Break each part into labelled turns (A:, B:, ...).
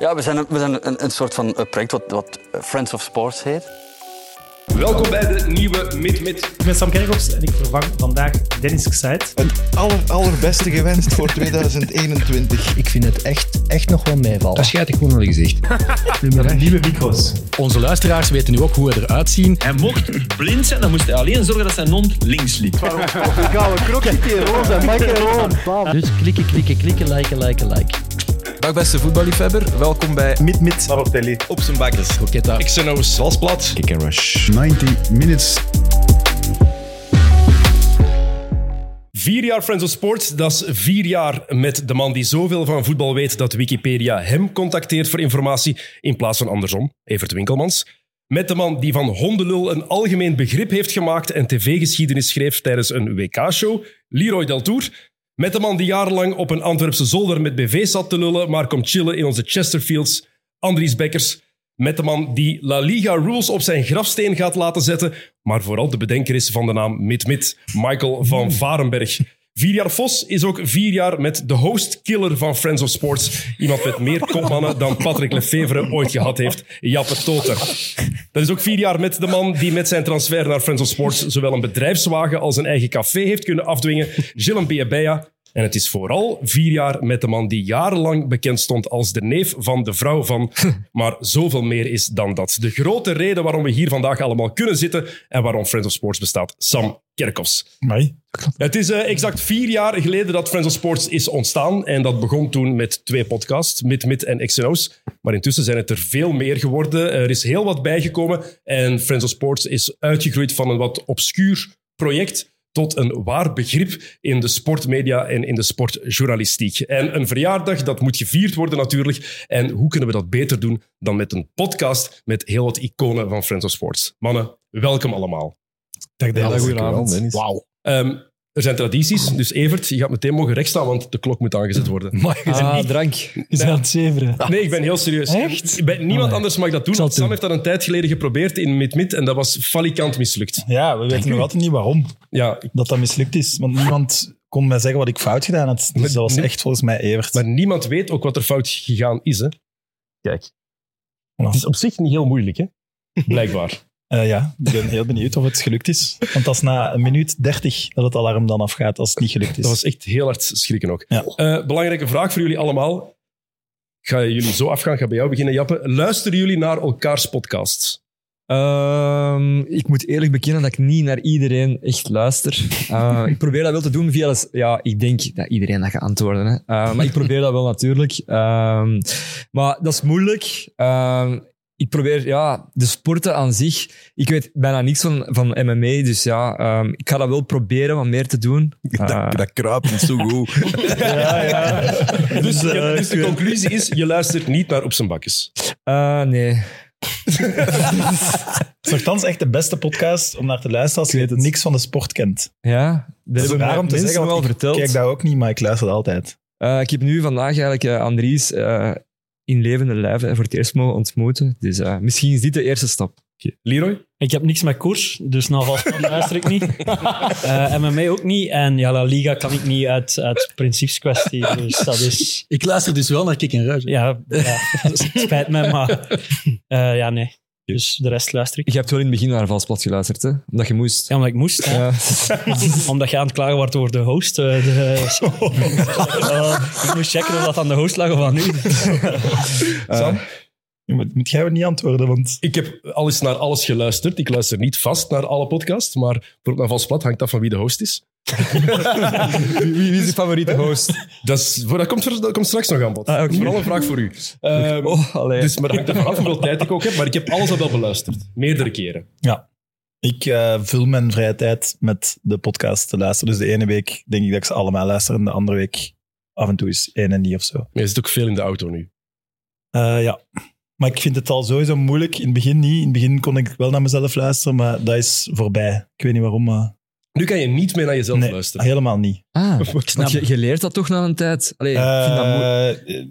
A: Ja, we zijn, een- we zijn een, een soort van eh, project wat, wat Friends of Sports heet.
B: Welkom bij de nieuwe Mid-Mid.
C: Ik ben Sam Kerkhoffs en ik vervang vandaag Dennis Gseit.
D: Het aller, allerbeste gewenst voor 2021.
E: Ik vind het echt, echt nog wel meevallen.
F: Dat schijt ik gewoon al gezegd.
C: Nieuwe micro's.
E: Onze luisteraars weten nu ook hoe we eruit zien.
G: Hij mocht blind zijn, dan moest hij alleen zorgen dat zijn hond links liep.
E: Dus klikken, klikken, klikken, liken, liken, liken.
H: Dag beste voetballiefhebber, welkom bij
D: Op zijn bakkers.
E: Roketta.
H: Xenos Walsplat. Kick and Rush.
F: 90 minutes.
B: Vier jaar Friends of Sports, dat is vier jaar met de man die zoveel van voetbal weet dat Wikipedia hem contacteert voor informatie in plaats van andersom, Evert Winkelmans. Met de man die van hondenlul een algemeen begrip heeft gemaakt en tv-geschiedenis schreef tijdens een WK-show, Leroy Deltour. Met de man die jarenlang op een Antwerpse zolder met BV zat te lullen, maar komt chillen in onze Chesterfields, Andries Bekkers. Met de man die La Liga Rules op zijn grafsteen gaat laten zetten, maar vooral de bedenker is van de naam Mid-Mid, Michael van Varenberg. Vier jaar Vos is ook vier jaar met de host-killer van Friends of Sports. Iemand met meer kopmannen dan Patrick Lefevre ooit gehad heeft, Jappe Toter. Dat is ook vier jaar met de man die met zijn transfer naar Friends of Sports zowel een bedrijfswagen als een eigen café heeft kunnen afdwingen, Gilles Biabeya. En het is vooral vier jaar met de man die jarenlang bekend stond als de neef van de vrouw van, maar zoveel meer is dan dat. De grote reden waarom we hier vandaag allemaal kunnen zitten en waarom Friends of Sports bestaat, Sam Kerkhoffs. Het is eh, exact vier jaar geleden dat Friends of Sports is ontstaan. En dat begon toen met twee podcasts, Mid Mid en XNO's. Maar intussen zijn het er veel meer geworden. Er is heel wat bijgekomen. En Friends of Sports is uitgegroeid van een wat obscuur project tot een waar begrip in de sportmedia en in de sportjournalistiek. En een verjaardag, dat moet gevierd worden natuurlijk. En hoe kunnen we dat beter doen dan met een podcast met heel wat iconen van Friends of Sports. Mannen, welkom allemaal.
C: Dag Dennis.
E: Wauw.
B: Ehm, er zijn tradities, dus Evert, je gaat meteen mogen rechtstaan, want de klok moet aangezet worden.
E: Ah, drank. Ah.
C: Is aan het zeveren.
B: Nee, ik ben heel serieus.
C: Echt?
B: Bij niemand
C: Amai.
B: anders mag dat doen.
C: Ik
B: Sam
C: zal het doen.
B: heeft dat een tijd geleden geprobeerd in Mid-Mid en dat was falikant mislukt.
I: Ja, we weten nog altijd niet waarom
B: Ja, ik-
I: dat dat mislukt is. Want niemand kon mij zeggen wat ik fout gedaan had. Dus dat was
B: nee.
I: echt volgens mij Evert.
B: maar niemand weet ook wat er fout gegaan is. Hè. Kijk, het is op zich niet heel moeilijk, hè? blijkbaar.
I: Eh, ja, ik ben heel benieuwd of het gelukt is. Want dat is na een minuut dertig dat het alarm dan afgaat als het niet gelukt is.
B: Dat was echt heel hard schrikken ook.
I: Ja.
B: Eh, belangrijke vraag voor jullie allemaal. Ik ga jullie zo afgaan, ik ga bij jou beginnen, Jappe. Luisteren jullie naar elkaars podcasts?
J: Ehm, ik moet eerlijk bekennen dat ik niet naar iedereen echt luister. Eh, ik probeer dat wel te doen via... de- Ja, ik denk dat iedereen dat gaat antwoorden. Hè. Eh, maar ik probeer dat wel natuurlijk. Ehm, maar dat is moeilijk. Ehm, ik probeer, ja, de sporten aan zich... Ik weet bijna niks van, van MMA, dus ja, ehm, ik ga dat wel proberen wat meer te doen. Eh,
H: Dat, dat kruipt is zo goed.
I: ja, ja.
B: Dus,
I: eh,
B: ja, dus de
I: ik-
B: conclusie is, je luistert niet naar Op zijn Bakkes.
J: eh, nee.
I: Het is nogthans echt de beste podcast om naar te luisteren als je niks van de sport kent.
J: Ja, dat
I: is
J: hebben
I: raar om te
J: mensen
I: zeggen,
J: me
I: want
J: wel verteld.
I: Kijk, dat ook niet, maar ik luister dat altijd.
J: Eh, ik heb nu vandaag eigenlijk eh, Andries eh, in levende lijven voor het eerst mogen ontmoeten. Dus eh, misschien is dit de eerste stap.
B: Leroy?
C: Ik heb niks met koers, dus nou vast luister ik niet. Eh, en met mij ook niet. En ja, La Liga kan ik niet uit, uit principeskwestie. Dus dat is...
E: Ik luister dus wel naar Kick en Rush.
C: Ja, ja het spijt me, maar... eh, ja, nee. Dus de rest luister ik.
J: Je hebt wel in het begin naar Valsplat geluisterd, hè? Omdat je moest.
C: Ja, omdat ik moest. hè.
J: Ja.
C: Omdat je aan het klagen wordt door de host. eh, de- Eh, ik moest checken of dat aan de host lag of aan u.
I: Je Moet, Eh, moet jij niet antwoorden, want...
B: Ik heb al eens naar alles geluisterd. Ik luister niet vast naar alle podcasts, maar bijvoorbeeld naar Vals Plat hangt af van wie de host is.
J: Wie, wie is je favoriete host?
B: Dat, is, dat, komt, er- dat komt straks nog aan bod.
I: Ah,
B: Dat is vooral een vraag voor u. Ehm,
J: Oh, allee.
B: dus, maar dat hangt ervan af hoeveel tijd ik ook heb, maar ik heb alles al wel beluisterd. Meerdere keren.
I: Ik eh, vul mijn vrije tijd met de podcast te luisteren. Dus de ene week denk ik dat ik ze allemaal luister en de andere week af en toe is één en niet of zo.
B: Maar je zit ook veel in de auto nu.
I: Eh, ja. Maar ik vind het al sowieso moeilijk. In het begin niet. In het begin kon ik wel naar mezelf luisteren, maar dat is voorbij. Ik weet niet waarom, maar...
B: Nu kan je niet meer naar jezelf
I: nee,
B: luisteren.
I: helemaal niet.
J: Ah, want je, je leert dat toch na een tijd? Allee, ik vind dat moe-
I: Eh, eh,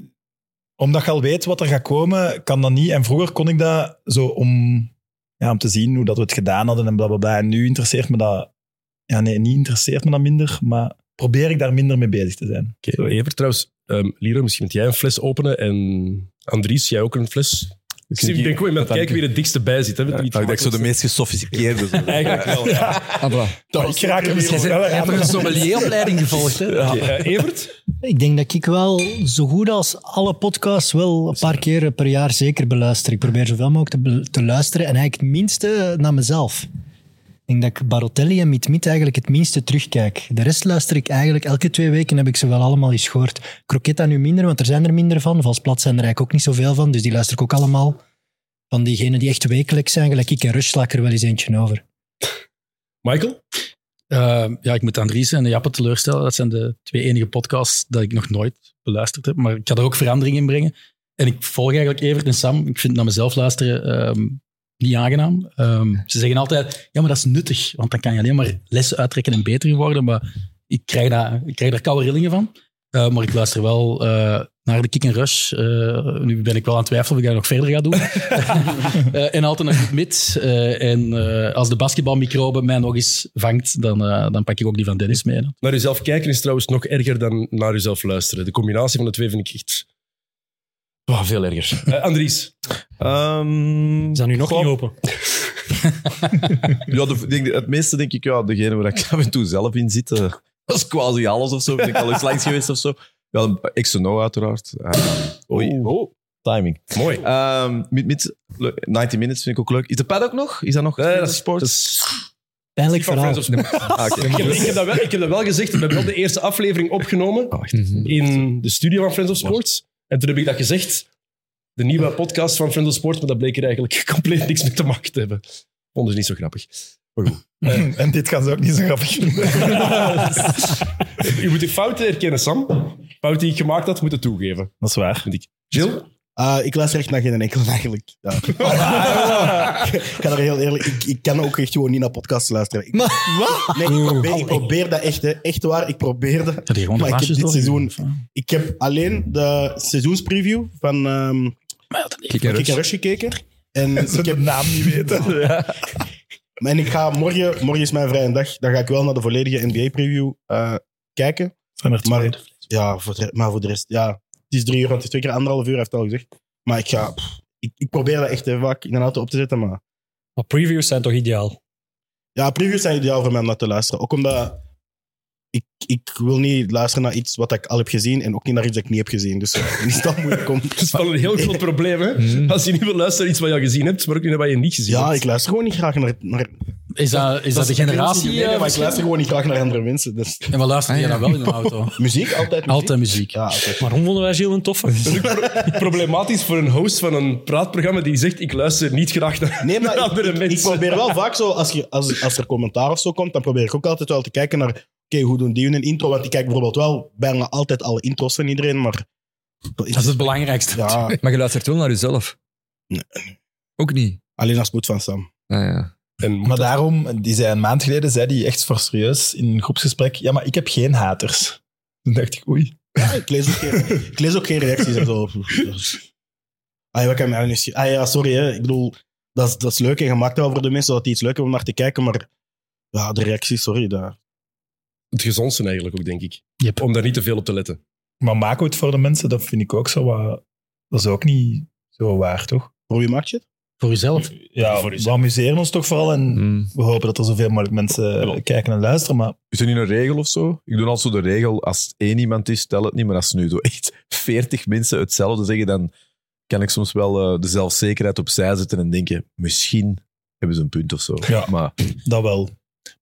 I: omdat je al weet wat er gaat komen, kan dat niet. En vroeger kon ik dat zo om, ja, om te zien hoe dat we het gedaan hadden en blablabla. En nu interesseert me dat... Ja, nee, niet interesseert me dat minder, maar probeer ik daar minder mee bezig te zijn.
B: Oké, Evert, trouwens, Ehm Lira, misschien moet jij een fles openen. En Andries, jij ook een fles. Ik zie- ik denk wel met kijken wie het dikste bij zit. Hè, met wie het
H: Ja, Ah, ik denk zo de meest gesofisticeerde. zo. Ah,
I: Maar ik raak er misschien wel
E: Je hebt
I: aan.
E: een sommelieropleiding gevolgd, hè?
B: Eh, Evert?
K: Ik denk dat ik wel zo goed als alle podcasts wel een paar keer per jaar zeker beluister. Ik probeer zoveel mogelijk te, bel- te luisteren en eigenlijk het minste naar mezelf. Ik denk dat ik Barotelli en Mitmit eigenlijk het minste terugkijk. De rest luister ik eigenlijk elke twee weken, heb ik ze wel allemaal eens gehoord. Croquetta nu minder, want er zijn er minder van. Valsplat zijn er eigenlijk ook niet zoveel van, dus die luister ik ook allemaal. Van diegenen die echt wekelijks zijn, gelijk ik en Rush sla ik er wel eens eentje over.
B: Michael?
E: Eh, ja, ik moet Andries en Jappe teleurstellen. Dat zijn de twee enige podcasts dat ik nog nooit beluisterd heb. Maar ik ga er ook verandering in brengen. En ik volg eigenlijk Evert en Sam. Ik vind naar mezelf luisteren ehm, niet aangenaam. Ehm, ze zeggen altijd, ja, maar dat is nuttig. Want dan kan je alleen maar lessen uittrekken en beter in worden. Maar ik krijg, daar ik krijg daar koude rillingen van. Eh, maar ik luister wel eh, naar de Kick and Rush. Eh, nu ben ik wel aan het twijfelen of ik dat nog verder ga doen. Eh, en altijd nog mid. Eh, en eh, als de basketbalmicrobe mij nog eens vangt, dan, eh, dan pak ik ook die van Dennis mee. hè.
B: Naar jezelf kijken is trouwens nog erger dan naar jezelf luisteren. De combinatie van de twee vind ik echt...
H: Ah,
E: Oh, veel erger.
B: Eh, Andries?
H: Ehm,
C: Is dat nu nog
H: goh,
C: niet open?
H: Ja, de, denk, het meeste denk ik, ja, degene waar ik af en toe zelf in zit. eh, dat is quasi alles of zo. Ben ik al eens langs geweest of zo. Ja, XNO uiteraard. Ehm, oei, oh, timing.
B: Mooi.
H: Ehm, met, met, le- 90 Minutes vind ik ook leuk. Is de pad ook nog? Is dat nog?
B: Nee, Eh, dat is-
H: sport.
B: dat is-
K: Pijnlijk
B: van
K: verhaal.
B: Friends of Sports.
H: Ah, oké.
B: Ik heb, ik, heb dat wel, ik heb dat wel gezegd. We hebben wel de eerste aflevering opgenomen in de studio van Friends of Sports. En toen heb ik dat gezegd. De nieuwe podcast van Friends of Sports. Maar dat bleek er eigenlijk compleet niks mee te maken te hebben. Vonden ze niet zo grappig.
I: En dit gaan ze ook niet zo grappig vinden.
B: Eh, U moet uw fouten erkennen, Sam. Fouten die ik gemaakt had, moet het toegeven.
I: Dat is waar.
B: Jill?
L: Eh, ik luister echt naar geen enkel eigenlijk. Ja. ik ga er heel eerlijk... Ik, ik kan ook echt gewoon niet naar podcasts luisteren. Ik, wat? Nee, ik probeer, ik probeer dat echt. Hè. Echt waar, ik probeer dat.
E: Heb je gewoon
L: Maar
E: de
L: ik heb
E: baasjes
L: dit
E: doorgegeven,
L: seizoen...
E: of, eh?
L: Ik heb alleen de seizoenspreview van ehm
H: Kick and
L: Kik
H: Rush.
L: en Rush gekeken. En ik heb
I: naam niet weten.
L: Maar En ik ga morgen, morgen is mijn vrije dag, dan ga ik wel naar de volledige NBA-preview eh, kijken.
I: Zijn er twee.
L: Maar, ja, voor de, re- maar voor de rest, ja. Het is drie uur, want het is twee keer anderhalf uur, hij heeft het al gezegd. Maar ik ga, pff, ik, ik probeer dat echt heel vaak in een auto op te zetten. Maar
C: Maar previews zijn toch ideaal?
L: ja, previews zijn ideaal voor mij om naar te luisteren. Ook omdat ik, ik wil niet luisteren naar iets wat ik al heb gezien en ook niet naar iets dat ik niet heb gezien. Dus eh, dan is dat moeilijk om...
B: Dat is wel een heel groot probleem, hè? Als je niet wil luisteren naar iets wat je al gezien hebt, maar ook niet naar wat je niet gezien
L: Ja,
B: hebt.
L: ik luister gewoon niet graag naar... naar
E: Is dat, is dat de
L: Nee,
E: generatie?
L: nee,
E: eh,
L: maar ik luister gewoon niet graag naar andere mensen. Dus.
E: En wat luister jij dan wel in de auto?
L: Muziek, altijd muziek.
E: Altijd muziek.
L: Ja, altijd.
C: Waarom vonden wij Gilles een toffe?
B: Problematisch voor een host van een praatprogramma die zegt: Ik luister niet graag naar
L: Nee, maar ik,
B: andere
L: ik
B: mensen.
L: probeer wel vaak zo, als, je, als, als er commentaar of zo komt, dan probeer ik ook altijd wel te kijken naar, oké, hoe doen die hun intro? Want ik kijk bijvoorbeeld wel bijna altijd alle intro's van iedereen, maar...
E: Dat is het belangrijkste.
L: Ja,
J: Maar je luistert wel naar jezelf.
L: Nee.
J: Ook niet.
L: alleen als moed van Sam.
J: Ah, ja.
B: En
I: Maar daarom, die zei een maand geleden, zei die echt voor serieus in een groepsgesprek, ja, maar ik heb geen haters. Toen dacht ik, oei.
L: Ja, ik, lees ook geen, ik lees ook geen reacties en zo. Ah, ja, wat kan mij nu zien? Ah ja, sorry, hè. ik bedoel, dat is, dat is leuk en gemaakt wel voor de mensen, dat die iets leuk hebben om naar te kijken, maar ja, de reacties, sorry, daar.
B: het gezondste eigenlijk ook, denk ik.
E: Yep.
B: Om daar niet te veel op te letten.
I: Maar maak het voor de mensen, dat vind ik ook zo wat... Dat is ook niet zo waar, toch?
L: Voor wie maak je het?
E: Voor jezelf.
I: Ja,
B: voor
I: we amuseren ons toch vooral en
J: Mm.
I: we hopen dat er zoveel mogelijk mensen eh, kijken en luisteren, maar
H: Is er niet een regel of zo? Ik doe al zo de regel, als het één iemand is, tel het niet. Maar als nu zo echt veertig mensen hetzelfde zeggen, dan kan ik soms wel eh, de zelfzekerheid opzij zetten en denken, misschien hebben ze een punt of zo.
I: Ja.
H: Maar
I: dat wel.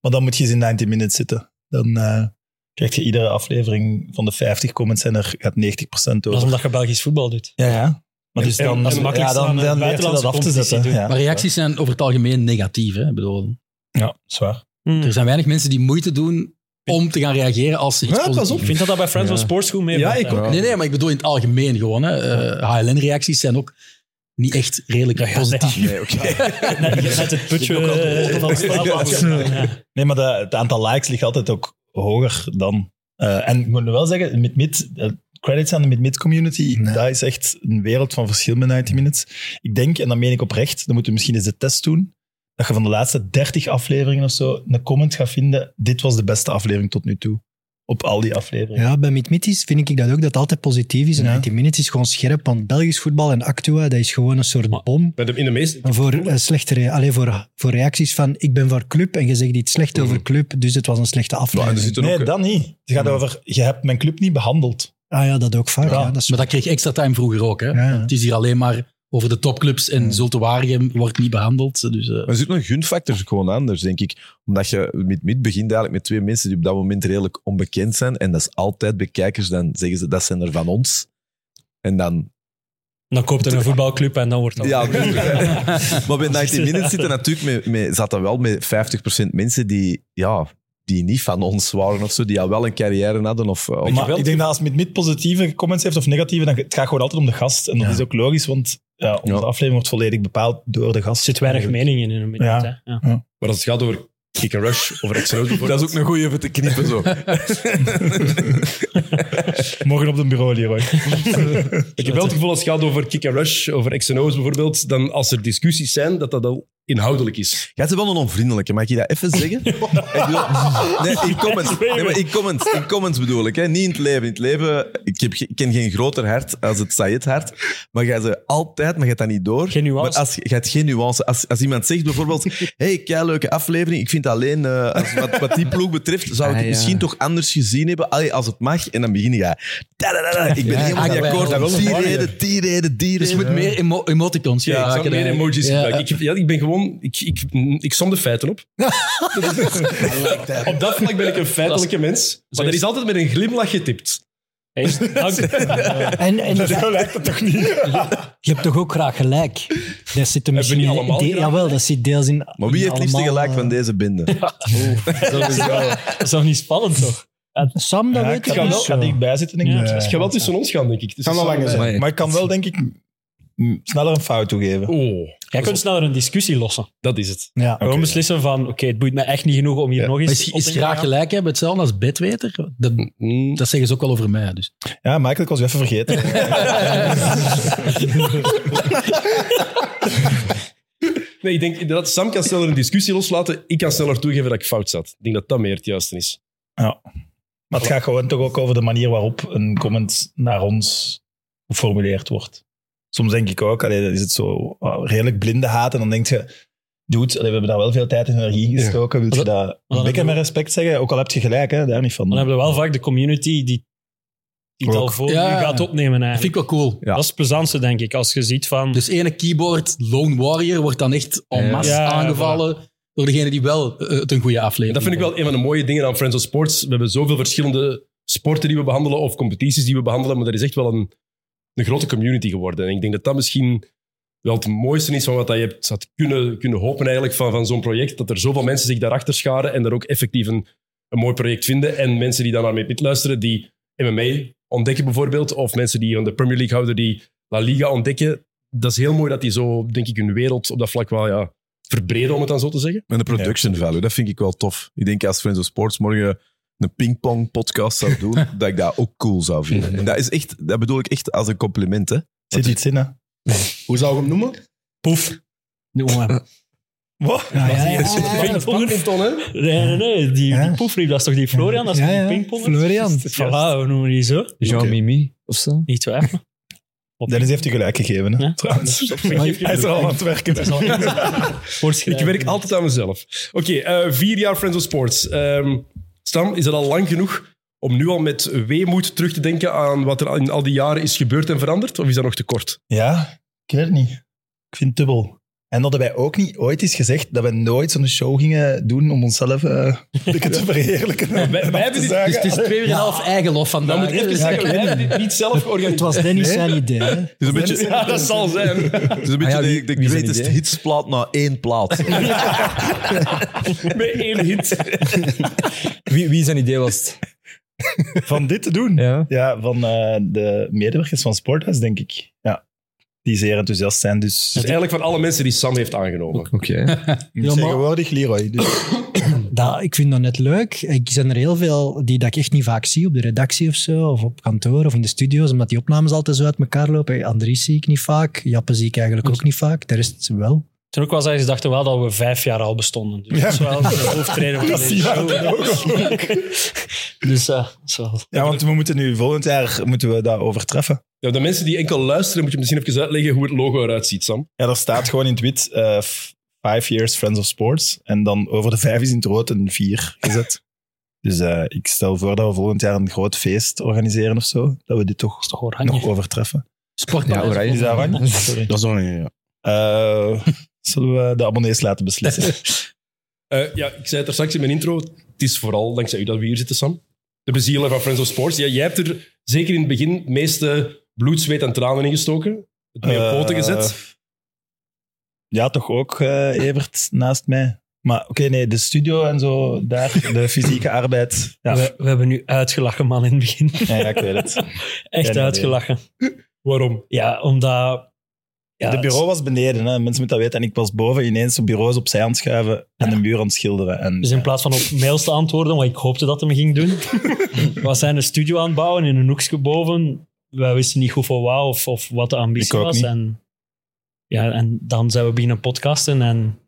I: Maar dan moet je eens in 90 minutes zitten. Dan eh, krijg je iedere aflevering van de 50 comments en er gaat 90%
C: Dat is
I: over.
C: omdat je Belgisch voetbal doet.
I: Ja, ja. Maar dus
B: En- en
I: dan,
B: het
I: ja,
C: makkelijkste aan
I: dan,
C: een
I: dan leert je dat
C: eh, buitenlandse
I: af te
C: competitie
I: zetten.
C: doen.
I: Ja,
E: Maar reacties zijn over het algemeen negatief. Hè? Ik bedoel,
I: Ja, zwaar.
C: Hmm.
E: er zijn weinig mensen die moeite doen om te gaan reageren als ze iets
B: Ja, pas
E: positiefs
B: op.
C: Ik vind dat dat bij Friends of Sports goed mee
B: Ja,
C: valt,
B: ik
C: eigenlijk.
B: ook.
E: Nee, nee, maar ik bedoel in het algemeen gewoon. hè. Eh, HLN-reacties zijn ook niet echt redelijk
C: Nou
E: positief.
H: nee, oké.
C: Net, net het putje
E: Ik heb ook al de
C: eh, van Staal. Ja.
I: Nee, maar de- het aantal likes ligt altijd ook hoger dan. Eh, en ik moet wel zeggen, met mid, eh, credits aan de mid-mid community, dat is echt een wereld van verschil met 90 Minutes. Ik denk, en dat meen ik oprecht, dan moeten we misschien eens de test doen, dat je van de laatste 30 afleveringen of zo een comment gaat vinden, dit was de beste aflevering tot nu toe. op al die afleveringen.
K: Ja, bij Mitmitis vind ik dat ook, dat het altijd positief is. En 90 Minutes is gewoon scherp, want Belgisch voetbal en Actua, dat is gewoon een soort bom.
B: Bij de, in de meeste...
K: Voor, eh, slechte re- allee, voor, voor reacties van, ik ben voor club en je zegt iets slecht over
H: Mm.
K: club, dus het was een slechte aflevering.
I: nee,
H: eh,
I: dat niet. Het gaat over, je hebt mijn club niet behandeld.
K: Ah ja, dat ook vaak. Ja. dat is-
E: Maar dat kreeg extra time vroeger ook. Hè? Het is hier alleen maar over de topclubs en Zulte Waregem wordt niet behandeld. Dus, eh,
H: Maar er zit nog een gunfactor gewoon anders, denk ik. Omdat je met mid begint eigenlijk met twee mensen die op dat moment redelijk onbekend zijn. En dat is altijd bij kijkers, dan zeggen ze dat zijn er van ons. En dan...
C: Dan koopt er een voetbalclub en dan wordt dat...
H: Ja, maar bij 90 Minutes zitten natuurlijk met, met, zat dat wel met 50% mensen die, ja, die niet van ons waren of zo. Die al wel een carrière hadden. Of, of
I: Maar ik denk dat als met mid positieve comments heeft of negatieve, dan het gaat gewoon altijd om de gast. En dat is ook logisch, want ja, onze aflevering wordt volledig bepaald door de gast. Er
C: zit weinig mening in in een minuut.
I: Ja.
C: Hè? Ja.
B: Maar als het gaat over Kick and Rush, over X-Road
H: dat is ook een goeie even te knippen zo.
I: Morgen op de bureau, Leroy.
B: Ik heb wel het gevoel als het gaat over kick and rush, over X&O's bijvoorbeeld, dan als er discussies zijn, dat dat al inhoudelijk is.
H: Jij bent wel een onvriendelijke, mag ik je dat even zeggen? ik bedoel, nee, in comments, nee, maar in comments, in comments bedoel ik. Hè? Niet in het leven. In het leven, ik, heb, ge- ik ken geen groter hart als het Sayed hart. Maar jij ze altijd, maar je hebt dat niet door. Geen nuance. Maar als, je hebt geen nuance. Als, als iemand zegt bijvoorbeeld, hey, kei leuke aflevering. Ik vind alleen, eh, als, wat, wat die ploeg betreft, zou
J: Ah,
H: ik het
J: ja.
H: misschien toch anders gezien hebben. Allee, als het mag. En dan begin je. "Da, da, da, da." Ik ben
E: Ja,
H: helemaal
E: ja,
H: niet
E: ja, ja,
H: akkoord.
E: wel een
H: Die
E: warrior.
H: reden, die reden, die reden.
E: Dus je moet meer emo- emoticons
B: Ja, ik
E: gebruiken
B: zou meer
E: eigenlijk.
B: emojis
E: Ja.
B: gebruiken. Ik, heb- ja, ik ben gewoon... Ik, ik, ik som de feiten op. op dat vlak ben ik een feitelijke mens. Maar dat is altijd met een glimlach getipt.
K: En, en
B: Zo
I: lijkt het toch niet?
K: Je hebt toch ook graag gelijk? Dat zit er misschien
H: niet
K: in-
H: allemaal
K: de-
H: graag
K: Jawel, dat zit deels in...
H: Maar wie heeft het liefste
K: allemaal, eh,
H: gelijk van deze bende?
C: Dat is toch niet spannend, toch?
K: Sam, dat weet
I: ik
K: ik
I: ga
K: niet
I: wel
K: zo.
I: ga dichtbij zitten. Denk ik.
K: Ja.
I: Ja.
B: Het gaat wel tussen ons gaan, denk ik. Het is
I: kan wel
B: samen-
I: langer zijn. Maar ik kan wel, denk ik, m- sneller een fout toegeven.
B: Oh.
C: Jij kunt sneller een discussie lossen.
B: Dat is het.
K: Ja.
C: Gewoon beslissen van, oké, het boeit me echt niet genoeg om hier nog
E: Maar
C: eens
E: Is,
C: op
E: is
C: in te
E: graag
C: gaan.
E: gelijk hebben hetzelfde als bedweter? Dat, dat zeggen ze ook al over mij. Dus.
I: Ja, Michael, ik was je even vergeten.
B: Nee, ik denk inderdaad, Sam kan sneller een discussie loslaten. Ik kan sneller toegeven dat ik fout zat. Ik denk dat dat meer het juiste is.
I: Ja. Maar het gaat gewoon toch ook over de manier waarop een comment naar ons geformuleerd wordt. Soms denk ik ook, allee, dan is het zo ah, redelijk blinde haat. En dan denk je, dude, allee, we hebben daar wel veel tijd en energie in gestoken. Wil je dat een
C: dan
I: beetje
C: hebben
I: met respect zeggen? Ook al heb je gelijk, hè, daar niet van.
C: Dan hebben we wel vaak de community die, die het
I: Ook.
C: al voor je
E: Ja.
C: gaat opnemen.
E: Dat vind
C: Eigenlijk.
E: ik wel cool.
C: Dat is het plezantste, denk ik, als je ziet van...
E: Dus ene keyboard, Lone Warrior, wordt dan echt en masse
B: Ja, ja,
E: aangevallen door degene die wel eh, het een goede
B: En
E: aflevering
B: dat vind ik wel een van de mooie dingen aan Friends of Sports. We hebben zoveel verschillende sporten die we behandelen of competities die we behandelen, maar er is echt wel een, een grote community geworden. En ik denk dat dat misschien wel het mooiste is van wat dat je hebt, had kunnen, kunnen hopen eigenlijk van, van zo'n project. Dat er zoveel mensen zich daarachter scharen en daar ook effectief een, een mooi project vinden. En mensen die daar naar mee pit luisteren, die MMA ontdekken bijvoorbeeld, of mensen die van de Premier League houden, die La Liga ontdekken. Dat is heel mooi dat die zo, denk ik, hun wereld op dat vlak wel ja, verbreden, om het dan zo te zeggen.
H: En de production value, dat vind ik wel tof. Ik denk als Friends of Sports morgen een pingpong podcast zou doen, dat ik dat ook cool zou vinden. En dat, is echt, dat bedoel ik echt als een compliment. Hè.
I: Zit iets in, hè?
L: Hoe zou je hem noemen?
C: Poef. Noem maar.
I: Wat?
K: Ja, ja, ja.
C: Nee, nee, nee. Die, die poefriep, dat is toch die Florian? Dat is
K: Ja,
C: toch
K: ja.
C: die pingpong?
K: Florian.
C: Voilà, hoe noemen we die zo?
J: Jean-Mimi of zo?
C: Niet zo erg.
I: Dennis heeft je gelijk gegeven, hè? Trouwens. Hij is er al aan het werken.
B: Ik werk altijd aan mezelf. Oké, eh, vier jaar Friends of Sports. Ehm, Stam, is dat al lang genoeg om nu al met weemoed terug te denken aan wat er in al die jaren is gebeurd en veranderd? Of is dat nog te kort?
I: Ja, ik weet het niet. Ik vind het dubbel. En dat hebben wij ook niet ooit eens gezegd dat we nooit zo'n show gingen doen om onszelf eh dikke te verheerlijken.
B: Wij, wij
I: En op
B: hebben
I: te
B: dit,
I: zagen.
E: Dus het is twee uur en een half eigen lof
B: dat
E: vandaag.
B: moet ik even zeggen, wij hebben dit niet zelf
K: Het
B: georganiseerd.
K: was Dennis
I: Nee.
K: zijn idee. hè?
H: Het is een beetje,
B: Ja, dat zal zijn.
H: het is een beetje
J: Ah ja, wie-
H: de, de
J: wie zijn
H: greatest
J: idee?
H: hitsplaat na één plaat.
B: Met één hit.
J: Wie, wie zijn idee was het?
I: Van dit te doen?
J: Ja.
I: Ja, van eh, de medewerkers van Sporthuis, denk ik. Ja. Die zeer enthousiast zijn, dus...
B: Dus eigenlijk van alle mensen die Sam heeft aangenomen.
J: Oké.
K: Ja, maar-
I: Tegenwoordig Leroy. Dus.
K: Dat, ik vind dat net leuk. Ik zijn er heel veel die dat ik echt niet vaak zie op de redactie of zo, of op kantoor of in de studio's, omdat die opnames altijd zo uit elkaar lopen. Hey, Andries zie ik niet vaak, Jappe zie ik eigenlijk ook niet vaak, de rest wel.
C: Toen ook wel zei, ze dachten wel dat we vijf jaar al bestonden. Dus dat is wel de hoofdreden van
I: Dat
C: deze
I: is
C: show.
I: ja,
C: Dus eh, dat is wel...
I: Ja, want we moeten nu volgend jaar moeten we dat overtreffen.
B: Ja, de mensen die enkel luisteren, moet je misschien even uitleggen hoe het logo eruit ziet, Sam.
I: Ja, daar staat gewoon in het wit eh, f- Five Years Friends of Sports. En dan over de vijf is in het rood een vier gezet. dus eh, ik stel voor dat we volgend jaar een groot feest organiseren of zo. Dat we dit toch, nog overtreffen.
J: Sportpaleis. Ja, oranje.
I: Is dat oranje? Sorry.
L: Dat is oranje,
I: ja. zullen we de abonnees laten beslissen?
B: Eh, ja, ik zei het er straks in mijn intro. Het is vooral dankzij u dat we hier zitten, Sam. De bezieler van Friends of Sports. Ja, jij hebt er zeker in het begin het meeste bloed, zweet en tranen in gestoken. Het mee op
I: Eh,
B: poten gezet.
I: Ja, toch ook, eh, Evert, naast mij. Maar oké, nee, de studio en zo, daar, de fysieke arbeid. Ja,
C: We, we hebben nu uitgelachen, man, in het begin.
I: ja, ja, ik weet het. Geen
C: Echt
I: idee.
C: uitgelachen.
B: Waarom?
C: Ja, omdat... Ja,
I: de bureau was beneden, hè. mensen moeten dat weten. En ik was boven ineens op bureaus opzij aan het schuiven en de muur aan het schilderen. En,
C: Dus in plaats van op mails te antwoorden, wat ik hoopte dat hem ging doen, was hij een studio aan het bouwen in een hoekje boven. Wij wisten niet goed voor wou of, of wat de ambitie
I: Ik ook
C: was.
I: niet.
C: En, ja, en dan zijn we beginnen podcasten en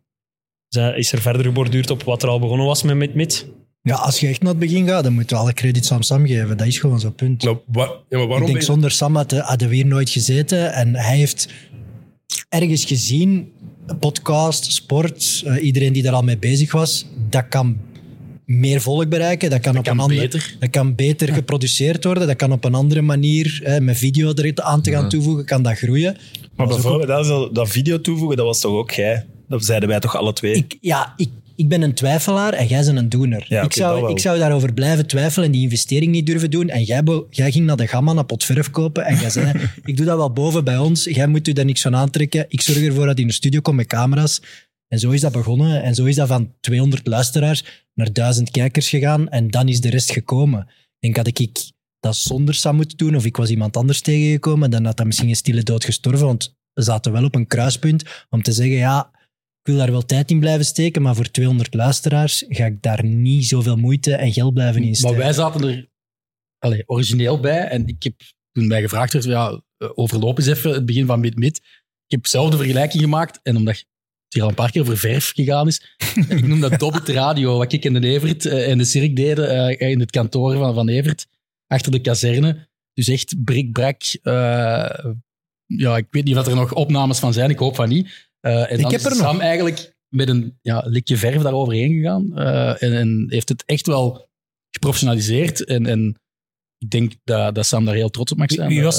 C: zij- is er verder geborduurd op wat er al begonnen was met MidMid.
K: Ja, als je echt naar het begin gaat, dan moeten we alle credits aan Sam geven. Dat is gewoon zo'n punt.
B: ja, maar waarom
K: ik denk,
B: ben je-
K: zonder Sam had- hadden we hier nooit gezeten. En hij heeft ergens gezien, podcast, sport, eh, iedereen die daar al mee bezig was, dat kan meer volk bereiken. Dat kan, op een andere, Dat kan beter geproduceerd worden. Dat kan op een andere manier, hè, met video er aan te gaan
I: Ja.
K: toevoegen, kan dat groeien.
I: maar bijvoorbeeld, dat, is al- dat video toevoegen, dat was toch ook jij? Dat zeiden wij toch alle twee?
K: Ja, ik, ik ben een twijfelaar en jij bent een doener.
I: Ja,
K: ik,
I: oké, dat
K: zou,
I: wel.
K: ik zou daarover blijven twijfelen en die investering niet durven doen. En jij, bo- jij ging naar de gamma naar potverf kopen en jij zei, ik doe dat wel boven bij ons. Jij moet u daar niks van aantrekken. Ik zorg ervoor dat hij in de studio komt met camera's. En zo is dat begonnen. En zo is dat van 200 luisteraars naar 1000 kijkers gegaan. En dan is de rest gekomen. Ik denk dat ik dat zonder Sam moeten doen of ik was iemand anders tegengekomen, dan had dat misschien een stille dood gestorven. Want we zaten wel op een kruispunt om te zeggen, ja, ik wil daar wel tijd in blijven steken, maar voor 200 luisteraars ga ik daar niet zoveel moeite en geld blijven in
E: Maar
K: steken.
E: wij zaten er allee, origineel bij. En ik heb toen mij gevraagd werd, ja, eh, overloop eens even het begin van Mid-Mid. Ik heb zelf de vergelijking gemaakt. En omdat het hier al een paar keer over verf gegaan is, ik noem dat Dobbit Radio, wat ik en de Evert eh, en de Cirk deden eh, in het kantoor van, van Evert, achter de kazerne. Dus echt brik-brak. eh, ja, ik weet niet wat er nog opnames van zijn, ik hoop van niet. Eh, en
I: Ik
E: dan
I: heb
E: is
I: er nog.
E: Sam eigenlijk met een ja, likje verf daaroverheen gegaan. eh, en, en heeft het echt wel geprofessionaliseerd. En, en ik denk dat, dat Sam daar heel trots op mag zijn.
B: Maar,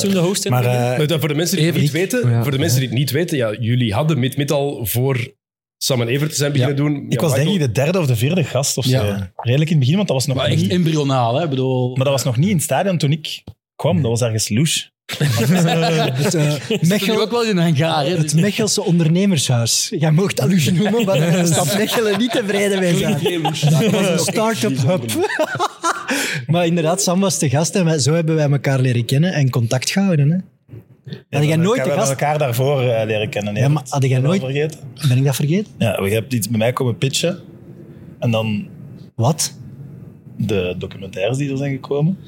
B: eh, Maar dat voor de mensen die het niet
E: Evert.
B: weten,
E: Ja.
B: voor de mensen die het niet weten, ja, jullie hadden mid mid al voor Sam en Evert te zijn beginnen doen.
I: Ik was denk ik de derde of de vierde gast of zo.
B: Ja.
I: Redelijk in het begin, want dat was nog
B: Maar echt
E: embryonaal, hè? Bedoel...
I: Maar dat was nog niet in het stadion toen ik kwam. Dat was ergens loes.
K: het, eh, Mechel-
E: ook wel in een Dus- hangar.
K: het Mechelse ondernemershuis. Jij mocht dat nu noemen, maar daar staat Mechelen niet tevreden mee zijn. Dat was een start-up hub. maar inderdaad, Sam was de gast en wij- zo hebben wij elkaar leren kennen en contact gehouden. Hè? Had jij nooit de
I: We hebben
K: gast...
I: elkaar daarvoor eh, leren kennen.
K: Ja, maar had jij nooit...
I: vergeten?
K: Ben ik dat vergeten?
I: Ja, je hebt iets bij mij komen pitchen. En dan...
K: Wat?
I: De documentaires die er zijn gekomen.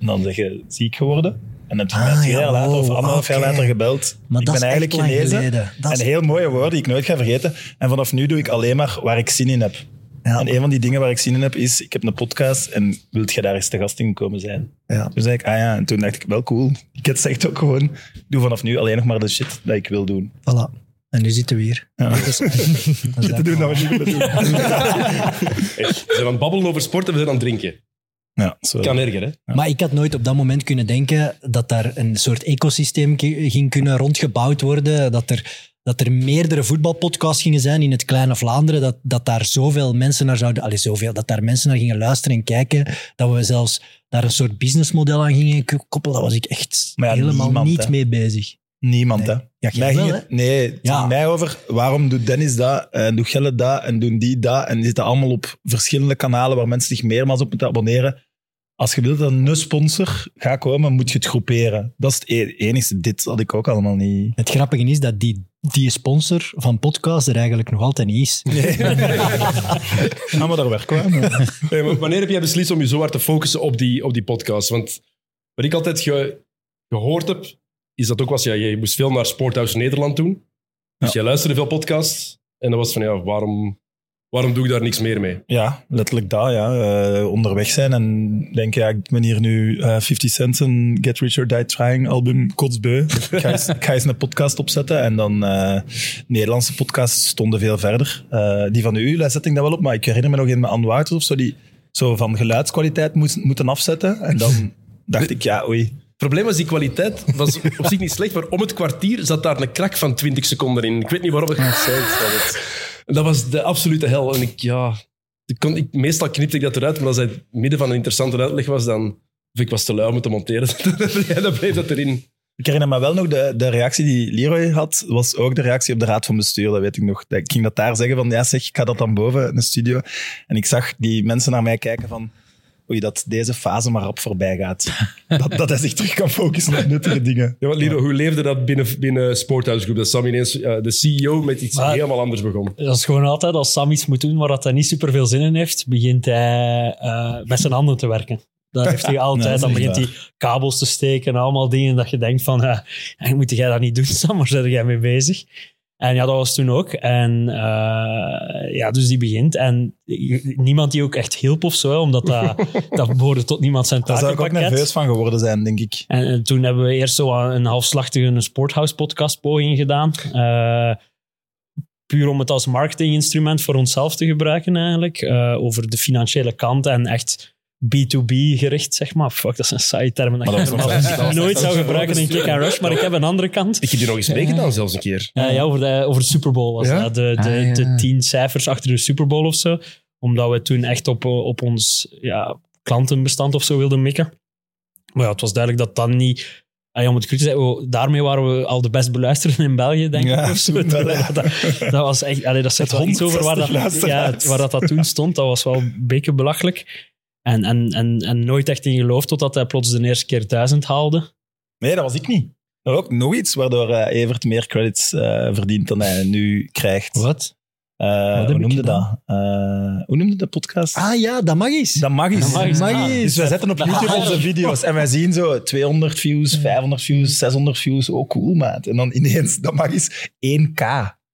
I: En dan zeg je ziek geworden. En dan heb je
K: Ah,
I: mij twee
K: ja,
I: jaar later of
K: wow,
I: anderhalf jaar
K: oké.
I: later gebeld.
K: Maar
I: ik
K: dat
I: ben
K: is echt
I: eigenlijk
K: lang
I: genezen.
K: geleden. Dat
I: En
K: is-
I: heel mooie woorden die ik nooit ga vergeten. En vanaf nu doe ik alleen maar waar ik zin in heb. En een van die dingen waar ik zin in heb is, ik heb een podcast en wilt jij daar eens te gast in komen zijn?
K: Ja.
I: Toen zei ik, ah ja, en toen dacht ik, wel cool. Ik had zegt ook gewoon, ik doe vanaf nu alleen nog maar de shit dat ik wil doen.
K: Voilà. En nu zitten we hier. Dat is- dat is
I: Shit te
K: dat.
I: doen dat we niet willen doen.
B: Hey, we zijn aan het babbelen over sport en we zijn aan het drinken.
I: Ja,
B: Kan erger, hè?
K: Maar ik had nooit op dat moment kunnen denken dat daar een soort ecosysteem ki- ging kunnen rondgebouwd worden. Dat er, dat er meerdere voetbalpodcasts gingen zijn in het kleine Vlaanderen. Dat, dat daar zoveel mensen naar zouden... Allee, zoveel. Dat daar mensen naar gingen luisteren en kijken. Dat we zelfs daar een soort businessmodel aan gingen k- koppelen. Daar was ik echt
I: Maar ja,
K: helemaal
I: niemand,
K: niet
I: hè.
K: mee bezig.
I: Niemand, hè?
K: Ja, jij
I: Mij ging
K: wel,
I: het- nee, het ging mij over waarom doet Dennis dat en doet Gelle dat en doen die dat. En die zitten allemaal op verschillende kanalen waar mensen zich meermaals op moeten abonneren. Als je wilt dat een sponsor gaat komen, moet je het groeperen. Dat is het e- enige. Dit had ik ook allemaal niet.
K: Het grappige is dat die, die sponsor van podcast er eigenlijk nog altijd niet is.
I: Ja, Ah, maar daar werken we aan.
B: Hey, maar wanneer heb jij beslist om je zo hard te focussen op die, op die podcast? Want wat ik altijd ge- gehoord heb, is dat ook was, ja, je moest veel naar Sporthuis Nederland doen. Dus jij luisterde veel podcasts. En dan was het van, ja, waarom, waarom doe ik daar niks meer mee?
I: Ja, letterlijk daar, ja. Eh, onderweg zijn en denken, ja, ik ben hier nu eh 50 Cent een Get Rich or Die Trying album kotsbeu. Dus ik, ga eens, ik ga eens een podcast opzetten. En dan, eh, Nederlandse podcasts stonden veel verder. Eh, die van u, daar zet ik dat wel op. Maar ik herinner me nog een met Anne Wouters of zo, die zo van geluidskwaliteit moest, moeten afzetten. En dan dacht ik, ja, oei.
B: Het probleem was die kwaliteit was op zich niet slecht, maar om het kwartier zat daar een krak van 20 seconden in. Ik weet niet waarom
C: Ah,
B: ik het zei. Dat was de absolute hel. En ik, ja, ik kon, ik, meestal knipte ik dat eruit, maar als het midden van een interessante uitleg was, dan, of ik was te lui om het te monteren, dan bleef dat erin.
I: Ik herinner me wel nog de, de reactie die Leroy had, was ook de reactie op de raad van bestuur, dat weet ik nog. Ik ging dat daar zeggen van, ja zeg, ik ga dat dan boven in de studio. En ik zag die mensen naar mij kijken van, oei, dat deze fase maar rap voorbij gaat. Dat, dat hij zich terug kan focussen op nuttige dingen.
B: Ja, want Lido, hoe leefde dat binnen, binnen Sporthuisgroep? Dat Sam ineens eh, de CEO met iets
C: Maar-
B: helemaal anders begon.
C: Dat is gewoon altijd, als Sam iets moet doen waar dat hij niet superveel zin in heeft, begint hij eh, met zijn handen te werken. Dat heeft hij
I: Nee,
C: altijd.
I: dat is
C: dan
I: echt
C: begint hij kabels te steken en allemaal dingen dat je denkt van, eh, eigenlijk moet jij dat niet doen, Sam, waar ben jij mee bezig? En ja, dat was toen ook. En eh, ja, dus die begint. En niemand die ook echt hielp of zo, hè, omdat dat, dat behoorde tot niemand zijn
I: Daar zou ik ook
C: takenpakket.
I: nerveus van geworden zijn, denk ik.
C: En, eh, toen hebben we eerst zo aan een halfslachtige Sporthouse-podcast-poging gedaan. Eh, puur om het als marketinginstrument voor onszelf te gebruiken, eigenlijk. Eh, over de financiële kant en echt B2B gericht, zeg maar. Fuck, dat zijn saaie termen. Dat,
B: Maar dat
C: ik
B: was nog wel- dat was
C: nooit
B: nog
C: zou
B: wel-
C: gebruiken in Kick and Rush, maar ik heb een andere kant.
B: Ik heb die nog eens meegedaan, zelfs een keer.
C: Eh, ja, over de, over de Super Bowl was
B: Ja?
C: dat. De, de,
B: Ah, ja.
C: de tien cijfers achter de Super Bowl of zo. Omdat we toen echt op, eh, op ons ja, klantenbestand of zo wilden mikken. Maar ja, het was duidelijk dat dan niet. Ah ja, om het cru te zeggen, we- daarmee waren we al de best beluisterden in België, denk
I: Ja,
C: ik. Of zo.
I: toen wel, ja.
C: Dat, dat was echt, allee, dat zegt
I: Met
C: wel iets over waar
I: 160
C: dat, ja,
I: luisteraars.
C: het- waar dat, dat toen stond. Dat was wel een beetje belachelijk. En, en, en, en nooit echt in geloof totdat hij plots de eerste keer duizend haalde.
I: Nee, dat was ik niet. Dat was ook nog iets waardoor eh, Evert meer credits eh, verdient dan hij nu krijgt. Eh,
C: Wat?
K: heb
I: hoe
K: ik
I: noemde dat? Eh, hoe noemde de podcast?
K: Ah ja, dat mag eens.
I: Dat mag eens.
K: Dat mag eens. Ah,
I: Dus wij zetten op YouTube onze video's en wij zien zo 200 views, 500 views, 600 views. Oh, cool, maat. En dan ineens, dat mag eens 1K.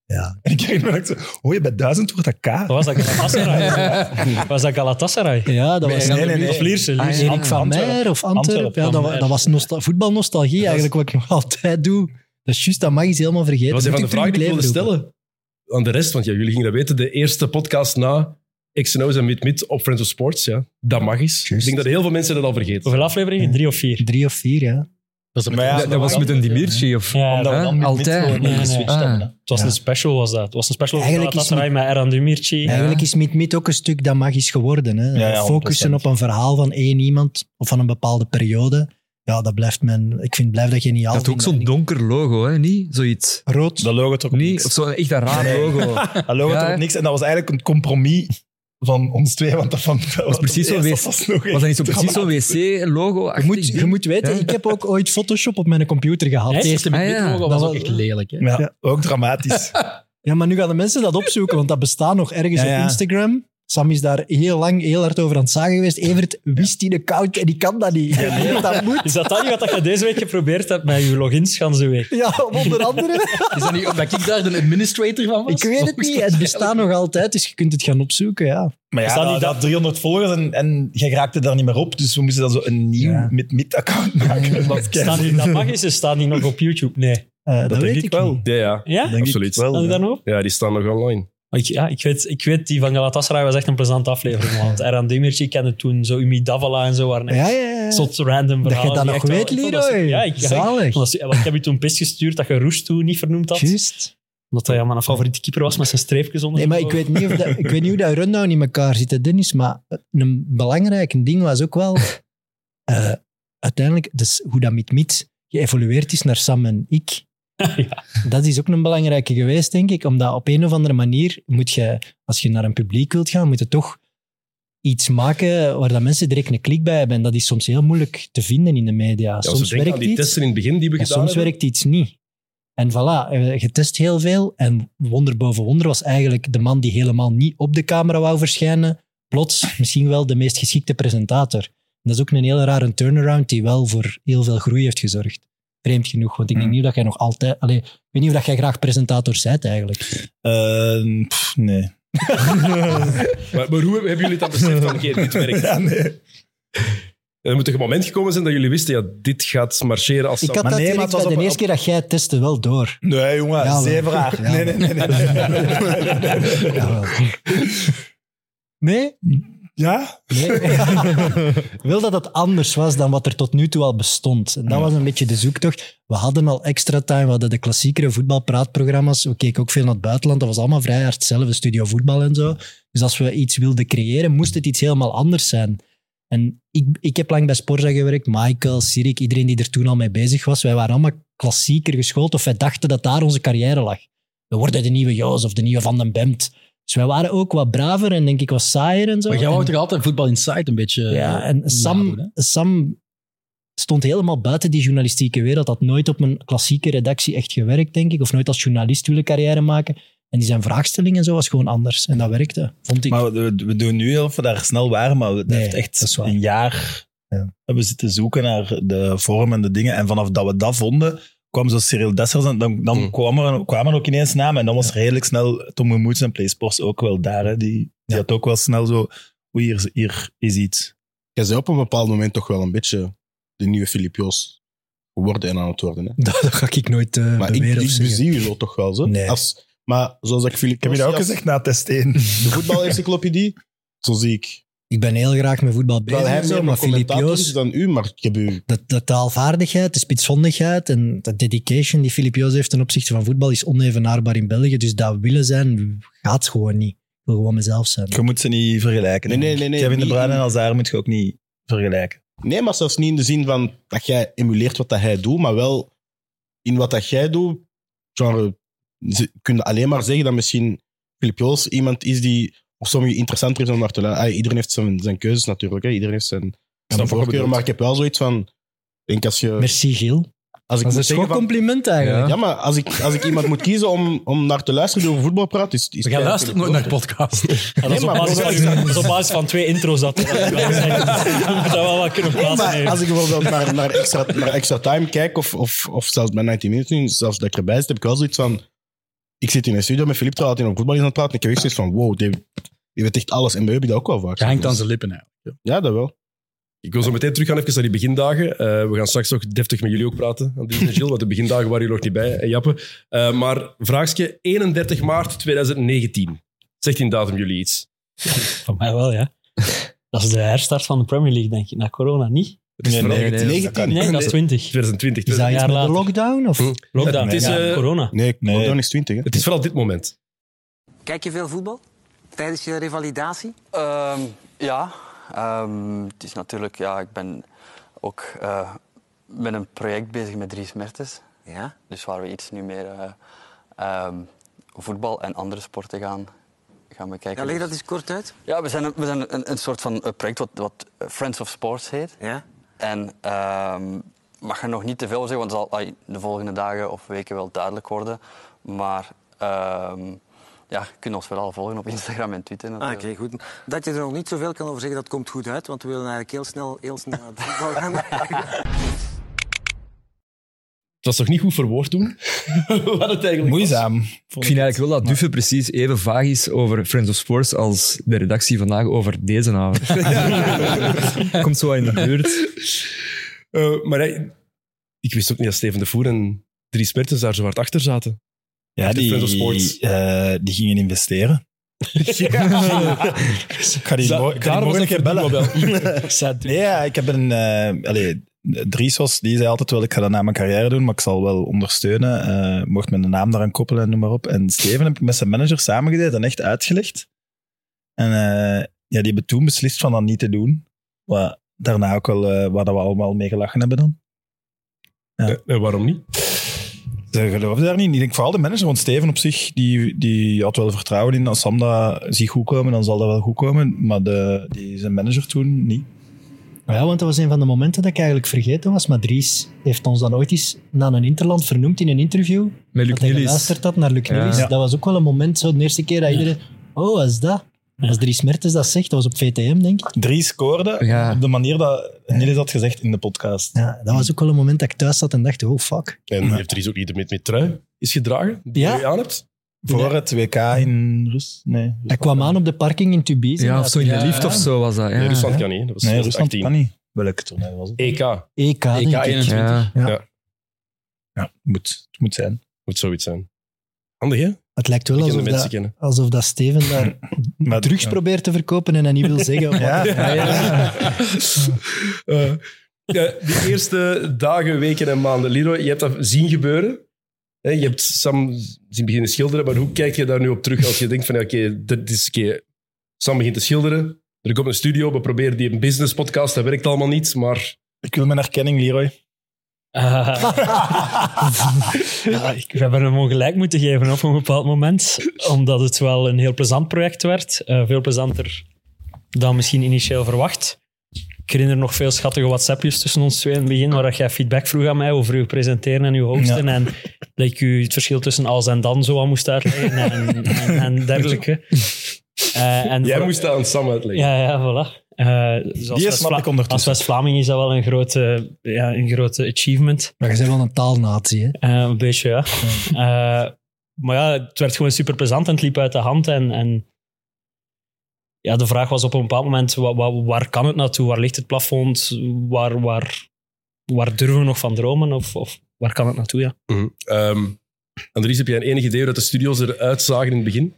I: Ja. En ik herinner me dat ik zo, oh, je bij 1000 wordt dat K. Dat
C: was dat Galatasaray? was dat Galatasaray?
K: Ja, dat was...
I: Nee, nee, nee.
C: Of Lierse,
K: Ah,
C: Lierse.
K: Erik van Meijer of Antwerp. Ja, dat, wa- dat was nostal- voetbalnostalgie eigenlijk, wat ik nog altijd doe. Dat is juist, dat mag je helemaal vergeten.
B: Dat was een van de
K: Moet terug
B: vragen die ik
K: in
B: wilde
K: het leven roepen.
B: stellen aan de rest. Want ja, jullie gingen dat weten. De eerste podcast na X&O's en Mid-Mid op Friends of Sports. Ja. Dat mag eens. Ik denk dat heel veel mensen dat al vergeten.
C: Hoeveel afleveringen? Drie of vier?
K: Drie of vier, ja.
E: Dat,
I: Maar ja, dat was met
J: een Dimirci of...
C: Ja,
I: Omdat we dan met
J: Altijd.
I: dit
J: Nee,
I: gewoon
J: nee.
I: geswitcht
J: Ah.
I: hebben. hè.
C: Het was
K: Ja.
C: een special, was dat. Het was een special over
K: Eigenlijk is
C: Galatasaray met Eran Demirci.
K: Eigenlijk is Meet Meet ook een stuk dat magisch geworden. Hè.
I: Ja, ja, 100%.
K: Focussen op een verhaal van één iemand of van een bepaalde periode. Ja, dat blijft men... Ik vind, blijft dat geniaal.
J: Dat had ook zo'n donker logo, hè? Niet zoiets...
K: Rood.
I: Dat logo trok op
J: Niet?
I: niks.
J: Of zo'n echt een raar
I: Nee.
J: logo.
I: Dat logo
J: Ja,
I: trok
J: hè.
I: op niks. En dat was eigenlijk een compromis van ons twee. Want dat van, dat
J: was precies zo'n
I: eerst,
J: wc.
I: dat was nog
J: Was dat niet zo
I: echt
J: precies zo'n
I: dramatisch.
J: wc-logo?
K: Je moet, je moet weten, ik heb ook ooit Photoshop op mijn computer gehad.
J: Echt?
K: Eerst-
J: Ah, ja.
E: Dat was ook echt lelijk. Hè?
I: Ja, ook dramatisch.
K: Ja, maar nu gaan de mensen dat opzoeken, want dat bestaat nog ergens
I: Ja, ja.
K: op Instagram. Sam is daar heel lang, heel hard over aan het zagen geweest. Evert wist hij de koud en die kan dat niet. dat moet.
C: Is dat dan niet wat je deze week geprobeerd hebt met je logins gaan ze week?
K: Ja, onder andere.
E: Is dat niet omdat ik daar de administrator van was?
K: Ik weet het niet. Het bestaat nog altijd, dus je kunt het gaan opzoeken, ja.
I: Maar ja,
C: Is dat
I: dat,
C: niet
I: dat 300 volgers en, en jij raakte daar niet meer op. Dus we moesten dan zo een nieuw
K: Ja.
I: met mid-account maken. Dat,
C: Staan die, dat mag eens, ze staan die nog op YouTube? Nee.
K: Eh, dat,
I: denk
K: weet ik,
I: ik wel.
K: niet.
B: Ja, ja.
C: Ja?
I: Denk
B: Absoluut.
I: Ik wel,
C: Staan die
I: ja.
C: daar nog op?
B: Ja, die staan nog online.
C: Ik, ja, ik weet, ik weet, die van Galatasaray was echt een plezante aflevering. Want Eran Demirci kende toen, zo Umi Davala en zo waren echt
K: Ja, ja, ja.
C: tot random
K: Dat je
C: verhalen.
K: dat
C: die
K: nog
C: echt wel-
K: weet,
C: ik vond dat ze-
K: Leroy.
C: Ja, ik, ja, ik,
K: Zalig.
C: vond dat ze- ja, want ik heb je toen pis gestuurd dat je Roes toen niet vernoemd had.
K: Juist.
C: Omdat hij ja, mijn favoriete keeper was met zijn streepjes onder.
K: Nee, maar
C: zijn
K: ik
C: ogen.
K: weet niet, of dat, ik weet niet hoe dat rundown in elkaar zit, hè, Dennis. Maar een belangrijk ding was ook wel... eh, uiteindelijk, dus hoe dat met Miet geëvolueerd is naar Sam en ik. Dat is ook een belangrijke geweest, denk ik. Omdat op een of andere manier moet je, als je naar een publiek wilt gaan, moet je toch iets maken waar dat mensen direct een klik bij hebben. En dat is soms heel moeilijk te vinden in de media.
B: Ja,
K: soms
B: ze denken
K: werkt
B: aan die
K: iets.
B: testen in het begin die we
K: En
B: gedaan
K: soms
B: hebben.
K: werkt iets niet. En voilà, eh, je test heel veel. En wonder boven wonder was eigenlijk de man die helemaal niet op de camera wou verschijnen, plots misschien wel de meest geschikte presentator. En dat is ook een hele rare turnaround die wel voor heel veel groei heeft gezorgd. vreemd genoeg. Want ik
I: Hmm.
K: denk niet dat jij nog altijd... Allee, ik weet niet of dat jij graag presentator bent eigenlijk.
I: Eh, pff, nee.
B: Maar, maar hoe hebben jullie dat beseft van, keer dit werkt?
I: Ja, nee.
B: Er moet een moment gekomen zijn dat jullie wisten, ja, dit gaat marcheren als...
K: Ik had dat nee,
B: was
K: de eerste keer dat jij het testte wel door.
I: Nee, jongen,
K: Ja, wel.
I: zeer raar.
K: Ja.
I: Nee, nee, nee. nee.
K: Jawel. Nee?
I: Ja?
K: Nee. Wel dat het anders was dan wat er tot nu toe al bestond. En dat was een beetje de zoektocht. We hadden al extra time, we hadden de klassiekere voetbalpraatprogramma's. We keken ook veel naar het buitenland. Dat was allemaal vrij hard hetzelfde, studio voetbal en zo. Dus als we iets wilden creëren, moest het iets helemaal anders zijn. En ik, ik heb lang bij Sporza gewerkt. Michael, Sirik, iedereen die er toen al mee bezig was. Wij waren allemaal klassieker geschoold of wij dachten dat daar onze carrière lag. We worden de nieuwe Joos of de nieuwe Van den Bemt. Dus wij waren ook wat braver en denk ik wat saaier en zo.
E: Maar jij
K: En-
E: wou toch altijd voetbal inside een beetje... eh,
K: ja, en Sam, Sam stond helemaal buiten die journalistieke wereld. Had nooit op een klassieke redactie echt gewerkt, denk ik. Of nooit als journalist willen carrière maken. En die zijn vraagstelling en zo was gewoon anders. En dat werkte, vond ik.
I: Maar we, we doen nu heel veel daar snel waren, maar we dat heeft echt een jaar hebben zitten zoeken naar de vorm en de dingen. En vanaf dat we dat vonden, kwam zo Cyril Dessers en dan, dan kwamen, er, kwamen er ook ineens namen. En dan was redelijk snel Tom Gemoets en PlaySports ook wel daar. Hè. Die, die had ook wel snel zo, oei, hier, hier is iets.
L: Jij bent op een bepaald moment toch wel een beetje de nieuwe Filip Joos geworden en aan het worden. Hè?
K: Dat, dat ga ik nooit eh
L: maar ik,
K: beweren of
L: ik
K: zeggen.
L: bezie je wel toch wel. Zo.
K: Nee.
L: Als, maar zoals ik Filip
I: Ik heb je dat ook
L: Joos zie
I: gezegd nou. na test 1.
L: als De voetbalencyclopedie, zo zie ik.
K: Ik ben heel graag met voetbal bezig.
L: Terwijl hij
K: en zo,
L: meer
K: maar
L: een
K: Filip
L: commentator is
K: Joos,
L: dan u, maar ik heb u...
K: dat, dat taalvaardigheid, de spitsvondigheid en de dedication die Filip Joos heeft ten opzichte van voetbal is onevenaarbaar in België. Dus dat willen zijn gaat gewoon niet. Ik wil gewoon mezelf zijn.
I: Je moet ze niet vergelijken.
L: Nee, nee, nee, nee,
I: Kevin De
L: niet-
I: Bruyne en Hazard moet je ook niet vergelijken.
L: Nee, maar zelfs niet in de zin van dat jij emuleert wat dat hij doet, maar wel in wat dat jij doet, genre, ze- kun je alleen maar zeggen dat misschien Filip Joos iemand is die op sommige interessanter is om naar te luisteren. Ah, iedereen heeft zijn, zijn keuzes natuurlijk, hè. iedereen heeft zijn, zijn
B: wat je
L: voorkeur,
B: bedoelt.
L: maar ik heb wel zoiets van, ik denk als je...
K: Merci Gilles.
L: Als ik
K: Dat is
L: moet
K: een
L: zeggen van-
K: compliment eigenlijk.
L: Ja, maar als ik, als ik iemand moet kiezen om, om naar te luisteren door voetbalpraat, is, is
E: We gaan luisteren nooit naar podcast.
C: Ja, dat, is
L: Nee,
C: op
L: maar
C: basis
L: als-
C: van, dat is op basis van twee intro's dat we dat we zeggen. Je moet dat wel wat kunnen
L: Nee,
C: plaatsen.
L: maar als ik bijvoorbeeld naar, naar, extra, naar extra time kijk, of, of, of zelfs bij 90 minuten, nu, zelfs dat ik erbij zit, heb ik wel zoiets van... Ik zit in een studio met Filip, terwijl hij over voetbal is aan het praten. en Ik heb echt zoiets van, wow, die, die weet echt alles. En bij u heb ik dat ook wel vaak.
E: Je hangt aan zijn lippen eigenlijk.
L: Ja, dat wel.
B: Ik wil zo meteen teruggaan even naar die begindagen. Eh, we gaan straks nog deftig met jullie ook praten, Andries en Gilles, want de begindagen waren jullie nog niet bij, en Jappe. Eh, maar vraagje, 31 maart 2019. Zegt in datum jullie iets?
C: Van mij wel, ja. Dat is de herstart van de Premier League, denk ik. Na corona niet.
B: Het is vooral
L: 19.
C: Nee, dat is 20.
B: 2020.
K: Is dat iets
C: Jaar
K: met de
C: later.
K: lockdown? Of?
C: Lockdown,
B: Het is,
C: ja,
B: eh,
C: corona.
L: Nee, lockdown is 20, hè.
B: Het is vooral dit moment.
M: Kijk je veel voetbal? Tijdens je revalidatie?
A: Ehm, ja, Ehm, het is natuurlijk... Ja, ik ben ook eh, met een project bezig met Dries Mertens.
M: Ja.
A: Dus waar we iets nu meer eh, ehm, voetbal en andere sporten gaan, gaan bekijken.
M: Ja, leg
A: Dus-
M: dat eens kort uit.
A: Ja, we zijn, een- we zijn een, een soort van eh, project wat, wat Friends of Sports heet.
M: Ja.
A: En ehm mag er nog niet te veel over zeggen, want het zal ai, de volgende dagen of weken wel duidelijk worden. Maar ehm ja, je kunt ons vooral volgen op Instagram en Twitter
M: Ah, Oké,
A: natuurlijk.
M: goed. Dat je er nog niet zoveel kan over zeggen, dat komt goed uit, want we willen eigenlijk heel snel, heel snel naar het voetbal gaan.
B: Het was toch niet goed verwoord toen? Wat het eigenlijk
I: Moeizaam.
J: Ik vind eigenlijk wel dat Duffe precies even vaag is over Friends of Sports als de redactie vandaag over deze avond. Komt zo in de buurt.
B: Eh, maar hij- ik wist ook niet dat Steven de Voer en Dries Mertens daar zo hard achter zaten.
I: Ja,
B: Echt een friend of sports.
I: die, eh, die gingen investeren. Ik ga die,
B: Za-
I: mo- ik ga die
B: daarom
I: morgen een keer
B: was ik
I: bellen. nee, ja, ik heb een... eh allee, Dries was, die zei altijd wel, ik ga dat na mijn carrière doen, maar ik zal wel ondersteunen. eh mocht mijn naam daaraan koppelen en noem maar op. En Steven heb ik met zijn manager samengedaan en echt uitgelegd. En eh, ja, die hebben toen beslist van dat niet te doen. Wat daarna ook wel, eh, waar dat we allemaal mee gelachen hebben dan.
B: En Eh, waarom niet?
I: Ze geloofden daar niet. Ik denk vooral de manager, want Steven op zich, die, die had wel vertrouwen in. Als Sam dat ziet goed komen, dan zal dat wel goed komen. Maar de, die, zijn manager toen niet.
K: Ja, want dat was een van de momenten dat ik eigenlijk vergeten was. Maar Dries heeft ons dan ooit eens na een Interland vernoemd in een interview.
J: Met Luc
K: dat hij
J: Nilis.
K: geluisterd had naar Luc
J: Ja.
K: Nilis.
J: Ja.
K: Dat was ook wel een moment, zo de eerste keer dat iedereen... Oh, wat is dat? Als Dries Mertens dat zegt, dat was op VTM, denk ik.
I: Drie scoorde op de manier dat Niels had gezegd in de podcast.
K: Ja, dat was ook wel een moment dat ik thuis zat en dacht, oh fuck.
B: En heeft Dries ook niet met, met trui is gedragen die
K: Ja. Ah,
B: je aan hebt?
I: Voor het WK in Rus? Nee.
K: Hij kwam aan op de parking in Tubize.
J: Ja, of zo in de
K: Ja,
J: lift
K: ja.
J: of zo was dat. Ja.
B: Nee, Rusland kan niet. Dat was E
I: Nee,
B: 2018.
I: Rusland kan niet. Welk toernooi was het?
B: EK.
K: EK, E denk ik.
B: 21.
J: Ja.
B: Ja.
I: Ja, moet, het moet zijn.
B: Moet zoiets zijn. Handig, hè?
K: Het lijkt wel
B: Bekende
K: alsof
B: mensen
K: dat,
B: kennen.
K: alsof dat Steven daar drugs
B: ja.
K: probeert te verkopen en dat niet wil zeggen.
B: Ja. Eh, ja, de eerste dagen, weken en maanden. Leroy, je hebt dat zien gebeuren. Hè, Je hebt Sam zien beginnen schilderen, maar hoe kijk je daar nu op terug als je denkt van ja, oké, dit is oké. Sam begint te schilderen, er komt een studio, we proberen die een business podcast, dat werkt allemaal niet, maar...
I: Ik wil mijn erkenning, Leroy.
C: Eh, Ja, ik- we hebben hem ongelijk moeten geven op een bepaald moment, omdat het wel een heel plezant project werd. Eh, veel plezanter dan misschien initieel verwacht. Ik herinner nog veel schattige WhatsAppjes tussen ons twee in het begin, waar dat jij feedback vroeg aan mij over uw presenteren en uw hosten. En dat ik u het verschil tussen als en dan zo aan moest uitleggen en, en, en dergelijke. Eh, en
B: Jij
C: voor-
B: moest dat aan Sam uitleggen.
C: ja, ja, voilà. Eh, dus als
I: Die
C: West-
I: snap ik ondertussen.
C: Als West-Vlaming is dat wel een grote, ja, een grote achievement.
K: Maar je bent wel een taalnatie, hè?
C: Eh, een beetje, ja. Eh, maar ja, het werd gewoon super plezant en het liep uit de hand. En, en ja, de vraag was op een bepaald moment: wa- wa- waar kan het naartoe? Waar ligt het plafond? Waar, waar, waar durven we nog van dromen? Of, of waar kan het naartoe? Ja.
B: Mhm. Ehm, Andries, heb jij een enig idee hoe dat de studio's eruit zagen in het begin?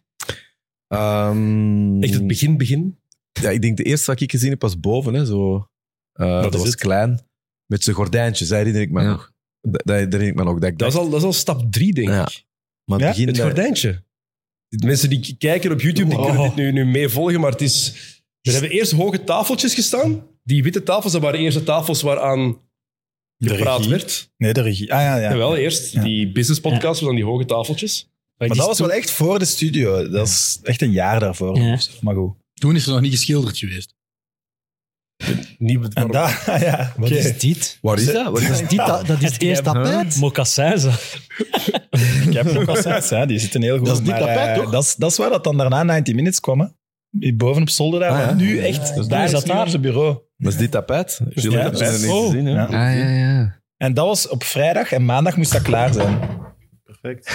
I: Ehm,
B: Echt het begin, begin?
H: Ja, ik denk de eerste wat ik gezien heb was boven. Hè, zo. Eh, dat
B: is
H: was
B: het.
H: klein. Met zijn gordijntjes, hè, herinner ik me
B: Ja.
H: nog. Dat, dat herinner ik me nog. Dat, ik
B: Dat is
H: dacht-
B: al, dat is al stap drie, denk
H: Ja.
B: ik.
H: Maar het begin
B: het
H: dat-
B: gordijntje. De mensen die k- kijken op YouTube, die
H: Wow.
I: Oh.
B: kunnen dit nu, nu mee volgen, maar het is... Er hebben eerst hoge tafeltjes gestaan. Die witte tafels, dat waren de eerste tafels waaraan gepraat
I: regie.
B: werd.
I: Nee, de regie. Ah ja, ja.
B: Jawel, eerst die business podcast, dan die hoge tafeltjes.
I: Maar dat was wel echt voor de studio. Dat is echt een jaar daarvoor.
C: Ja.
I: of zo. Maar goed.
E: Toen is er nog niet geschilderd geweest.
B: Niet
I: En daar, ja.
K: Wat
I: oké.
K: is dit?
H: Waar is dat? Waar is
K: Dat is, dit, dat, dat is het eerste tapijt.
C: Mocassins.
I: Ik heb ook al eens, hè. die zitten heel goed.
L: Dat is dit
I: maar,
L: tapijt,
I: eh,
L: toch?
I: Dat is, dat is waar dat dan daarna 90 Minutes kwam, hè. Boven op zolder daar.
H: Ah, ja.
I: maar Nu echt, daar
C: is
I: is
C: dat
I: dat nu
C: daar?
I: onze bureau.
H: Dat is dit tapijt. Jullie
I: Ja,
H: hebben ze
I: dat
H: nog
I: is-
H: niet
I: oh.
H: gezien. hè?
I: Ja.
J: Ah, ja, ja.
I: En dat was op vrijdag en maandag moest dat klaar zijn.
L: Perfect.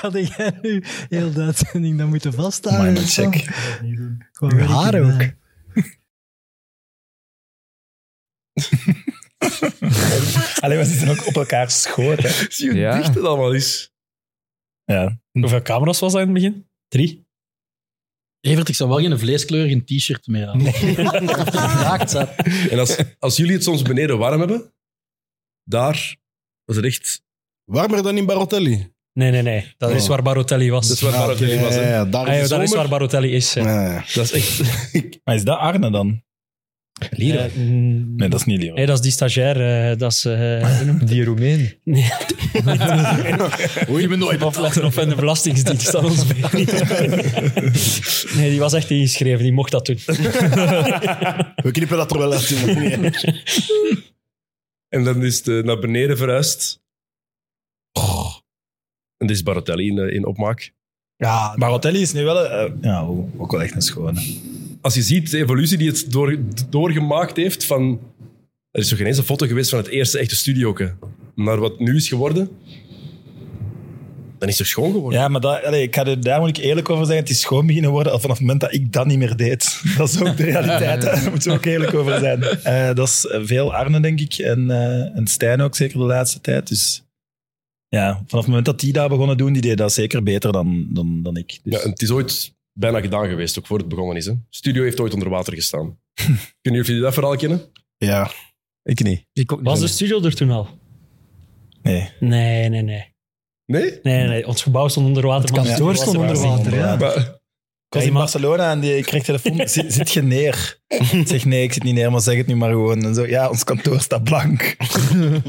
K: Had jij nu heel de uitzending dan moeten
I: Maar
K: vasthouden?
I: moet check.
K: Gewoon werken,
I: haar
K: ja.
I: ook. Alleen we zitten ook op elkaar schoot. Hè.
B: Zie je hoe
J: Ja.
B: dicht het allemaal is.
I: Ja.
C: Hoeveel camera's was dat in het begin? Drie.
E: Evert, ik zou wel geen vleeskleur in t-shirt meer aan.
B: En als, als jullie het soms beneden warm hebben, daar was het echt...
L: Warmer dan in Barotelli.
C: Nee, nee, nee. Dat is
L: Oh.
C: waar Barotelli was.
B: Dat is waar
L: Ah,
B: Barotelli
L: oké,
B: was. hè.
L: ja, ja, daar
C: Ah, ja,
L: is
C: dat
L: het
C: is waar
L: zomer.
C: Barotelli is. ja.
L: Ja, ja.
B: Dat is echt...
I: Maar is dat Arne dan?
C: Eh, mm,
I: Nee, dat is niet Leroy.
C: Nee, dat is die stagiair. eh, dat is, eh
J: Die Roemeen.
C: nee,
E: Je bent nooit
C: afletten of in de belastingdienst aan ons bij. Nee, die was echt ingeschreven. Die mocht dat doen.
L: We knippen dat er wel uit. jongen. Nee.
B: En dan is het eh, naar beneden verhuisd. Oh. En dit is Barotelli in, eh, in opmaak.
K: Ja,
I: Barotelli is nu wel eh, ja, ook wel echt een schone.
B: Als je ziet de evolutie die het door, doorgemaakt heeft van... Er is nog geen eens een foto geweest van het eerste echte studioke. Naar wat nu is geworden. Dan is het schoon geworden.
I: Ja, maar dat, allee, ik ga er, daar moet ik eerlijk over zijn. Het is schoon beginnen worden al vanaf het moment dat ik dat niet meer deed. Dat is ook de realiteit. hè. Daar moeten we ook eerlijk over zijn. Eh, dat is veel Arne, denk ik. En, eh, en Stijn ook, zeker de laatste tijd. Dus ja, vanaf het moment dat die dat begonnen doen, die deed dat zeker beter dan, dan, dan ik. Dus,
B: Ja, en het is ooit bijna gedaan geweest, ook voor het begonnen is. Hè. Studio heeft ooit onder water gestaan. Kunnen jullie dat verhaal kennen?
L: Ja.
H: Ik niet.
E: Ik ook niet.
C: Was de studio er toen al?
I: Nee.
C: Nee, nee, nee.
B: Nee?
C: Nee, nee, nee. Ons gebouw stond onder water.
K: Het
C: maar
K: kantoor
C: was er
K: stond
C: al.
K: onder water, ja.
B: Maar,
I: Ik was in
C: Iemand-
I: Barcelona en die, ik kreeg telefoon. Zit, zit je neer? Ik zeg nee, ik zit niet neer, maar zeg het nu maar gewoon. En zo, ja, ons kantoor staat blank.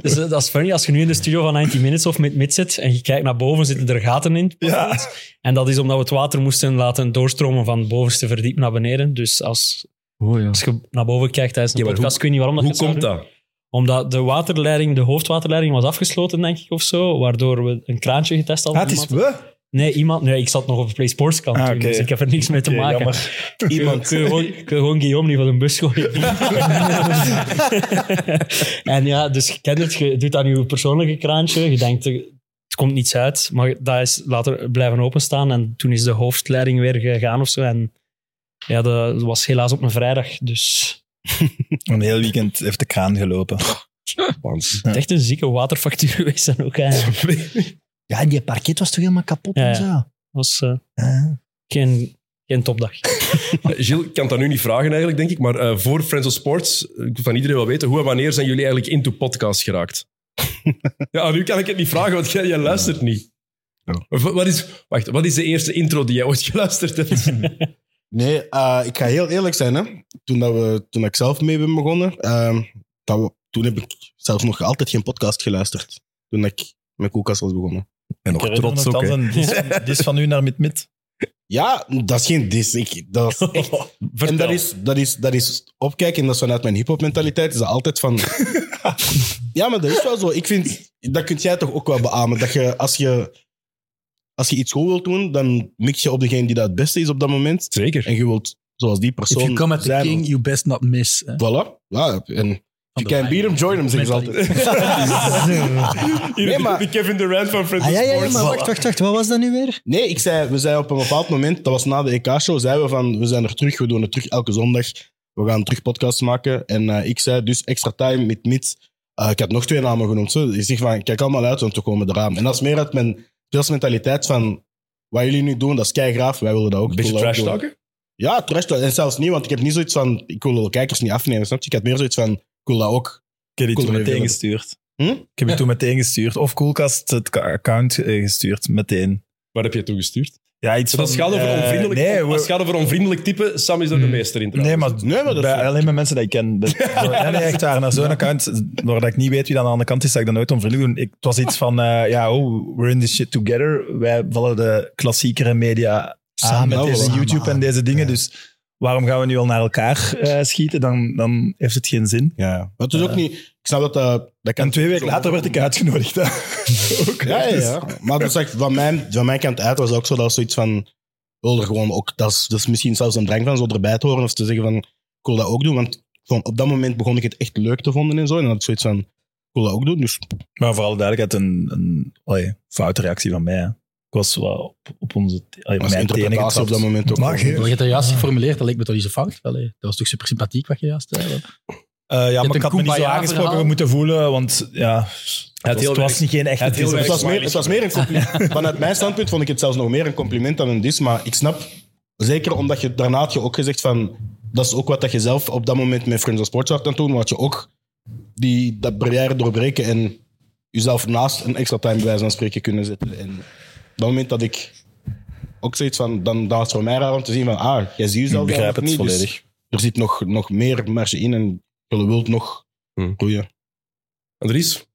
C: Dus eh, dat is funny. Als je nu in de studio van 90 Minutes of met mid zit en je kijkt naar boven, zitten er gaten in.
I: Ja.
C: En dat is omdat we het water moesten laten doorstromen van het bovenste verdiep naar beneden. Dus als,
J: Oh, ja.
C: als je naar boven kijkt tijdens een
B: Ja, maar
C: podcast, ik weet niet waarom dat
B: hoe
C: je het
B: komt
C: zou doen.
B: dat?
C: Omdat de waterleiding, de hoofdwaterleiding was afgesloten, denk ik, of zo. Waardoor we een kraantje getest hadden.
I: Ah, het is we.
C: Nee, iemand... Nee, ik zat nog op Play Sports kant
I: Ah,
C: toen,
I: oké.
C: dus ik heb er niks mee te
I: Oké,
C: maken.
I: jammer.
C: Iemand... Kun je gewoon, kun je gewoon Guillaume niet van een bus gooien? en ja, dus je kent het, je doet aan je persoonlijke kraantje, je denkt, eh, het komt niets uit, maar dat is later blijven openstaan en toen is de hoofdleiding weer gegaan of zo en ja, dat was helaas op een vrijdag, dus...
I: Een heel weekend heeft de kraan gelopen.
C: Het is echt een zieke waterfactuur geweest dan ook eigenlijk.
K: Ja, en die parket was toch helemaal kapot
C: Ja,
K: en
C: ja.
K: zo. Ah.
C: was eh, geen, geen topdag.
B: Gilles, ik kan dat nu niet vragen eigenlijk, denk ik. Maar eh, voor Friends of Sports, eh, ik wil van iedereen wel weten, hoe en wanneer zijn jullie eigenlijk into podcasts geraakt? ja, aan u kan ik het niet vragen, want jij, jij luistert niet. Of Wat wat is, wacht, wat is de eerste intro die jij ooit geluisterd hebt?
L: Nee, eh, ik ga heel eerlijk zijn. Hè. Toen, dat we, toen ik zelf mee ben begonnen, ehm, dat we- toen heb ik zelfs nog altijd geen podcast geluisterd. Toen ik met Koelkast was begonnen.
H: En nog
I: Ik herinner me nog thans een dis van- dis van u naar mid-mid.
L: Ja, dat is geen dis. Ik, dat is echt... en dat is, dat, is, dat is opkijken, en dat is vanuit mijn hip-hop mentaliteit. Is dat altijd van. ja, maar dat is wel zo. Ik vind, dat kun jij toch ook wel beamen. Dat je als je, als je iets goed wilt doen, dan mik je op degene die dat het beste is op dat moment.
B: Zeker.
L: En je wilt zoals die persoon.
E: If you come at the
L: zijn.
E: king, you best not miss. hè.
L: Voilà. Ja, en if you can beat him, join him, zeggen ze altijd.
B: nee, maar... De Kevin Durant van Friends
K: Ah, ja, ja, ja,
B: of
K: maar
B: Sports.
K: wacht, wacht, wacht. Wat was dat nu weer?
L: Dus Nee, ik zei, we zijn op een bepaald moment, dat was na de EK-show, zeiden we van, we zijn er terug, we doen het terug elke zondag. We gaan terug podcasts maken. En eh, ik zei dus extra time met mid. Eh, ik had nog twee namen genoemd. Zo. Ik zeg van, kijk allemaal uit, want we komen eraan. En dat is meer uit mijn speelsmentaliteit van, wat jullie nu doen, dat is keigraaf, wij willen dat ook.
B: Beetje
L: Ik wil dat ook
B: trash
L: doen.
B: talken?
L: Ja, trash talken. En zelfs niet, want ik heb niet zoiets van, ik wil de kijkers niet afnemen, snap je? Ik had meer zoiets van, ik wil dat ook.
I: Ik heb
L: Ik
I: je
L: wil
I: toen
L: er
I: meteen
L: even-
I: gestuurd.
L: Hm?
I: Ik heb je toen meteen gestuurd. Of Coolcast het ka- account eh, gestuurd, meteen.
B: Waar heb je het toegestuurd?
I: Ja, iets
B: Als het
I: van,
B: gaat over
I: eh,
B: onvriendelijk,
I: nee, we-
B: als het gaat over onvriendelijk typen, Sam is er de meester in trouwens.
I: Nee, maar, bij, alleen maar mensen die ik ken. Dat- zo- nee, nee, echt waar. Naar zo'n account, waar dat ik niet weet wie dat aan de andere kant is, dat ik dat nooit onvriendelijk doen. Ik, het was iets van, eh, ja, oh, we're in this shit together. Wij vallen de klassiekere media aan
K: Samen,
I: met
K: nou,
I: deze
K: samen
I: YouTube en
K: aan.
I: deze dingen. Dus waarom gaan we nu al naar elkaar eh, schieten? Dan, dan heeft het geen zin. Eh,
L: Ja, dat is ook niet... Ik snap dat eh, dat... dat kan
I: En twee weken later werd ik uitgenodigd. hè. Ook, hè.
L: Ja, ja,
I: Dus-
L: ja. Maar dat is echt- van, mijn, van mijn kant uit was het ook zo dat was zoiets van. Wil er gewoon ook, dat is, dat is misschien zelfs een drang van zo erbij te horen of te zeggen van. Ik wil dat ook doen. Want van, op dat moment begon ik het echt leuk te vinden en zo. En dan had ik zoiets van. Ik wil dat ook doen. Dus
I: Maar voor alle duidelijkheid, een, een allee, foute reactie van mij. hè. Ik was wel op, op onze allee,
L: was
I: mijn tenen
L: interpretatie op
I: getrapt.
L: dat moment ook.
E: Maar
L: wel.
E: je hebt dat juist geformuleerd, dat leek me toch niet zo fout. Wel, hè. dat was toch super sympathiek wat je juist zei. wel.
I: Eh, ja,
E: hebt
I: maar ik
E: een
I: had me niet zo
E: kumbaya
I: aangesproken
E: verhaal.
I: moeten voelen, want ja, het was,
B: heel
I: het was
B: erg-
I: niet geen
B: het
I: echte
B: heel
I: dis.
L: Het
B: erg-
L: was, meer, het was meer een compliment. Vanuit mijn standpunt vond ik het zelfs nog meer een compliment dan een dis. Maar ik snap, zeker omdat je daarna had je ook gezegd van. Dat is ook wat dat je zelf op dat moment met Friends of Sports had aan het doen. Wat je ook die, dat barrière doorbreken en jezelf naast een extra time bij wijze van spreken kunnen zetten. En op dat moment dat ik ook zoiets van. Dan, dan was het voor mij raar om te zien van. Ah, jij ziet jezelf
I: Ik begrijp
L: eigenlijk
I: het
L: niet, dus
I: volledig.
L: er zit nog, nog meer marge in en je wilt nog groeien.
B: Andries?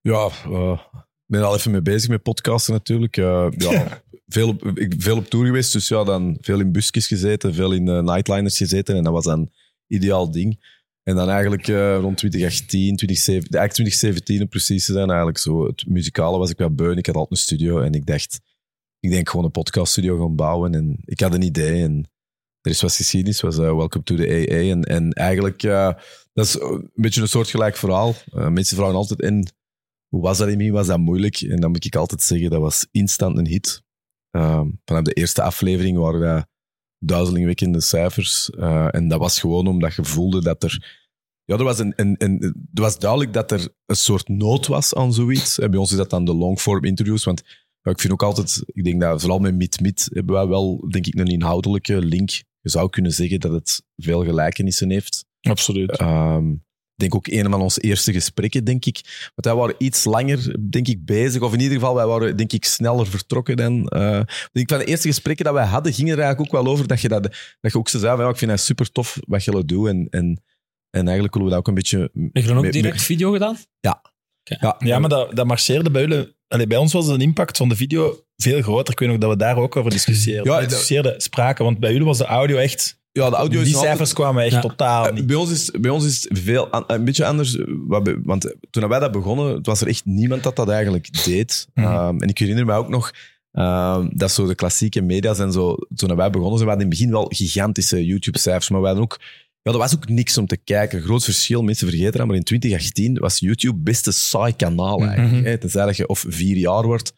H: Ja, eh, ik ben er al even mee bezig met podcasten natuurlijk. Eh, ja, veel, op, ik, veel op tour geweest, dus ja, dan veel in busjes gezeten, veel in eh, nightliners gezeten. En dat was dan ideaal ding. En dan eigenlijk eh, rond 2018, 2017, eigenlijk 2017 om precies te zijn, eigenlijk zo. Het muzikale was ik wel beu. en Ik had altijd een studio en ik dacht, ik denk gewoon een podcaststudio gaan bouwen. En ik had een idee en er is wat geschiedenis, was eh, Welcome to the AA. En, en eigenlijk, eh, dat is een beetje een soortgelijk verhaal. Eh, mensen vragen altijd, en hoe was dat in mij? Was dat moeilijk? En dan moet ik altijd zeggen, dat was instant een hit. Ehm, vanaf de eerste aflevering waren dat duizelingwekkende cijfers. Eh, en dat was gewoon omdat je voelde dat er... Ja, er was, een, een, een, er was duidelijk dat er een soort nood was aan zoiets. En bij ons is dat dan de long-form interviews, want ja, ik vind ook altijd... Ik denk dat vooral met Meet-Meet hebben wij wel, denk ik, een inhoudelijke link. Je zou kunnen zeggen dat het veel gelijkenissen heeft.
I: Absoluut.
H: Ehm, ik denk ook een van onze eerste gesprekken, denk ik. Want wij waren iets langer, denk ik, bezig. Of in ieder geval, wij waren, denk ik, sneller vertrokken dan... eh, ik denk van de eerste gesprekken dat wij hadden, ging er eigenlijk ook wel over dat je, dat, dat je ook zo zei van, ja, ik vind dat super tof wat jullie doen. En, en, en eigenlijk willen we dat ook een beetje...
C: Heb je dan ook
H: mee-
C: direct
H: mee-
C: video gedaan?
H: ja,
I: Ja, maar dat, dat marcheerde bij jullie. Allee, bij ons was de impact van de video veel groter. Ik weet nog dat we daar ook over discussieerden.
H: Ja,
I: we discussieerden spraken, want bij jullie was de audio echt...
H: ja, de audio is
I: die
H: nog altijd-
I: cijfers kwamen echt
C: Ja.
I: totaal niet.
H: Eh, Bij ons is, bij ons is veel, an- een beetje anders. eh, wat be- Want toen wij dat begonnen, het was er echt niemand dat dat eigenlijk deed.
I: Mhm.
H: Um, en ik herinner me ook nog, eh, Ehm, dat is zo de klassieke media zijn zo... Toen wij begonnen, zijn we hadden in het begin wel gigantische YouTube-cijfers, maar we hadden ook... Ja, er was ook niks om te kijken. Groot verschil, mensen vergeten dat, maar in 2018 was YouTube best een saai kanaal eigenlijk.
E: Mhm.
H: hè. Tenzij dat je of vier jaar wordt,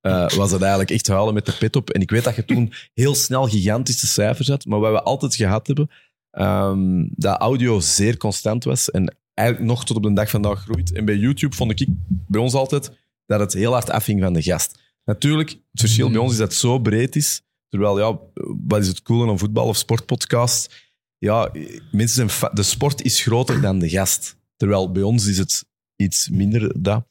H: eh, was dat eigenlijk echt huilen met de pet op. En ik weet dat je toen heel snel gigantische cijfers had, maar wat we altijd gehad hebben, ehm, dat audio zeer constant was en eigenlijk nog tot op de dag vandaag groeit. En bij YouTube vond ik bij ons altijd dat het heel hard afhing van de gast. Natuurlijk, het verschil bij ons is dat het zo breed is. Terwijl, ja, wat is het coole aan voetbal- of sportpodcast? Ja, mensen zijn fa- de sport is groter dan de gast. Terwijl bij ons is het iets minder dat.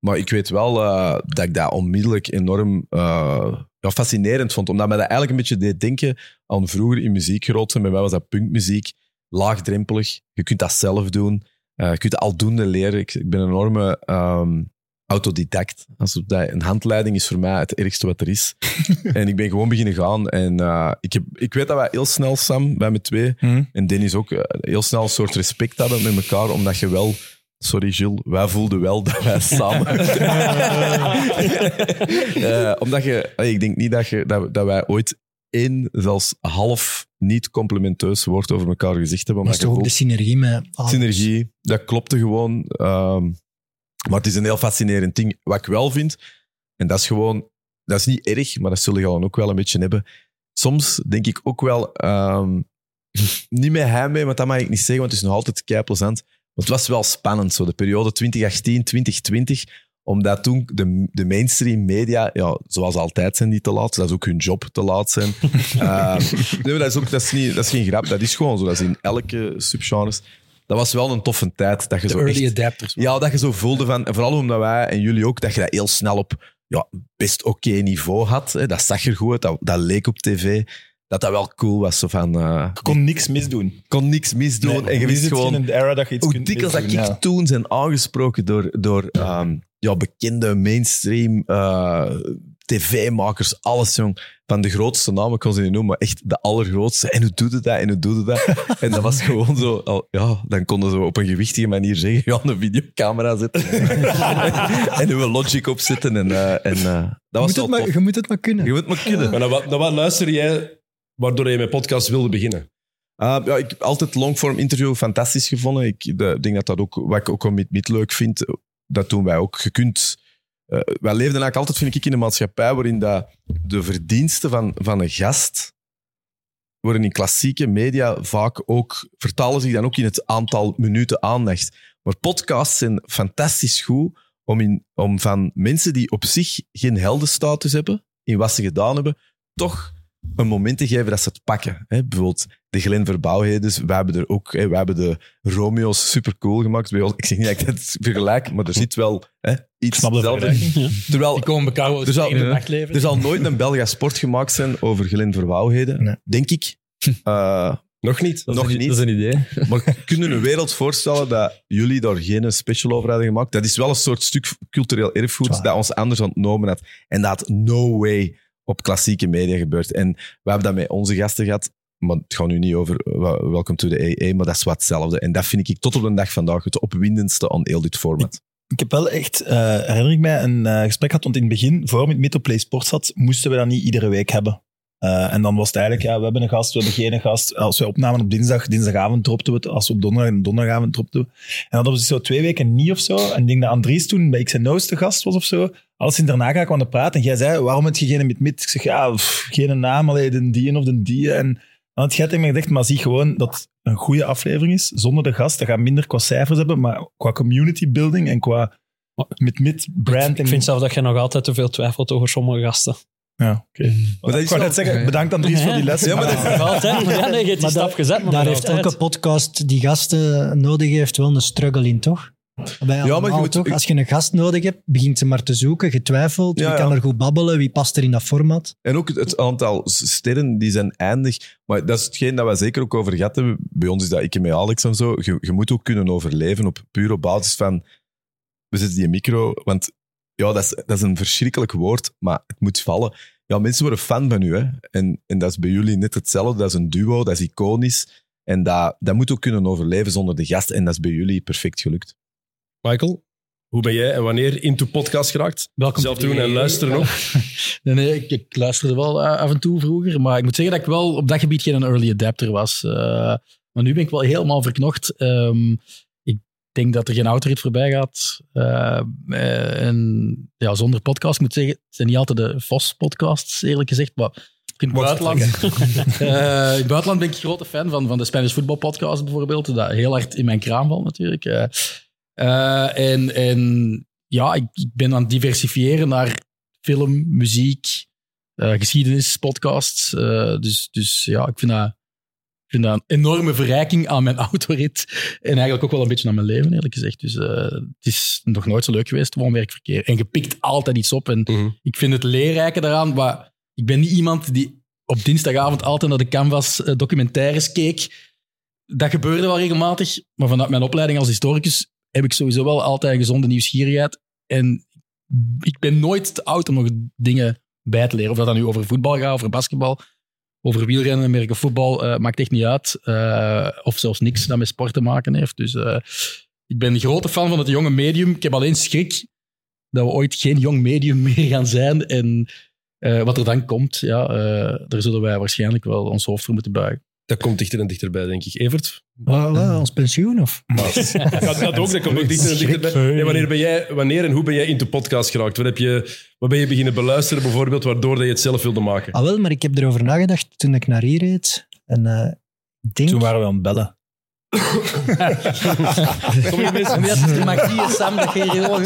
H: Maar ik weet wel eh, dat ik dat onmiddellijk enorm eh, ja, fascinerend vond. Omdat mij dat eigenlijk een beetje deed denken aan vroeger in muziek groot zijn. Bij mij was dat punkmuziek, laagdrempelig. Je kunt dat zelf doen. Eh, je kunt dat aldoende leren. Ik, ik ben een enorme ehm, autodidact. Als op dat, een handleiding is voor mij het ergste wat er is. en ik ben gewoon beginnen gaan. En eh, ik, heb, ik weet dat wij heel snel, Sam, wij met twee, en Dennis ook, eh, heel snel een soort respect hadden met elkaar. Omdat je wel... Sorry, Gilles. Wij voelden wel dat wij samen eh, omdat je, allee, ik denk niet dat, je, dat, dat wij ooit één, zelfs half niet complimenteus woord over elkaar gezegd hebben.
K: Dat is
H: omdat
K: toch
H: je
K: ook de
H: voelt-
K: synergie met... Ah,
H: Synergie, dat klopte gewoon. ehm, maar het is een heel fascinerend ding. Wat ik wel vind, en dat is gewoon, dat is niet erg, maar dat zul je dan ook wel een beetje hebben. Soms denk ik ook wel, ehm, niet met hem mee, want dat mag ik niet zeggen, want het is nog altijd keipelzand. Maar het was wel spannend, zo, de periode 2018, 2020. Omdat toen de, de mainstream media, ja, zoals altijd, zijn die te laat. Dat is ook hun job te laat zijn. Eh, nee, maar dat is, ook, dat, is niet, dat is geen grap, dat is gewoon zo. Dat is in elke subgenres. Dat was wel een toffe tijd. Dat je zo
E: early
H: echt,
E: adapters.
H: Ja, dat je zo voelde van, en vooral omdat wij en jullie ook, dat je dat heel snel op ja, best oké niveau had. Hè. Dat zag er goed uit, dat, dat leek op tv. Dat dat wel cool was. Zo van, eh,
I: kon niks misdoen.
H: kon niks misdoen. en je
I: Wie
H: wist
I: zit
H: gewoon...
I: in de era dat je iets
H: Hoe
I: kunt
H: dikwijls dat ik
I: misdoen, ja.
H: toen zijn aangesproken door, door ehm, ja, bekende mainstream eh, tv-makers, alles jong. Van de grootste namen, ik kon ze niet noemen, maar echt de allergrootste. En hoe doet het dat? En hoe doet het dat? en dat was gewoon zo, al, ja, dan konden ze op een gewichtige manier zeggen, ja, een videocamera zetten. en hun logic opzetten. En, eh, en, eh, dat was
K: je, moet
H: wel
K: het maar,
H: tof.
K: je moet het maar kunnen.
H: Je moet maar kunnen.
B: Maar naar wat, naar wat luister jij waardoor je mijn podcast wilde beginnen?
H: Eh, ja, ik heb altijd longform interview fantastisch gevonden. Ik de- denk dat dat ook, wat ik ook met Meet leuk vind, dat doen wij ook. Je kunt, eh, wij leefden eigenlijk altijd, vind ik, in een maatschappij waarin dat de verdiensten van, van een gast worden in klassieke media vaak ook, vertalen zich dan ook in het aantal minuten aandacht. Maar podcasts zijn fantastisch goed om, in, om van mensen die op zich geen heldenstatus hebben, in wat ze gedaan hebben, toch een moment te geven dat ze het pakken. Hè? Bijvoorbeeld de Glenn Verbouwheden, wij hebben er ook, hè, wij hebben de Romeo's supercool gemaakt. Bij ons, ik zeg niet dat ik dat vergelijk, maar er zit wel hè, iets
I: snap de vergelijking, ja.
H: Terwijl, Dus
E: Die komen elkaar wel eens
H: er zal,
E: tegen in het echt leven.
H: er zal nooit een Belga sport gemaakt zijn over Glenn Verbouwheden, denk ik. Eh,
B: nog niet.
H: nog niet.
J: Dat is een idee.
H: Maar kunnen een wereld voorstellen dat jullie daar geen special over hadden gemaakt? Dat is wel een soort stuk cultureel erfgoed dat ons anders ontnomen had. En dat had no way op klassieke media gebeurt. En we hebben dat met onze gasten gehad. Maar het gaat nu niet over eh, wel- Welcome to the AA, maar dat is wat hetzelfde. En dat vind ik tot op de dag vandaag het opwindendste aan heel dit format.
I: Ik heb wel echt, eh, herinner ik mij, een eh, gesprek gehad. Want in het begin, voor met Metoplay Sport zat, moesten we dat niet iedere week hebben. Eh, en dan was het eigenlijk, ja, we hebben een gast, we hebben geen gast. Als we opnamen op dinsdag, dinsdagavond dropten we het. Als we op donderdag, en donderdagavond dropten we. En dan hadden we zo twee weken niet of zo. En ik denk dat Andries toen bij X&O's te gast was of zo. Alles in daarna ga ik aan de praten. En jij zei, waarom heb je geen met mid? Ik zeg, ja, pff, geen naam, alleen de die of de die. En dan had jij tegen mij gedacht, maar zie gewoon dat het een goede aflevering is. Zonder de gast, dat gaat minder qua cijfers hebben, maar qua community building en qua met mid brand.
C: Ik vind zelf dat je nog altijd te veel twijfelt over sommige gasten. Hm.
I: Ja, oké.
H: Maar dat
I: Ik
H: is
I: wou
H: wel-
I: net zeggen, bedankt Andries voor die les.
H: Ja, maar dat is-
C: Altijd. Ja, nee, je hebt die
K: Maar
C: stap
K: daar-
C: gezet, maar
K: Daar
C: nog
K: heeft
C: altijd.
K: elke podcast die gasten nodig heeft wel een struggle in, toch? Bij
H: maar je
K: ja, maar
H: moet-
K: toch? Als je een gast nodig hebt, begint ze maar te zoeken, getwijfeld.
H: Ja,
K: wie
H: ja.
K: kan er goed babbelen? Wie past er in dat format?
H: En ook het- het aantal s- sterren, die zijn eindig. Maar dat is hetgeen dat we zeker ook over gehad hebben. Bij ons is dat ik en met Alex en zo. Je, je moet ook kunnen overleven op puur op basis van... We zetten die micro, want ja, dat is, dat is een verschrikkelijk woord, maar het moet vallen. Ja, mensen worden fan van u, hè. En, en dat is bij jullie net hetzelfde. Dat is een duo, dat is iconisch. En dat, dat moet ook kunnen overleven zonder de gast. En dat is bij jullie perfect gelukt.
B: Michael, hoe ben jij en wanneer into podcast geraakt?
E: Welkom
B: Zelf
E: bij
B: doen
E: de-
B: en luisteren nog.
E: Nee, nee ik, ik luisterde wel eh, af en toe vroeger, maar ik moet zeggen dat ik wel op dat gebied geen early adapter was. Eh, maar nu ben ik wel helemaal verknocht. Ehm, ik denk dat er geen autorit voorbij gaat. Eh, eh, en ja, zonder podcast moet ik zeggen, het zijn niet altijd de VOS-podcasts, eerlijk gezegd, maar in het buitenland, Eh, in het buitenland ben ik grote fan van, van de Spanish Football Podcast bijvoorbeeld, dat heel hard in mijn kraam valt natuurlijk. Eh, eh, en, en ja, ik, ik ben aan het diversifiëren naar film, muziek, eh, geschiedenis, podcasts. Eh, dus, dus ja, ik vind, dat, ik vind dat een enorme verrijking aan mijn autorit. En eigenlijk ook wel een beetje aan mijn leven, eerlijk gezegd. Dus eh, het is nog nooit zo leuk geweest, woonwerkverkeer. En je pikt altijd iets op. En ik vind het leerrijke daaraan, maar ik ben niet iemand die op dinsdagavond altijd naar de Canvas eh, documentaires keek. Dat gebeurde wel regelmatig, maar vanuit mijn opleiding als historicus heb ik sowieso wel altijd een gezonde nieuwsgierigheid. En ik ben nooit te oud om nog dingen bij te leren. Of dat dan nu over voetbal gaat, over basketbal, over wielrennen, merken voetbal, eh, maakt echt niet uit. Eh, of zelfs niks dat met sport te maken heeft. Dus eh, ik ben een grote fan van het jonge medium. Ik heb alleen schrik dat we ooit geen jong medium meer gaan zijn. En eh, wat er dan komt, ja, eh, daar zullen wij waarschijnlijk wel ons hoofd voor moeten buigen.
B: Dat komt dichter en dichterbij, denk ik. Evert?
I: Eh,
K: ons pensioen of?
B: dat, dat ook, dat komt ook dichter en dichterbij. Nee, wanneer, ben jij, wanneer en hoe ben jij in de podcast geraakt? Wat, heb je, wat ben je beginnen beluisteren bijvoorbeeld, waardoor dat je het zelf wilde maken?
K: Ah wel, maar ik heb erover nagedacht toen ik naar hier reed. En eh, ik denk...
I: Toen waren we aan het bellen.
K: Sommige mensen-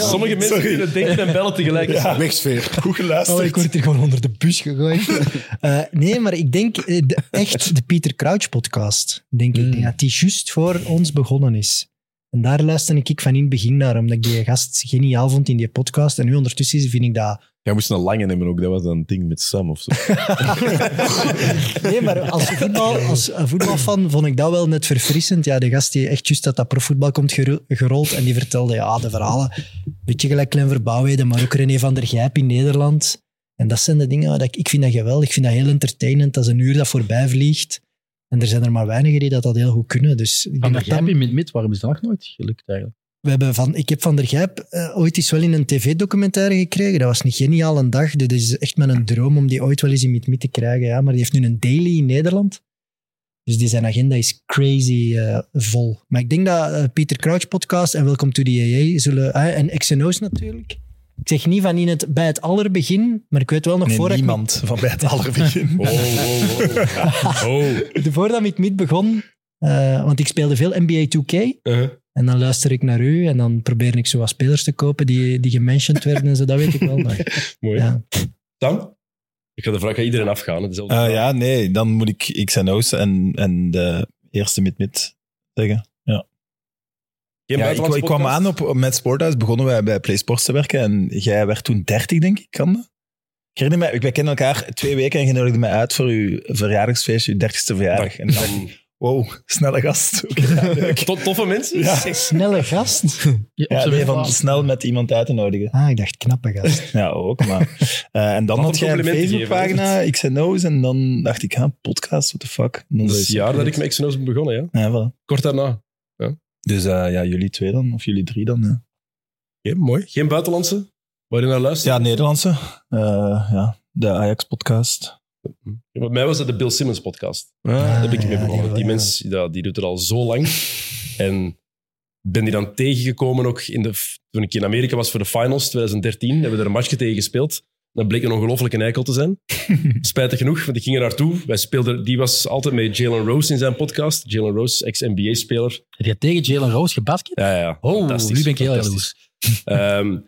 B: Sommige mensen
K: Sorry.
B: kunnen denken en bellen tegelijk.
K: Ja.
B: Wegsfeer.
I: Goed geluisterd.
K: Oh, ik word hier gewoon onder de bus gegooid. Eh, nee, maar ik denk eh, de- echt de Pieter Crouch podcast. Denk ik. Ik
B: Hmm.
K: denk dat die juist voor ons begonnen is. En daar luisterde ik van in het begin naar, omdat ik die gast geniaal vond in die podcast. En nu ondertussen vind ik dat...
H: Jij moest een lange nemen ook, dat was dan een ding met Sam of zo.
K: Nee, maar als, voetbal, als een voetbalfan vond ik dat wel net verfrissend. Ja, de gast die echt juist uit dat profvoetbal komt geru- gerold en die vertelde ja, de verhalen. Beetje gelijk Clem Verbouwheden, maar ook René van der Gijp in Nederland. En dat zijn de dingen, waar ik, ik vind dat geweldig. Ik vind dat heel entertainend. Dat is een uur dat voorbij vliegt. En er zijn er maar weinigen die dat, dat heel goed kunnen. Dus ik
E: Van
K: denk
E: der
K: dat dat-
E: Gijp in mid-mid, waarom is dat nog nooit gelukt eigenlijk?
K: we hebben van, ik heb Van der Gijp eh, ooit eens wel in een tv-documentaire gekregen. Dat was een geniale dag. Dit is echt mijn droom om die ooit wel eens in Meet Meet te krijgen. Ja. Maar die heeft nu een daily in Nederland. Dus die zijn agenda is crazy eh, vol. Maar ik denk dat eh, Pieter Crouch podcast en Welcome to the AA zullen... eh, en XNO's natuurlijk. Ik zeg niet van in het, bij het allerbegin, maar ik weet wel nog
I: Nee,
K: voor...
I: niemand van bij het allerbegin.
K: Oh, Voordat Meet Meet begon, eh, want ik speelde veel NBA 2K.
B: Uh-huh,
K: En dan luister ik naar u en dan probeer ik zo wat spelers te kopen die, die gementiond werden en zo, dat weet ik wel. Maar,
B: Mooi.
K: ja.
B: Dan? Ik ga de vraag aan iedereen afgaan. hè, Dezelfde
I: Ah, ja, nee, dan moet ik XNO's en, en de eerste mid-mid zeggen. Ja.
B: Geen
I: Ja, ik,
B: buitenlandse
I: ik kwam
B: podcast?
I: aan op, op- met Sporthuis, begonnen wij bij PlaySports te werken en jij werd toen 30, denk ik, kan dat? Ik herinner me, wij kennen elkaar twee weken en je nodigde mij uit voor uw verjaardagsfeest, uw 30ste verjaardag. En ik dacht, wow, snelle gast. Oké, ja, leuk.
B: Tot toffe mensen?
I: Ja.
K: Snelle gast?
I: Ja, nee, van snel met iemand uit te nodigen.
K: Ah, ik dacht knappe gast.
I: Ja, ook, maar... eh, en dan
B: Wat
I: had
B: een
I: jij een
B: compliment gegeven,
I: Facebookpagina, XNO's, en dan dacht ik, ha, podcast, what the fuck. En dan
B: Dat
I: zei
B: is het
I: je,
B: jaar dat ik met XNO's ben begonnen, ja.
I: Ja, voilà.
B: Kort daarna.
I: Dus eh, ja, jullie twee dan, of jullie drie dan. Ja,
B: mooi. Geen buitenlandse? Waar je naar luistert?
I: Ja, Nederlandse. Eh, ja, de Ajax-podcast.
B: Ja, Bij mij was dat de Bill Simmons podcast.
I: Ah,
B: Daar ben ik
I: ja,
B: mee begonnen.
I: die
B: Die,
I: wel, ja.
B: mens ja, die doet het al zo lang. En ben die dan tegengekomen ook in de, toen ik in Amerika was voor de finals 2013. Hebben we er een matchje tegen gespeeld. Dat bleek een ongelofelijke eikel te zijn. Spijtig genoeg, want ik ging er naartoe. Wij speelden, die was altijd met Jalen Rose in zijn podcast. Jalen Rose, ex-NBA-speler.
E: Heb je tegen Jalen Rose gebasket?
B: Ja, ja.
E: Oh, nu ben ik heel
B: fantastisch. Ehm,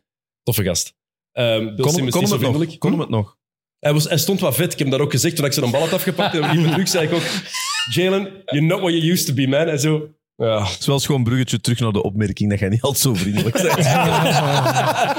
B: toffe gast. Ehm Bill
H: Kon-
B: Simmons
H: kon hem
B: is zo
H: het nog?
B: vriendelijk.
H: Kon hem het nog?
B: Hij, was, hij stond wat vet. Ik heb hem dat ook gezegd toen ik ze een bal had afgepakt. En liep terug zei ik ook... Jalen, you're not what you used to be, man. En zo... Ja.
H: Het is wel schoon bruggetje terug naar de opmerking dat jij niet altijd zo vriendelijk bent.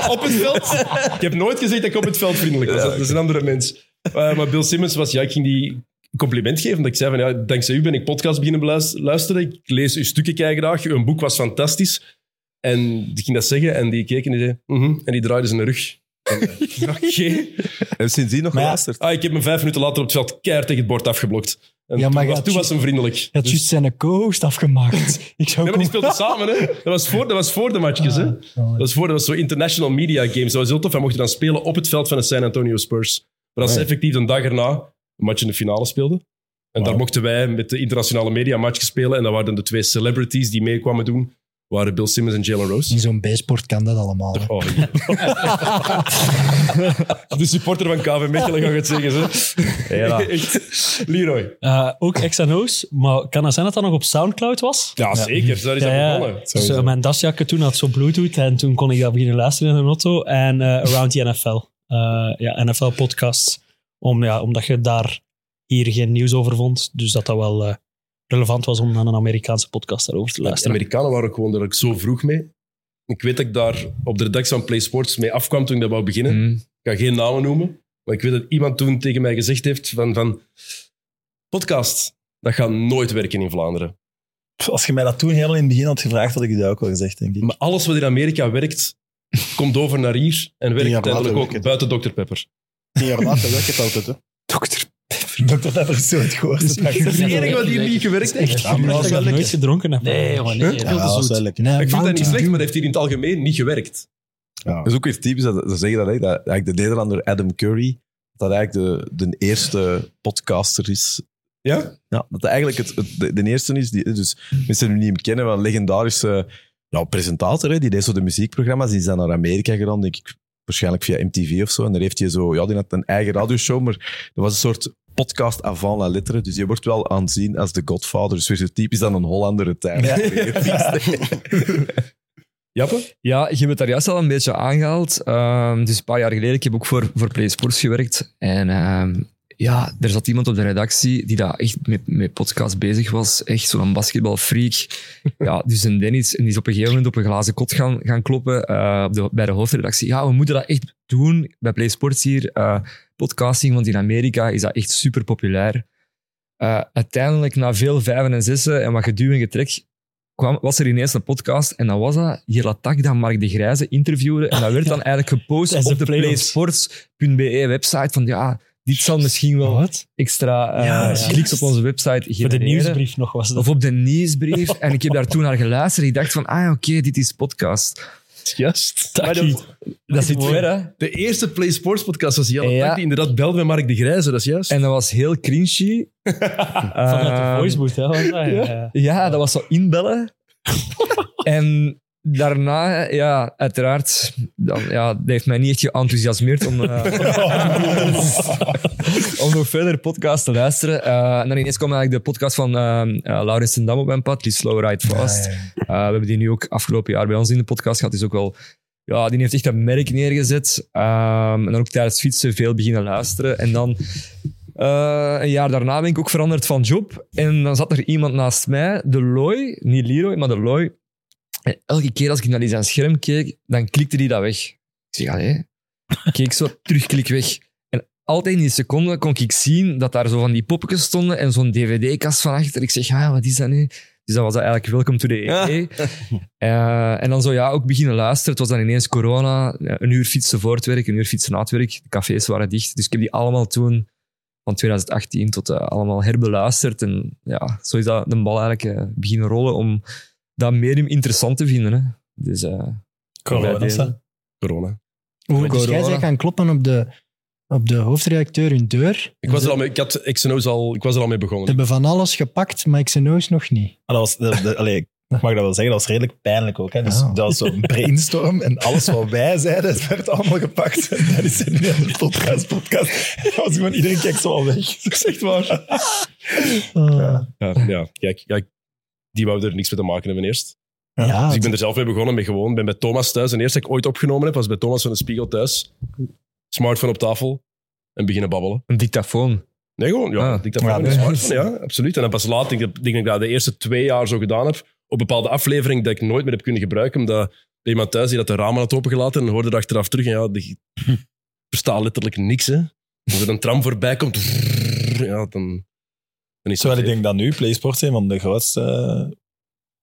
B: op het veld. Ik heb nooit gezegd dat ik op het veld vriendelijk was. dat is een andere mens. Eh, maar Bill Simmons was... Ja, ik ging die compliment geven. Dat ik zei van... Ja, dankzij u ben ik podcast beginnen beluis- luisteren. Ik lees uw stukken kei graag. Uw boek was fantastisch. En ik ging dat zeggen. En die keek en die zei... "Mhm." En die draaide zijn rug. En, eh, Oké.
H: Heb je sindsdien nog geluisterd?
B: Ah, ik heb me vijf minuten later op het veld keihard tegen het bord afgeblokt. En
K: Ja, maar
B: toen, was,
K: ja,
B: toen was
K: tju-
B: hem vriendelijk.
K: Je had
B: Dus-
K: juist zijn co-host afgemaakt. Ik zou
B: Nee, maar die
K: komen-
B: speelden samen, hè? Dat was voor, dat was voor de matchjes, hè? Dat was, voor, dat was zo international media games. Dat was heel tof. Hij mocht dan spelen op het veld van de San Antonio Spurs. Maar als ze
H: Nee.
B: effectief een dag erna een match in de finale speelden. En daar mochten wij met de internationale media een matchje spelen. En dat waren de twee celebrities die mee kwamen doen. Waren Bill Simmons en Jalen Rose.
K: In zo'n B-sport kan dat allemaal. hè.
B: Oh, ja. de supporter van KV Mechelen gaat het zeggen, hè?
C: Ja.
B: Echt. Leroy.
C: Eh, ook XNO's, maar kan dat zijn dat dat nog op Soundcloud was?
B: Ja, zeker. Daar is dat begonnen.
C: Dus, eh,
B: Sowieso.
C: mijn dasjakje toen had zo Bluetooth en toen kon ik dat beginnen luisteren in een auto. En eh, Around the NFL. Eh, ja, NFL-podcasts. Om, ja, omdat je daar hier geen nieuws over vond. Dus dat dat wel eh, relevant was om naar een Amerikaanse podcast daarover te
B: De
C: luisteren.
B: Amerikanen waren ook gewoon daar ook zo vroeg mee. Ik weet dat ik daar op de redactie van Play Sports mee afkwam toen ik dat wou beginnen.
I: Mm.
B: Ik ga geen namen noemen. Maar ik weet dat iemand toen tegen mij gezegd heeft van, van podcast, dat gaat nooit werken in Vlaanderen.
I: Pff, Als je mij dat toen helemaal in het begin had gevraagd, had ik je dat ook wel gezegd, denk ik.
B: Maar alles wat in Amerika werkt, komt over naar hier en werkt
I: jaar later
B: uiteindelijk ook
I: werkt het.
B: buiten Dr. Pepper.
L: Tien jaar later werkt het altijd, hè?
I: Dr. Pepper is zo het gehoord.
B: Dat is het enige wat hier niet gewerkt heeft.
I: Ja, maar dat is wel lekker.
C: gedronken heb.
B: Nee,
C: jongen,
B: nee. Veel te zoet. ik vind dat niet slecht, maar dat heeft hier in het algemeen niet gewerkt.
H: Dat is ook weer typisch, dat, ze zeggen dat, hè, dat eigenlijk de Nederlander Adam Curry, dat eigenlijk de, de eerste podcaster is.
B: Ja?
H: Ja, dat hij eigenlijk het, het- de, de eerste is, die, dus mensen die hem niet kennen, wel een legendarische nou, presentator, hè, die deed zo de muziekprogramma's, die is dan naar Amerika gegaan, denk ik, waarschijnlijk via MTV of zo. En daar heeft hij zo, ja, die had een eigen radioshow, maar dat was een soort podcast avant la lettre, dus je wordt wel aanzien als de godfather, dus weer zo typisch dan een Hollander het eigenlijk.
B: Jappe?
J: Ja, je hebt het daar juist al een beetje aangehaald. Ehm, dus een paar jaar geleden, ik heb ook voor, voor Play Sports gewerkt. En ehm, ja, er zat iemand op de redactie die daar echt met, met podcast bezig was. Echt zo'n basketbalfreak. Ja, dus een Dennis, en die is op een gegeven moment op een glazen kot gaan, gaan kloppen eh, op de, bij de hoofdredactie. Ja, we moeten dat echt doen bij Play Sports hier. eh, podcasting, want in Amerika is dat echt super populair. Eh, uiteindelijk, na veel vijven en zessen en wat geduw en getrek, kwam, was er ineens een podcast en dan was dat Jelatak dat Mark de Grijze interviewde en dat werd dan eigenlijk gepost
C: Tijdens
J: op
C: de
J: de
C: playoffs.
J: playsports.be E website van ja, dit zal misschien wel wat extra eh,
C: Ja, ja.
J: kliks op onze website
C: Voor de
J: genereren.
C: nieuwsbrief nog was dat.
J: Of op de nieuwsbrief. en ik heb daar toen naar geluisterd. Ik dacht van, ah ja, oké, dit is podcast.
B: Juist.
J: Dat, dat zit ver, hè?
B: De eerste Play Sports podcast was Jelle
J: Ja.
B: Tak, die inderdaad belde met Mark de Grijze, dat is juist.
J: En dat was heel cringy.
C: Vanuit de
J: Ehm,
C: voicebooth, hè. was dat? Ja, ja, ja.
J: Ja, dat was zo inbellen. en daarna, ja, uiteraard, dan, ja, dat heeft mij niet echt geenthousiasmeerd om, eh, om nog verder podcast te luisteren. Eh, en dan ineens kwam eigenlijk de podcast van ehm eh, Laurens ten Dam op mijn pad, die Slow Ride Fast. Eh, we hebben die nu ook afgelopen jaar bij ons in de podcast gehad. Die is ook wel... Ja, die heeft echt dat merk neergezet. Ehm, en dan ook tijdens fietsen veel beginnen luisteren. En dan... eh, een jaar daarna ben ik ook veranderd van job. En dan zat er iemand naast mij, de Loy, niet Leroy, maar de Loy. En elke keer als ik naar die zijn scherm keek, dan klikte die dat weg. Ik zeg, allee. Ik keek zo, terugklik weg. En altijd in die seconde kon ik zien dat daar zo van die poppetjes stonden en zo'n dvd-kast van achter. Ik zeg, ah, wat is dat nu? Dus dat was eigenlijk Welcome to the EE. Eh, en dan zo ja, ook beginnen luisteren. Het was dan ineens corona. Ja, Een uur fietsen voor het werk, een uur fietsen na het werk. De cafés waren dicht. Dus ik heb die allemaal toen, van 2018 tot eh, allemaal herbeluisterd. En ja, zo is dat de bal eigenlijk eh, beginnen rollen om dat medium interessant te vinden. Hè. Dus, eh,
I: Corona,
J: bij deze.
I: hè?
B: Corona.
K: Hoe dus jij
B: Corona.
K: zei gaan kloppen op de, op de hoofdredacteur hun deur.
B: Ik was, er al mee, ik, had XNO's al, ik was er al mee
K: Ze
B: begonnen.
K: hebben van alles gepakt, maar Xeno's nog niet.
I: Maar dat was, dat- dat- allee, ik mag dat wel zeggen, dat was redelijk pijnlijk ook. Hè? Dus
K: Ja.
I: dat was zo'n brainstorm en alles wat wij zeiden, het werd allemaal gepakt. En dat is het nu aan de podcast, podcast. En dat was gewoon, iedereen kijkt zo al weg. Dat is echt waar.
B: Ja, ja, kijk, ja, ik- die wou er niks mee te maken hebben eerst.
K: Ja,
B: dus ik ben er zelf mee begonnen, ben gewoon, ben bij Thomas thuis. En eerst dat ik ooit opgenomen heb, was bij Thomas van de Spiegel thuis. Smartphone op tafel en beginnen babbelen.
J: Een dictafoon.
B: Nee, gewoon, ja.
J: Ah.
B: ik dacht, van,
J: Ja,
B: ja,
J: nee.
B: ja, absoluut. En dan pas laat, ik denk, ik denk dat ik dat de eerste twee jaar zo gedaan heb, op bepaalde aflevering dat ik nooit meer heb kunnen gebruiken, omdat bij iemand thuis die dat de ramen had opengelaten en hoorde er achteraf terug. En ja, die verstaat letterlijk niks, hè. Als er een tram voorbij komt, ja, dan... dan is het
I: Terwijl ik denk dat nu PlaySports een van de grootste eh,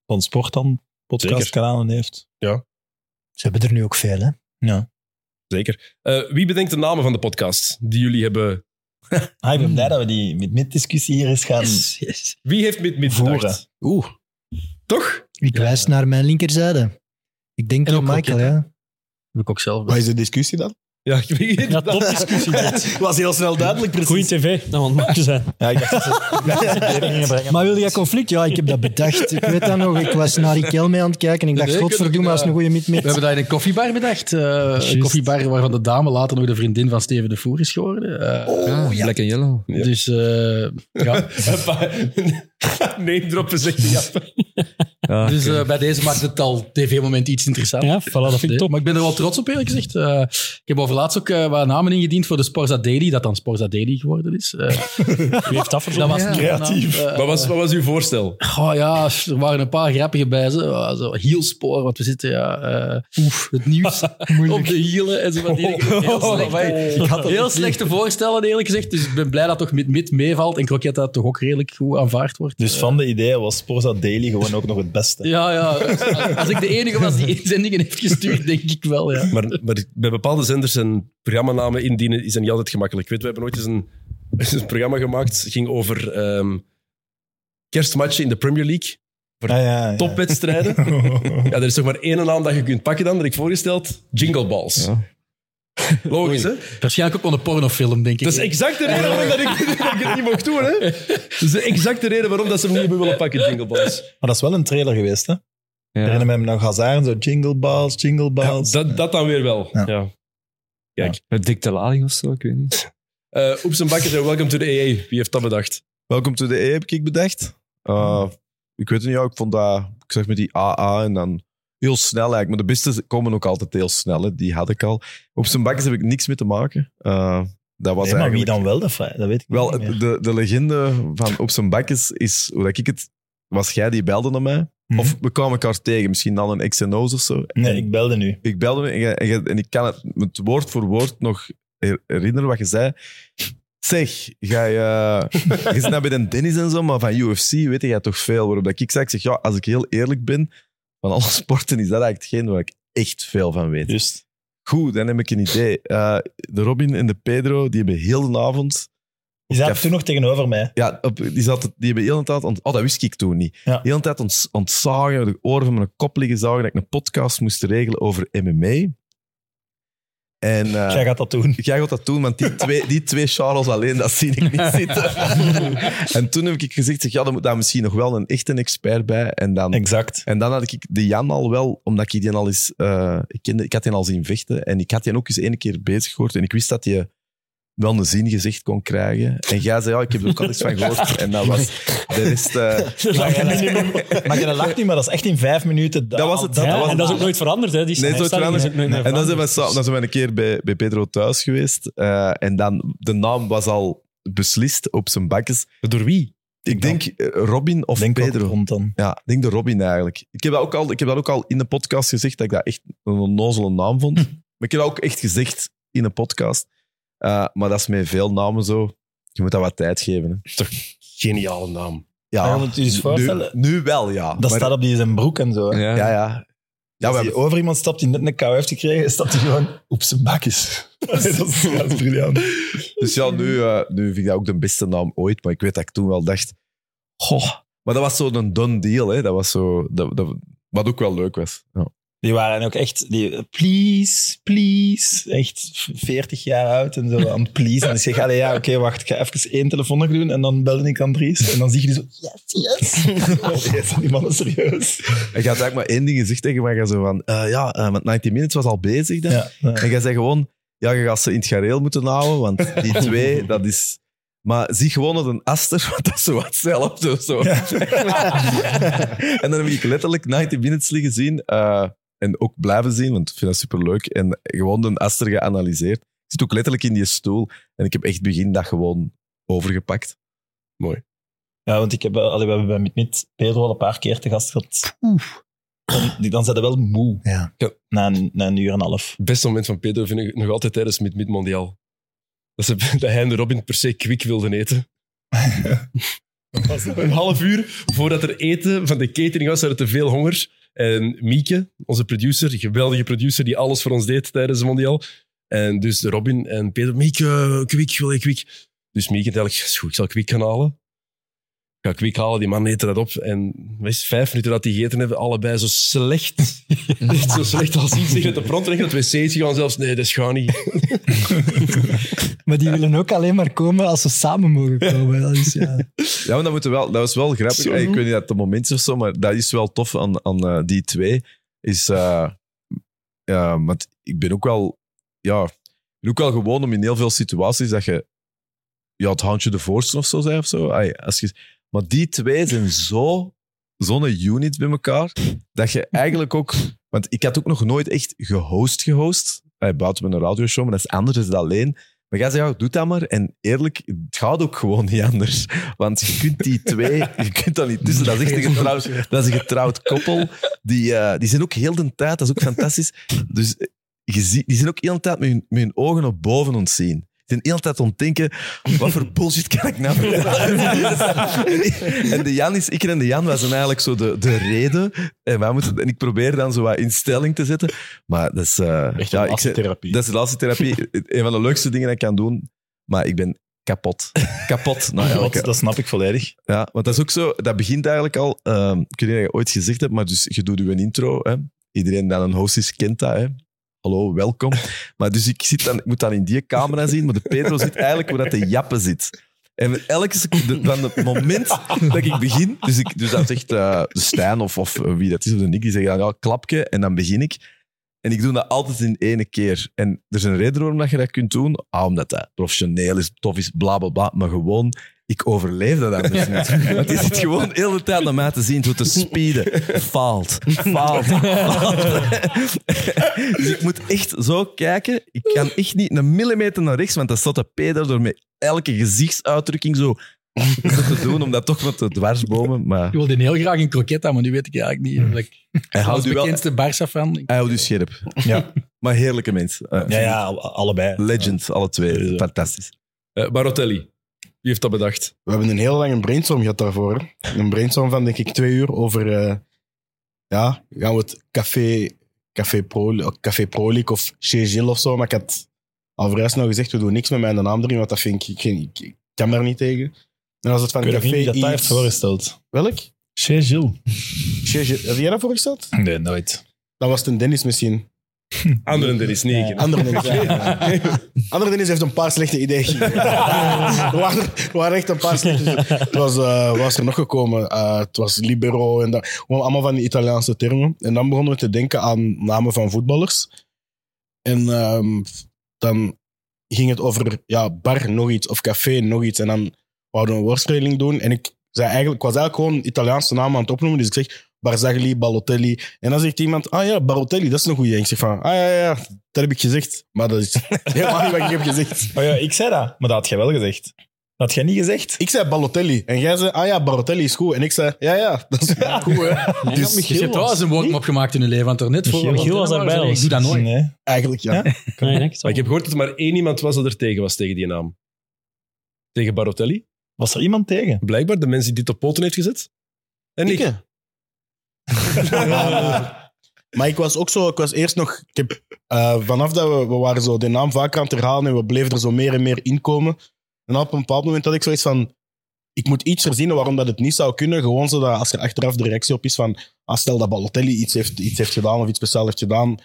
I: van sport dan podcastkanalen heeft.
B: Ja,
K: Ze hebben er nu ook veel, hè?
I: Ja.
B: zeker. Eh, wie bedenkt de namen van de podcast die jullie hebben
I: Ah,
H: Hmm.
I: ik ben blij dat we die mid-mid-discussie hier eens gaan
B: Wie heeft mid-mid
I: voeren.
B: Oeh. Toch?
K: Ik wijs naar mijn linkerzijde. Ik denk aan Michael, ja.
E: Heb ik ook zelf.
I: Wat is de discussie dan?
B: Ja, ik weet niet.
C: Ja, topdiscussie. dit.
I: was heel snel duidelijk, precies.
C: Goeie tv, dat moet te zijn.
I: Ja, ik dacht dat
K: Maar wilde jij conflict? Ja, ik heb dat bedacht. Ik weet dat nog. Ik was naar Ikel mee aan het kijken en ik dacht,
E: Nee,
K: godverdomme,
E: kunnen-
K: dat is een goede
E: We
K: mid-mid.
E: hebben dat in een koffiebar bedacht. Eh, een koffiebar waarvan de dame later nog de vriendin van Steven de Voer is geworden. Eh,
C: Ah,
J: ja, Black and Yellow.
E: Dus eh, ja.
B: Neem erop gezegd. Ja.
E: dus eh, bij deze maakt het al tv-moment iets interessant.
C: Ah, Ja, voilà, dat vind ik top.
E: Maar ik ben er wel trots op, eerlijk gezegd. Eh, ik heb overlaatst ook eh, wat namen ingediend voor de Sporza Daily, dat dan Sporza Daily geworden is. Eh,
C: Wie heeft dat
E: dat
C: verzonnen?
E: was
B: Creatief.
E: Eh,
B: Wat was, wat was uw voorstel?
E: Goh, ja, er waren een paar grappige bij. Zo, Ah, zo hielspoor, want we zitten ja, eh, het nieuws op de hielen. En zo, van die dingen. heel
B: Oh.
E: slecht, heel slechte voorstellen, eerlijk gezegd. Dus ik ben blij dat toch met mid meevalt en Croquetta toch ook redelijk goed aanvaard wordt.
I: Dus van de ideeën was Sporza Daily gewoon ook nog het beste.
E: Ja, ja. Als, als ik de enige was die inzendingen heeft gestuurd, denk ik wel, ja.
B: Maar, maar bij bepaalde zenders een programmanamen indienen is dan niet altijd gemakkelijk. Ik weet, we hebben ooit eens een, een programma gemaakt. Het ging over ehm, kerstmatchen in de Premier League. Voor
I: Ah, ja, ja.
B: topwedstrijden. Ja, er is toch maar één naam dat je kunt pakken dan. Dat heb ik voorgesteld. Jingle Balls. Logisch, hè?
E: Waarschijnlijk ook wel een pornofilm, denk ik.
B: Dat is exact de reden waarom dat ik, dat ik het niet mocht doen, hè? Dat is de exacte reden waarom dat ze hem niet hebben willen pakken, Jingle Balls.
I: Maar dat is wel een trailer geweest, hè? Ik herinner me hem nog Hazard en zo. Jingle balls, jingle
B: Ja,
I: balls.
B: dat, dat dan weer wel. Ja. Kijk.
J: Met dikte lading of zo, ik weet niet.
B: Eh, Oeps en bakkers en welcome to the AA. Wie heeft dat bedacht?
H: Welcome to the A E heb ik bedacht. Uh, Ik weet het niet, ja, ik vond dat... Ik zeg met die AA en dan heel snel eigenlijk. Maar de beste komen ook altijd heel snel, hè. die had ik al. Op zijn bakjes heb ik niks mee te maken. Eh, dat was
I: Nee, maar wie
H: eigenlijk...
I: dan wel? Dat, vraag- dat weet ik
H: Wel,
I: niet meer.
H: de, de legende van Op zijn bakjes is, hoe dat ik het... Was jij die belde naar mij? Of we kwamen elkaar tegen, misschien dan een X en O's of zo.
I: Mhm. Nee, ik belde nu.
H: Ik belde me en, jij- en jij- en ik kan het, het woord voor woord nog her- herinneren wat je zei. Zeg, ga je, je zit nou bij de Dennis en zo, maar van UFC weet jij toch veel. Waarop dat ik zei, ik zeg, ja, als ik heel eerlijk ben, van alle sporten is dat eigenlijk hetgeen waar ik echt veel van weet.
I: Juist.
H: Goed, dan heb ik een idee. Eh, de Robin en de Pedro, die hebben heel de avond...
I: Die zaten
H: Café-
I: toen nog tegenover mij.
H: ja, op- die, zat, die hebben heel de tijd... ont- oh, dat wist ik toen niet.
I: Ja.
H: Heel de tijd ont, ontzagen, de oren van mijn kop liggen zagen, dat ik een podcast moest regelen over MMA. En, eh,
I: Jij gaat dat doen.
H: Jij gaat dat doen, want die twee, die twee Charles alleen, dat zie ik niet zitten. en toen heb ik gezegd, zeg, ja, dan moet daar misschien nog wel een echte expert bij. En dan,
I: Exact.
H: en dan had ik de Jan al wel, omdat ik die al eens... eh, ik, kende, ik had die al zien vechten en ik had die ook eens één keer bezig gehoord. En ik wist dat je wel een zin gezegd kon krijgen. En jij zei, ja, ik heb er ook al eens van gehoord. En dat was de rest... eh,
I: Maar jij- maar jij lacht niet, maar dat is echt in vijf minuten.
H: Dat was het, dat
C: Ja,
H: was
C: en
H: het.
C: dat is ook nooit veranderd, hè? Die
H: Nee,
C: stelling
H: zo trouwens.
C: is ook nooit meer
H: En dan zijn, we,
C: veranderd.
H: sa- dan zijn we een keer bij, bij Pedro thuis geweest. eh, en dan, de naam was al beslist op zijn bakjes.
B: Door wie?
H: Ik denk eh, Robin of
I: Denk ook
H: Pedro.
I: rond dan.
H: Ja, ik denk de Robin eigenlijk. Ik heb, dat ook al, ik heb dat ook al in de podcast gezegd, dat ik dat echt een onnozele naam vond. Maar ik heb dat ook echt gezegd in een podcast. Eh, maar dat is met veel namen zo. Je moet dat wat tijd geven. Hè.
B: Geniale naam.
H: Ja,
I: Ja, want je moet je
H: nu,
I: voorstellen-
H: nu wel, ja.
I: Dat staat op die zijn broek en zo.
H: Ja, ja. Ja,
I: Als
H: we
I: je
H: hebben-
I: over iemand stapt die net een kou heeft gekregen, stapt hij gewoon op zijn bakjes. dat is, dat is briljant.
H: Dus ja, nu, eh, nu vind ik dat ook de beste naam ooit. Maar ik weet dat ik toen wel dacht... Goh. Maar dat was zo'n done deal. Hè. Dat was zo, dat, dat, wat ook wel leuk was. Ja.
I: Die waren ook echt, die, please, please, echt 40 jaar oud en zo aan het please. En ik zeg, allee, ja, oké, wacht, ik ga even één telefoonnummer doen. En dan belde ik Andries. En dan zie je die zo, yes, yes. Oh, yes, die man is serieus.
H: En je had eigenlijk maar één ding gezegd tegen mij. Je zo van... eh, ja, eh, want 90 Minutes was al bezig. Dan.
I: Ja, ja.
H: En jij zei gewoon... Ja, je gaat ze in het gareel moeten houden. Want die twee, dat is... Maar zie gewoon dat een aster, want dat is zo wat hetzelfde. of Zo. en dan heb ik letterlijk 90 Minutes liggen zien. eh, en ook blijven zien, want ik vind dat superleuk. En gewoon een aster geanalyseerd. Ik zit ook letterlijk in die stoel. En ik heb echt begin dat gewoon overgepakt.
I: Ja, want ik heb, eh, allee, we hebben bij Mitmit Pedro al een paar keer te gast gehad. Dan, die- dan zijn ze wel moe.
K: Ja.
B: Ja.
I: Na, een, na een uur en een half.
B: beste moment van Pedro vind ik nog altijd tijdens met Mid-Mondiaal. Dat, ze, dat hij en de Robin per se kwik wilden eten. een half uur voordat er eten van de catering was, hadden we te veel honger. En Mieke, onze producer, geweldige producer, die alles voor ons deed tijdens het Mondiaal. En dus de Robin en Pedro, Mieke, kwik, wil je kwik? Dus Mieke dacht, ik, is goed, ik zal Kwik gaan halen. Ik ga Kwik halen, die man eten dat op. En wees, vijf minuten dat die gegeten hebben, allebei zo slecht. Echt zo slecht als iets. Ik de front en ik naar het wc is gegaan zelfs. Nee, dat is gewoon niet.
K: Maar die willen ook alleen maar komen als ze samen mogen komen. Dat is, ja.
H: Ja, maar dat, moeten wel, dat was wel grappig.
K: Zo.
H: Ik weet niet dat het moment is of zo, maar dat is wel tof aan, aan eh, die twee. Is, eh, ja, want ik ben ook wel, ja, ik ben ook wel gewoon om in heel veel situaties dat je ja, het handje de voorste of zo zei of zo. Ai, als je, maar die twee zijn zo, zo'n unit bij elkaar, dat je eigenlijk ook... Want ik had ook nog nooit echt gehost gehost, ai, buiten met een radioshow, maar dat is anders dan alleen. Maar jij zei, ja, doe dat maar. En eerlijk, het gaat ook gewoon niet anders. Want je kunt die twee, je kunt dat niet tussen. Dat is echt een getrouwd, dat is een getrouwd koppel. Die, eh, die zijn ook heel de tijd, dat is ook fantastisch. Dus eh, je ziet, die zijn ook heel de tijd met hun, met hun ogen op boven ons zien. Die zijn heel de tijd aan het denken, wat voor bullshit kan ik nou vertellen? en de Jan is, ik en de Jan was eigenlijk zo de, de reden. En, wij moeten, en ik probeer dan zo wat in stelling te zetten. Maar dat is... eh, ja, ik
I: laatste
H: zeg-
I: therapie.
H: Dat is de laatste therapie. Een van de leukste dingen dat ik kan doen. Maar ik ben kapot. Kapot. Nou,
I: Dat- dat snap ik volledig.
H: Ja, want dat is ook zo. Dat begint eigenlijk al. ehm ik weet niet of je ooit gezegd hebt, maar dus je doet je intro. Hè? Iedereen dat een host is, kent dat. Hè? Hallo, welkom. Maar dus ik, zit dan, ik moet dan in die camera zien, maar de Pedro zit eigenlijk waar dat de jappen zit. En elke seconde, van het moment dat ik begin, dus, ik, dus dat zegt eh Stijn of, of wie dat is, of de Nick, die zeggen dan ja, klapje en dan begin ik. En ik doe dat altijd in ene keer. En er is een reden waarom dat je dat kunt doen. Ah, omdat dat professioneel is, tof is, bla bla bla. Maar gewoon, ik overleef dat anders niet. Want je zit gewoon heel de hele tijd naar mij te zien, zo te speeden. Faalt, faalt, faalt. Dus ik moet echt zo kijken. Ik kan echt niet een millimeter naar rechts, want dan staat de Peter door met elke gezichtsuitdrukking zo te doen, om dat toch wat te dwarsbomen. Maar
E: Ik wilde heel graag een kroket aan, maar nu weet ik eigenlijk niet. omdat ik-
H: hij houdt
E: Als
H: u wel...
E: bekendste Barça fan.
H: Hij houdt u scherp. Ja. maar heerlijke mens.
I: Ja, ja,
H: allebei. Legend, alle twee. Fantastisch.
B: Barotelli, Eh, wie heeft dat bedacht?
L: We hebben een heel lange brainstorm gehad daarvoor. hè. Een brainstorm van, denk ik, twee uur over... eh, ja, gaan we het Café, café, Pro, café Pro League of Chez Gilles of zo. Maar ik had al vrij snel gezegd, we doen niks met mijn naam erin, want dat vind ik... Ik, ik, ik kan daar niet tegen. En als het van
I: Ik weet ook
L: Café
I: niet wie dat daar
L: Yves-
I: heeft voorgesteld.
L: Welk?
I: Chez Gilles.
L: Chez Gilles. Heb jij dat voorgesteld?
I: Nee, nooit.
L: Dat was het een Dennis misschien.
B: Anderen Dennis, negen.
L: Andere Dennis, ja. Andere Dennis heeft een paar slechte ideeën gegeven. Er waren, er waren echt een paar slechte Het was, eh, wat was er nog gekomen? Eh, het was libero en dat. Gewoon allemaal van die Italiaanse termen. En dan begonnen we te denken aan namen van voetballers. En ehm, dan ging het over ja, bar nog iets of café nog iets. En dan wouden we een woordspeling doen. En ik, zei eigenlijk, ik was eigenlijk gewoon Italiaanse namen aan het opnoemen. Dus ik zeg Barzagli, Balotelli. En dan zegt iemand, ah ja, Barotelli, dat is een goeie. En ik zeg van, ah ja, ja, dat heb ik gezegd. Maar dat is helemaal niet wat ik heb gezegd.
I: Oh ja, ik zei dat, maar dat had jij wel gezegd. Dat had jij niet gezegd.
L: Ik zei Balotelli. En jij zei, ah ja, Barotelli is goed. En ik zei, ja, ja, dat is goed, hè. Dus-
E: je hebt wel eens een woordmop gemaakt in je leven, want er net voor... Ik doe dat nooit.
L: Eigenlijk ja.
B: Maar ik heb gehoord dat er maar één iemand was dat er tegen was tegen die naam. Tegen Barotelli.
I: Was er iemand tegen?
B: Blijkbaar de mensen die dit op poten heeft gezet. En ik.
L: Maar ik was ook zo, ik was eerst nog, ik heb, eh, vanaf dat we, we waren zo de naam vaker aan het herhalen en we bleven er zo meer en meer inkomen. En op een bepaald moment had ik zoiets van, ik moet iets verzinnen waarom dat het niet zou kunnen. Gewoon zodat als er achteraf de reactie op is van, ah, stel dat Balotelli iets heeft, iets heeft gedaan of iets speciaal heeft gedaan.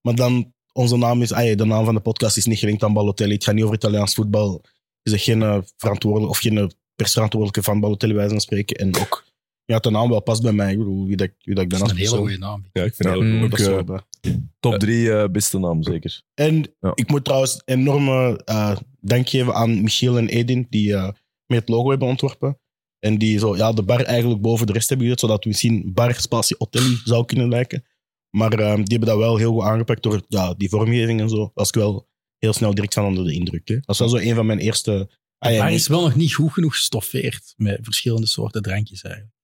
L: Maar dan, onze naam is, ah, ja, de naam van de podcast is niet gelinkt aan Balotelli. Het gaat niet over Italiaans voetbal. Is er geen eh, verantwoordelijke of geen eh, persverantwoordelijke van Balotelli wijze van spreken. En ook, ja, de naam wel past bij mij. Ik bedoel, wie dat, wie dat ik ben als
E: Dat is een hele
L: persoon.
E: goede naam.
B: Ja, ik vind het
L: Ja,
B: heel
L: mm,
B: goed.
L: dat is wel waar.
H: Top drie eh, beste naam, zeker.
L: En ik moet trouwens enorme eh, dank geven aan Michiel en Edin, die eh mee het logo hebben ontworpen. En die zo, ja, de bar eigenlijk boven de rest hebben gezet, zodat we misschien bar spatie hotel zou kunnen lijken. Maar eh, die hebben dat wel heel goed aangepakt door ja, die vormgeving en zo. Was ik wel heel snel direct van onder de indruk. Hè. Dat is wel zo een van mijn eerste... Ah, ja,
E: maar
L: nee,
E: is wel nog niet goed genoeg gestoffeerd met verschillende soorten drankjes eigenlijk.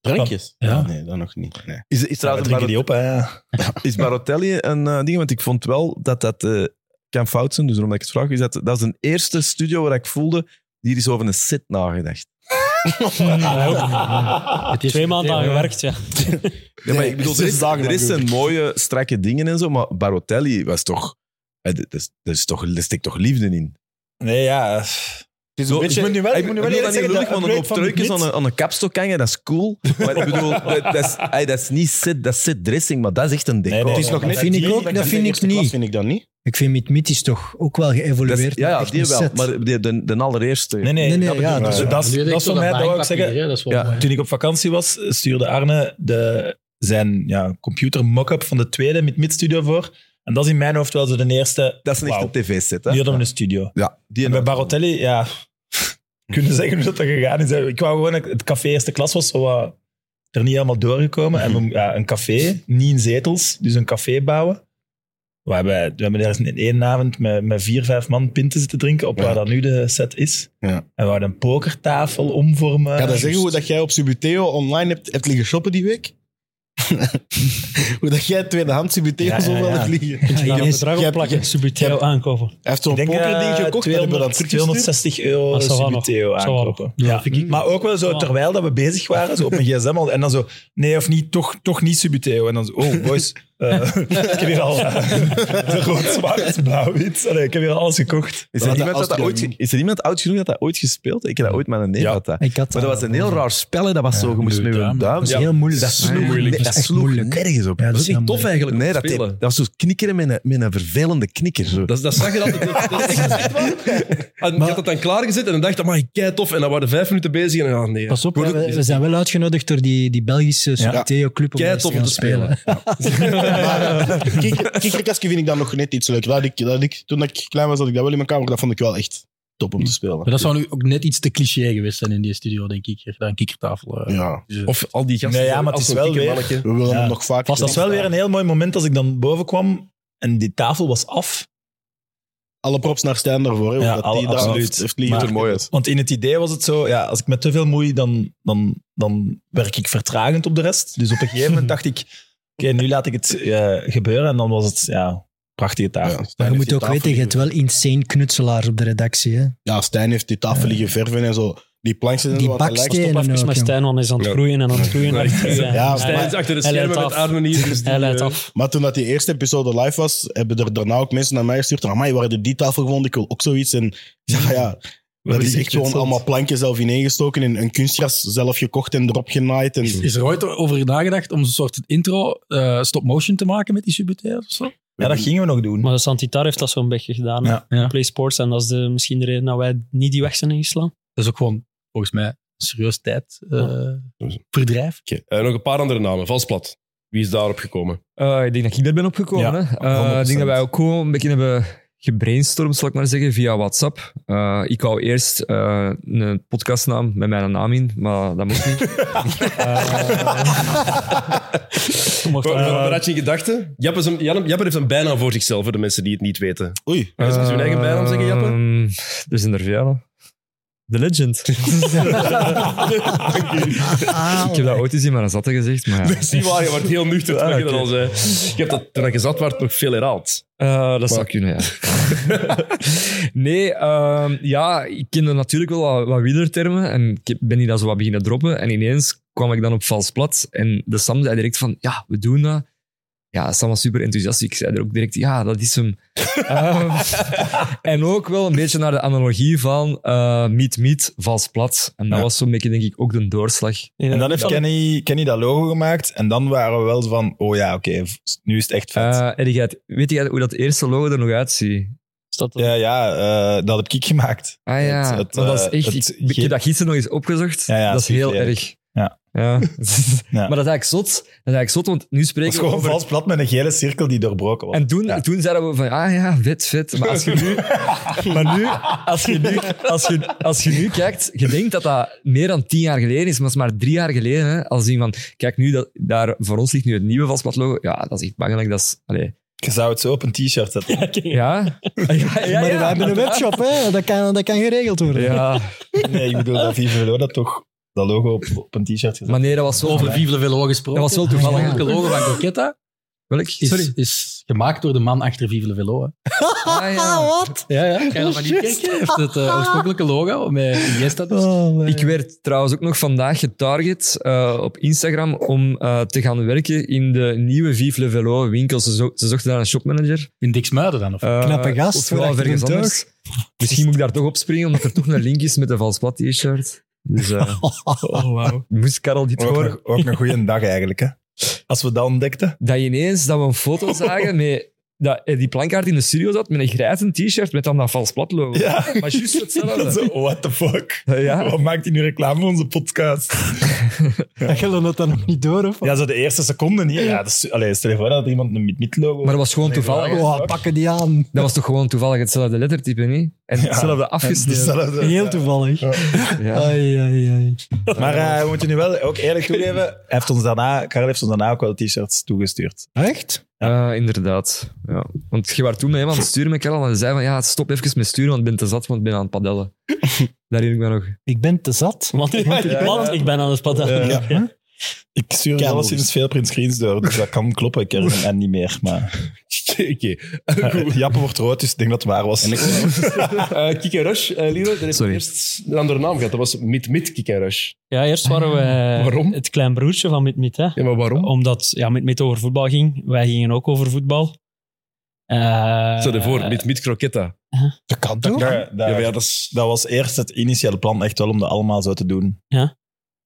L: drankjes?
E: Ja.
L: Ah, Nee, dat nog niet. Nee.
H: Is, is trouwens
I: drinken die op, hè.
H: Is Barotelli een eh, ding? Want ik vond wel dat dat eh, kan fout zijn, dus omdat ik het vraag, is dat, dat is een eerste studio waar ik voelde, hier is over een set nagedacht.
C: Het is Twee maanden aan
H: meteen,
C: gewerkt, ja.
H: Ja, maar ik bedoel, er,
L: zes
H: is,
L: dagen
H: er is
L: lang
H: zijn mooie, strakke dingen en zo, maar Barotelli was toch... eh, dat is- dat is toch- Daar steekt toch liefde in?
I: Nee, ja.
L: is een
H: Zo,
L: beetje-
H: ik moet nu wel,
L: Ik
H: ik moet nu wel
L: bedoel dat
H: eerlijk zeggen,
L: niet lullig,
H: dat een
L: want
H: hoop
L: een hoop
H: truikjes aan
L: trucjes
H: een, aan een kapstok hangen, dat is cool. Maar ik bedoel, dat, dat, is, ey, dat is niet sit, dat is sit dressing, maar dat is echt een
L: nee,
H: decor.
L: dat
K: vind ik ook, dat vind ik niet.
L: vind ik dat niet.
K: Ik vind Mitmit is toch ook wel
H: Dat
K: geëvolueerd.
H: is- ja,
K: naar
H: ja,
K: echt
H: die
K: een
H: wel,
K: set.
H: maar de, de, de allereerste.
I: Nee, nee,
K: nee, ja,
I: dat,
K: dat
I: is-
K: is
I: dat,
K: waar.
I: is-
K: Nu
I: dat
K: denk ik
I: is voor
K: zo
I: mij,
K: dat
I: dat wou ik
K: bankpapier,
I: zeggen.
K: hè, dat is wel mooi.
I: Toen ik op vakantie was, stuurde Arne de, zijn ja, computer mock-up van de tweede met Midstudio voor. En dat is in mijn hoofd wel zo de eerste.
H: Dat is een echte tv-set.
I: Die hadden we een studio.
H: Ja,
I: en bij Barotelli, ja, kunnen zeggen hoe dat er gegaan is. Ik wou gewoon dat het café eerste klas was, zo wat er niet helemaal doorgekomen. En we- ja, een café, niet in zetels, dus een café bouwen. We hebben, we hebben daar in één avond met, met vier, vijf man pinten zitten drinken op waar dat nu de set is. En we hadden een pokertafel omvormen.
L: Ga dat zeggen hoe
I: Ah, Juist.
L: dat jij op Subuteo online hebt, hebt liggen shoppen die week? hoe dat jij tweedehands Subuteo
C: Ja,
L: zo
C: ja,
L: zoveel
C: ja.
L: hebt liggen.
C: Kun je daar een bedrag op
L: Jij-
C: plakken? Subuteo aankopen.
L: Hij heeft zo'n
I: Ik denk,
L: pokerding
I: eh,
L: gekocht. en hebben we dat
I: 200,
L: teruggestuurd.
I: 260 euro
C: Ah, ça va nog.
I: Subuteo
C: Ça va nog.
I: aankopen.
C: Ja,
I: Ja.
C: vind ik-
I: Maar ook wel
C: ça
I: zo,
C: va.
I: terwijl dat we bezig waren, zo op mijn gsm al, en dan zo, nee of niet, toch, toch niet Subuteo. En dan zo, oh boys, eh, ik heb hier al eh, rood, zwart, blauw, wit. Allee, ik heb hier alles gekocht.
H: Is er, iemand dat dat ooit, ge- is er iemand oud genoeg dat dat ooit gespeeld heeft? Ik heb dat ooit met een neef
I: Ja.
H: had dat.
K: Ik had
H: maar dat
K: dat
H: was een heel raar spel. hè. Dat was zo, je moest met je duim...
K: Dat is heel moeilijk.
H: Dat
K: Dat is heel
H: sloeg,
K: moeilijk. Dat
H: nee, dat
K: is echt
H: sloeg
K: moeilijk.
H: nergens op.
K: Ja, dat is heel moeilijk.
H: eigenlijk Nee, dat, deed- dat was zo knikkeren met een, met een vervelende knikker. Zo.
B: Dat, dat zag je altijd. Dat, dat is echt- dat is echt waar. En ik had dat dan klaargezet en dan dacht ik, amai, kei tof. En dan waren we vijf minuten bezig en dan, ah, nee.
K: Pas op, hè, we, we zijn wel uitgenodigd door die, die Belgische Subiteo-club om
B: Kei
K: daar
B: tof
K: te
B: om
K: gaan
B: te spelen.
L: Eh, Kikker- Kikkerkastje vind ik dan nog net iets leuk. Dat ik, dat ik, toen ik klein was, had ik dat wel in mijn kamer. Dat vond ik wel echt top om te spelen.
E: Maar dat zou nu ook net iets te cliché geweest zijn in die studio, denk ik. Echt Een kikkertafel. eh.
L: Ja.
E: Dus, eh,
B: Of al die gasten.
I: Nee, ja, maar het
B: als
I: is
B: zo'n
I: wel
B: dikke
I: weer...
B: mannetje.
L: We willen
I: Ja.
L: hem nog vaak
I: Dat was wel weer een heel mooi moment als ik dan boven kwam en die tafel was af.
L: Alle props naar Stijn daarvoor. Hè,
I: Ja,
L: dat
I: alle-
L: die daar
I: absoluut.
L: heeft- heeft liggen.
I: Maar-
H: er mooi uit.
I: Want in het idee was het zo, ja, als ik met te veel moei, dan, dan, dan werk ik vertragend op de rest. Dus op een gegeven moment dacht ik, oké, nu laat ik het eh, gebeuren. En dan was het, ja, prachtige Dus tafel.
L: Ja,
K: Maar
L: Stijn
K: je
L: heeft
K: moet
L: die
K: ook
L: tafel
K: weten, je hebt
L: liggen-
K: wel insane knutselaars op de redactie. Hè?
L: Ja, Stijn heeft die tafel liggen verven en zo. Die plankjes en
K: Die
L: zo. wat dat
K: bakstenen
L: lijkt.
C: Stop even
K: ook,
C: met
K: jong.
C: Stijn, want hij is aan het groeien en aan het groeien. en aan het groeien.
L: Ja,
C: Hij-
L: Stijn
B: is achter de
C: hij leidt
B: schermen met
C: af.
B: Arne hier, dus die,
C: Hij leidt
B: eh,
C: af.
L: Maar toen dat die eerste episode live was, hebben er daarna ook mensen naar mij gestuurd. Amai, waar heb je die tafel gevonden? Ik wil ook zoiets. En ik zeg, ja, dat
E: hebben
L: is
E: die
L: echt gewoon
E: geknutseld.
L: allemaal plankjes zelf ineengestoken en een kunstgras zelf gekocht en erop genaaid. En...
E: Is, is er ooit over nagedacht om een soort intro eh, stop-motion te maken met die subuteo of zo?
I: Ja, dat gingen we nog doen.
C: Maar Santitar heeft dat zo'n beetje gedaan.
I: Ja,
E: ja.
C: Play Sports. En dat is de, misschien de reden dat wij niet die weg zijn ingeslaan.
E: Dat is ook gewoon, volgens mij, serieus tijd eh, verdrijf.
B: Oké, eh, nog een paar andere namen. Valsplat. Wie is daarop gekomen?
J: Eh, ik denk dat ik daar ben opgekomen.
I: Ja,
J: hè. Eh,
I: 100%.
J: ik denk dat wij ook gewoon een beetje hebben gebrainstormd, zal ik maar zeggen, via WhatsApp. Eh, ik wou eerst eh, een podcastnaam met mijn naam in, maar dat moest niet.
B: Wat
I: Eh,
B: wat had je in gedachten? Jappe, is een- Jan- Jappe heeft een bijnaam voor zichzelf, voor de mensen die het niet weten.
L: Oei.
B: Kun je zijn eigen bijnaam zeggen, Jappe?
J: Eh, Ehm, er zijn er veel. hè. The Legend.
K: Ah,
J: ik heb dat ooit eens in mijn zatte gezegd, maar ja.
B: Dat is niet waar, je wordt heel nuchter
I: Ah,
B: toen je dat al zei. Je hebt dat toen je zat werd nog veel herhaald.
J: Eh, dat zou kunnen, ja. nee, ehm, ja, ik kende natuurlijk wel wat, wat wielertermen en ik heb- ben die dan zo wat beginnen droppen. En ineens kwam ik dan op vals plat en de Sam zei direct van, ja, we doen dat. Ja, Sam was super enthousiast. Ik zei er ook direct, ja, dat is hem. Ehm, en ook wel een beetje naar de analogie van eh meet, meet, vals plat. En dat
I: Ja.
J: was zo'n beetje, denk ik, ook de doorslag.
I: En dan heeft Kenny, Kenny dat logo gemaakt. En dan waren we wel zo van, oh ja, oké, v- nu is het echt vet.
J: Eh, en die gaat- weet je hoe dat eerste logo er nog uitziet?
C: Is dat
I: ja, ja eh, dat heb ik gemaakt.
J: Ah ja,
I: Het- het,
J: maar dat
I: eh,
J: is echt...
I: het
J: ik- ik heb dat gisteren nog eens opgezocht.
I: Ja, ja,
J: dat is
I: super
J: heel
I: lelijk.
J: erg.
I: Ja.
J: Ja.
I: Ja.
J: Maar dat is eigenlijk zot. Dat is eigenlijk zot, want nu
I: Het
J: spreken
I: was
J: we
I: gewoon
J: over...
I: vals plat met een gele cirkel die doorbroken was.
J: En toen,
I: Ja.
J: toen zeiden we van, ah ja, vet, vet. Maar als je nu, maar nu, als je nu, als je, als je nu kijkt, je denkt dat dat meer dan tien jaar geleden is, maar het is maar drie jaar geleden. Hè, als zien van, kijk nu, dat, daar, voor ons ligt nu het nieuwe vastplatlogo. Ja, dat is echt bangelijk. Dat is, allee,
I: Je zou het zo op een t-shirt zetten.
J: ja. Ja, ja, ja,
K: maar we hebben een webshop, hè? Dat, kan, dat kan geregeld worden.
J: Ja,
I: Nee, ik bedoel dat Vive Velo dat toch dat logo op, op een t-shirt gezet.
J: maar nee, dat was wel,
E: Over Vive le Velo gesproken.
J: Dat was wel toevallig.
E: Het logo van Coquetta
J: Welk?
E: Is,
J: Sorry.
E: is gemaakt door de man achter Vive le Velo. Hè.
K: Wat?
E: Ja, ja. Ga je dat van die
K: Just.
E: kerk? Heeft het eh, oorspronkelijke logo met Iniesta dus.
K: Oh,
J: Ik werd trouwens ook nog vandaag getarget eh, op Instagram om eh, te gaan werken in de nieuwe Vive Le Velo winkel. Ze, zo- ze zochten daar een shopmanager. Eh,
E: In Dixmuiden dan? Of?
K: Knappe gast,
J: Of wel
K: voor achter
J: ergens
K: een
J: anders. Misschien moet ik daar toch op springen, omdat er toch een link is met de Valsplat t-shirt. Dus, eh,
E: Oh,
J: Moest Karel dit
I: ook,
J: horen?
I: nog- ook een goede dag eigenlijk, hè? Als we dat ontdekten.
J: dat ineens dat we een foto zagen met dat eh, die plankaart in de studio zat met een grijze t-shirt met dan dat vals plat logo. Maar juist hetzelfde.
I: Zo, what the fuck?
J: Ja.
I: Wat maakt hij nu reclame voor onze podcast?
K: Ja, je dat dan nog niet door, of?
I: Ja, zo de eerste seconde niet. Ja, dus, allee, stel je voor dat er iemand een mid-mid-logo...
J: Maar dat was gewoon toevallig.
K: Oh, pakken die aan.
J: Dat was toch gewoon toevallig hetzelfde lettertype, niet? En
I: Ja.
J: hetzelfde afgesneden.
I: Hetzelfde.
K: Heel toevallig.
J: Ja.
K: Ai, ai, ai.
I: Maar eh, we moeten nu wel ook eerlijk toegeven, hij heeft ons daarna, Karel heeft ons daarna ook wel t-shirts toegestuurd.
K: Echt?
J: Ja, inderdaad. Ja. Want je was toen met hem aan het sturen met Karel en hij zei van ja, stop even met sturen, want ik ben te zat, want ik ben aan het padellen. Daar herinner ik me nog.
K: Ik ben te zat.
C: Want, want,
I: ja,
C: want
I: ja.
C: ik ben aan het padellen.
I: Eh, Ja.
C: Ja.
I: Ik stuur
L: Kei
I: alleszins
L: logisch.
I: veel print screens door, dus dat kan kloppen. Ik ken hem en niet meer, maar... Eh, Jappe wordt rood, dus ik denk dat het waar was.
B: Eh Kick and Rush, eh Leroy, dat heeft
A: Sorry.
B: eerst een andere naam gehad. Dat was Mid-Mid Kick and Rush.
C: Ja, eerst waren we eh,
B: Waarom?
C: het klein broertje van Mit Mit. Hè?
B: Ja, maar waarom?
C: Omdat ja, Mit Mit over voetbal ging. Wij gingen ook over voetbal. Eh,
B: Stel je voor, Mid-Mid Croquetta.
K: Dat kan
I: Dat,
K: toch?
I: dat-
B: Ja, maar ja, dat is,
I: dat was eerst het initiële plan, echt wel, om dat allemaal zo te doen.
B: het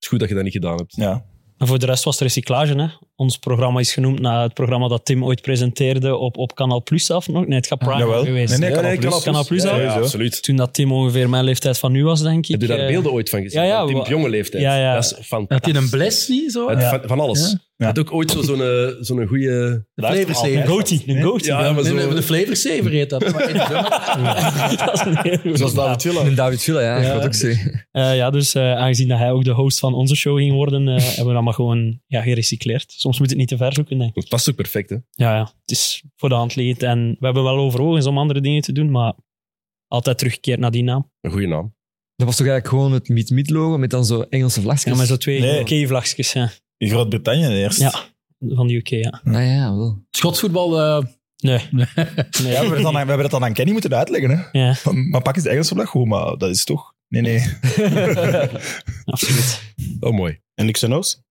B: is goed dat je dat niet gedaan hebt.
I: Ja.
C: En voor de rest was het recyclage. Hè? Ons programma is genoemd naar het programma dat Tim ooit presenteerde op, op Kanaal Plus zelf nog. Nee, het
B: Ah,
C: gaat Prime
I: Jawel.
C: geweest.
I: Nee, nee, Kanaal
C: Kanaal
I: Plus.
C: Plus. Kanaal Plus
B: Ja,
C: al.
B: ja,
I: sowieso.
B: absoluut.
C: Toen dat Tim ongeveer mijn leeftijd van nu was, denk ik.
B: Heb je daar
C: eh,
B: beelden ooit van gezien?
C: ja, ja,
B: Van Tim
C: wa-
B: jonge leeftijd.
C: Ja, ja.
B: Dat is
E: Had
B: fantastisch.
E: hij een bles niet? Zo?
B: Het-
I: Ja.
B: Van, van alles.
E: Ja.
B: Hij had ook ooit zo- zo'n eh, zo'n goede...
C: Een goatee. Een goatee.
B: Ja, maar
E: Nee, nee,
B: zo...
E: de flavor saver heet dat. Maar
C: dat is een hele goeie
L: Zoals
C: naam.
L: David Villa.
J: En David Villa, ja, ik
C: Ja.
J: wil het ook zeggen.
C: Eh, ja, dus eh, aangezien dat hij ook de host van onze show ging worden, eh, hebben we dat maar gewoon ja, gerecycleerd. Soms moet het niet te ver zoeken, denk ik.
B: Dat past ook perfect, hè?
C: Ja, ja, het is voor de hand liggend. En we hebben wel overwogen om andere dingen te doen, maar altijd teruggekeerd naar die naam.
B: Een goede naam.
J: Dat was toch eigenlijk gewoon het Meet-Meet logo met dan zo Engelse vlagjes?
C: Ja, maar zo twee
I: Nee.
C: UK-vlagjes, ja.
I: In Groot-Brittannië eerst.
C: Ja. van de UK, ja.
J: Ah ja, wel.
E: Schotsvoetbal, eh,
C: Nee.
I: Ja, we, hebben het dan, aan- we hebben dat dan aan Kenny moeten uitleggen. Hè?
C: Ja,
I: Van, maar pak eens de Engelse vlag goed, maar dat is toch... Nee, nee.
C: absoluut.
B: Oh, mooi.
L: En Xenos?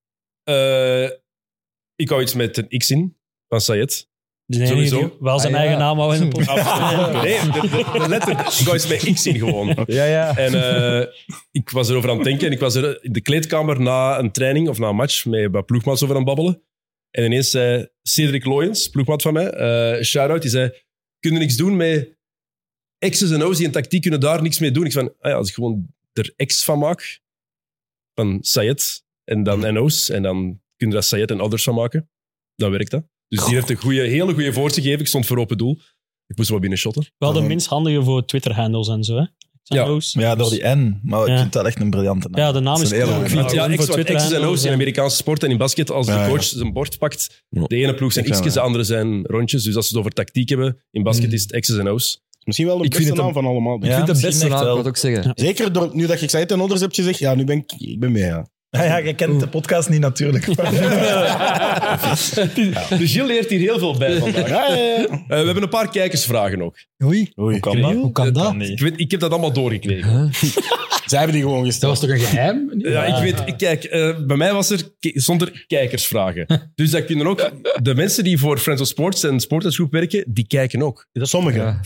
B: Eh, ik hou iets met een X in, van Sayed.
C: Dus nee,
B: Sowieso. Ah,
C: die- Wel zijn
J: Ah, ja.
C: eigen naam houden in de podcast.
B: Nee, de, de- de letter. Ik hou iets met X in gewoon.
J: Ja, ja.
B: En eh, ik was erover aan het denken en ik was er in de kleedkamer na een training of na een match met wat ploegmaats over aan het babbelen. En ineens zei Cedric Loyens, ploegmaat van mij, eh shout-out, die zei, kunnen niks doen met X's en O's en tactiek, kunnen daar niks mee doen. Ik van, ah ja, als ik gewoon er X van maak, van Sayed en dan en O's, en dan kunnen daar Sayed en others van maken, dan werkt dat. Dus die heeft een goede, hele goede voor te geven. Ik stond voor open doel. Ik moest wel binnen shotten.
C: Wel
J: Mhm.
C: de minst handige voor Twitter-handles en zo, hè. Zijn Dus-
B: Ja.
C: O's.
I: Maar ja, door die N. Maar ik
C: Ja.
I: vind dat echt een briljante naam.
C: Ja, de naam
I: Dat is
C: is
I: een hele
C: cool.
I: goeie
C: Ik vind
B: Want ja,
C: het cool
B: X,
C: voor
B: want X's en
C: Twitter-handles,
B: O's in
C: ja.
B: Amerikaanse sport en in basket, als de
I: Ja, ja.
B: coach zijn bord pakt,
H: Ja.
B: de ene ploeg zijn
I: Ik wel,
B: X's, de
I: ja.
B: andere zijn rondjes. Dus als ze het over tactiek hebben, in basket
C: Mm.
B: is het X's en O's.
L: Misschien wel de
J: Ik vind
L: beste
J: het
L: naam van allemaal. denk
I: Ja,
L: ik.
J: ik vind het
I: misschien
J: beste naam,
I: echt
J: ik
I: wel.
J: wil het ook zeggen.
L: Zeker door, nu dat je Xaid en Others hebt gezegd, ja, nu ben ik, ik ben mee. Ja.
I: Ja, ja, je kent de podcast niet natuurlijk.
B: De Gilles leert hier heel veel bij vandaag.
L: Ja, ja, ja.
B: Eh, we hebben een paar kijkersvragen ook.
K: Oei,
I: Hoe kan
K: Oei,
I: dat?
K: hoe kan dat?
B: Ik, weet, ik heb dat allemaal doorgekregen.
L: Zij hebben die gewoon
E: dat
L: gesteld.
E: was toch een geheim?
B: Ja, ik weet, ik- kijk, eh, bij mij was er ki- zonder kijkersvragen. Dus dat kunnen ook de mensen die voor Friends of Sports en Sportersgroep werken, die kijken ook.
L: Sommigen.
J: Ja.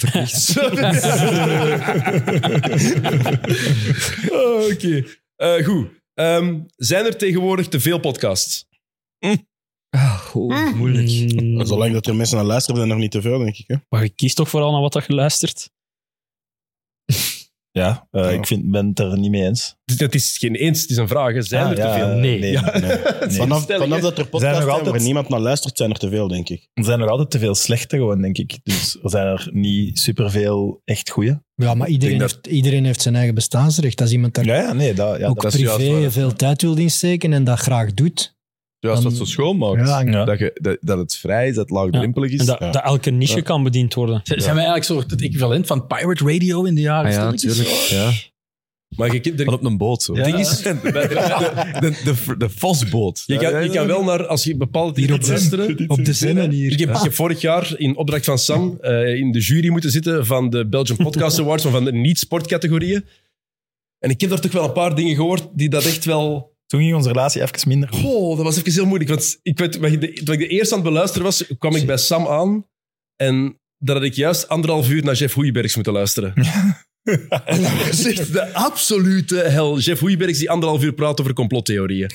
B: Oh, Oké. Eh, goed. Ehm, zijn er tegenwoordig te veel podcasts?
J: Ah, goh, moeilijk.
C: Mm,
L: Zolang dat er mensen naar luisteren, zijn er nog niet te veel, denk ik. Hè?
C: Maar je kiest toch vooral naar wat dat je luistert?
I: Ja, eh, ik vind, ben het er niet mee eens.
B: Dus Dat is geen eens, het is een vraag. hè. Zijn
I: Ah,
B: er
I: ja,
B: te veel?
I: Nee. nee.
L: Vanaf,
B: Stelling,
L: vanaf
B: hè?
L: dat er
I: Zijn er
L: podcasts
I: nog
L: zijn,
I: altijd-
L: waar niemand naar luistert, zijn er te veel, denk ik.
I: Er zijn nog altijd te veel slechte gewoon, denk ik. Dus er zijn er niet superveel echt goeie.
K: Ja, maar iedereen,
I: Ik denk
K: heeft, iedereen heeft zijn eigen bestaansrecht. Als iemand daar
I: Ja, ja nee, dat, ja,
K: ook
I: dat is
K: privé
I: juist waar.
K: veel tijd wil insteken en dat graag doet.
H: Juist wat
K: Dan-
H: zo schoon maakt.
K: Ja,
I: Ja.
H: Dat, je, dat, dat het vrij is, dat het laagdrempelig is.
C: En dat, dat elke niche kan bediend worden.
E: Zijn wij eigenlijk soort het equivalent van pirate radio in de jaren?
J: Ah ja,
E: stilletjes?
J: natuurlijk. Ja.
B: Maar je kunt er...
H: Van op een boot, zo.
B: Het ding is...
H: De, de, de, de Vosboot.
B: Je kan, je kan wel naar, als je bepaalde dingen
H: Hier op de-
B: luisteren.
H: op de zinnen hier. Ah.
B: Ik heb,
H: Ja.
B: ik heb vorig jaar in opdracht van Sam eh, in de jury moeten zitten van de Belgian Podcast Awards, maar van de niet-sportcategorieën. En ik heb daar toch wel een paar dingen gehoord die dat echt wel...
I: Toen ging onze relatie even minder goed.
B: Goh, dat was even heel moeilijk. Want ik weet, toen ik de- toen ik de eerste aan het beluisteren was, kwam ik bij Sam aan. En daar had ik juist anderhalf uur naar Jeff Hoeibergs moeten luisteren. En dat was echt de absolute hel. Jeff Hoeibergs die anderhalf uur praat over complottheorieën.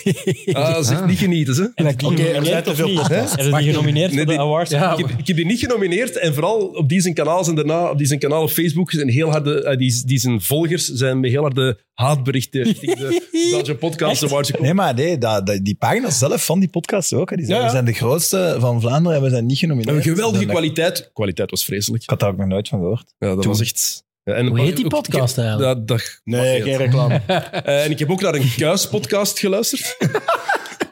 B: Ah, dat is echt niet genieten, ze.
C: Oké, er zijn te veel podcasts. Hebben die genomineerd voor de awards?
B: Ja, ik, heb, ik heb die niet genomineerd. En vooral op die zijn kanaal en daarna op die zijn kanaal op Facebook zijn heel harde, eh, die, die zijn volgers zijn met heel harde haatberichten richting de Belgian Podcast Awards
I: Nee,
B: gekomen.
I: maar nee, dat, dat- die pagina's zelf van die podcast ook. hè, Die zijn,
B: Ja, ja.
I: We zijn de grootste van Vlaanderen en we zijn niet
B: En
I: genomineerd. Dus
B: een geweldige
I: Dan-
B: kwaliteit. Kwaliteit was vreselijk.
I: Ik had daar ook nog nooit van gehoord.
B: Ja, dat was echt... Ja, en-
I: Hoe heet die
B: ook-
I: podcast
B: ik-
I: eigenlijk?
B: Dat, dat-
I: Nee, geen reclame.
B: Eh, en ik heb ook naar een kuispodcast geluisterd.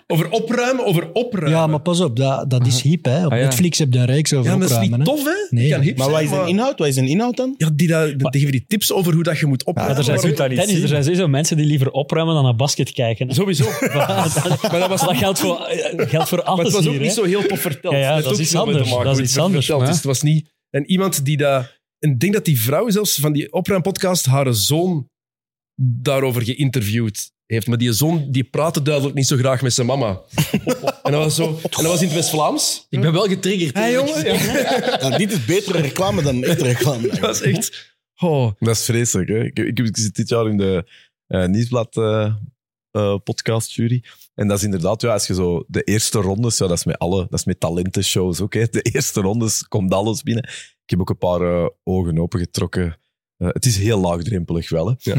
B: over opruimen, over opruimen.
K: Ja, maar pas op, dat, dat is hip, hè. Op
B: Ah, ja.
K: Netflix heb je een reeks over
B: Ja, maar dat is
K: opruimen,
B: niet
K: hè.
B: tof, hè?
K: Nee.
B: Je kan hip
K: Maar
B: zijn,
K: wat is de
L: inhoud? Wat is een inhoud dan?
B: Ja, die, daar- die geven die tips over hoe dat je moet opruimen.
C: er, zijn
B: Maar
C: sowieso,
B: dat niet
C: Dennis, er
B: zien.
C: zijn sowieso mensen die liever opruimen dan naar basket kijken.
B: Sowieso.
C: maar dat, was, dat geldt, voor, eh, geldt voor alles
B: Maar het was
C: hier,
B: ook
C: hè.
B: niet zo heel tof verteld.
C: Ja, ja,
B: Het
C: dat
B: heeft
C: is
B: ook
C: iets
B: veel met
C: anders.
B: te maken
C: Dat is
B: hoe
C: iets
B: het
C: anders,
B: verteld
C: maar-
B: is. Het was niet... En iemand die dat... En ik denk dat die vrouw zelfs van die opruimpodcast haar zoon daarover geïnterviewd heeft. Maar die zoon die praatte duidelijk niet zo graag met zijn mama. en, dat was zo, en dat was in het West-Vlaams.
E: Ik ben wel getriggerd.
B: Hé, jongen.
L: Ja, dit is betere reclame dan echte reclame.
B: Dat is echt... Oh.
H: Dat is vreselijk. Hè? Ik, ik, ik zit dit jaar in de eh Nieuwsblad eh, eh, podcastjury. En dat is inderdaad, ja, als je zo de eerste rondes, ja, dat is met alle, dat is met talentenshows ook. Hè? De eerste rondes komt alles binnen. Ik heb ook een paar eh, ogen opengetrokken. Eh, het is heel laagdrempelig wel. Hè?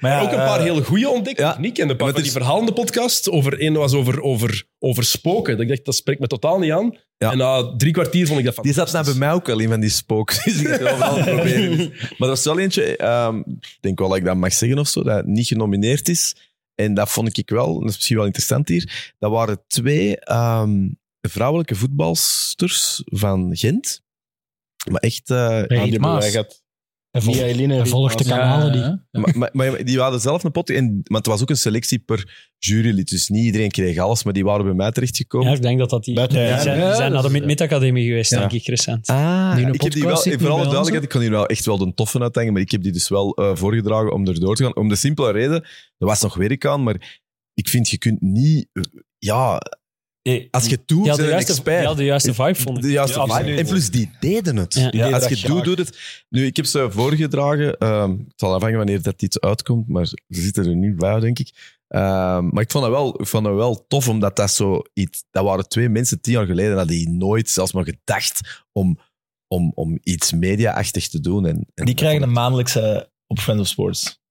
I: Maar
B: ook een paar hele goede ontdekt, ja, niet? En een paar
H: eh, maar
B: van die verhalende podcast. Over, één was over, over, over spoken. Dat ik dacht, dat spreekt me totaal niet aan. En na drie kwartier vond ik dat van...
H: Die zat nou bij mij ook wel in van die spooks. Dus ik heb het overal proberen. Maar er was wel eentje, ehm, ik denk wel dat ik dat mag zeggen of zo, dat niet genomineerd is. En dat vond ik wel, en dat is misschien wel interessant hier. Dat waren twee ehm, vrouwelijke voetbalsters van Gent. Maar echt... eh, ja, die
I: Riet
H: hebben
I: Maas.
H: wij gehad.
I: Hij volgt-
L: Mia Eline,
I: hij
L: Riet
I: volgt de
L: Maas.
I: kanalen die-
H: Maar, maar, maar die hadden zelf een pot. En, maar het was ook een selectie per jurylid. Dus niet iedereen kreeg alles, maar die waren bij mij terechtgekomen.
C: Ja, ik denk dat dat die...
H: Buiten-
C: die
H: ja,
C: zijn,
H: ja,
C: die zijn
H: dat
C: naar de
H: is-
C: Mid-Academie geweest,
H: Ja.
C: denk ik, recent.
H: Ah, ik heb die wel,
C: ik
H: voor alle duidelijkheid, ik kon hier wel echt wel de toffen uithangen, maar ik heb die dus wel eh, voorgedragen om er door te gaan. Om de simpele reden, er was nog werk aan, maar ik vind, je kunt niet... eh, Ja, als je toe,
C: die
H: bent
C: hadden
H: een
C: juiste-
H: expert. Eh,
C: die hadden de juiste vibe, vond ik.
H: De juiste
C: Ja,
H: vibe.
C: absoluut.
H: En plus, die deden het.
C: Ja. Die deden
H: als
C: dat
H: je doet,
C: graag.
H: doet het. Nu, ik heb ze voorgedragen. ehm, het zal afhangen wanneer dat iets uitkomt, maar ze zitten er nu bij, denk ik. Ehm, maar ik vond, dat wel, ik vond dat wel tof, omdat dat zo iets... Dat waren twee mensen tien jaar geleden, dat die nooit zelfs maar gedacht om, om, om iets media-achtig te doen. En, en
I: Die krijgen een maandelijkse op Friends of Sports.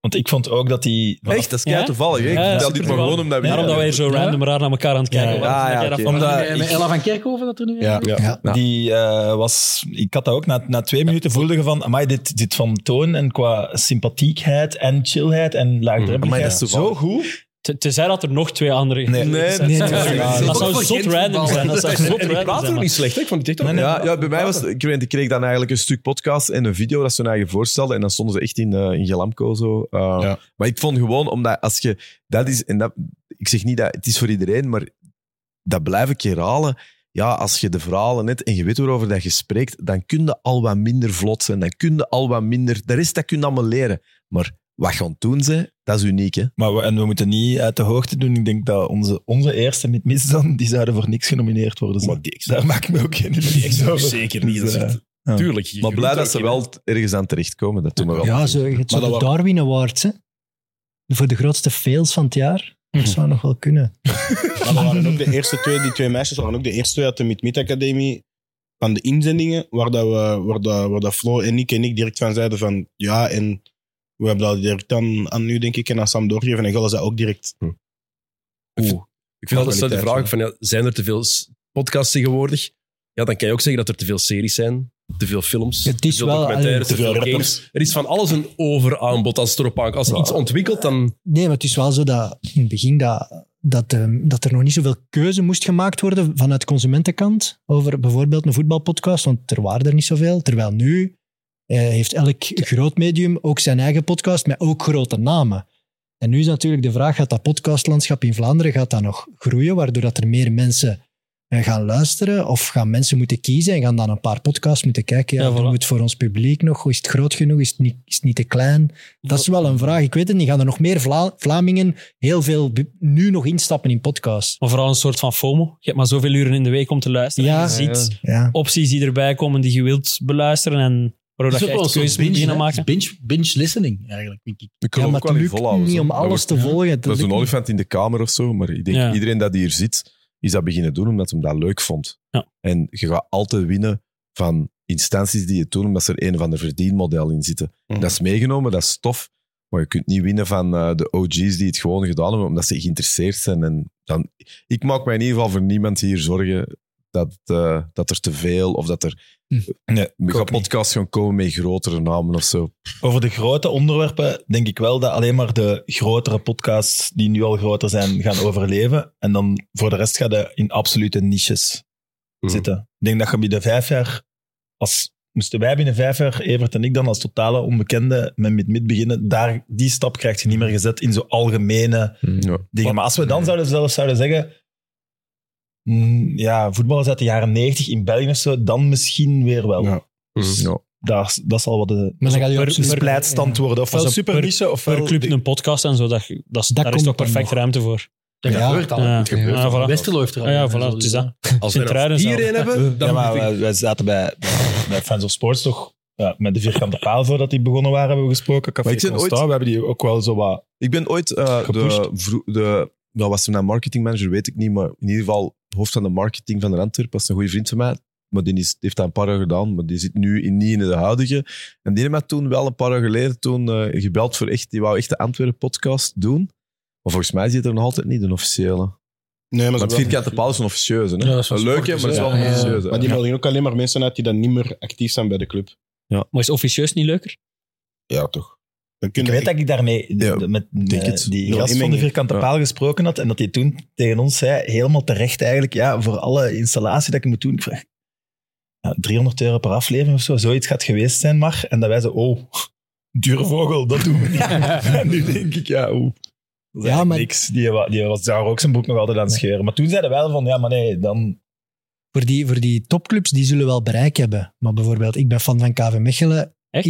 I: Want ik vond ook dat die...
H: Echt, dat is kei toevallig. hè? Ik vertel dit maar gewoon omdat we...
C: Daarom dat wij zo
I: Ja?
C: random raar naar elkaar aan het kijken
I: Ja,
C: waren.
I: ja,
C: Ik dacht
I: oké.
C: van,
I: Omdat-
C: eh,
I: ik-
E: Ella van Kerkhoven dat er nu
I: Ja. Die eh, was... Ik had dat ook. Na, na twee minuten voelde je van... Amai, dit, dit van toon en qua sympathiekheid en chillheid en
C: Mm. Amai,
I: laagdrempelheid.
C: dat is toevallig.
I: zo goed.
C: te- Tenzij dat er nog twee andere...
I: Nee, nee,
C: zijn.
I: nee,
C: Dat
I: nee,
C: zou-
I: nee.
C: Dat zou
I: Voor
C: zot
I: Gent
C: random zijn. Dat zou
B: En-
C: zot
B: en
C: random
B: die praten
C: zijn,
B: ook
C: maar-
B: niet slecht, hè? ik vond die echt ook-
H: ja, ja, bij mij was ik, weet, ik kreeg dan eigenlijk een stuk podcast en een video dat ze hun eigen voorstelden. En dan stonden ze echt in, eh, in Gelamco zo. Eh, Maar ik vond gewoon, omdat als je... Dat is, en dat, ik zeg niet dat het is voor iedereen, maar dat blijf ik herhalen. Ja, als je de verhalen net en je weet waarover dat je spreekt, dan kun je al wat minder vlot zijn. Dan kun je al wat minder... De rest, dat kun je allemaal leren. Maar wat gaan doen ze, dat is uniek, hè.
I: Maar we, en we moeten niet uit de hoogte doen. Ik denk dat onze, onze eerste met misdan, die zouden voor niks genomineerd worden. Maar Daar maak ik me ook geen illusies over.
B: zeker niet.
I: Dus,
B: Dat is
I: eh,
B: echt- Tuurlijk. je
H: Maar
B: groeit
H: blij dat
B: ook
H: ze
B: in,
H: wel ergens aan terechtkomen. Dat doen we wel.
K: Ja, zo, je hebt zo de Darwin Awards, hè. Voor de grootste fails van het jaar. Dat zou nog wel kunnen.
L: Maar dat waren ook de eerste twee, die twee meisjes waren ook de eerste twee uit de Mid-Mid Academie van de inzendingen, waar, dat we, waar, dat, waar dat Flo en ik en ik direct van zeiden van ja, en we hebben dat direct aan, aan nu, denk ik, en aan Sam doorgegeven. En Gullen zei ook direct.
I: Hm.
L: Oeh.
B: Ik vind altijd zo de vraag van, ja, zijn er te veel s- podcasts tegenwoordig? Ja, dan kan je ook zeggen dat er te veel series zijn, te veel films,
K: Het
B: te
K: is
B: veel
K: wel-
B: documentaires, te
K: Te
B: veel
K: veel
B: games. Er is van alles een overaanbod als het erop aankomt. Als er iets ontwikkelt, dan...
K: Nee, maar het is wel zo dat in het begin dat, dat, ehm, dat er nog niet zoveel keuze moest gemaakt worden vanuit consumentenkant over bijvoorbeeld een voetbalpodcast, want er waren er niet zoveel. Terwijl nu eh, heeft elk groot medium ook zijn eigen podcast met ook grote namen. En nu is natuurlijk de vraag, gaat dat podcastlandschap in Vlaanderen gaat dat nog groeien, waardoor dat er meer mensen eh, gaan luisteren? Of gaan mensen moeten kiezen en gaan dan een paar podcasts moeten kijken? Ja,
C: Ja,
K: doen we het voor ons publiek nog? Is het groot genoeg? Is het niet, is het niet te klein? Dat is wel een vraag. Ik weet het niet. Gaan er nog meer Vla- Vlamingen heel veel bu- nu nog instappen in podcasts?
C: Maar vooral een soort van FOMO. Je hebt maar zoveel uren in de week om te luisteren.
K: Ja.
C: je ziet
K: Ja, ja.
C: opties die erbij komen die je wilt beluisteren en waardoor dat je echt keuzes moet beginnen maken.
E: Binge, binge listening, eigenlijk. Denk ik.
H: Ik kan
E: Ja,
H: ook
E: maar
H: wel
E: het
H: niet
E: lukt
H: volhouden,
E: niet
H: zo.
E: om
H: Dat
E: alles
H: wordt-
E: te volgen. Dat
H: Dat is
E: lukt
H: een
E: niet.
H: olifant in de kamer of zo. Maar ik denk,
E: Ja.
H: iedereen dat hier zit, is dat beginnen doen omdat hem dat leuk vond. En je gaat altijd winnen van instanties die het doen, omdat ze er een of ander verdienmodel in zitten. Dat is meegenomen, dat is tof. Maar je kunt niet winnen van eh, de OG's die het gewoon gedaan hebben, omdat ze geïnteresseerd zijn. En dan, ik maak mij in ieder geval voor niemand hier zorgen dat, eh, dat er te veel of dat er gaan podcasts gaan komen met grotere namen of zo.
I: Over de grote onderwerpen denk ik wel dat alleen maar de grotere podcasts die nu al groter zijn gaan overleven. En dan voor de rest gaat je in absolute niches zitten. Ik denk dat je binnen vijf jaar, als moesten wij binnen vijf jaar, Evert en ik dan als totale onbekende met mid-mid beginnen, daar, die stap krijg je niet meer gezet in zo'n algemene dingen. Maar als we dan zouden, zelfs zouden zeggen, mm, ja, voetballers uit de jaren 90 in België of zo, dan misschien weer wel. Dus
H: Ja.
I: Daar, dat zal wat de,
K: Maar dan gaat je
I: per-
K: op zo'n
I: per- splijtstand worden. Of een
C: Ofwel
I: super
C: per-
I: niche, of
C: per club een podcast en zo. Dat, dat, is- daar is
I: komt
C: toch
I: dan
C: perfect
I: nog.
C: ruimte voor.
I: Dat gebeurt al. Het gebeurt al.
C: voilà.
I: Westerlo heeft er al
C: Ah, Ja,
I: een,
C: voilà,
I: zo
C: het
I: is
C: is
I: dat.
C: dat.
I: Als
C: Sint-Truiden zelf.
I: Ja, maar wij, wij zaten bij, bij Fans of Sports toch ja, met de vierkante paal voordat die begonnen waren, hebben we gesproken. Café
H: Maar ik ben
I: Constant,
H: ooit-
I: we hebben die ook wel zo wat...
H: Ik ben ooit eh, de,
I: Gepusht.
H: vro- de, nou was hem dan marketingmanager, weet ik niet, maar in ieder geval hoofd van de marketing van de Antwerp was een goede vriend van mij. Maar die is, heeft dat een paar jaar gedaan, maar die zit nu in, niet in de huidige. En die heeft mij toen wel een paar jaar geleden toen, eh, gebeld voor echt, die wou echt de Antwerpen podcast doen. Maar volgens mij zit er nog altijd niet een officiële.
L: Nee, maar
H: maar het
L: wel-
H: vierkante paal is een officieuze. Hè?
L: Ja, dat is wel
H: een leuke,
L: sportief,
H: maar het is wel
L: ja.
H: een officieuze.
L: Maar die
H: Ja.
L: melden ook alleen maar mensen uit die dan niet meer actief zijn bij de club.
H: Ja.
C: Maar is officieus niet leuker?
L: Ja, toch. Dan
I: Ik weet dat ik daarmee de- met
L: denk
I: eh,
L: het.
I: die
L: Nul
I: gast van de
L: inmenging.
I: vierkante
L: Ja.
I: paal gesproken had en dat hij toen tegen ons zei, helemaal terecht eigenlijk, ja, voor alle installatie dat ik moet doen, ik vraag ja, 300 euro per aflevering of zo, zoiets gaat geweest zijn, maar. En dat wij zo, oh, dure vogel, dat doen we niet. en nu denk ik, ja, oeh. Dat is eigenlijk niks. Die, wa- die was daar ook zijn boek nog altijd aan het scheuren. Maar toen zeiden wij wel van, ja, maar nee, dan...
K: Voor die, voor die topclubs, die zullen wel bereik hebben. Maar bijvoorbeeld, ik ben fan van KV Mechelen.
C: Echt?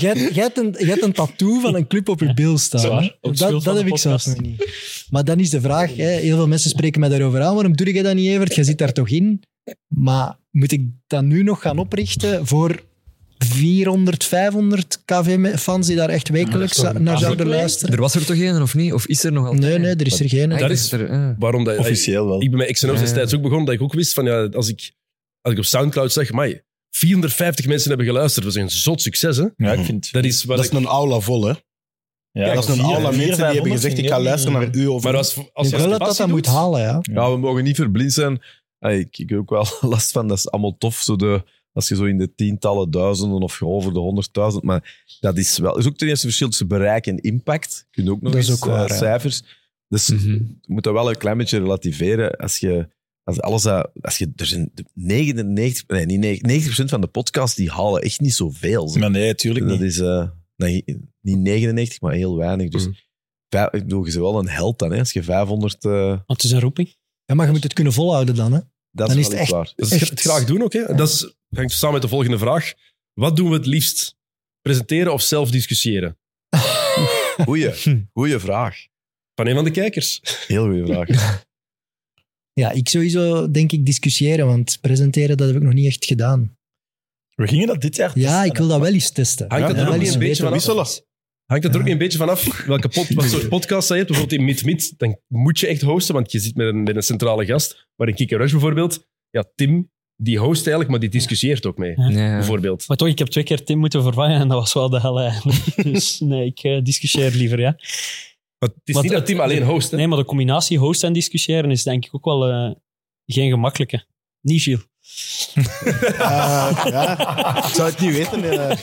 K: Jij jij hebt een, jij hebt een tattoo van een club op je bil
C: Zo
K: staan.
C: waar. Ook schuld
K: Dat, dat
C: van de
K: heb ik zelfs nog
C: podcast.
K: niet. Maar dan is de vraag, hè, heel veel mensen spreken mij daarover aan. Waarom doe je dat niet, Evert? Jij zit daar toch in? Maar moet ik dat nu nog gaan oprichten voor 400, 500 KV-fans die daar echt wekelijks naar zouden luisteren?
J: Er was er toch één, of niet? Of is er nog altijd?
K: Nee, nee, er is er geen.
J: Ah, ik
B: Dat
J: dacht
B: is
J: er, eh.
B: waarom dat,
I: Officieel wel.
B: Ik, ben met XNO's
J: Ja, ja.
B: destijds ook begonnen, dat ik ook wist van, ja, als ik, als ik op Soundcloud zeg, "Amai, 450 mensen hebben geluisterd, dat is een zot succes, hè? Mhm.
I: Ja, ik vind...
B: Dat is, wat
L: Dat is
B: ik-
L: een aula vol, hè?
I: Ja,
L: dat is een aula mensen die hebben gezegd, ik ga luisteren naar u. Over...
B: Maar als, als je
L: Ik wil dat
B: als
L: dat
B: passie
L: moet
B: doet-
K: halen, ja.
H: Ja, we mogen niet verblind zijn. Hey, ik, ik heb ook wel last van, dat is allemaal tof. Zo de, als je zo in de tientallen duizenden of gewoon over de honderdduizend. Maar dat is wel. Er is ook ten eerste verschil tussen bereik en impact. Kun je ook nog
K: Dat is
H: eens
K: ook waar,
H: eh,
K: ja. Mhm.
H: cijfers. Dus je moet dat wel een klein beetje relativeren. Als je. Als alles dat, als je, er zijn 99, nee, niet 90, 90 van de podcasts die halen echt niet zoveel. zeg.
I: Maar nee, tuurlijk
H: dat
I: niet.
H: is eh, nee, niet 99, maar heel weinig. Dus
K: Mhm.
H: vijf- ik bedoel, je bent wel een held dan, hè, als je 500. eh,
C: het is een roeping.
K: Ja, maar je moet het kunnen volhouden dan, hè?
H: Dat
K: dan is
H: is
K: het
H: wel
K: echt,
H: iets waar.
B: Dat is
K: echt-
B: het graag doen ook. Hè? Dat is, hangt samen met de volgende vraag. Wat doen we het liefst? Presenteren of zelf discussiëren?
H: Goeie, goeie vraag.
B: Van een van de kijkers.
H: Heel goede vraag.
K: Ja, ik sowieso denk ik discussiëren, want presenteren dat heb ik nog niet echt gedaan.
I: We gingen dat dit jaar
K: Ja, ik wil dat wel eens testen.
B: Hangt dat
K: Ja,
B: er
K: wel
B: ook
K: eens
B: een beetje
K: weten wat dat
B: van af? Hangt dat er ook een beetje vanaf welke pod, wat soort podcast je hebt? Bijvoorbeeld in Meet Meet, dan moet je echt hosten, want je zit met een, met een centrale gast. Maar in Kick and Rush bijvoorbeeld, ja, Tim, die host eigenlijk, maar die discussieert ook mee. Bijvoorbeeld.
C: Maar toch, ik heb twee keer Tim moeten vervangen en dat was wel de hel eigenlijk. dus nee, ik eh, discussieer liever, ja.
B: Maar het is niet dat Tim alleen host, hè?
C: Nee, maar de combinatie host en discussiëren is denk ik ook wel eh, geen gemakkelijke. Niet, Gilles?
L: Eh, ja. Ik zou het niet weten. eh.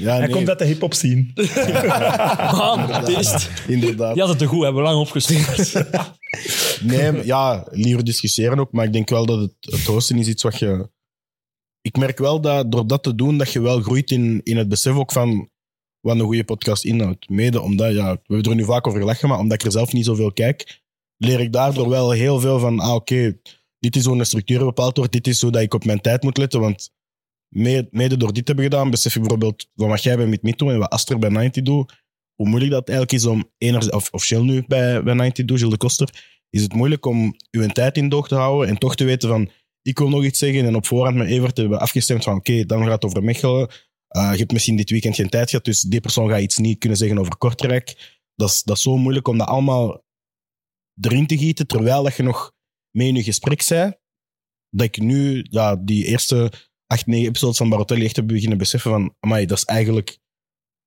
L: Ja,
I: Hij
L: nee.
I: komt uit de hip-hop scene.
C: Man, het is het.
L: Inderdaad.
C: Die had het te goed, hebben we lang opgestuurd.
L: Nee, maar ja, liever discussiëren ook. Maar ik denk wel dat het, het hosten is iets wat je ik merk wel dat door dat te doen, dat je wel groeit in, in het besef ook van wat een goede podcast inhoudt. Mede omdat, ja, we hebben er nu vaak over gelachen, maar omdat ik er zelf niet zoveel kijk, leer ik daardoor wel heel veel van, ah oké, dit is hoe een structuur bepaald wordt, dit is hoe dat ik op mijn tijd moet letten, want me- mede door dit te hebben gedaan, besef ik bijvoorbeeld van wat jij bij Meet doet en wat Aster bij 90 doet, hoe moeilijk dat eigenlijk is om, enerzijds, of, of Shell nu bij, bij 90 doet, Gilles de Koster, is het moeilijk om uw tijd in doog te houden en toch te weten van, ik wil nog iets zeggen en op voorhand met Evert hebben we afgestemd van, oké, dan gaat het over Mechelen, Eh, je hebt misschien dit weekend geen tijd gehad, dus die persoon gaat iets niet kunnen zeggen over Kortrijk. Dat is, dat is zo moeilijk om dat allemaal erin te gieten, terwijl dat je nog mee in je gesprek bent dat ik nu ja, die eerste acht, negen episodes van Barotelli echt heb beginnen beseffen van, amai, dat is eigenlijk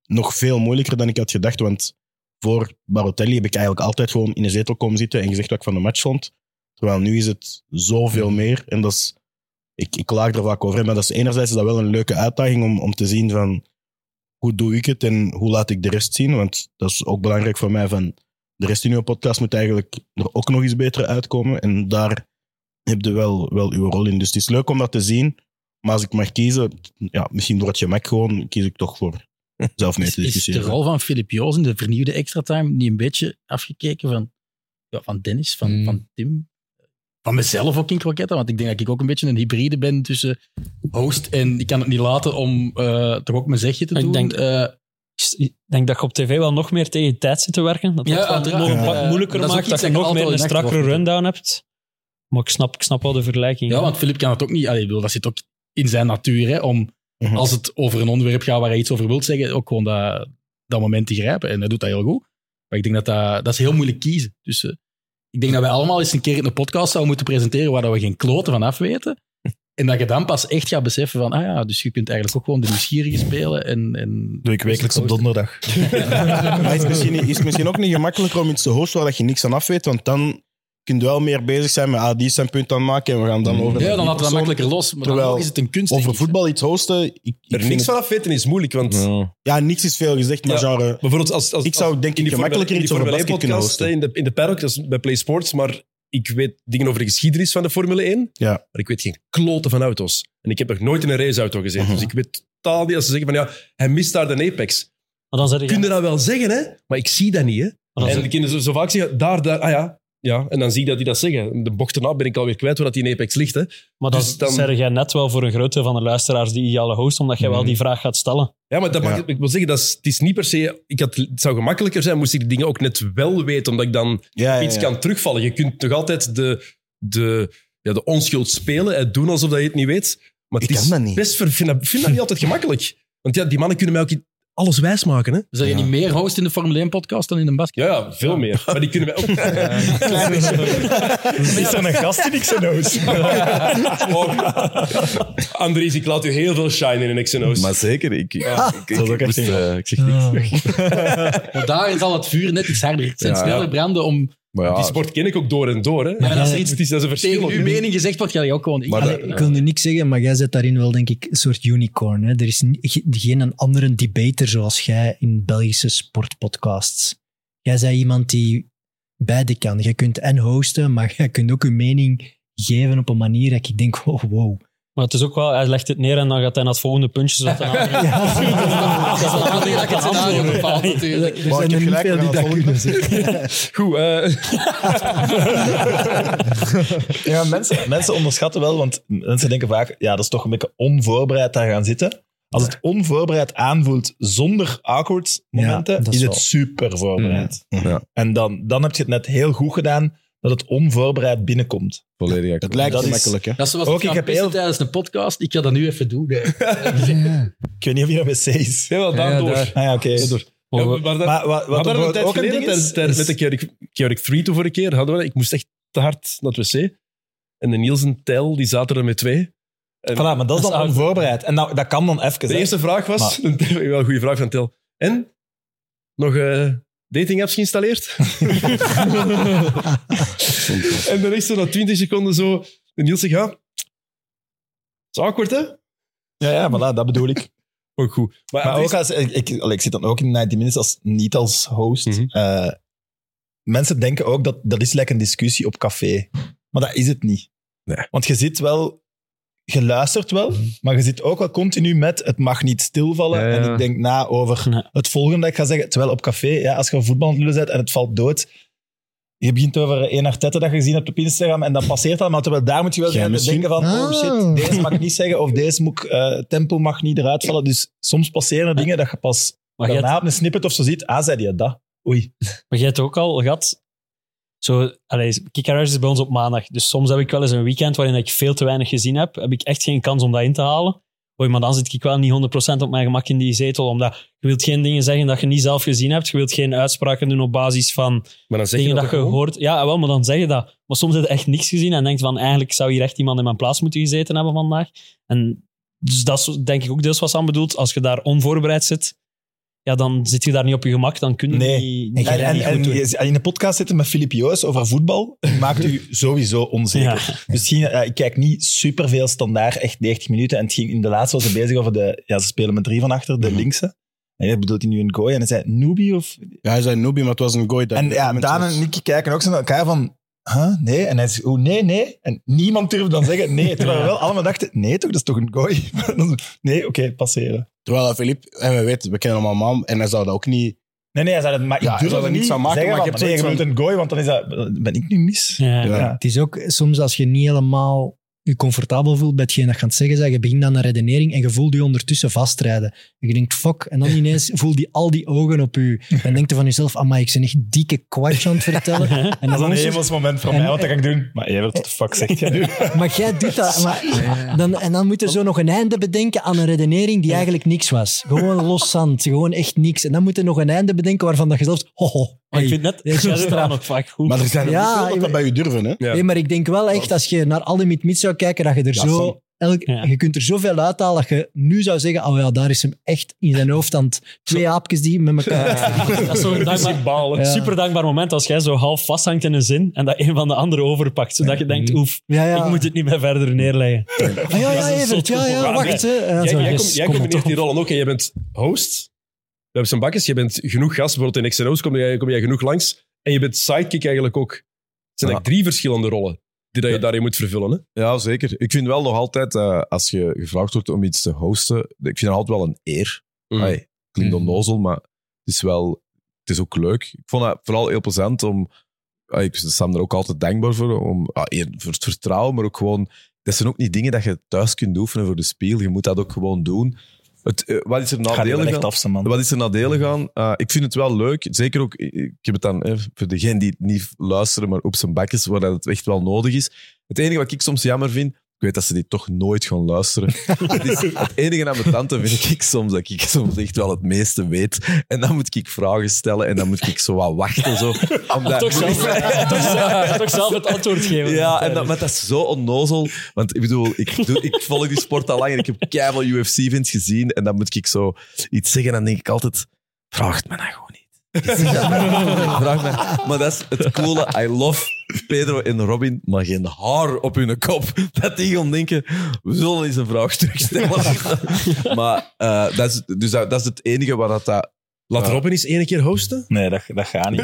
L: nog veel moeilijker dan ik had gedacht, want voor Barotelli heb ik eigenlijk altijd gewoon in de zetel komen zitten en gezegd wat ik van de match vond. Terwijl nu is het zoveel meer en dat is, ik, ik klaag er vaak over, maar dat is enerzijds is dat wel een leuke uitdaging om, om te zien van hoe doe ik het en hoe laat ik de rest zien, want dat is ook belangrijk voor mij van de rest in uw podcast moet eigenlijk er ook nog iets beter uitkomen en daar heb je wel, wel uw rol in. Dus het is leuk om dat te zien. Maar als ik mag kiezen, ja, misschien door het gemak gewoon, kies ik toch voor zelf mee te
E: Is, is de
L: discussiëren.
E: rol van Filip Joos in de vernieuwde extra time niet een beetje afgekeken van, ja, van Dennis, van,
C: Hmm.
E: van Tim? Van mezelf ook in kroketten, want ik denk dat ik ook een beetje een hybride ben tussen host en ik kan het niet laten om eh, toch ook mijn zegje te
C: Ik
E: doen.
C: denk-
E: Eh,
C: Ik denk dat je op tv wel nog meer tegen je tijd zit te werken. Dat
E: Ja,
C: dat het
E: uiteraard.
C: nog een
E: Ja.
C: pak moeilijker
E: Dat is ook
C: maakt, dat
E: iets
C: je
E: dat
C: nog
E: ik
C: meer een
E: altijd in acte
C: strakkere
E: word.
C: rundown hebt. Maar ik snap, ik snap wel de vergelijking.
E: Ja, want Filip kan het ook niet. Allee, ik bedoel, dat zit ook in zijn natuur. Hè, om
I: Mhm.
E: als het over een onderwerp gaat waar hij iets over wilt zeggen, ook gewoon dat, dat moment te grijpen. En hij doet dat heel goed. Maar ik denk dat dat, dat is heel moeilijk kiezen. Dus eh, ik denk dat wij allemaal eens een keer een podcast zouden moeten presenteren waar dat we geen kloten van af weten. En dat je dan pas echt gaat beseffen van, ah ja, dus je kunt eigenlijk ook gewoon de nieuwsgierige spelen. En, en dus
I: Doe ik wekelijks op donderdag.
L: Maar is het misschien, niet- is het misschien ook niet gemakkelijker om iets te hosten waar dat je niks van af weet, want dan kun je wel meer bezig zijn met ah, die is zijn punt aan het maken en we gaan dan over...
E: Mm.
L: naar
E: Ja, dan
L: die
E: laten we dat
L: persoon.
E: makkelijker los. Maar dan
L: Terwijl
E: nog is het een kunst.
L: Over voetbal iets hosten... Ik, ik
B: Er
L: vind
B: niks
L: het-
B: vanaf weten is moeilijk, want...
L: Ja, niks is veel gezegd, maar genre...
B: Bijvoorbeeld als, als,
L: ik zou
B: als-
L: denk
B: in
L: ik
B: die
L: gemakkelijker
B: Formule-
L: iets over basket
B: in die
L: kunnen
B: Formule 1 podcast, hè,
L: hosten.
B: In de, in de paddock, dat is bij Play Sports, maar ik weet dingen over de geschiedenis van de Formule 1,
L: Ja.
B: maar ik weet geen kloten van auto's. En ik heb nog nooit in een raceauto gezeten,
L: Mhm.
B: dus ik weet totaal niet als ze zeggen van ja, hij mist daar de apex.
C: Maar dan
B: Kun je dat wel zeggen, hè? Maar ik zie dat niet, hè?
C: dan
B: en
C: zeg-
B: de kinderen zo, zo vaak zeggen, daar, daar, ah ja. Ja, en dan zie ik dat die dat zeggen. De bocht erna ben ik alweer kwijt waar dat die in apex ligt, hè?
C: Maar dan,
B: Dus
C: zeg jij net wel voor een groot deel van de luisteraars die ideale host, omdat jij wel die vraag gaat stellen.
B: Ja, maar dat
C: Ja.
B: Mag, ik wil zeggen, dat is, het is niet per se... Ik had, het zou gemakkelijker zijn moest ik die dingen ook net wel weten, omdat ik dan
L: ja,
B: iets
L: ja.
B: kan terugvallen. Je kunt toch altijd de, de, ja, de onschuld spelen en doen alsof dat je het niet weet. Maar het
L: Ik
B: is
L: kan dat niet.
B: best... ver- Ik vind dat, ik vind dat niet altijd gemakkelijk. Want ja, die mannen kunnen mij ook i- alles wijsmaken, hè?
E: Dus dat je niet meer host in de Formule 1-podcast dan in een basket?
B: Ja, ja, veel meer. Maar die kunnen wij ook...
I: Is er een gast in Xeno's?
B: Andries, Oh. ik laat u heel veel shine in een XNO's.
H: Maar zeker, ik, ik,
B: Ja.
H: ik, ik,
B: Dat is ook
H: ik
B: echt
H: moest,
B: een-
H: eh, ik zeg niks.
E: Maar daar zal het vuur net iets harder zijn,
B: Ja, ja.
E: sneller branden om...
H: Maar ja,
B: Die sport ken ik ook door en door, hè?
E: maar als er iets
B: Het is, dat is een verschil.
E: tegen
B: ook.
E: uw mening gezegd wordt, ga je ook gewoon...
K: Allee, ik wil nu niks zeggen, maar jij zet daarin wel, denk ik, een soort unicorn. Hè? Er is ni- ge- geen een andere debater zoals jij in Belgische sportpodcasts. Jij bent iemand die beide kan. Jij kunt en hosten, maar jij kunt ook je mening geven op een manier dat ik denk, oh, wow.
C: Maar het is ook wel, hij legt het neer en dan gaat hij naar het volgende puntje. Zodat hij aan-
E: Dat is wel handig dat je het scenario bepaalt, natuurlijk.
I: Dus
K: Er zijn er niet veel die dat kunnen zeggen.
B: Goed, eh,
I: Ja, mensen, mensen onderschatten wel, want mensen denken vaak, ja, dat is toch een beetje onvoorbereid daar gaan zitten. Als het onvoorbereid aanvoelt zonder awkward momenten,
K: Ja, dat
I: is,
K: is
I: het
K: wel.
I: super voorbereid.
B: Mm-hmm.
H: Ja,
I: En dan, dan heb je het net heel goed gedaan dat het onvoorbereid binnenkomt.
H: volledig akkoord.
L: Het lijkt
I: Dat
L: zo
I: is-
L: makkelijk, hè?
E: Dat is zoals
I: Ook,
E: het
I: ik
E: gaan
I: heb
E: pissen
I: heel-
E: tijdens een podcast. Ik ga dat nu even doen. hè.
I: Ik weet niet of je een wc is.
B: Ja, wel, daardoor.
J: Ja, daar.
I: Ah ja, oké.
B: Ja, maar dat-
I: Maar wat,
B: We
I: wat
B: hadden
I: er
B: dat een tijd
I: ook een
B: geleden,
I: ding is,
B: tijdens- tijdens
I: is-
B: met de Keuric- Keuric 3 toen vorige keer, hadden we dat. Ik moest echt te hard naar het wc. En de Niels en Tijl, die zaten er met twee. En Ah,
I: Voilà, maar dat is dan onvoorbereid. En nou, dat kan dan even.
B: de
I: hè.
B: eerste vraag was, wel een goede vraag van Tel. En? Nog eh, datingapps geïnstalleerd? en dan echt zo na 20 seconden zo... De Niels zegt, ja... Het is awkward, hè?
I: Ja, ja, voilà, dat bedoel ik.
B: Ook goed. Maar,
I: Maar
B: het is-
I: ook als, ik, ik, allee, ik zit dan ook in 90 Minutes als, niet als host. Eh, mensen denken ook dat dat is lekker een discussie op café. Maar dat is het niet.
H: Nee.
I: Want je zit wel... je luistert wel, maar je zit ook wel continu met het mag niet stilvallen.
J: Ja, ja.
I: En ik denk na over het volgende dat ik ga zeggen. Terwijl op café, ja, als je voetbal aan het lullen bent en het valt dood, je begint over één artette dat je gezien hebt op Instagram en dat passeert al. Maar terwijl daar moet je wel
L: Jij
I: aan
L: misschien?
I: denken van, oh
L: Ah.
I: shit, deze mag ik niet zeggen of deze moet, ik, eh tempo mag niet eruit vallen. Dus soms passeren er dingen dat je pas
C: Maar je
I: daarna
C: hebt-
I: op een snippet of zo ziet. Ah, zei je dat? Oei.
C: Maar jij hebt ook al gehad... Zo, allee, Kick and Rush is bij ons op maandag. Dus soms heb ik wel eens een weekend waarin ik veel te weinig gezien heb. Heb ik echt geen kans om dat in te halen. Oei, maar dan zit ik wel niet 100% op mijn gemak in die zetel. Omdat je wilt geen dingen zeggen dat je niet zelf gezien hebt. Je wilt geen uitspraken doen op basis van
B: zeg je
C: dingen
B: dat
C: dat,
B: toch
C: je
B: gewoon?
C: hoort. Ja, wel, maar dan zeg je dat. Maar soms heb je echt niks gezien en denkt van... Eigenlijk zou hier echt iemand in mijn plaats moeten gezeten hebben vandaag. En dus dat is denk ik ook deels wat aan bedoelt. Als je daar onvoorbereid zit... Ja, dan zit je daar niet op je gemak. Dan kun je
I: Nee.
C: niet,
I: En,
C: niet-
I: en, en,
C: niet goed doen.
I: je- eh, in de podcast zitten met Filip Joos over voetbal maakt u sowieso onzeker. Dus het ging, ja, ik kijk niet superveel standaard, echt 90 minuten. En het ging, in de laatste was ze bezig over de... Ja, ze spelen met drie van achter, de linkse. En hij bedoelt hij nu een gooi. En hij zei Noobie of...
L: Ja, hij zei Noobie, maar het was een gooi.
I: En ja, Daan en Nicky kijken ook zo naar elkaar van... Huh? Nee? En hij zegt, oh nee, nee. En niemand durft dan zeggen nee. Terwijl we wel allemaal dachten, nee toch, dat is toch een gooi? nee, oké, passeren.
L: Terwijl Filip, en we weten, we kennen hem allemaal, en hij zou dat ook niet...
I: Nee, nee, hij zei dat, maar ik
L: Ja, hij
I: durf
L: zou
I: er
L: er
I: niet
L: niets van maken,
I: zeggen
L: maar
I: van,
L: je hebt
I: nee, je
L: zoiets
I: bedoelt
L: van-
I: een gooi, want dan is dat, ben ik nu mis? Ja.
K: Het is ook soms als je niet helemaal je comfortabel voelt bij hetgeen dat je aan het zeggen bent, je begint aan een redenering en je voelt je ondertussen vastrijden. En je denkt, fuck, en dan ineens voelt die al die ogen op u. En denkt je van jezelf, amai, ik ben echt dikke kwatsch aan het vertellen. En
I: En dat is een
K: ondertussen-
I: hemelsmoment voor
K: en-
I: mij, want dat ga ik doen. Maar Evert, wat de fuck zeg jij nu?
K: Maar jij doet dat. Maar, dan, en dan moet je zo nog een einde bedenken aan een redenering die eigenlijk niks was. Gewoon los zand, gewoon echt niks. En dan moet je nog een einde bedenken waarvan dat je zelf... Ho, ho,
C: Maar
K: hey,
C: ik vind net,
K: dit is
C: jij
K: wel
C: zit
K: straf.
C: aan het vak goed.
L: Maar er zijn er
K: Ja,
L: niet veel dat
K: ik-
L: dat bij u durven, hè?
K: Nee, maar ik denk wel echt, als je naar al die mid-mid zou kijken, dat je er
L: Ja,
K: zo...
L: Sam.
K: Elk, Je kunt er zoveel uithalen dat je nu zou zeggen, oh ja, daar is hem echt in zijn hoofd aan het... Twee aapjes die met elkaar...
C: Dat is zo'n dankbaar,
K: Ja.
C: super dankbaar moment als jij zo half vasthangt in een zin en dat een van de anderen overpakt, zodat je denkt, oef,
K: Ja, ja.
C: ik moet het niet meer verder neerleggen.
K: Ah, ja, ja, Evert, ja, ja, wacht. hè. Ja,
B: jij,
K: zo.
B: jij,
K: Yes,
B: com- jij
K: kom op.
B: combineert die rollen ook. En jij bent host. We hebben zijn bakjes. Je bent genoeg gast. Bijvoorbeeld in XNO's kom jij, kom jij genoeg langs. En je bent sidekick eigenlijk ook. Het zijn
H: Ja.
B: eigenlijk drie verschillende rollen die dat je daarin moet vervullen. Hè?
H: Ja, zeker. Ik vind wel nog altijd, eh, als je gevraagd wordt om iets te hosten, ik vind dat altijd wel een eer.
B: Mm.
H: Ai, klinkt onnozel, maar het is wel, het is ook leuk. Ik vond dat vooral heel plezant om, ai, ik sta er ook altijd dankbaar voor, om, ah, eer- voor het vertrouwen, maar ook gewoon, dat zijn ook niet dingen dat je thuis kunt oefenen voor de spiegel. Je moet dat ook gewoon doen. Het, eh, wat is er
I: Gaat die wel
H: nadelig
I: echt
H: aan?
I: af, zijn man.
H: Wat is er nadelig aan? Eh, ik vind het wel leuk. Zeker ook, ik ik heb het dan, eh, voor degenen die het niet luisteren, maar op zijn bakjes, waar dat het echt wel nodig is. Het enige wat ik soms jammer vind, ik weet dat ze dit toch nooit gaan luisteren. het, is het enige aan mijn tante vind ik soms, dat ik soms echt wel het meeste weet. En dan moet ik vragen stellen en dan moet ik zo wat wachten. Zo, omdat-
C: Toch zelf, toch, zelf, toch zelf het antwoord geven.
H: ja, en dat, maar dat is zo onnozel. Want ik bedoel, ik, doe, ik volg die sport al lang en ik heb keihard UFC-vins gezien. En dan moet ik zo iets zeggen en dan denk ik altijd... Vraag het me nou gewoon niet. Vraag me. Maar dat is het coole. I love Pedro en Robin, maar geen haar op hun kop. Dat die gaan denken, we zullen eens een vraag terugstellen. maar eh, dat, is, dus dat, dat is het enige waar dat... dat
B: Laat
H: eh,
B: Robin eens één keer hosten.
I: Nee, dat, dat gaat niet.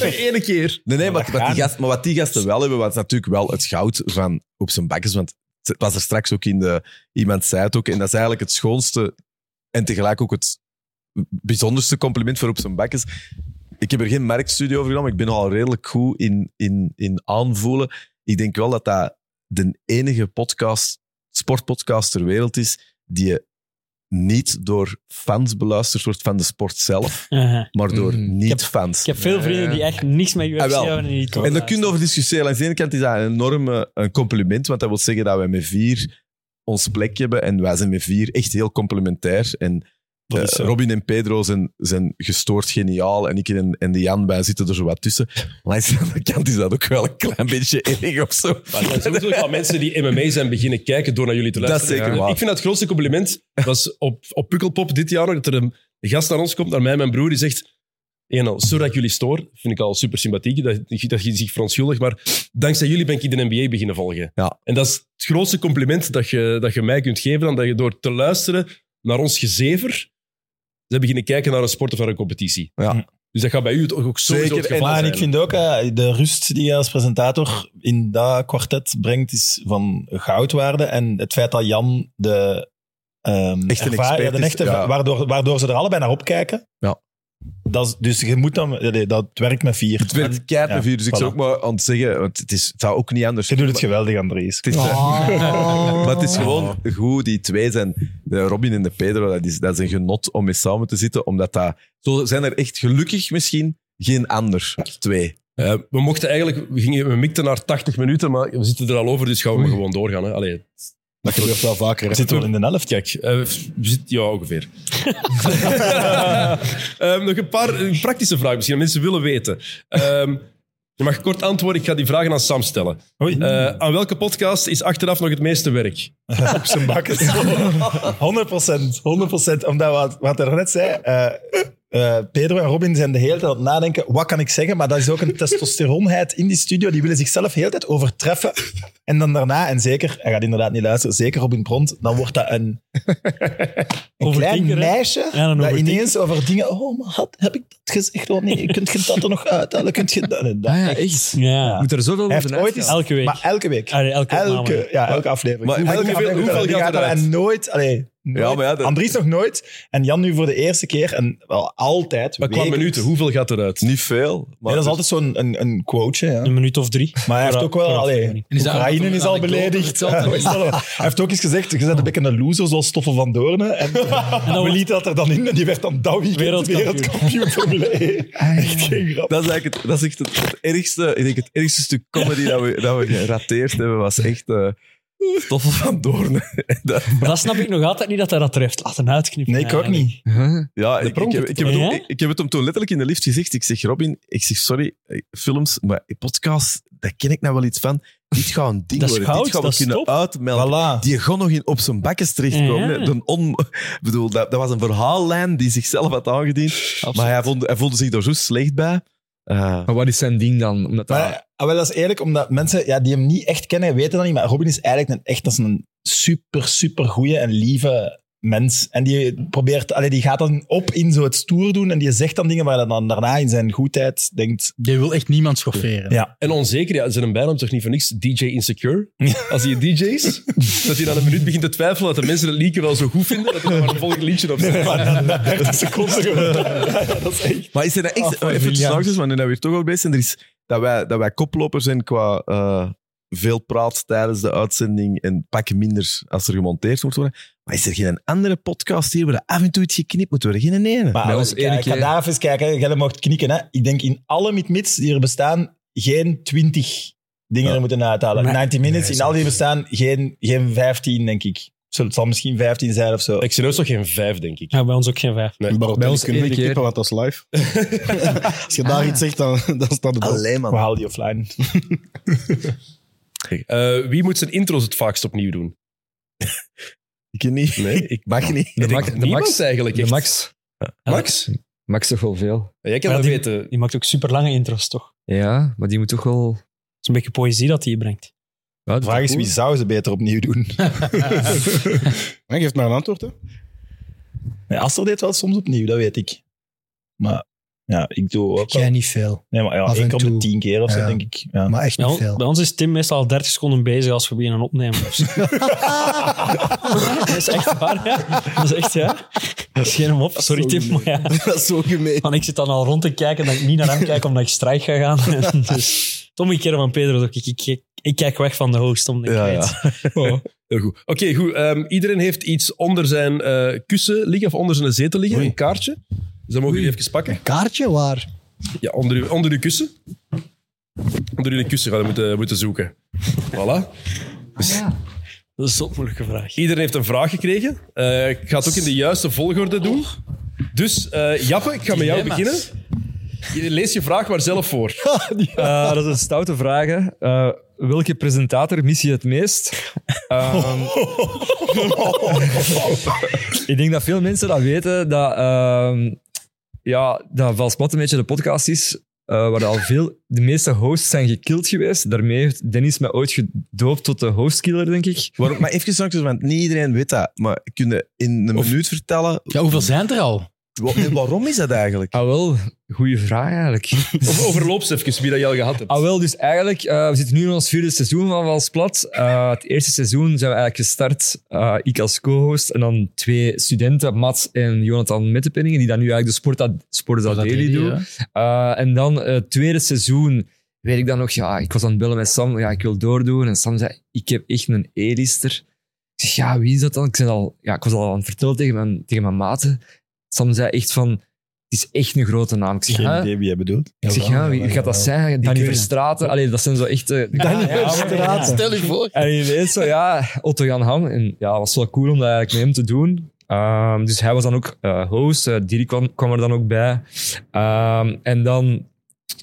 B: Eén keer.
H: Nee, nee maar,
B: dat
H: wat
B: gaat
H: die
B: niet.
H: gasten, maar wat die gasten wel hebben, was natuurlijk wel het goud van op zijn bakjes. Want het was er straks ook in de... Iemand zei het ook. En dat is eigenlijk het schoonste en tegelijk ook het bijzonderste compliment voor op zijn bakjes. Ik heb er geen merkstudie over genomen. Ik ben al redelijk goed in, in, in aanvoelen. Ik denk wel dat dat de enige podcast, sportpodcast ter wereld is die niet door fans beluisterd wordt van de sport zelf,
C: Aha.
H: maar door niet-fans.
C: Ik heb veel vrienden die echt niks met UFC
H: Ah, wel.
C: hebben en die
H: En daar kun je over discussiëren. Aan de ene kant is dat een enorm eh, een compliment, want dat wil zeggen dat wij met vier ons plek hebben en wij zijn met vier echt heel complementair. En
I: Dat is
H: eh,
I: zo.
H: Robin en Pedro zijn, zijn gestoord geniaal en ik en, en de Jan, wij zitten er zo wat tussen. Maar aan de andere kant is dat ook wel een klein beetje erg of zo.
B: Maar er zijn sowieso wel mensen die MMA zijn beginnen kijken door naar jullie te
H: Dat is
B: luisteren.
H: zeker waar.
B: Ik vind dat het grootste compliment was op, op Pukkelpop dit jaar nog, dat er een gast naar ons komt, naar mij en mijn broer, die zegt... Eén al, sorry dat ik jullie stoor. Vind ik al super sympathiek, dat, dat je zich verontschuldigt. Maar dankzij jullie ben ik de NBA beginnen volgen.
H: Ja.
B: En dat is het grootste compliment dat je, dat je mij kunt geven, dan dat je door te luisteren naar ons gezever, ze beginnen kijken naar een sport of naar een competitie.
H: Ja.
B: Dus dat gaat bij u toch ook sowieso
I: Zeker.
B: het geval
I: en,
B: zijn.
I: ik vind ook, eh, de rust die je als presentator in dat kwartet brengt, is van goudwaarde. En het feit dat Jan de... ehm,
H: Echt een
I: erva-
H: expert
I: ja, de
H: is,
I: echte-
H: ja.
I: waardoor, waardoor ze er allebei naar opkijken.
H: Ja.
I: Dat is, dus je moet dan... nee, Dat werkt met vier.
H: Het werd keihard
I: Ja,
H: met vier, dus ik zou
I: voilà.
H: ook maar aan het zeggen, want het, is, het zou ook niet anders Je
I: doet het geweldig, Andries.
H: Het is,
I: Oh.
H: Maar het is gewoon goed, die twee zijn, de Robin en de Pedro, dat is, dat is een genot om mee samen te zitten, omdat dat, zo zijn er echt gelukkig misschien geen ander twee.
B: Eh, we mochten eigenlijk, we, gingen, we mikten naar 80 minuten, maar we zitten er al over, dus gaan we maar gewoon doorgaan. Hè. Allee,
I: Dat gebeurt wel vaker.
B: hè.
I: Zit wel in de helft, kijk.
B: Eh, we zitten- ja, ongeveer. Ehm, nog een paar eh, praktische vragen misschien, dat mensen willen weten. Ehm, je mag kort antwoorden, ik ga die vragen aan Sam stellen. Eh, aan welke podcast is achteraf nog het meeste werk?
I: op zijn bakken. 100 procent, 100 Omdat wat, wat er net zei, eh, eh, Pedro en Robin zijn de hele tijd aan het nadenken, wat kan ik zeggen? Maar dat is ook een testosteronheid in die studio. Die willen zichzelf de hele tijd overtreffen. En dan daarna, en zeker, hij gaat inderdaad niet luisteren, zeker Robin Pront, dan wordt dat een, een klein
L: Overdenker, hè?
I: meisje
L: Ja, een
I: dat
L: overdenker.
I: ineens over dingen, oh, maar had, heb ik dat gezegd? Oh nee, kunt je dat er nog uithalen? Kunt je dat, nee, dat-
J: echt?
C: Ja.
J: Moet er zoveel
I: Hij heeft
J: over
I: ooit eens,
J: uitgaan.
I: Maar elke week.
C: Allee, elke opname.
I: elke, ja, elke aflevering.
H: Maar
I: elke
H: hoeveel-
I: aflevering
H: hoeveel
I: gaat
H: gaat
I: er-
H: eruit?
I: En nooit, allee, nooit.
H: Ja, maar ja, dat-
I: Andries nog nooit. En Jan nu voor de eerste keer. En wel altijd.
B: Maar qua
I: wekelijks.
B: minuten, hoeveel gaat eruit?
H: Niet veel. Maar
I: Nee, dat is altijd zo'n een, een quoteje. Ja. Een
C: minuut of drie.
I: Maar hij heeft
C: Per-
I: ook wel...
C: per
I: Allee,
C: aflevering. En is dat
I: Oekraïne
C: ook
I: is
C: een
I: al
C: anekdote
I: beledigd.
C: verteld?
I: Wat is dat dan? hij heeft ook eens gezegd, je bent een beetje een loser zoals Stoffel van Doornen. En, we lieten dat er dan in en die werd dan dat weekend
C: Wereldkampioen.
I: wereldkampioen Formule 1. Echt geen grap.
H: Dat is eigenlijk het, dat is echt het, het ergste, ik denk het ergste stuk comedy dat we, dat we gerateerd hebben, was echt eh Stoffel van Doorn. dat,
C: Maar dat snap ik nog altijd niet dat hij dat treft. Laat hem uitknippen.
I: Nee, ik ook niet.
H: Ja, ik, ik, heb, ik, heb het,
C: Ja?
H: ook- ik, ik heb het hem toen letterlijk in de lift gezegd. Ik zeg, Robin, ik zeg, sorry, eh, films, maar podcasts, daar ken ik nou wel iets van. Dit gaat een ding
C: Dat is
H: worden.
C: goud,
H: Dit gaan
C: dat
H: we
C: is
H: kunnen
C: top.
H: uitmelden. Die gewoon nog in op zijn bakkes terechtkomen.
C: Ja.
H: hè. De on, ik bedoel, dat, dat was een verhaallijn die zichzelf had aangediend. Maar hij voelde, hij voelde zich daar zo slecht bij. Eh,
J: Maar wat is zijn ding dan? Omdat dat-
I: Maar, ah, wel, dat is eerlijk, omdat mensen ja, die hem niet echt kennen, weten dat niet. Maar Robin is eigenlijk een, echt dat is een super, super goeie en lieve mens. En die, probeert, allee, die gaat dan op in zo het stoer doen en die zegt dan dingen waar hij dan daarna in zijn goedheid denkt...
E: Die wil echt niemand schofferen.
I: Ja.
B: En onzeker, ja, zijn een bijnaam toch niet voor niks, DJ Insecure? Als hij een DJ is, dat hij dan een minuut begint te twijfelen dat de mensen het liedje wel zo goed vinden, dat hij dan maar een volgend liedje op zet.
I: dat is echt...
H: Maar is er nou
B: Ah,
H: echt,
I: Aflevering,
H: even
I: ja.
H: tussen want nu dat we hier toch al bezig zijn, er is dat wij, dat wij koploper zijn qua eh, veel praat tijdens de uitzending en pakken minder als er gemonteerd moet worden. Maar is er geen andere podcast hier waar er af en toe iets geknipt moet worden? Geen ene.
I: Maar
H: Bij
I: als-
H: ons
I: kijk, eh,
H: één
I: ik ga
H: keer.
I: daar even eens kijken. Jij mocht knikken. Hè. Ik denk in alle mitmits die er bestaan, geen twintig dingen er moeten uithalen.
C: Maar-
I: 90 minutes,
B: Nee,
I: in al die bestaan, geen, geen 15, denk ik. Zul- Het zal misschien 15 zijn of zo.
B: Ik serieus toch geen vijf, denk ik.
C: Ja, bij ons ook geen vijf.
B: Nee.
L: Bij ons kunnen we
J: keer.
L: knippen, want dat is live. Als je daar iets zegt, dan, dan staat het op.
H: Alleen
I: We
H: man.
I: halen die offline.
B: Eh, wie moet zijn intro's het vaakst opnieuw doen?
H: Ik niet.
B: Nee, ik
H: Mag niet.
B: ik
J: de,
B: denk
J: Max- de
B: niemand
J: Max
B: eigenlijk.
J: De
B: Echt.
J: Max.
B: Max?
J: Max toch wel veel.
B: Ja, jij kan
C: Maar
B: dat
C: die-
B: weten.
C: Die maakt ook super lange intros, toch? Het
J: Ja, maar die moet toch wel...
C: is een beetje poëzie dat hij brengt.
J: Ja,
I: De vraag Oh, is, wie zou ze beter opnieuw doen?
L: Hij geeft maar een antwoord, hè.
I: Nee, Aster deed wel soms opnieuw, dat weet ik. Maar ja, ik doe ook wel...
K: Jij niet veel.
I: Nee, maar ja,
K: Af en
I: ik op de
K: toe.
I: tien keer of zo,
K: Ja.
I: denk ik. Ja.
K: Maar echt
C: Bij,
K: niet
C: on-
K: veel.
C: bij ons is Tim meestal al 30 seconden bezig als we beginnen opnemen. of zo. dat is echt waar, ja. Dat is echt, ja. Geen hem op, sorry Tim, maar ja.
L: Dat is zo gemeen.
C: Want ik zit dan al rond te kijken dat ik niet naar hem kijk omdat ik strijk ga gaan. En dus het omgekeerde van Pedro. Ik, ik, ik, ik kijk weg van de host omdat ik
H: Ja,
C: weet.
B: Heel goed. Oké, goed. Ehm, iedereen heeft iets onder zijn eh, kussen liggen of onder zijn zetel liggen, een kaartje. Dus dat mogen jullie even pakken.
K: Kaartje waar?
B: Ja, onder uw, onder uw kussen. Onder jullie kussen gaan we moeten, moeten zoeken. Voilà.
C: Dat is een moeilijke vraag.
B: Iedereen heeft een vraag gekregen. Eh, ik ga het ook in de juiste volgorde
C: Oh.
B: doen. Dus eh, Jappe, ik ga met jou beginnen.
C: Dilemma's.
B: Je- Lees je vraag maar zelf voor.
J: Eh, dat is een stoute vraag. hè. Eh, welke presentator mis je het meest? Ehm,
I: Oh.
J: ik denk dat veel mensen dat weten. Dat, ehm ja, dat Valsplat een beetje de podcast is. eh, waar al veel, de meeste hosts zijn gekild geweest. Daarmee heeft Dennis mij ooit gedoopt tot de hostkiller, denk ik.
H: Waarom- maar even straks, want niet iedereen weet dat. Maar kun je in een minuut vertellen...
E: Ja, hoeveel zijn er al?
H: Wa- nee, Waarom is dat eigenlijk?
J: Ah wel, goede vraag eigenlijk.
B: Of overloop eens even wie dat je al gehad hebt.
J: Ah wel, dus eigenlijk, eh, we zitten nu in ons vierde seizoen van Valsplat. Eh het eerste seizoen zijn we eigenlijk gestart, eh, ik als co-host en dan twee studenten, Mats en Jonathan Mettepenningen, die dan nu eigenlijk de sport, ad- sport dat daily
E: Daily,
J: doen. Eh, en dan eh, het tweede seizoen, weet ik dan nog, ja, ik was aan het bellen met Sam, ja, ik wil doordoen. En Sam zei, ik heb echt een E-lister. Ik zeg, ja, wie is dat dan? Ik, zei al, ja, ik was al aan het vertellen tegen mijn, tegen mijn maten. Sam zei echt van, het is echt een grote naam. Ik zeg,
I: Geen
J: "Huh?"
I: idee wie jij bedoelt.
J: Ik zeg, ja, wie gaat dat zijn? Danny
I: weet het.
J: Verstraten? Allee, dat zijn zo eh, echte...
I: Danny Verstraeten.
E: Stel je voor.
J: En ineens zo, ja, Otto-Jan Ham. En ja, het was wel cool om dat eigenlijk met hem te doen. Ehm, dus hij was dan ook eh, host. Eh, Dirk kwam, kwam er dan ook bij. Ehm, en dan,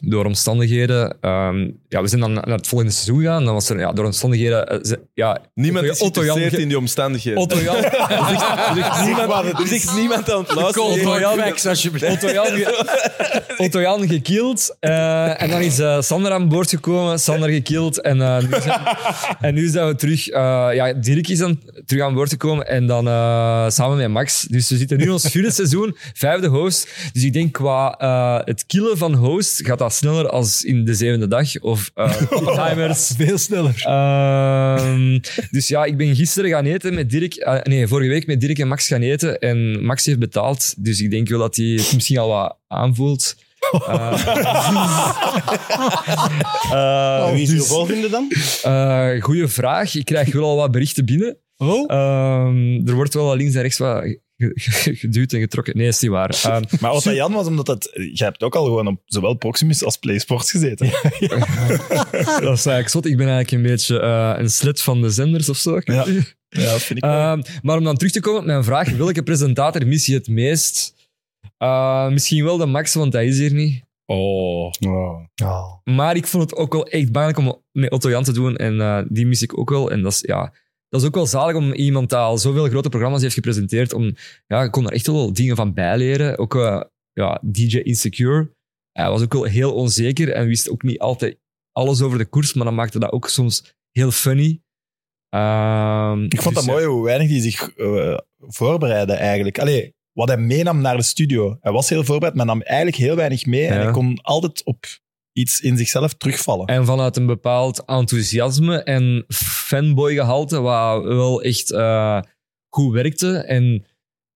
J: door omstandigheden... ehm, ja, we zijn dan naar het volgende seizoen gegaan. Dan was er, ja, door omstandigheden... eh, ze- ja,
N: Niemand
J: Otto-
N: is
J: Otto-Jan
N: geïnteresseerd
J: ge-
N: in die omstandigheden.
J: Otto Jan.
N: Er is echt niemand- er is echt niemand aan het luisteren.
J: Otto Jan, Otto Jan, Otto Jan gekild. eh, en dan is eh, Sander aan boord gekomen. Sander gekild. En, eh, nu, zijn, en nu zijn we terug. eh, ja, Dirk is dan terug aan boord gekomen. En dan eh, samen met Max. Dus we zitten nu in ons vierde seizoen, vijfde host. Dus ik denk qua eh, het killen van host gaat dat sneller als in de zevende dag. Of eh timers.
I: Veel sneller.
J: Ehm, dus ja, ik ben gisteren gaan eten met Dirk. eh, nee, vorige week met Dirk en Max gaan eten. En Max heeft betaald. Dus ik denk wel dat hij het misschien al wat aanvoelt. Eh,
L: Eh, wie is
J: je
L: uw volgende dan?
J: Oh. Dus- Eh, goeie vraag. Ik krijg wel al wat berichten binnen.
L: Oh?
J: Ehm, er wordt wel wat links en rechts wat ge- ge- geduwd en getrokken. Nee, is niet waar. Ehm,
I: maar wat dat Jan was, omdat dat... Je hebt ook al gewoon op zowel Proximus als PlaySports gezeten.
J: dat is eigenlijk zot. Ik ben eigenlijk een beetje eh, een slet van de zenders of zo. Ja,
I: vind
J: ik Ehm, Maar om dan terug te komen op mijn vraag, welke presentator mis je het meest? Eh, misschien wel de Max, want hij is hier niet.
B: Oh.
J: Maar ik vond het ook wel echt belangrijk om met Otto Jan te doen. En eh, die mis ik ook wel. En dat is, ja, dat is ook wel zalig om iemand die al zoveel grote programma's heeft gepresenteerd. Om, ja, ik kon er echt wel dingen van bijleren. Ook eh, ja, DJ Insecure. Hij was ook wel heel onzeker en wist ook niet altijd alles over de koers. Maar dat maakte dat ook soms heel funny. Ehm,
I: Ik vond
J: dus,
I: dat mooi hoe weinig die zich eh voorbereidde eigenlijk. Allee, wat hij meenam naar de studio. Hij was heel voorbereid, maar nam eigenlijk heel weinig mee. En
J: Ja.
I: hij kon altijd op iets in zichzelf terugvallen.
J: En vanuit een bepaald enthousiasme en fanboy-gehalte, wat wel echt eh, goed werkte. En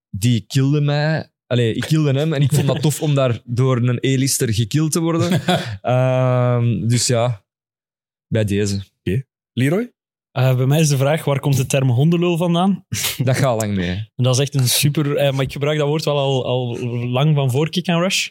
J: die kilde mij. Allee, ik kilde hem en ik vond dat tof om daar door een E-lister gekild te worden. Ehm, dus ja, bij deze.
B: Leroy?
C: Eh, bij mij is de vraag, waar komt de term hondenlul vandaan?
J: Dat gaat lang mee.
C: En dat is echt een super... eh, maar ik gebruik dat woord wel al, al lang van voor Kick and Rush.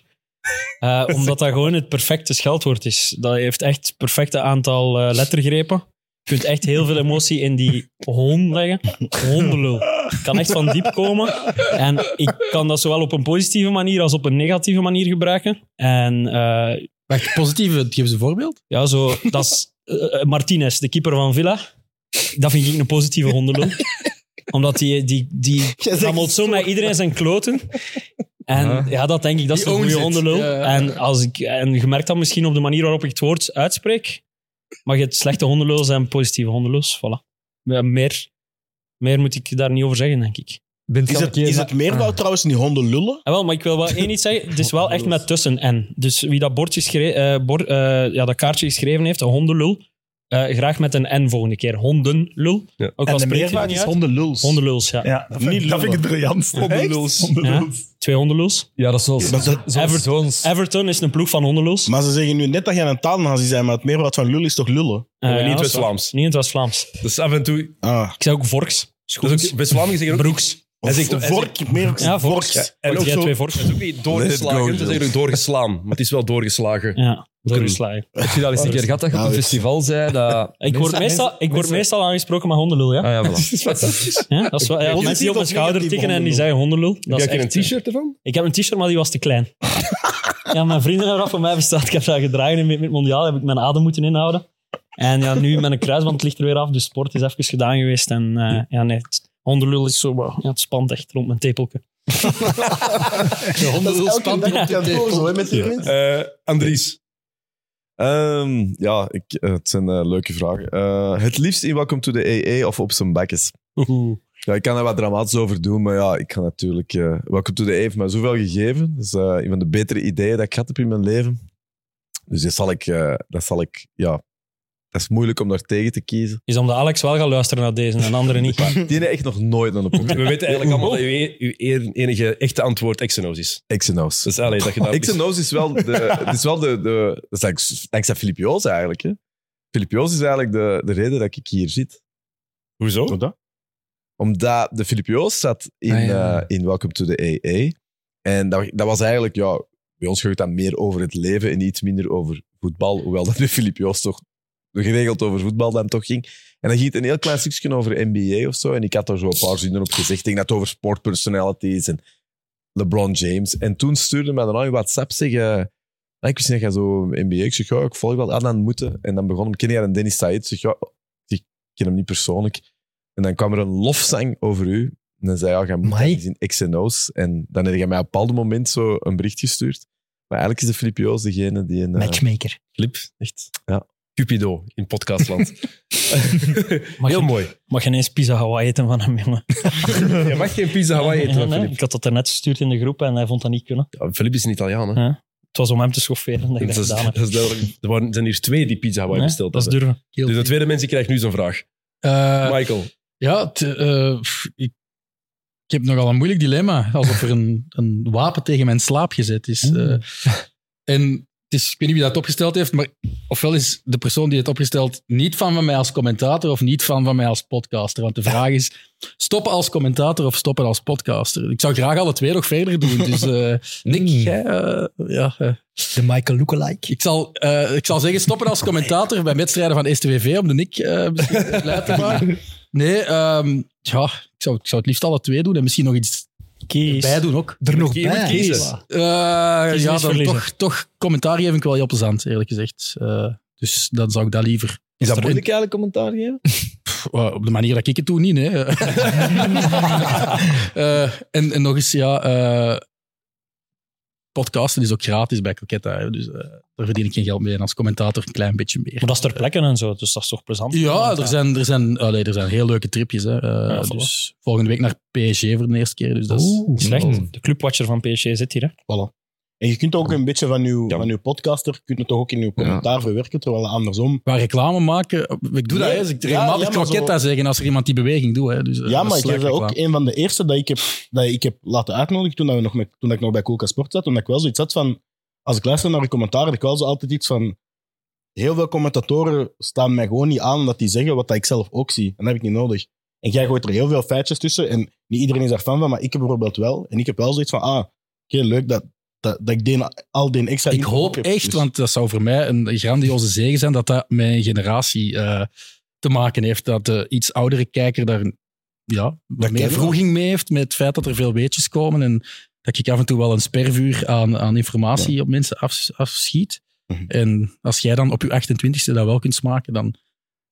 C: Eh, omdat dat gewoon het perfecte scheldwoord is. Dat heeft echt het perfecte aantal eh, lettergrepen. Je kunt echt heel veel emotie in die hon leggen. Hondelul. Het kan echt van diep komen. En ik kan dat zowel op een positieve manier als op een negatieve manier gebruiken. En, eh,
E: Wacht, positieve, geef eens een voorbeeld.
C: Ja, zo, dat is eh, eh, Martinez, de keeper van Villa. Dat vind ik een positieve hondenlul. Omdat die, die, die rammelt zo met iedereen zijn kloten. En ja.
O: Ja.
C: dat denk ik, dat is
O: Die
C: een goede
O: owns it.
C: hondenlul.
O: Ja, ja, ja.
C: En, als ik, en je merkt dat misschien op de manier waarop ik het woord uitspreek. Maar je hebt slechte hondenlul en positieve hondenlul. Voilà. Ja, Meer, meer moet ik daar niet over zeggen, denk ik.
L: Is het, is het
O: Ah.
L: meervoud
J: Ah.
L: trouwens niet honden lullen?
C: Ah, wel, maar ik wil wel één iets zeggen. Het is wel echt met tussen en. Dus wie dat, bordje schre- eh, bor- eh, ja, dat kaartje geschreven heeft, een hondenlul, eh, graag met een N volgende keer. Hondenlul. Ook
I: En
C: al
I: de
C: spreek je
I: meervoud
C: het niet
I: is
C: uit.
I: hondenluls.
C: Hondenluls, ja.
I: Ja, dat vind ik- dat vind ik het briljantste. Hondenluls. Echt? Hondenluls.
C: Ja, Twee hondenluls.
J: Ja, dat is wel...
C: Everton, Everton is een ploeg van hondenlul.
L: Maar ze zeggen nu net dat jij een taalnazi zijn, maar het meervoud van lul is toch lullen?
C: Ah, ja, dat is waar. Niet in het West-Vlaams.
B: Dus af en toe...
C: Ik zei ook vorks.
B: Dat is Dus ook- West-Vlamingen zeggen ook...
C: Broeks.
B: Hij zegt, hij zegt-
L: Vork, meer-
C: Ja, vorks.
B: Ja, en ook
C: Jij
B: zo,
C: twee vorks.
B: Het is ook niet doorgeslagen,
C: Let it
B: het
C: go,
B: is eigenlijk doorgeslaan. Maar het is wel doorgeslagen.
C: Ja, doorgeslagen.
J: Heb je dat eens een keer gehad dat
L: Nou,
J: je op een festival zei? Dat
C: Ik word, meestal, ik word meestal aangesproken met hondenlul, ja.
J: Ah, ja, voilà.
C: Ja, dat is wel, ja,
J: Positief
C: mensen die op mijn
J: of
C: schouder
J: negatief
C: tikken en die
J: hondenlul?
C: zeggen hondenlul.
J: Heb
C: Dat is
J: jij
C: echt, eh,
J: een
B: t-shirt ervan?
C: Ik heb een t-shirt, maar die was te klein. ja, mijn vrienden hebben dat voor mij besteld. Ik heb dat gedragen in met met het mondiaal. Heb ik mijn adem moeten inhouden. En ja, nu met een kruisband ligt er weer af. Dus sport is even gedaan geweest. En eh, ja, nee, het hondenlul is zo... wow, ja, het spant echt rond mijn tepelke.
N: De hondenlul spant
L: dag op de kantoor, zo, hè, met die
B: Andries.
N: Ehm, ja, ik, eh, het zijn eh, leuke vragen. Eh, het liefst in Welcome to the AA of op zijn bekkes.
C: Oeh.
H: Ja, ik kan er wat dramatisch over doen, maar ja, ik ga natuurlijk... eh Welcome to the Eve, maar zoveel gegeven. Dat is eh, een van de betere ideeën dat ik had heb in mijn leven. Dus dat zal ik... eh, dat zal ik ja, dat is moeilijk om daar tegen te kiezen.
C: Is omdat Alex wel gaat luisteren naar deze en anderen niet.
H: Die hebben echt nog nooit naar de podcast.
B: We weten eigenlijk allemaal dat uw e- uw e- enige echte antwoord Exynos is.
H: Exynos.
B: Dus allee, dat je daar...
H: Xenos is wel de... het is wel de, de dat is dankzij Filip Joos eigenlijk. Hè. Filip Joos is eigenlijk de, de reden dat ik hier zit.
B: Hoezo?
H: Omdat de Filip Joos zat in,
B: Ah, ja.
H: eh, in Welcome to the AA. En dat, dat was eigenlijk... Ja, bij ons ging het dan meer over het leven en iets minder over voetbal. Hoewel dat de Filip Joos toch geregeld over voetbal dan toch ging. En dan ging het een heel klein stukje over NBA of zo. En ik had daar zo een paar zinnen op gezegd. Ik denk dat het over sportpersonalities en LeBron James. En toen stuurde mij dan al in WhatsApp zeggen. ik wist niet dat jij zo NBA. Ik zeg, ja, ik volg wel. Ah, dan moeten. En dan begon hem, ken jij een Dennis Said? Ik zeg, ja, ik ken hem niet persoonlijk. En dan kwam er een lofzang over u. En dan zei hij, ja, jij moet dat eens in X en O's. En dan heb jij mij op een bepaald moment zo een bericht gestuurd. Maar eigenlijk is de Filip Joos degene die een... eh,
K: Matchmaker.
B: Flip, echt.
H: Ja.
B: Cupido in podcastland.
C: Heel mooi. Mag je ineens pizza Hawaii eten van hem, jongen?
B: je mag geen pizza Hawaii eten
C: Ja,
B: van
C: nee,
B: Filip.
C: Ik had dat daarnet gestuurd in de groep en hij vond dat niet kunnen.
B: Filip is een Italiaan, hè?
C: Ja. Het was om hem te schofferen dat ik
B: Dat
C: dat
B: is,
C: gedaan
B: dat
C: heb.
B: is duidelijk. Er waren- zijn hier twee die pizza Hawaii
C: Nee,
B: besteld
C: dat is
B: hebben.
C: durven.
B: Dus de tweede mensen krijgt nu zo'n vraag.
E: Eh,
B: Michael.
E: Ja, het, eh, pff, ik, ik heb nogal een moeilijk dilemma. Alsof er een, een wapen tegen mijn slaap gezet is. Eh, en het is, ik weet niet wie dat opgesteld heeft, maar ofwel is de persoon die het opgesteld niet fan van mij als commentator of niet fan van mij als podcaster. Want de vraag is, stoppen als commentator of stoppen als podcaster? Ik zou graag alle twee nog verder doen. Dus eh Nick, jij, eh, ja, eh,
K: De Michael Lookalike.
E: ik zal, eh, ik zal zeggen stoppen als commentator bij wedstrijden van STVV om de Nick eh blij te maken. Nee, ehm, ja, ik zou, ik zou het liefst alle twee doen en misschien nog iets bij doen ook.
K: Er nog
E: Je moet
K: bij.
E: kiezen. Eh,
K: Kiezen
E: ja,
K: is
E: dan
K: verliezen.
E: toch, toch commentaar geven vind ik wel heel plezant, eerlijk gezegd. Eh, dus dan zou ik dat liever.
H: Is dat
E: Er-
H: moeilijk eigenlijk, commentaar geven?
E: Pff, eh, op de manier dat ik het doe, niet. Hè. Eh, en, en nog eens, ja, eh, podcasten is ook gratis bij Coquetta. hè. Dus eh, daar verdien ik geen geld mee. En als commentator een klein beetje meer.
C: Maar dat is ter plekke en zo, dus dat is toch plezant?
E: Ja, er zijn, er, zijn, allee, er zijn heel leuke tripjes. Hè. Eh,
C: Ja, voilà.
E: dus volgende week naar PSG voor de eerste keer. Dus dat is
J: oh.
C: Slecht. De clubwatcher van PSG zit hier, hè?
L: Voilà. En je kunt ook een beetje van uw, van uw podcaster, kunt het toch ook in uw commentaar verwerken, terwijl andersom...
E: Waar reclame maken, ik doe dat. Hè. Dus ik
L: Ja,
E: regelmatig
L: ja, maar zo-
E: Croquetta zeggen als er iemand die beweging doet. Hè. Dus,
L: Ja,
E: eh, dat
L: maar
E: is
L: ik was
E: slecht
L: ook
E: reclame.
L: een van de eerste dat ik heb, dat ik heb laten uitnodigen toen, dat we nog met, toen ik nog bij Coca Sport zat. Omdat ik wel zoiets had van... Als ik luister naar de commentaar, heb ik wel zo altijd iets van... Heel veel commentatoren staan mij gewoon niet aan dat die zeggen wat dat ik zelf ook zie. En dat heb ik niet nodig. En jij gooit er heel veel feitjes tussen. En niet iedereen is daar fan van, maar ik heb bijvoorbeeld wel. En ik heb wel zoiets van... Ah, oké, leuk dat, dat, dat ik die, al die extra...
E: Ik
L: info
E: hoop
L: ook heb.
E: echt,
L: Dus-
E: want dat zou voor mij een grandioze zegen zijn dat dat mijn generatie eh, te maken heeft. Dat de iets oudere kijker daar ja, meer
L: kennen we.
E: vroeging mee heeft met het feit dat er veel weetjes komen. En dat ik af en toe wel een spervuur aan, aan informatie op mensen af, afschiet.
L: Mhm.
E: En als jij dan op je 28ste dat wel kunt smaken, dan,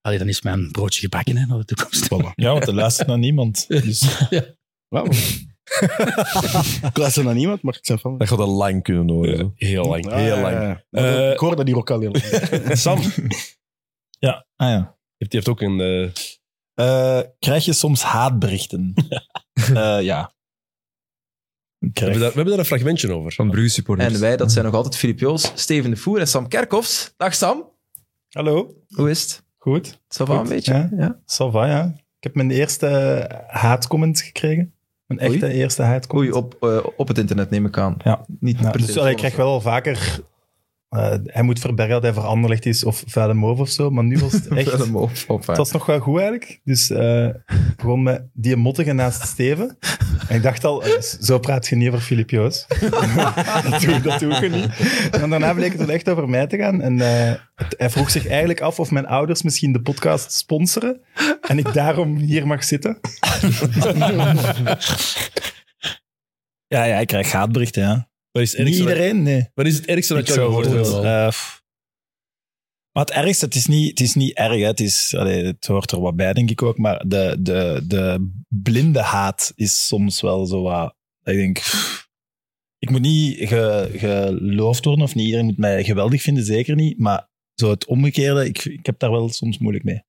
E: allee, dan is mijn broodje gebakken hè, naar de toekomst.
I: Ja, want er luistert naar niemand. Dus,
E: ja.
L: Wauw. ik luister naar niemand, maar ik ben fan.
H: Dat gaat al lang kunnen horen. zo.
B: Eh, Heel lang.
L: Ah, ja, ja, ja. Maar
B: Eh,
L: ik hoor dat hier ook al heel lang.
B: Sam.
I: ja. Ah, ja.
B: Die heeft ook een... eh,
I: Eh, krijg je soms haatberichten? Eh, ja.
B: we, hebben daar, we hebben daar een fragmentje over. Van
J: Bruce supporters.
N: En wij, dat zijn nog altijd Filip Jols, Steven de Voer en Sam Kerkhoffs. Dag Sam,
I: Hallo.
N: hoe is het?
I: Goed.
N: Ça va
I: Goed,
N: een beetje?
I: Ja,
N: Ja.
I: Ça va, ja. Ik heb mijn eerste haatcomment gekregen. Mijn
N: Oei.
I: echte eerste haatcomment.
N: Oei, op, eh, op het internet neem ik aan.
I: Ja.
N: Niet
I: Ja,
N: per
I: dus
N: telefoon
I: allee, ik
N: of
I: krijg
N: zo.
I: wel al vaker... eh, hij moet verbergen dat hij voor Anderlecht is of vuile move of zo, maar nu was het echt...
N: Vuile move, of,
I: het was nog wel goed eigenlijk. Dus eh, ik begon met die mottige naast Steven. En ik dacht al, eh, zo praat je niet over Filip Joos. dat, doe, dat doe je niet. En daarna bleek het wel echt over mij te gaan. En eh, het- hij vroeg zich eigenlijk af of mijn ouders misschien de podcast sponsoren. En ik daarom hier mag zitten. ja, ja, ik krijg haatberichten, ja.
B: Wat is het
I: Niet
B: ergste dat-
I: iedereen, nee.
B: Wat is het ergste dat
I: Ik
B: je
I: zou
B: gehoord hebt?
I: bijvoorbeeld, eh, pff. maar het ergste, het is niet, het is niet erg. Hè. Het, is, allee, het hoort er wat bij, denk ik ook. Maar de, de, de blinde haat is soms wel zo wat... dat Ik denk, pff, ik moet niet ge- geloofd worden of niet. Iedereen moet mij geweldig vinden, zeker niet. Maar zo het omgekeerde, ik, ik heb daar wel soms moeilijk mee.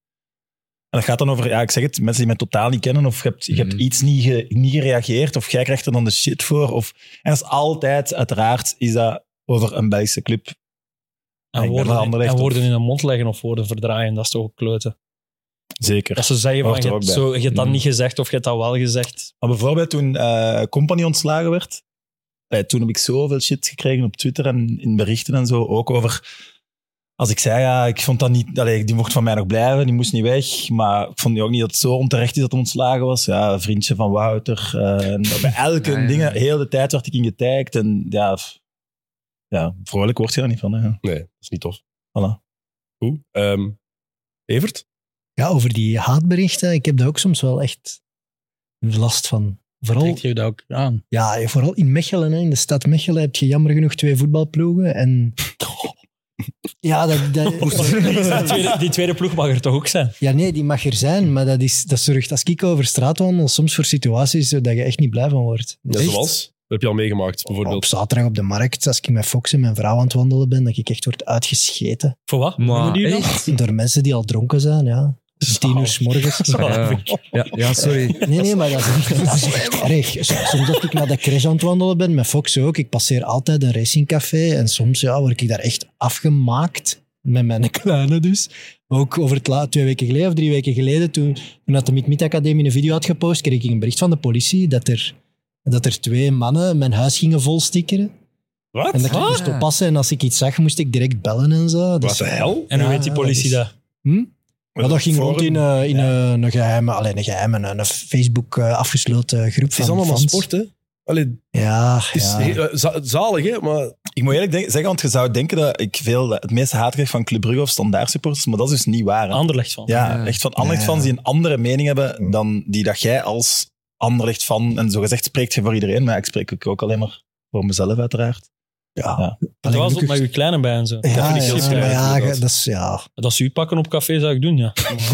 I: En dat gaat dan over, ja, ik zeg het, mensen die mij totaal niet kennen, of je hebt, je hebt iets niet, ge- niet gereageerd, of jij krijgt er dan de shit voor. Of, en dat is altijd, uiteraard, is dat over een Belgische club.
C: En, woorden, en woorden in de mond leggen of woorden verdraaien, dat is toch ook kleuter.
I: Zeker.
C: Dat ze zeggen van, je hebt, zo, je hebt
B: Mm.
C: dat niet gezegd of je hebt dat wel gezegd.
I: Maar bijvoorbeeld toen eh Company ontslagen werd, eh, toen heb ik zoveel shit gekregen op Twitter en in berichten en zo, ook over... Als ik zei, ja, ik vond dat niet... Allee, die mocht van mij nog blijven, die moest niet weg. Maar ik vond ook niet dat het zo onterecht is dat hij ontslagen was. Ja, vriendje van Wouter. eh, en bij elke
P: Ja, ja.
I: ding, heel de tijd werd ik ingetagd. En ja, f- ja, vrolijk word je daar niet van. Hè.
B: Nee, dat is niet tof.
I: Voilà.
B: Hoe? Ehm, Evert?
K: Ja, over die haatberichten. Ik heb daar ook soms wel echt last van. Vooral,
E: Trekt je dat ook aan?
K: Ja, vooral in Mechelen. Hè. In de stad Mechelen heb je jammer genoeg twee voetbalploegen. En ja, dat...
C: die,
K: dat
C: tweede, die tweede ploeg mag er toch ook zijn?
K: ja, nee, die mag er zijn. Maar dat, is, dat zorgt als ik over straat wandel soms voor situaties dat je echt niet blij van wordt.
B: Ja,
K: Echt.
B: zoals? Dat heb je al meegemaakt, bijvoorbeeld.
K: Op zaterdag op de markt, als ik met Fox en mijn vrouw aan het wandelen ben, dat ik echt word uitgescheten.
C: Voor wat?
J: Maar
K: die
J: echt?
K: Door mensen die al dronken zijn, ja. Het is tien uur s morgens.
J: Ja. Ja, ja, sorry.
K: Nee, nee, maar dat is echt, dat is echt erg. S- Soms dat ik naar de crash aan het wandelen ben, met Fox ook. Ik passeer altijd een racingcafé en soms ja, word ik daar echt afgemaakt. Met mijn kleine dus. Ook over het la- twee weken geleden of drie weken geleden, toen, toen had de Mid-Mid Academie een video had gepost, kreeg ik een bericht van de politie dat er, dat er twee mannen mijn huis gingen volstikkeren.
B: Wat?
K: En dat ik
C: Wat?
K: moest oppassen en als ik iets zag, moest ik direct bellen en zo. Dus-
C: En hoe
K: Ja,
C: weet die politie
K: is-
C: dat?
K: Hm? Ja, dat ging
C: Forum?
K: rond in, eh, in eh, een geheime, alleen een geheime, een, een Facebook eh, afgesloten groep
B: Het
K: van
B: is allemaal maar
K: fans.
B: sport, hè? Allee,
K: Ja,
B: het is
K: ja.
B: heel- eh, za- zalig, hè? Maar
I: Ik moet eerlijk denk- zeggen, want je zou denken dat ik veel, het meeste haat krijg van Club Brugge of standaard supporters, maar dat is dus niet waar. Hè?
C: Anderlecht van.
I: Ja, echt van Anderlecht fans die een andere mening
K: Mm.
I: hebben dan die dat jij als Anderlecht fan, en zo gezegd spreekt je voor iedereen, maar ik spreek ook- ook alleen maar voor mezelf uiteraard.
K: Ja.
C: Dat was op met uw kleine bij en zo.
K: Ja,
C: vind ik
K: ja,
C: heel
K: maar
C: schrijnend,
K: ja,
C: inderdaad.
K: dat is, ja.
C: Dat ze u pakken op café zou ik doen, ja.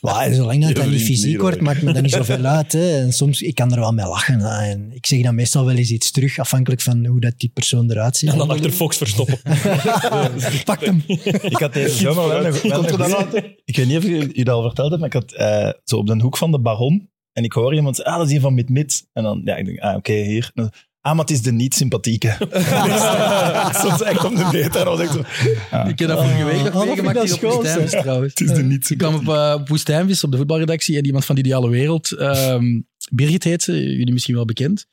K: Maar zolang dat, dat niet
C: Je verdient
K: fysiek
C: niet,
K: wordt,
C: hoor.
K: maakt me dat niet zoveel uit. Hè. En soms, ik kan er wel mee lachen. hè. En ik zeg dan meestal wel eens iets terug, afhankelijk van hoe dat die persoon eruit ziet.
C: En dan achter Fox verstoppen.
K: Pak hem.
I: Ik had deze zomer wel nog- wel
K: Komt er
I: nog-
K: dan
I: Ik weet niet of je je dat al verteld hebt, maar ik had eh, zo op de hoek van de Baron. En ik hoor iemand zeggen, ah, dat is hier van Mid Mid. En dan, ja, ik denk, ah, oké, hier. En dan, ah, maar het is de niet-sympathieke. Soms echt om de beta. En dan was ik zo, ah.
E: Ik heb dat vorige week nog
I: Ah, dat vind ik
E: meegemaakt
I: dat
E: hier op
I: schoon,
E: Woestijnvis
I: zeg.
E: trouwens.
I: Het is de niet
E: Ik kwam op eh, op Woestijnvis op de voetbalredactie en iemand van de ideale wereld, ehm, Birgit heet ze, jullie misschien wel bekend.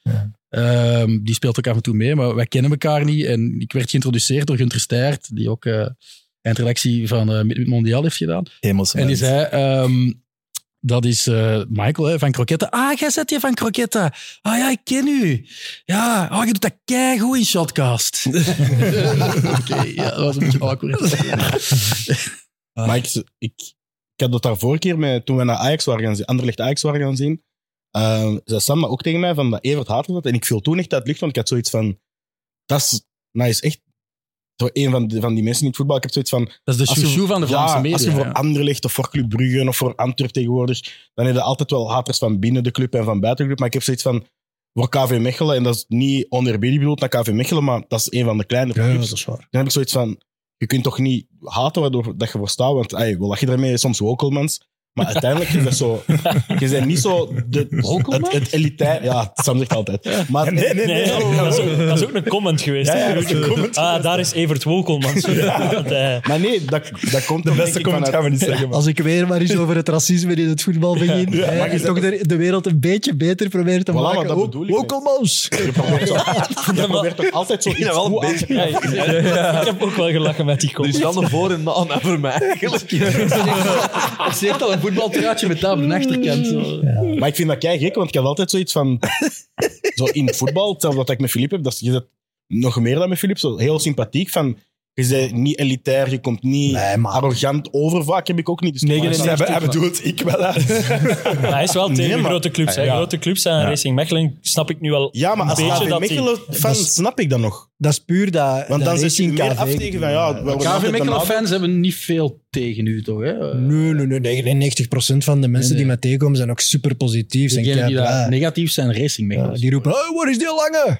E: Ehm, die speelt ook af en toe mee, maar wij kennen elkaar niet. En ik werd geïntroduceerd door Gunter Steijert, die ook eh eindredactie van eh, Mid- Mid Mondiaal heeft gedaan. En die zei, ehm, dat is eh, Michael hè, van Croquetta. Ah, jij zet je van Croquetta. Ah ja, ik ken u. Ja, oh, je doet dat keigoed in Shotcast. Oké, ja, dat was een beetje awkward.
L: Maar ik, ik, ik had dat daar vorige keer, met, toen we naar Ajax waren gaan zien, Anderlecht Ajax waren gaan zien, Ehm zei Sam ook tegen mij van dat Evert Hartel dat. En ik viel toen echt uit het licht, want ik had zoiets van... Dat is, nou is echt zo een van, de, van die mensen in het voetbal. Ik heb zoiets van...
E: Dat is de
L: als je-
E: chouchou van de Vlaamse
L: ja,
E: media,
L: als je voor
E: ja.
L: Anderlecht of voor Club Brugge of voor Antwerp tegenwoordig, dan heb je altijd wel haters van binnen de club en van buiten de club. Maar ik heb zoiets van... Voor KV Mechelen, en dat is niet oneerbiedig bedoeld naar KV Mechelen, maar dat is een van de kleinere clubs.
K: Dan
L: heb ik zoiets van... Je kunt toch niet haten waardoor dat je voor staat, want ey, we lachen daarmee soms wokelmans. Maar uiteindelijk is dat zo... Je bent niet zo... De, het, het elitair... Ja, Sam zegt altijd. Maar, Oh.
C: Nee, nee, nee. Dat, is ook, dat is ook een comment geweest.
L: Ja, ja, dat is een
C: ah,
L: comment
C: daar is Evert Wokelman. Ja.
L: Maar nee, dat, dat komt
C: De beste comment gaan we niet zeggen, man.
K: Als ik weer maar eens over het racisme in het voetbal begin,
L: Ja,
K: eh,
L: maar je
K: en
L: zegt-
K: toch de, de wereld een beetje beter probeert te
L: Voilà, maar
K: maken.
L: dat
K: Ook-
L: bedoel ik.
K: ook al mals.
L: Je probeert toch altijd zo iets
Q: Ja, wel een
L: goed aan
Q: beetje.
L: te krijgen.
Q: Ja, ja. Ik heb
C: ook wel gelachen met die
Q: Er is wel een voor- en een aan voor mij eigenlijk.
E: Ik zie echt al een voetbaltraatje met daar op de achterkant. zo.
L: Maar ik vind dat kei gek, want ik heb altijd zoiets van... Zo in het voetbal, hetzelfde dat ik met Filip heb, dat is, je bent nog meer dan met Filip, zo heel sympathiek van... Je bent niet elitair, je komt niet arrogant over. Vaak heb ik ook niet. Dus
I: Hij bedoelt, ik wel.
C: Maar hij is wel tegen
L: Nee, maar-
C: grote clubs. hè.
L: Ja.
C: Grote clubs en
L: Ja.
C: Racing Mechelen snap ik nu wel
L: Ja, maar
C: een
L: als
C: beetje
L: KV
C: dat die-
L: Mechelen fan
C: Dat is-
L: snap ik dat nog.
K: Dat is puur dat
L: Want dan zit je
K: Racing
L: meer
K: KV
L: af tegen van... Ja, we
E: KV Mechelen-fans hebben niet veel tegen u, toch? Hè?
K: Nee, nee, nee. 99% van de mensen die mij tegenkomen zijn ook super positief. Zijn
E: Degenen die
K: keiblij.
E: daar negatief zijn, Racing Mechelen.
K: die roepen, oh, waar is die lange?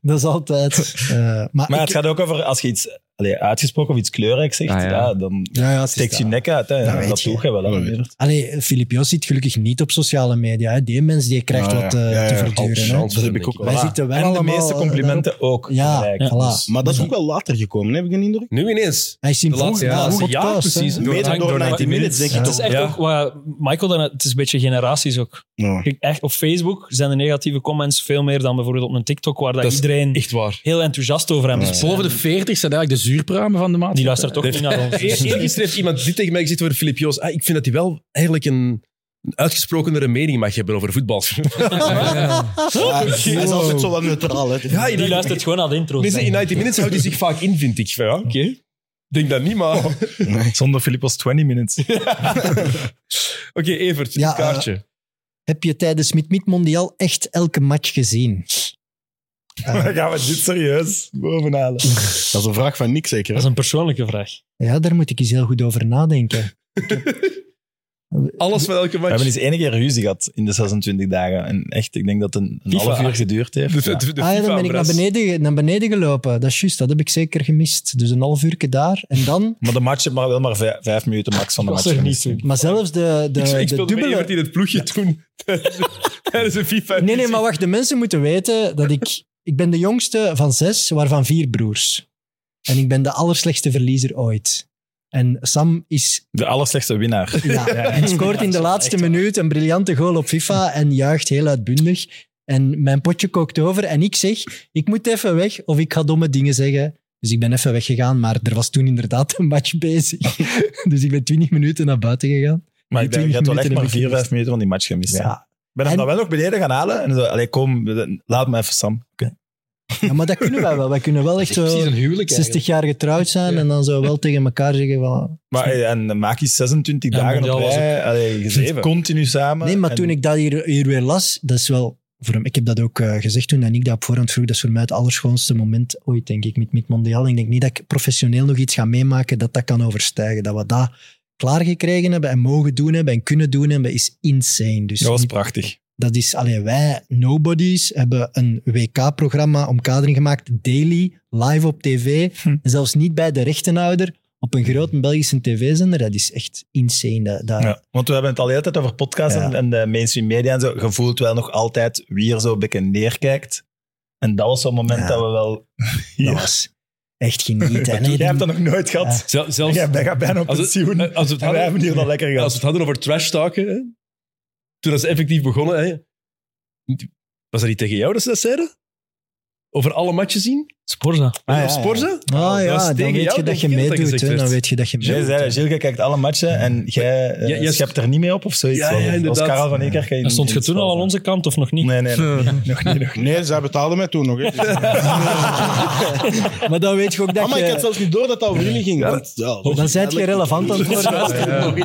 K: dat is eh, altijd. eh, maar
I: Maar
K: ik- Ah,
I: het gaat ook over als je iets allee, uitgesproken of iets kleurrijks zegt,
J: Ah,
I: ja.
J: ja.
I: dan
K: Ja, ja, het is
I: steekt je
K: dat.
I: nek uit. Hè,
K: Dat
I: En
K: weet
I: dat
K: je.
I: doe je wel. hè,
K: Dat
I: Meerdert.
K: Allee, Filip Jos zit gelukkig niet op sociale media. Hè. Die mens die krijgt
I: Ja,
K: wat
I: ja,
K: eh,
I: ja,
K: te
I: ja,
K: verduren. hè.
I: Dat Dus heb ik ook wel.
K: Wij
I: Voilà.
K: zitten wel
I: En de
K: allemaal,
I: meeste
K: eh,
I: complimenten ook.
K: Ja,
I: gelijk.
K: voilà.
I: Maar
O: Maar dat is ook wel later gekomen, heb ik een indruk?
B: Nu ineens.
K: Hij is
C: in vroeger- ja,
O: laatste
C: podcast,
O: jaar
C: hè.
O: precies.
C: Door-
O: Mede door 90 Minutes, denk ik
C: Het
O: toch.
C: is echt ook, wat Michael, daarnet- het is een beetje generaties ook.
O: Ja.
C: Kijk, Echt, op Facebook zijn de negatieve comments veel meer dan bijvoorbeeld op een TikTok, waar dat
E: Dat is
C: iedereen
E: echt waar.
C: heel enthousiast over hem is.
E: Dus boven de 40 zijn eigenlijk de zuurpruimen van de maat.
C: Die luistert ook niet naar ons.
B: Eer- Eergisteren heeft iemand dit tegen mij gezegd over Filip Joos. Ah, ik vind dat hij wel eigenlijk een, een uitgesprokenere mening mag hebben over voetbal.
O: Hij is altijd zo wat neutraal. Hè.
B: Ja,
C: Die luistert gewoon naar de intro.
B: Mensen in 90 Minutes houden zich vaak in, vind ik. Ja, oké. Denk dat niet, maar... Oké,
I: Zonder Filip was 20 minutes.
B: Evert,
K: Ja,
B: een kaartje.
O: eh,
K: Heb je tijdens Mid Mid Mondial echt elke match gezien?
I: Dan gaan we dit serieus bovenhalen.
O: Dat is een vraag van niks, zeker.
C: Dat is een persoonlijke vraag.
K: Ja, daar moet ik eens heel goed over nadenken.
B: Alles van elke
I: We
B: match.
I: hebben eens enige keer ruzie gehad in de 26 dagen. En echt, ik denk dat het een, een
B: FIFA.
I: half uur geduurd heeft.
B: De- de- de
K: ah ja, dan ben ik naar
B: FIFA-bres.
K: beneden, ge- naar beneden gelopen. Dat is juist, dat heb ik zeker gemist. Dus een half uurtje daar en dan...
I: Maar de match heeft maar wel maar vijf, vijf minuten max van de match. gemist.
K: Maar zelfs de, de,
B: ik, ik
K: de
B: speelde met
K: dubbele...
B: Evert in het ploegje toen. Tijdens een FIFA.
K: Nee, nee, maar wacht. De mensen moeten weten dat ik... Ik ben de jongste van zes, waarvan vier broers. En ik ben de allerslechtste verliezer ooit. En Sam is...
I: De allerslechtste winnaar.
K: Ja, en scoort in de laatste minuut een briljante goal op FIFA en juicht heel uitbundig. En mijn potje kookt over en ik zeg, ik moet even weg of ik ga domme dingen zeggen. Dus ik ben even weggegaan, maar er was toen inderdaad een match bezig. dus ik ben 20 minuten naar buiten gegaan. Die
I: Maar ik denk,
K: 20
I: je hebt wel echt
K: minuten
I: maar
K: heb ik
I: vier,
K: gemist.
I: vijf minuten van die match gemist.
K: Ja.
I: hè. Ik ben hem dan wel nog beneden gaan halen. En zo, allee, kom, laat me even, Sam. Oké.
K: Ja, maar dat kunnen wij wel. Wij kunnen wel echt
E: Dat is
K: zo
E: precies een huwelijk
K: 60 jaar getrouwd zijn en dan zo wel tegen elkaar zeggen van...
I: Maar, eh, en maak je 26
E: Ja,
I: dagen op
E: Mondial was
I: rij. Allee, je zit
E: Zeven.
I: continu samen.
K: Nee, maar
I: En-
K: toen ik dat hier, hier weer las, dat is wel... Voor, ik heb dat ook eh, gezegd toen en ik dat op voorhand vroeg. Dat is voor mij het allerschoonste moment ooit, denk ik, met, met Mondial. Ik denk niet dat ik professioneel nog iets ga meemaken dat dat kan overstijgen. Dat we dat klaargekregen hebben en mogen doen hebben en kunnen doen hebben, is insane. Dus
I: Dat was
K: niet-
I: prachtig.
K: Dat is, alleen wij, nobodies, hebben een WK-programma omkadering gemaakt, daily, live op tv. En zelfs niet bij de rechtenhouder, op een grote Belgische tv-zender. Dat is echt insane. Dat, dat-
I: Ja, want we hebben het al de hele tijd over podcasts
K: Ja.
I: en, en de mainstream media en zo. Je voelt wel nog altijd wie er zo een beetje neerkijkt. En dat was zo'n moment
K: Ja.
I: dat we wel... Ja.
K: dat was echt genieten. En
I: Jij hebt dat
K: dan-
I: nog nooit gehad.
B: Zel- zelfs,
I: Jij gaat bijna op
B: als het-
I: pensioen.
B: eh, als we het
I: en wij hebben hier al lekker
B: als
I: gehad.
B: we het hadden over trash talken, hè, toen dat ze effectief begonnen, hè, was dat niet tegen jou dat ze dat zeiden? Over alle matchen zien?
C: Sporza.
I: Ah, ja,
B: Op Sporza?
K: Ah
B: Dat was
K: ja, dan
B: tegen
K: weet
B: jou,
K: je
B: denk
K: dat je
B: ik, dat dat
K: meedoet.
B: gezegd
K: hè. Dan
B: werd.
K: weet je dat je
I: Jij
K: meedoet.
I: zei, Gilke kijkt alle matchen en jij
B: Ja,
I: eh
B: juist.
I: schept er niet mee op of zoiets.
B: Ja, ja,
I: Als
B: inderdaad.
I: Karel van Eker kan je
C: En stond je
I: niet
C: toen al aan onze kant of nog niet?
I: Nee, nee, nog niet. Nog niet, nog niet.
O: Nee, zij betaalden mij toen nog. Hè. Dus-
K: Maar dan weet je ook dat
O: Ah, maar ik had
K: je...
O: zelfs niet door dat dat over jullie ging. want, ja,
K: Dan zijn je relevant aan het worden.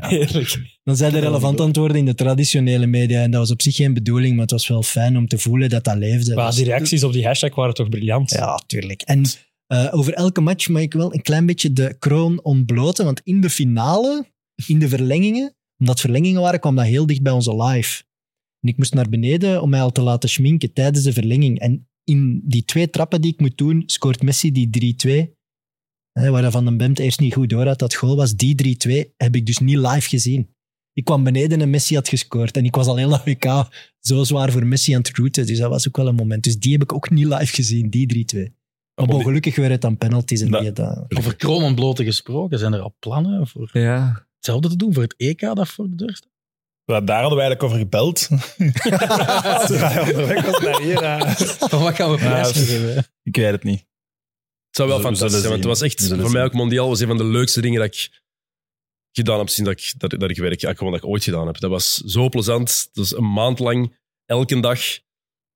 C: Heerlijk.
K: Dan zijn er relevant antwoorden in de traditionele media. En dat was op zich geen bedoeling, maar het was wel fijn om te voelen dat dat leefde.
C: Maar
K: Dus-
C: die reacties op die hashtag waren toch briljant?
K: Ja, tuurlijk. En eh, over elke match mag ik wel een klein beetje de kroon ontbloten. Want in de finale, in de verlengingen, omdat verlengingen waren, kwam dat heel dicht bij onze live. En ik moest naar beneden om mij al te laten schminken tijdens de verlenging. En in die twee trappen die ik moet doen, scoort Messi die 3-2. Hè, waar Van den Bemt eerst niet goed door had dat goal was. Die 3-2 heb ik dus niet live gezien. Ik kwam beneden en Messi had gescoord. En ik was al heel dat WK zo zwaar voor Messi aan het rooten. Dus dat was ook wel een moment. Dus die heb ik ook niet live gezien, die 3-2. Maar bon, gelukkig werd het dan penalties en
I: Dat-
K: die dat...
E: Over kroon en blote gesproken, zijn er al plannen voor
J: Ja.
E: hetzelfde te doen, voor het EK dat voor de deur staat?
I: Ja, daar hadden we eigenlijk over gebeld. Toen hij onderweg was naar hier. eh.
E: Van wat gaan we prijs
I: Ja,
E: geven?
I: Ik weet het niet.
B: Het zou wel
I: We zullen
B: fantastisch zijn, want het was
I: zien. We
B: echt
I: zullen
B: voor mij
I: zien.
B: ook mondiaal was een van de leukste dingen dat ik gedaan heb sinds dat ik, dat, dat ik werk. Ja, gewoon dat ik ooit gedaan heb. Dat was zo plezant. Dat was een maand lang, elke dag.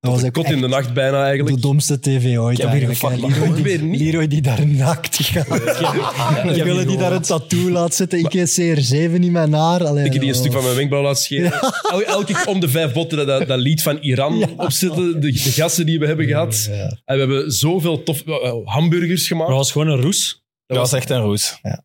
K: Dat was
B: tot
K: ook
B: kot in de nacht bijna eigenlijk.
K: de domste tv ooit
B: Ik heb hier
K: eigenlijk, hè.
B: gefuckt,
K: Leroy,
B: man.
K: die,
B: Weer niet. Ah,
K: Leroy die daar naakt gaat. Ik
B: hier
K: wil die daar een tattoo laten zetten. Ik heb CR7 in mijn haar. Allee,
B: Ik heb die een
K: oh.
B: stuk van mijn wenkbrauw laten scheren. El- elke keer om de vijf botten dat- dat, dat lied van Iran opzetten. De, de gasten die we hebben gehad.
K: Ja.
B: En we hebben zoveel tof eh, hamburgers gemaakt.
C: Maar dat was gewoon een roes. Dus
I: Dat was echt een roes.
K: Ja.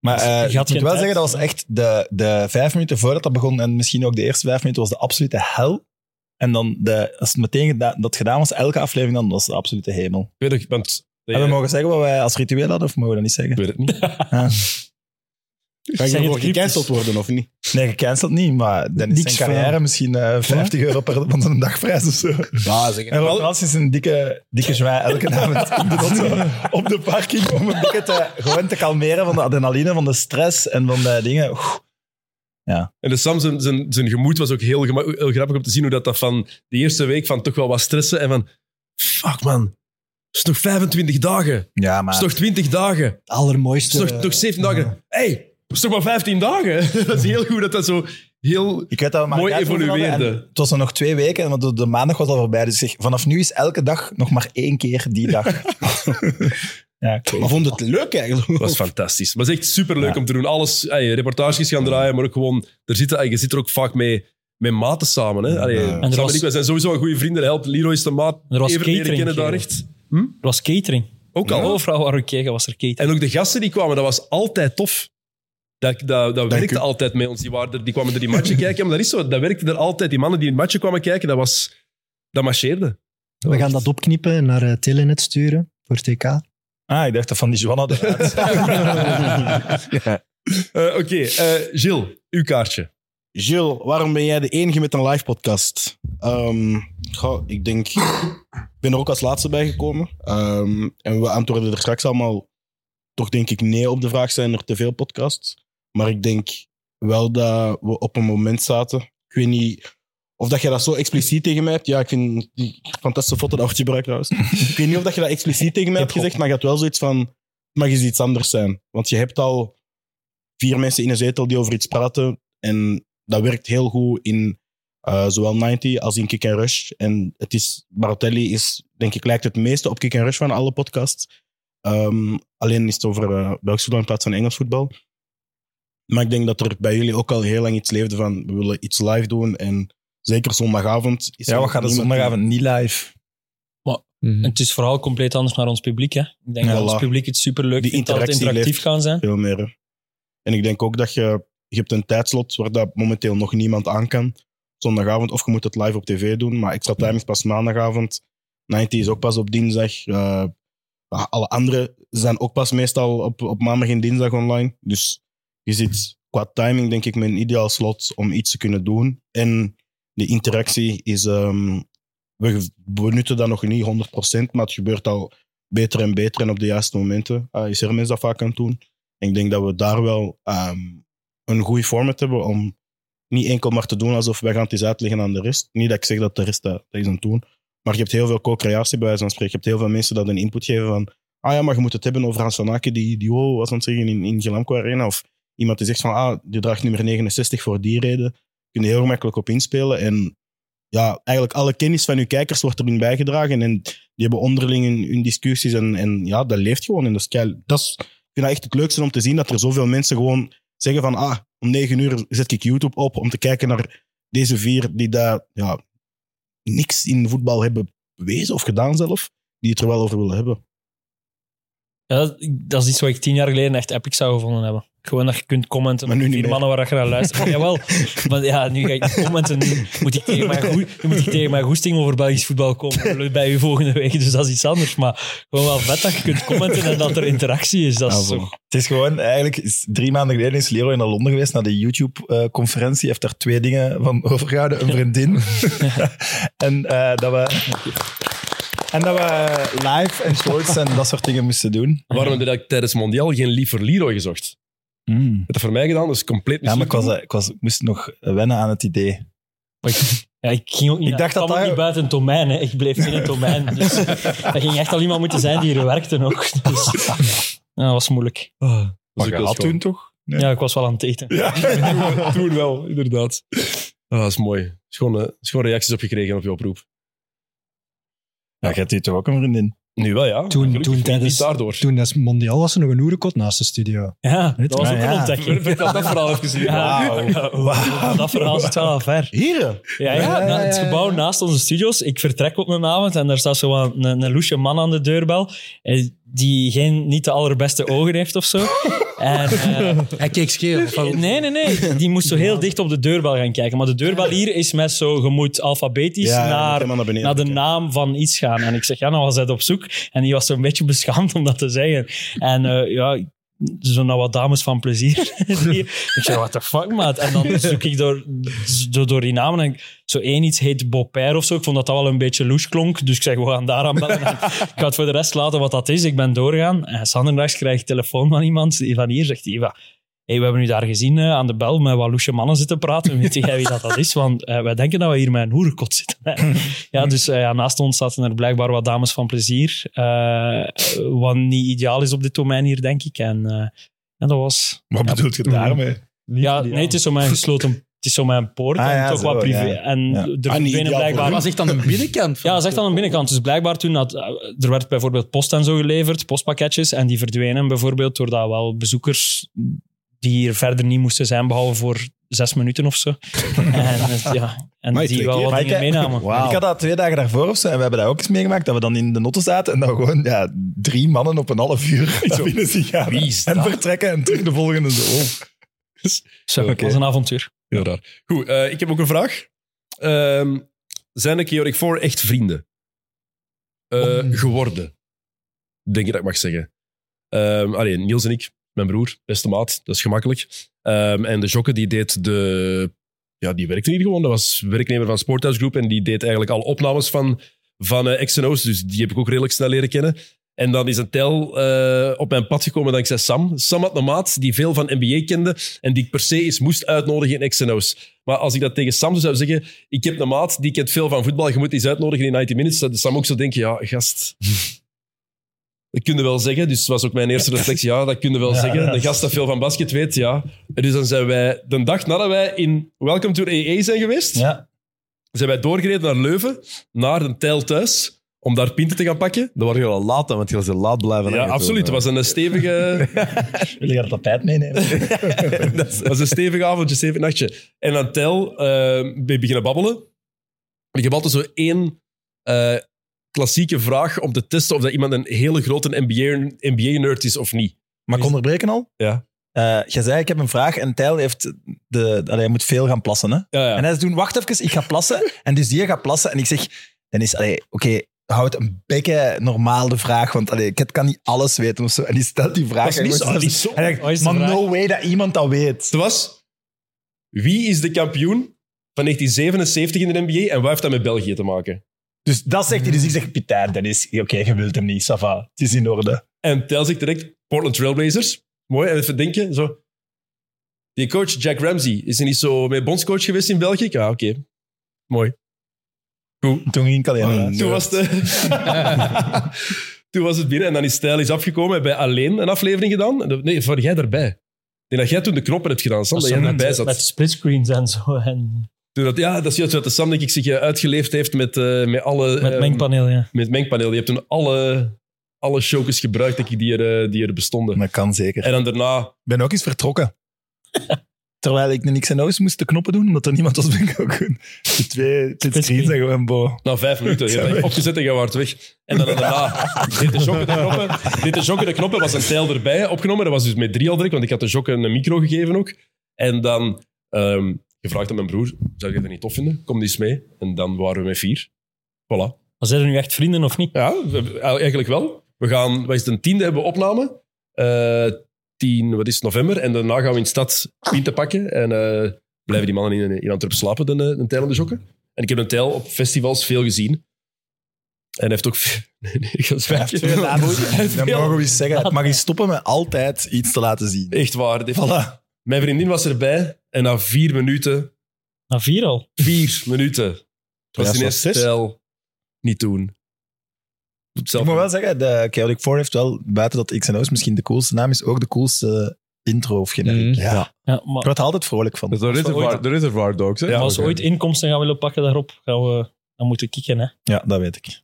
I: Maar eh,
C: je
I: ik moet
C: had
I: wel
C: geen tijd.
I: zeggen, dat was echt de, de vijf minuten voordat dat begon, en misschien ook de eerste vijf minuten, was de absolute hel. En dan, de, als het meteen geda- dat gedaan was, elke aflevering, dan was het de absolute hemel.
B: Ik weet nog, want
I: Hebben we mogen zeggen wat wij als ritueel hadden, of mogen we dat niet zeggen? Ik weet het niet.
L: Ga je ervoor gecanceld worden of niet?
I: Nee, gecanceld niet, maar dan is
L: Niks
I: zijn carrière
L: van.
I: misschien eh, 50 euro per van zijn dagprijs of zo.
L: Ja, zeg het.
I: en Rob Frans is een dikke, dikke zwaai elke avond in de auto, op de parking om een beetje te, gewoon te kalmeren van de adrenaline, van de stress en van de dingen. Oeh. Ja.
B: En de Sam, zijn, zijn, zijn gemoed was ook heel, gema- heel grappig om te zien hoe dat, dat van de eerste week van toch wel wat stressen en van fuck man, het is nog 25 dagen.
I: Ja, maar...
B: Het is nog 20 dagen. Het
K: allermooiste...
B: is nog, nog 7 dagen. hey, het is nog maar 15 dagen. dat is heel goed dat dat zo heel
I: Ik weet dat we maar
B: mooi
I: een kaartje over hadden en
B: evolueerde.
I: Het was er nog twee weken, want de- de maandag was al voorbij. Dus ik zeg, vanaf nu is elke dag nog maar één keer die dag. ja, ik weet
L: Maar vond het leuk eigenlijk.
B: Dat was fantastisch. Maar het is echt superleuk om te doen. Alles, ey, reportages gaan draaien, maar ook gewoon, er zitten, ey, je zit er ook vaak mee, met maten samen. Hè? Allee,
C: Ja.
B: Sam
C: En er
B: en
C: was-
B: ik, wij zijn sowieso een goede vrienden. Help, Leroy is de maat.
C: Er was
B: Evert leren
C: catering.
B: kennen daar
C: Gerard.
B: echt.
C: Er was catering.
B: Ook al.
C: Overal waar ik keek was er catering.
B: En ook de gasten die kwamen, dat was altijd tof. Dat, dat, dat werkte altijd met ons. Die, waren er, die kwamen er die matchen kijken. Maar dat is zo, dat werkte er altijd. Die mannen die in het matchen kwamen kijken, dat, was, dat marcheerde.
K: We gaan dat opknippen en naar eh, Telenet sturen voor TK.
I: Ah, ik dacht dat van die Johanna eruit.
B: Eh, Oké, eh, Gilles, uw kaartje.
L: Gilles, waarom ben jij de enige met een live podcast? Ehm, goh, ik denk, ik ben er ook als laatste bij gekomen. Ehm, en we antwoorden er straks allemaal toch denk ik nee op de vraag, zijn er te veel podcasts? Maar ik denk wel dat we op een moment zaten. Ik weet niet of dat je dat zo expliciet tegen mij hebt. Ja, ik vind die fantastische foto dat wordt gebruikt trouwens. ik weet niet of dat je dat expliciet tegen mij hebt gezegd, maar je had wel zoiets van, het mag eens iets anders zijn. Want je hebt al vier mensen in een zetel die over iets praten. En dat werkt heel goed in eh, zowel 90 als in Kick and Rush. En het is, Barotelli is, denk ik, lijkt het meeste op Kick and Rush van alle podcasts. Ehm, alleen is het over eh, Belgisch voetbal in plaats van Engels voetbal. Maar ik denk dat er bij jullie ook al heel lang iets leefde van we willen iets live doen. En zeker zondagavond. Is
I: Ja,
L: er
I: wat gaat er
L: niemand die-
I: zondagavond niet live? Mhm.
C: En het is vooral compleet anders naar ons publiek. Hè? Ik denk
L: Ja,
C: dat ons
L: voilà.
C: publiek het superleuk
L: Die
C: vindt dat het
L: interactie
C: interactief
L: leeft
C: kan zijn.
L: Veel meer. hè. En ik denk ook dat je, je hebt een tijdslot waar dat momenteel nog niemand aan kan. Zondagavond, of je moet het live op tv doen. Maar extra time is pas maandagavond. 90 is ook pas op dinsdag. Eh, ja, alle andere zijn ook pas meestal op, op maandag en dinsdag online. Dus je zit qua timing, denk ik, met een ideaal slot om iets te kunnen doen. En de interactie is. ehm, we benutten dat nog niet 100%, maar het gebeurt al beter en beter en op de juiste momenten eh, is Hermes dat vaak aan het doen. En ik denk dat we daar wel ehm, een goed format hebben om niet enkel maar te doen alsof wij gaan het eens uitleggen aan de rest. Niet dat ik zeg dat de rest dat, dat is aan het doen, maar je hebt heel veel co-creatie bij wijze van spreken. Je hebt heel veel mensen dat een input geven van ah ja, maar je moet het hebben over Hans van Aken die, die wow was aan het zeggen in, in Gelamco Arena. Of iemand die zegt van ah, die draagt nummer 69 voor die reden. Kun je heel makkelijk op inspelen en ja, eigenlijk alle kennis van uw kijkers wordt erin bijgedragen. En die hebben onderling hun, hun discussies. En, en ja, dat leeft gewoon. En dat is, kei- dat is, ik vind dat echt het leukste om te zien dat er zoveel mensen gewoon zeggen van ah, om negen uur zet ik YouTube op om te kijken naar deze vier die daar ja, niks in voetbal hebben bewezen of gedaan zelf, die het er wel over willen hebben.
C: Ja, dat, dat is iets wat ik tien jaar geleden echt epic zou gevonden hebben. Gewoon dat je kunt commenten maar nu vier mannen waar je naar luistert. Jawel, maar ja, nu ga ik commenten. Nu moet ik tegen mijn, goe- nu moet ik tegen mijn goesting over Belgisch voetbal komen. Dat lukt bij u volgende week, dus dat is iets anders. Maar gewoon wel vet dat je kunt commenten en dat er interactie is. Dat is zo.
I: Ah, Het is gewoon, eigenlijk, is drie maanden geleden is Leroy naar Londen geweest, naar de YouTube-conferentie. heeft daar twee dingen van overgehouden. Een vriendin. en eh, dat we... En dat we live en shorts en dat soort dingen moesten doen.
B: Waarom heb je dat tijdens Mondial geen liever Leroy gezocht?
I: Mm.
C: Hmm.
B: Heb je dat voor mij gedaan? Dat is compleet
I: Ja, maar ik,
B: mislukt.
I: was, eh, ik, was, ik moest nog wennen aan het idee.
C: Ja, ik ging ook niet,
I: Ik dacht dat
C: kwam ook
I: daar-
C: niet buiten het domein. Hè. Ik bleef in het domein. Dus dat ging echt al iemand moeten zijn die er werkte nog. Dus, ja, dat was moeilijk.
I: Ah.
B: Dat is ook wel schoon.
I: toch?
C: Ja, ik was wel aan het
I: eh,
C: eten.
B: Ja, toen wel, inderdaad. Ah, dat is mooi. Schone, schone reacties op gekregen op je oproep.
I: Ja, jij hebt toch ook een vriendin?
B: Nu wel, ja.
K: Toen, toen, tijdens,
B: daardoor.
K: toen dat mondiaal was er nog een oerenkot naast de studio.
C: Ja,
K: Weet
C: dat
K: je?
C: was ook
K: Ah,
C: een
K: ja.
C: ontdekking.
B: Vertel dat verhaal even hier.
C: Ja,
I: Wauw.
C: ja, Dat verhaal zit wel al ver.
L: Hier?
C: Ja, ja, na- het gebouw naast onze studio's. Ik vertrek op een avond en daar staat zo wel een, een loesje man aan de deurbel eh, die geen, niet de allerbeste ogen heeft of zo. En, eh,
E: Hij keek skeer. of wat?
C: Nee, nee, nee. Die moest zo heel dicht op de deurbel gaan kijken. Maar de deurbel hier is met zo, je moet alfabetisch
L: Ja, je moet
C: naar,
L: helemaal naar
C: naar,
L: beneden
C: de naam van iets gaan. En ik zeg, ja, nou was hij op zoek. En die was zo'n beetje beschaamd om dat te zeggen. En eh, ja, zo nou wat dames van plezier. Die- ik zeg, what the fuck, maat? En dan zoek ik door, zo door die namen. En ik- zo één iets heet Bopair of zo. Ik vond dat dat wel een beetje louche klonk. Dus ik zeg, we gaan daaraan bellen. En ik ga het voor de rest laten wat dat is. Ik ben doorgaan. En zanderdags krijg ik telefoon van iemand. die Van hier zegt, Eva, hey, we hebben u daar gezien eh, aan de bel met wat loesje mannen zitten praten. Weet jij wie dat, dat is? Want eh, wij denken dat we hier met een hoerenkot zitten. hè." ja, dus eh, ja, naast ons zaten er blijkbaar wat dames van plezier. eh, wat niet ideaal is op dit domein hier, denk ik. En eh, ja, dat was...
I: Wat
C: ja, Mhm.
I: bedoelt je daarmee?
C: Ja, nee, het is zo mijn gesloten... Het is zo mijn poort
I: Ah,
C: en
I: ja,
C: toch
I: zo,
C: wat privé.
I: ja.
C: En
I: Ja. Ah,
C: er
I: niet
C: verdwenen
I: ideaal
C: blijkbaar...
I: voor u.
E: Was echt aan de binnenkant
C: Ja, dat is echt aan de binnenkant. Dus blijkbaar toen had, er werd bijvoorbeeld post en zo geleverd, postpakketjes, en die verdwenen bijvoorbeeld doordat wel bezoekers die hier verder niet moesten zijn, behalve voor zes minuten of zo. En, eh, ja, en
I: Maar
C: die
I: twee
C: wel
I: keer.
C: wat
I: Maar ik-
C: dingen meenamen.
I: Ik had dat twee dagen daarvoor of zo, en we hebben dat ook eens meegemaakt, dat we dan in de notte zaten en dan gewoon ja, drie mannen op een half uur naar binnen zien gaan. en vertrekken en terug de volgende zo. Oh.
C: Zo, dat
B: Oké.
C: was een avontuur.
B: Heel raar. Goed, eh, ik heb ook een vraag. Ehm, zijn ik Jorik voor echt vrienden? Eh,
C: Oh.
B: Geworden. Denk je dat ik mag zeggen. Ehm alleen Niels en ik, mijn broer, beste maat, dat is gemakkelijk. Ehm, en de Jokke die deed de... Ja, die werkte hier gewoon. Dat was werknemer van Sporthouse Group en die deed eigenlijk alle opnames van, van eh, X's en O's. Dus die heb ik ook redelijk snel leren kennen. En dan is een tel eh, op mijn pad gekomen dankzij Sam. Sam had een maat die veel van NBA kende en die ik per se eens moest uitnodigen in X's en O's. Maar als ik dat tegen Sam zou zeggen, ik heb een maat die kent veel van voetbal, je moet die eens uitnodigen in 90 Minutes, zou Sam ook zo denken, ja, gast... Dat kun je wel zeggen, dus dat was ook mijn eerste reflectie. Ja, dat kun je wel
E: Ja,
B: zeggen.
E: ja.
B: De gast dat veel van basket weet, ja. En dus dan zijn wij, de dag nadat wij in Welcome to EE zijn geweest, zijn wij doorgereden naar Leuven, naar een tel thuis, om daar pinten te gaan pakken.
H: Dan word je wel laat aan, want je was er laat blijven.
B: Ja, absoluut. Het was een stevige...
I: Wil je dat tapijt meenemen?
B: dat was een stevig avondje, stevig nachtje. En aan tel eh ben je beginnen babbelen. En Ik heb altijd zo één eh, klassieke vraag om te testen of dat iemand een hele grote NBA NBA-nerd is of niet.
I: Maar ik onderbreken al?
B: Ja.
I: Eh, jij zei, ik heb een vraag en Tijl heeft de, allee, hij moet veel gaan plassen. Hè?
B: ja.
I: En hij zei toen, wacht even, ik ga plassen. en dus die gaat plassen en ik zeg, dan is, allee, oké, houd een bekke normaal de vraag, want allee, ik kan niet alles weten of zo. En die stelt die vraag.
B: Dat is
I: en
B: niet
I: gewoon
B: zo-
I: stelt
B: dat is zo-
I: en hij zegt,
B: Wat is de
I: maar
B: vraag?
I: no way dat iemand dat weet.
B: Het was, wie is de kampioen van 1977 in de NBA en wat heeft dat met België te maken?
I: Dus dat zegt hij. Dus ik zeg, Pieter, dat is, oké, je wilt hem niet, Sava. Het is in orde.
B: En tel ik direct Portland Trailblazers. Mooi, en even denken. Zo. Die coach, Jack Ramsey, is hij niet zo met bondscoach geweest in België? Ja, oké. Mooi.
I: Toen ging ik alleen maar uit.
B: Toen was, de... Toen was het binnen en dan is Stijl is afgekomen. Hebben wij alleen een aflevering gedaan? En dat- Nee, voor jij daarbij. Ik denk dat jij toen de knoppen hebt gedaan, Sam, dat, jij daarbij zat.
C: Met de splitscreens en zo. En
B: Toen dat, ja, dat is juist wat de Sam, denk ik, zich eh, uitgeleefd heeft met, eh, met alle...
C: met
B: eh,
C: mengpaneel, ja.
B: Met het mengpaneel. Je hebt toen alle, alle showkes gebruikt denk ik, die, er, eh, die er bestonden.
I: Dat kan zeker.
B: En dan daarna...
I: Ik ben ook eens vertrokken. Terwijl ik niks en O's moest de knoppen doen, omdat er niemand was, ben ik ook goed. De twee splitscreens zijn gewoon bo.
B: Na vijf minuten. Je hebt opgezet en je waart weg. En dan daarna dit de jokken de knoppen. Dit de jokken de knoppen was een tijl erbij opgenomen. Dat was dus met drie al direct, want ik had de jokken een micro gegeven ook. En dan ehm, gevraagd aan mijn broer, zou je dat niet tof vinden? Kom die eens mee. En dan waren we met vier. Voilà.
C: Maar zijn er nu echt vrienden of niet?
B: Ja, we- eigenlijk wel. We gaan, wat is het, een tiende hebben we opname. Eh 10, wat is het, november. En daarna gaan we in de stad pinten pakken. En eh, blijven die mannen in, in Antwerpen slapen, de, eh, de tijl en de jokken. En ik heb een tijl op festivals veel gezien. En hij heeft ook... veel- Nee, nee, ik ga zwijgen. Hij heeft
I: Dan
B: veel-
I: mogen we eens zeggen, het mag je stoppen met altijd iets te laten zien.
B: Echt waar. dit-
I: Voilà.
B: Mijn vriendin was erbij. En na vier minuten...
C: Na vier al?
B: Vier minuten. Was
I: was
B: die
I: zes.
B: tijl niet doen.
I: Ik moet wel zeggen, de Chaotic 4 heeft wel, buiten dat X en O's misschien de coolste naam is, ook de coolste intro of generiek. Ja.
C: Ja, maar
I: Ik word er altijd vrolijk van.
H: De Reservoir, de reservoir Dogs, hè?
C: maar als we ooit inkomsten gaan willen pakken daarop, gaan we, dan moeten we kicken, hè.
I: Ja, dat weet ik.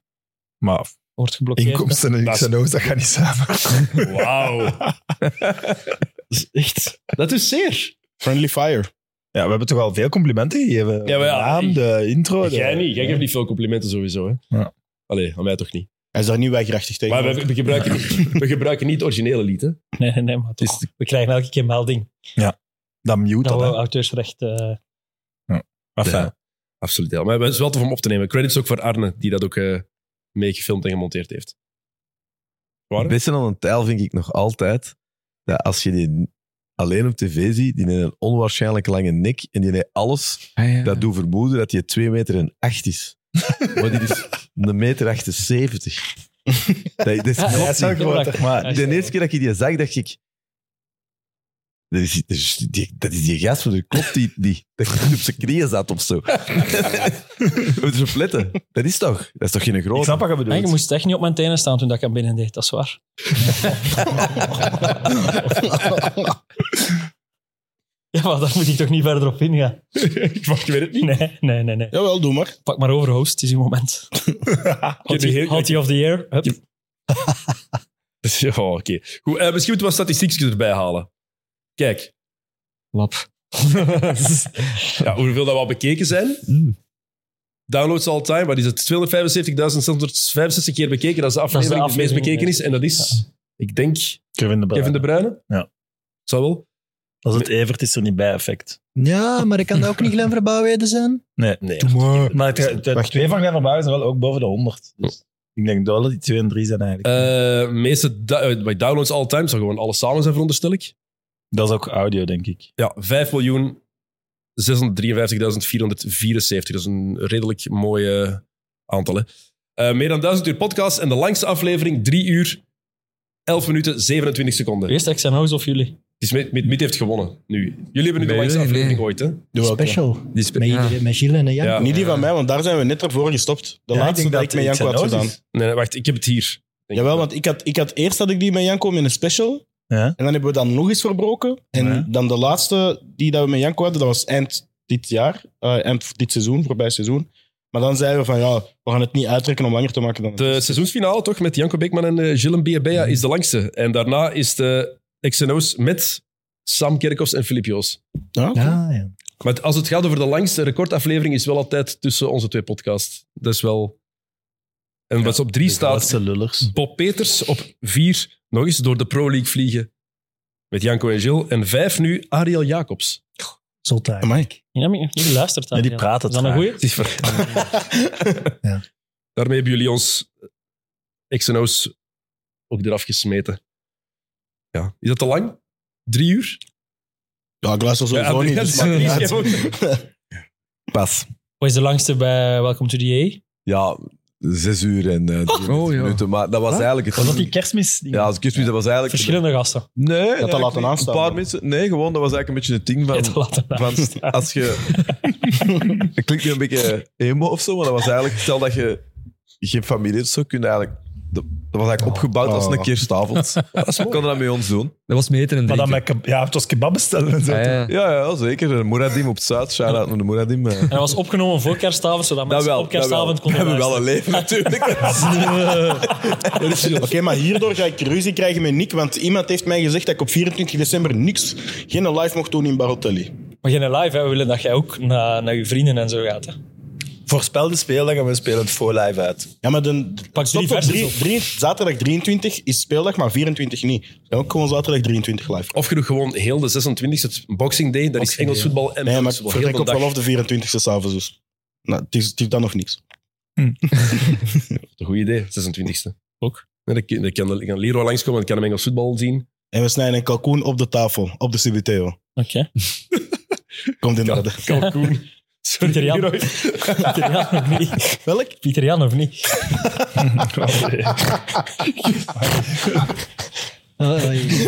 I: Maar
C: Wordt geblokkeerd. hè.
I: inkomsten en X en O's, dat gaat niet samen.
B: Wauw. Dat is echt... Dat is zeer.
I: Friendly Fire. Ja, we hebben toch al veel complimenten gegeven.
B: Ja, maar ja,
I: de naam,
B: ik-
I: de intro. de-
B: Jij niet. Jij geeft niet veel complimenten sowieso. Hè?
I: Ja.
B: Allee, aan mij toch niet.
O: Hij is daar niet weigerachtig tegen.
B: Maar we, we gebruiken, niet- we gebruiken niet het originele lied, hè?
C: Nee, nee, nee, maar toch. We krijgen elke keer melding.
I: Ja, dan mute
C: Dat
I: dat.
C: we
I: hè.
C: auteursrecht... eh,
I: Enfin.
B: Ja, absoluut. Ja. Maar het is wel tof om op te nemen. Credits ook voor Arne, die dat ook eh, meegefilmd en gemonteerd heeft.
H: Het beste aan een tijl vind ik nog altijd dat als je die alleen op tv ziet, die heeft een onwaarschijnlijk lange nek en die heeft alles dat doet vermoeden dat hij 2 meter en 8 is. maar die is een meter 78. dat, dat is
I: Ja, hij is wel
H: klopt niet.
I: groot, hè. Maar-
H: de eerste keer dat ik die zag, dacht ik... Dat is, dat is die, dat is die gast van de kop die, die, dat die op zijn knieën zat of zo. Moet je op letten. Dat is toch? Dat is toch geen grote?
C: Hey, je moest echt niet op mijn tenen staan toen dat ik aan binnen deed, dat is waar. ja, maar daar moet ik toch niet verder op ingaan? ik weet het niet. Nee, nee, nee. nee.
O: Jawel, doe maar.
C: Pak maar over, host. Het is uw moment.
I: Ah,
C: Hottie of the year. Hup.
B: Ja, oké. Goed, eh, misschien moeten we wat statistiekjes erbij halen. Kijk.
J: Lap.
B: ja, hoeveel dat we al bekeken zijn. Downloads all time, wat is het? 275.665 keer bekeken. Dat is de aflevering die het meest
C: aflevering,
B: bekeken is.
C: ja.
B: En dat is, ik denk,
I: Kevin de Bruyne.
B: Kevin De Bruyne.
I: Ja.
B: Zal wel.
I: Als het Evert is er niet bij effect.
K: Ja, maar ik kan dat ook niet Glenn Verbouwheden zijn.
I: Nee. nee. Maar het, het, het twee van Glenn van Bouwen zijn wel ook boven de 100. Dus ik denk dat wel die 2 en 3 zijn eigenlijk.
B: Eh, meeste du- eh, bij downloads all time zou gewoon alles samen zijn, veronderstel ik.
I: Dat is ook audio, denk ik.
B: Ja, 5 miljoen 653.474. Dat is een redelijk mooi eh, aantal. Hè? Eh, meer dan 1000 uur podcast en de langste aflevering 3 uur 11 minuten 27 seconden.
C: Eerst XNO's of jullie?
B: Het is met, met, met heeft gewonnen nu. Jullie hebben nu de langste aflevering ooit, hè?
K: Special. Met, iedereen, met Gilles en Jan.
B: Ja.
O: Niet die van mij, want daar zijn we net ervoor gestopt. De
I: Ja, ik
O: laatste
I: denk
O: dat
I: dat
O: ik met Janko had
I: XNO's
O: gedaan.
I: is.
B: Nee, nee, wacht, ik heb het hier. Denk
O: Jawel, want ik had, ik had eerst had ik die met Janko in een special. En dan hebben we dat nog eens verbroken. En dan de laatste die dat we met Janko hadden, dat was eind dit jaar. eh, eind dit seizoen, voorbij seizoen. Maar dan zeiden we van, ja, we gaan het niet uittrekken om langer te maken dan...
B: De seizoensfinale toch met Janko Beekman en eh, Gilles Biabea is de langste. En daarna is de XNO's met Sam Kerkhoffs en Filip Joos.
K: Ja, ja.
B: Maar het- als het gaat over de langste recordaflevering, is wel altijd tussen onze twee podcasts. Dat is wel. En wat op drie staat. Bob Peters op vier, nog eens door de Pro League vliegen. Met Janko en Gilles. En vijf nu Ariel Jacobs.
K: Zot eigenlijk.
C: Ja, maar jullie luistert aan.
B: Nee, die praat het
C: Is dat een
B: graag.
C: goeie?
B: Het is Daarmee hebben jullie ons eh, XNO's ook eraf gesmeten. Ja. Is dat te lang? Drie uur?
O: Ja, ik luister
B: sowieso niet, dus maakt niet uit.
H: Pas.
C: Wat is de langste bij Welcome to the A?
H: Ja, zes uur en eh 23 minuten. Maar dat was
C: Huh?
H: eigenlijk... Het
C: Was dat die kerstmis?
H: Ja, als kerstmis, dat was eigenlijk...
C: Verschillende gasten.
H: Nee,
C: dat
H: eigenlijk
C: laten
H: niet.
C: aanstaan.
H: Een paar mensen... Nee, gewoon, dat was eigenlijk een beetje het ding van... van als je... Het klinkt nu een beetje emo of zo, maar dat was eigenlijk... Stel dat je geen familie hebt, zo kun je eigenlijk... Dat dat was eigenlijk opgebouwd als
K: Oh.
H: een kerstavond. Dat is kan dat met ons doen.
J: Dat was meten en
I: Maar dan
J: drinken.
I: met keb- ja, het was kebab bestellen en zo.
J: Ah, ja.
H: Ja, ja, zeker. De Moeradim op het Zuid. Shout-out naar de Moeradim. eh.
C: En dat was opgenomen voor kerstavond, zodat mensen op kerstavond
H: We
C: konden
H: hebben wel een
C: luisteren.
H: leven natuurlijk.
O: Oké, maar hierdoor ga ik ruzie krijgen met Nick, want iemand heeft mij gezegd dat ik op 24 december niks, geen live mocht doen in Barotelli.
C: Maar geen live, hè. we willen dat jij ook naar, naar je vrienden en zo gaat. Hè.
I: Voorspel de speeldag en we spelen het voor live uit.
O: Ja, maar dan
C: pak
O: Stop op drie- drie- zaterdag 23 is speeldag, maar 24 niet. Dan ook gewoon zaterdag 23 live.
B: Of genoeg gewoon heel de 26e, het Boxing Day, dat is Engels voetbal en
O: Nee, maar
B: Belgisch
O: ik
B: voetbal. Heel
O: vertrek
B: de
O: op
B: dag.
O: wel of de 24e s'avonds dus. Nou, het is, het is dan nog niks.
B: Een goed idee, 26e. Ook. Nee, dan, kan- dan kan, dan kan Leroy langskomen en kan hem Engels voetbal zien.
O: En we snijden een kalkoen op de tafel, op de CBTO.
C: Oké.
O: Komt in orde.
B: Kalkoen.
C: Pieter Jan. Pieter Jan of niet? Welk? Pieter Jan of niet?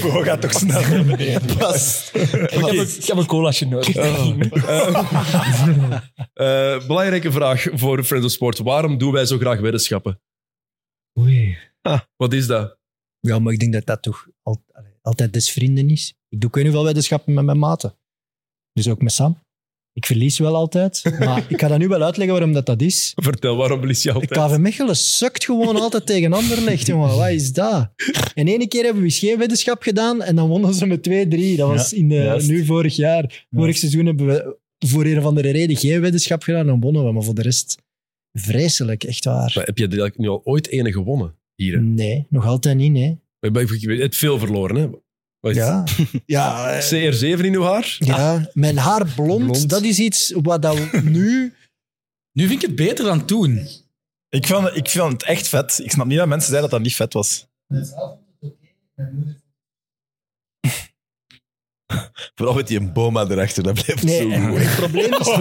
I: Bro gaat toch snel naar beneden.
O: Pas.
C: Ik heb, een, ik heb een colaatje nodig.
B: Oh. Eh, belangrijke vraag voor Friends of Sport. Waarom doen wij zo graag weddenschappen?
K: Oei.
B: Wat is dat?
K: Ja, maar ik denk dat dat toch al- allee, altijd des vrienden is. Ik doe ik weet niet hoeveel weddenschappen met mijn maten. Dus ook met Sam. Ik verlies wel altijd, maar ik ga dat nu wel uitleggen waarom dat, dat is.
B: Vertel, waarom verlies je altijd?
K: KV Mechelen sukt gewoon altijd tegen Anderlecht, jongen. Wat is dat? En ene keer hebben we eens geen weddenschap gedaan en dan wonnen ze met 2-3. Dat was
I: Ja,
K: in de,
I: juist.
K: nu vorig jaar. Vorig seizoen hebben we voor een of andere reden geen weddenschap gedaan en wonnen we. Maar voor de rest, vreselijk, echt waar.
B: Maar heb je er eigenlijk nu al ooit ene gewonnen? Hier. hè?
K: Nee, nog altijd niet, nee.
B: We hebben het veel verloren, hè? Wat is
K: Ja.
B: het?
K: Ja, eh.
B: CR7 in uw haar?
K: Ja, mijn haar blond, dat is iets wat dat nu...
E: Nu vind ik het beter dan toen.
I: Ik vond, ik vond het echt vet. Ik snap niet dat mensen zeiden dat dat niet vet was.
H: Vooral met die boma erachter, dat blijft zo
I: en
H: mooi.
I: Het probleem is...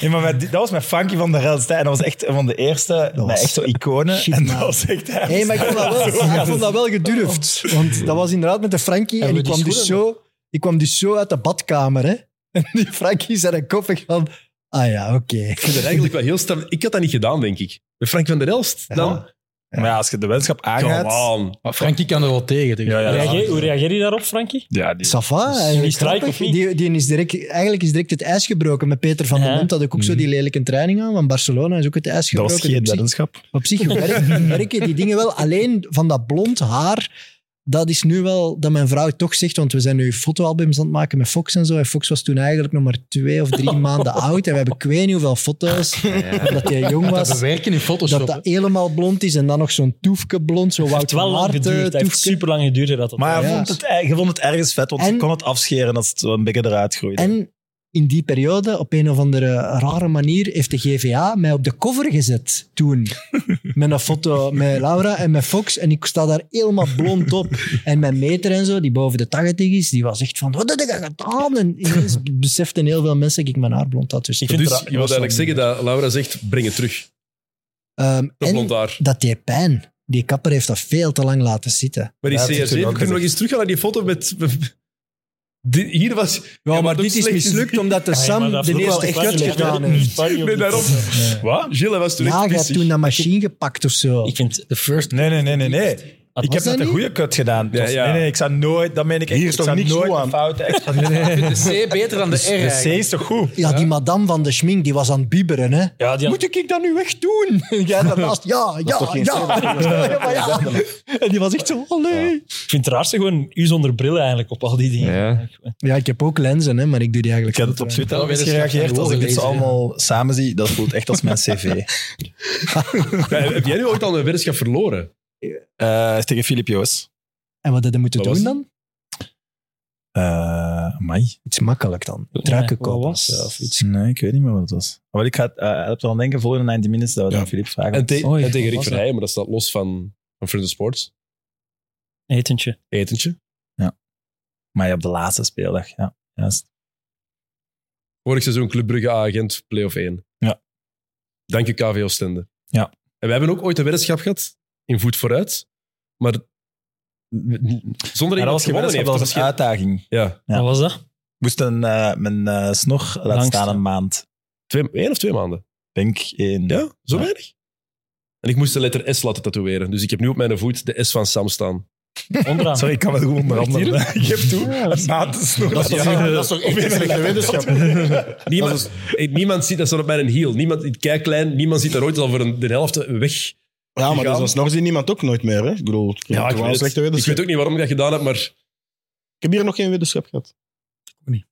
I: nee, maar met die- dat was mijn funky van de realste. En dat was echt een van de eerste, met echt zo iconen. en dat was echt...
K: Nee, maar ik vond dat wel, ik vond dat wel gedurfd. Want dat was inderdaad met de Frankie. En,
I: Hebben
K: ik,
I: we
K: kwam
I: die
K: dus
I: schoenen
K: zo, ik kwam dus zo uit de badkamer. Hè? En die Frankie zei een koffie van... Ah ja, oké.
B: Ik vind het eigenlijk wel heel stem. Ik had dat niet gedaan, denk ik. Met Frank van der Elst. Dan...
I: Maar ja, als je de weddenschap aangaat...
B: Come on.
E: Maar Frankie kan er wel tegen. denk ik.
I: Ja, ja, ja.
C: Reageer- hoe reageer je daarop, Frankie?
I: Ja, die...
K: Safa, eigenlijk
C: strijk
K: grappig.
C: Dus of niet?
K: Die, die is direct, eigenlijk is direct het ijs gebroken. Met Peter van den Mond had ik ook zo
C: Mm.
K: die lelijke training aan. Want Barcelona is ook het ijs
I: Dat
K: gebroken. Dus
I: was geen
K: Op zich-
I: weddenschap.
K: Op zich werken, werken die dingen wel. Alleen van dat blond haar, dat is nu wel dat mijn vrouw toch zegt, want we zijn nu fotoalbums aan het maken met Fox en zo. En Fox was toen eigenlijk nog maar twee of drie maanden oud. En we hebben ik weet niet hoeveel foto's. Dat hij jong
E: Dat
K: was.
E: bewerken in Photoshop.
K: Dat dat helemaal blond is en dan nog zo'n toefke blond, zo
C: Het
K: Wout
C: heeft wel
K: van
C: lang
K: Aert,
C: geduurd. Het
K: eh,
C: heeft
K: toefke.
C: super lang geduurd. Dat
I: Maar je
K: Ja.
I: vond, het, je vond het ergens vet, want je kon het afscheren als het zo een beetje eruit groeide.
K: En in die periode, op een of andere rare manier, heeft de GVA mij op de cover gezet toen. Met een foto met Laura en met Fox. En ik sta daar helemaal blond op. En mijn meter en zo, die boven de 80 is, die was echt van... Wat heb je gedaan? En ineens beseften heel veel mensen dat ik mijn haar blond had. Dus,
B: Dus je wilt eigenlijk zeggen dat Laura zegt, breng het terug.
K: Ehm,
B: Dat
K: en
B: blond haar.
K: dat deed pijn. Die kapper heeft dat veel te lang laten zitten.
B: Maar die CR7, kunnen we nog eens teruggaan naar die foto met... Dit- hier was... Ja,
K: maar dit is mislukt omdat de Sam de eerste cut gedaan heeft.
B: Nee, daarom. Wat? Gilles hij was toen
K: Ja,
B: echt
K: je hebt
B: pissig.
K: toen dat machine gepakt of zo.
C: Ik vind
E: de first...
I: Nee, nee, nee, nee. nee. Ik heb
K: dat
I: net een
K: niet?
I: goede cut gedaan. Het was-
B: ja.
I: Nee, nee, ik zou nooit... Dat meen ik echt.
O: Hier is
I: ik
O: toch
I: zou
O: niks
I: nooit
O: goed
I: een
O: aan?
I: fout... Echt,
E: De C beter dan de R.
I: Dus de C
E: eigenlijk.
I: is toch goed?
K: Ja, die madame van de schmink, die was aan het bibberen. Hè?
C: Ja, die had-
K: Moet ik dat nu echt doen? En jij daarnaast, ja, ja,
C: toch
K: ja.
C: geen zin?
K: Ja, maar ja. En die was echt zo, allee.
C: Ik vind het raarste gewoon u zonder bril eigenlijk op al die dingen.
K: Ja. ik heb ook lenzen, hè, maar ik doe die eigenlijk
I: Ik had het op Twitter al eens
E: slecht
I: gereageerd. Als ik dit zo
E: gelezen, ja.
I: allemaal samen zie, dat voelt echt als mijn cv.
B: Ja, heb jij nu ooit al een weddenschap verloren?
I: Eh, tegen Filip Joos.
K: En wat hadden we moeten
I: Wat
K: doen
I: was
K: dan?
I: Eh Mai.
K: Iets makkelijk dan. Truiken kopen. of zo, of iets.
I: Nee, ik weet niet meer wat het was. Maar ik ga uh, er aan denken, volgende 90 minutes, dat we dan Filip vragen.
B: En, te-
C: Oei,
B: en tegen Rick
C: was
B: Verheijen, maar dat staat los van, van Friends of Sports.
C: Etentje.
B: Etentje.
I: Maar ja, op de laatste speeldag, ja. Juist.
B: Vorig seizoen Club Brugge A-agent, play-off 1.
I: Ja.
B: Dank je KV Oostende.
I: Ja.
B: En we hebben ook ooit een weddenschap gehad in Voet Vooruit. Maar zonder
I: Maar dat
B: iemand
I: was
B: gewonnen
I: geen
B: heeft.
I: dat was een
B: geen-
I: uitdaging.
B: Ja.
I: Ja.
C: Wat was dat?
I: Ik moest een, eh, mijn eh, snor laten
C: Langs-
I: staan een maand.
B: Twee, één of twee maanden.
I: Denk één.
B: Ja,
I: Ja.
B: zo weinig. En ik moest de letter S laten tatoeëren. Dus ik heb nu op mijn voet de S van Sam staan.
C: Onderaan.
I: Sorry, ik kan wel goed onderhandelen. Ik heb toen een maand een snor.
O: Dat is toch,
I: Ja.
O: dat is toch echt een slechte wetenschap?
B: Niemand, eh, niemand ziet dat zo op mijn hiel. Niemand, ik kijk klein, niemand ziet dat ooit al voor een, de helft weg.
O: Ja, maar
B: Gegaan.
O: dat is een snor zien niemand ook nooit meer. Hè? Ik bedoel, ik,
B: Ja, ik
O: wel een
B: weet, het.
O: slechte
B: ik
O: wetenschap.
B: weet ook niet waarom ik dat gedaan heb, maar...
O: Ik heb hier nog geen wetenschap gehad.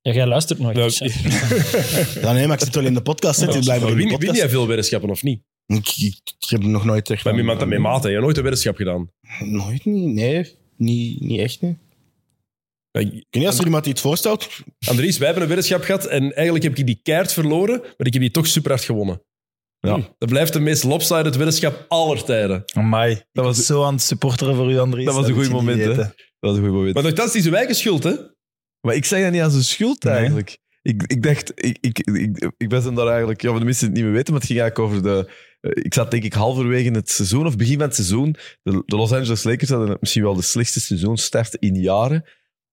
C: Ja, jij luistert nooit.
B: Nou,
C: dus, hè.
O: Ja, nee, maar ik zit wel in de podcast. Zit hier blijven
B: maar
O: in de
B: win, win
O: podcast.
B: jij veel weddenschappen of niet?
O: Ik, ik, ik heb nog nooit echt...
B: Bij mijn maat, mijn maat, hè. je hebt nooit een weddenschap gedaan.
O: Nooit niet, nee. Niet, niet echt, nee.
B: Ik-
O: Ik weet niet, als er iemand iets voorstelt...
B: Andries, wij hebben een weddenschap gehad en eigenlijk heb ik die keihard verloren, maar ik heb die toch super hard gewonnen.
I: Ja.
B: Dat blijft de meest lopsided weddenschap aller tijden.
I: Amai, dat was zo aan het supporteren voor u, Andries.
H: Dat was een
I: heb
H: goed
I: ik niet
H: moment, hè?
I: weten.
H: Dat was een goed moment.
B: Maar
H: Maar,
B: nog dat is die zijn eigen schuld, hè?
H: ik zeg dat niet als een schuld
I: Nee.
H: eigenlijk. Ik, ik dacht, ik, ik, ik, ik was hem daar eigenlijk, ja, voor de mensen die het niet meer weten, maar het ging eigenlijk over de. eh, Ik zat denk ik halverwege het seizoen of begin van het seizoen. De, de Los Angeles Lakers hadden misschien wel de slechtste seizoenstart in jaren.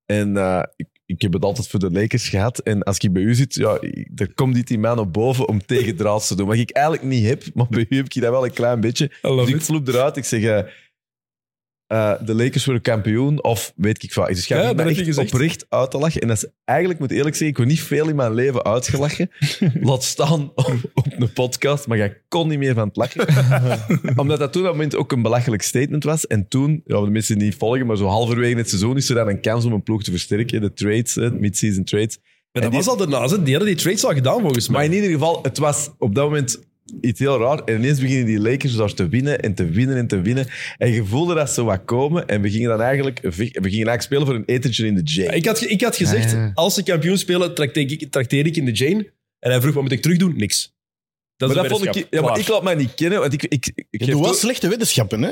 H: En eh, ik, ik heb het altijd voor de Lakers gehad. En als ik bij u zit, ja, ik- dan komt dit in mij naar boven om tegendraads te doen. Wat ik eigenlijk niet heb, maar bij u heb ik dat wel een klein beetje. Dus ik vloep eruit, ik zeg... eh, eh, de Lakers worden kampioen, of weet ik wat. Dus ik ga
B: Ja,
H: me
B: dat heb je
H: echt
B: gezegd.
H: oprecht uit te lachen. En dat is eigenlijk, moet ik eerlijk zeggen, ik word niet veel in mijn leven uitgelachen. Laat staan op, op een podcast, maar ik kon niet meer van het lachen. Omdat dat toen op dat moment ook een belachelijk statement was. En toen, ja, voor de mensen die niet volgen, maar zo halverwege het seizoen is er dan een kans om een ploeg te versterken. De trades, hè, de mid-season trades.
B: Ja, dat
H: En die-
B: was al daarnaast, hè. die hadden die trades al gedaan volgens mij.
H: maar in ieder geval, het was op dat moment iets heel raar. En ineens beginnen die Lakers daar te winnen en te winnen en te winnen. En je voelde dat ze wat komen. En we gingen dan eigenlijk, we gingen eigenlijk spelen voor een etentje in de J.
B: Ik had, ge- ik had
H: Ah,
B: gezegd,
H: ja.
B: als ze kampioen spelen, trakteer ik, trakteer ik in de Jane. En hij vroeg, wat moet ik terugdoen? Niks. Dat is
H: maar
B: de
H: dat vond ik,
B: weddenschap.
H: ja, maar
B: Klaar.
H: ik laat mij niet kennen, want ik... ik, ik
B: Je doet wel
H: slechte weddenschappen, hè?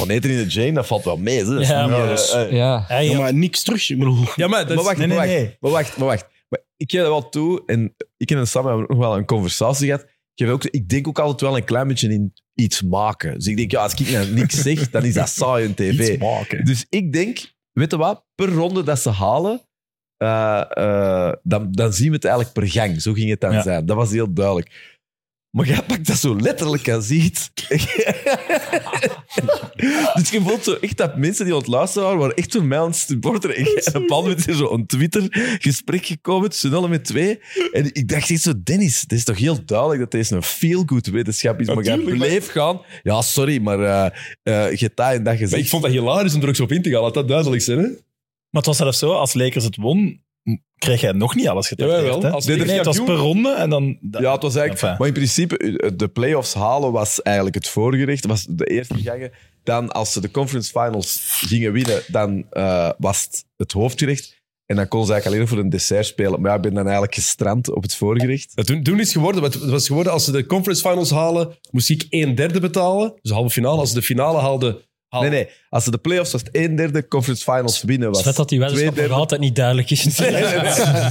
H: Oh, nee, in de Jane, dat valt wel mee. Hè. Dat is
B: Ja,
H: niet,
B: maar
H: eh,
B: dus-
H: eh,
B: ja. Ja, ja.
H: maar niks terug. Ik bedoel.
B: Ja, maar dat is-
H: maar wacht,
B: nee,
H: maar,
B: nee,
H: wacht,
B: nee.
H: maar wacht, maar wacht. Maar ik geef dat wel toe, en ik en Sam hebben nog wel een conversatie gehad. Ik, geef ook, ik denk ook altijd wel een klein beetje in iets maken. Dus ik denk, ja, als ik nou niks zeg, dan is dat saai in tv.
I: Iets maken.
H: Dus ik denk, weet je wat, per ronde dat ze halen, eh, eh, dan, dan zien we het eigenlijk per gang. Zo ging het dan
I: Ja.
H: zijn. Dat was heel duidelijk. Maar jij pakt dat zo letterlijk als iets. dus je voelt zo echt dat mensen die ontluisteren waren, waren echt door mij aan het supporteren. En jij- En Paul met zo een Twitter-gesprek gekomen tussen alle met twee. En ik dacht echt zo, Dennis, het is toch heel duidelijk dat deze een feel-good wetenschap is. Maar jij
B: Natuurlijk,
H: bleef gaan. Ja, sorry, maar eh eh, je hebt dat en dat gezegd.
B: Maar ik vond dat hilarisch om er ook zo op in te gaan. Laat dat duidelijk zijn, hè?
I: Maar het was zelfs zo, als Lakers het won, m- kreeg jij nog niet alles getrakteerd.
H: Jawel,
I: hè?
H: als
I: nee,
H: Lakers
I: nee, het was per
H: kampioen-
I: ronde en dan...
H: ja, het was eigenlijk...
I: Enfin.
H: Maar in principe, eh, de playoffs halen was eigenlijk het voorgerecht. was de eerste gangen. Dan, als ze de conference finals gingen winnen, dan eh, was het het hoofdgerecht. En dan kon ze eigenlijk alleen nog voor een dessert spelen. Maar ja, ik ben dan eigenlijk gestrand op het voorgerecht.
B: Dat doen, doen is geworden. Wat het was geworden als ze de conference finals halen, moest ik een derde betalen. Dus halve finale. Als ze de finale haalden...
H: Nee, nee. Als ze de playoffs was het een derde, conference finals winnen was
C: Het vet dat die weddenschap nog altijd niet duidelijk is.
H: We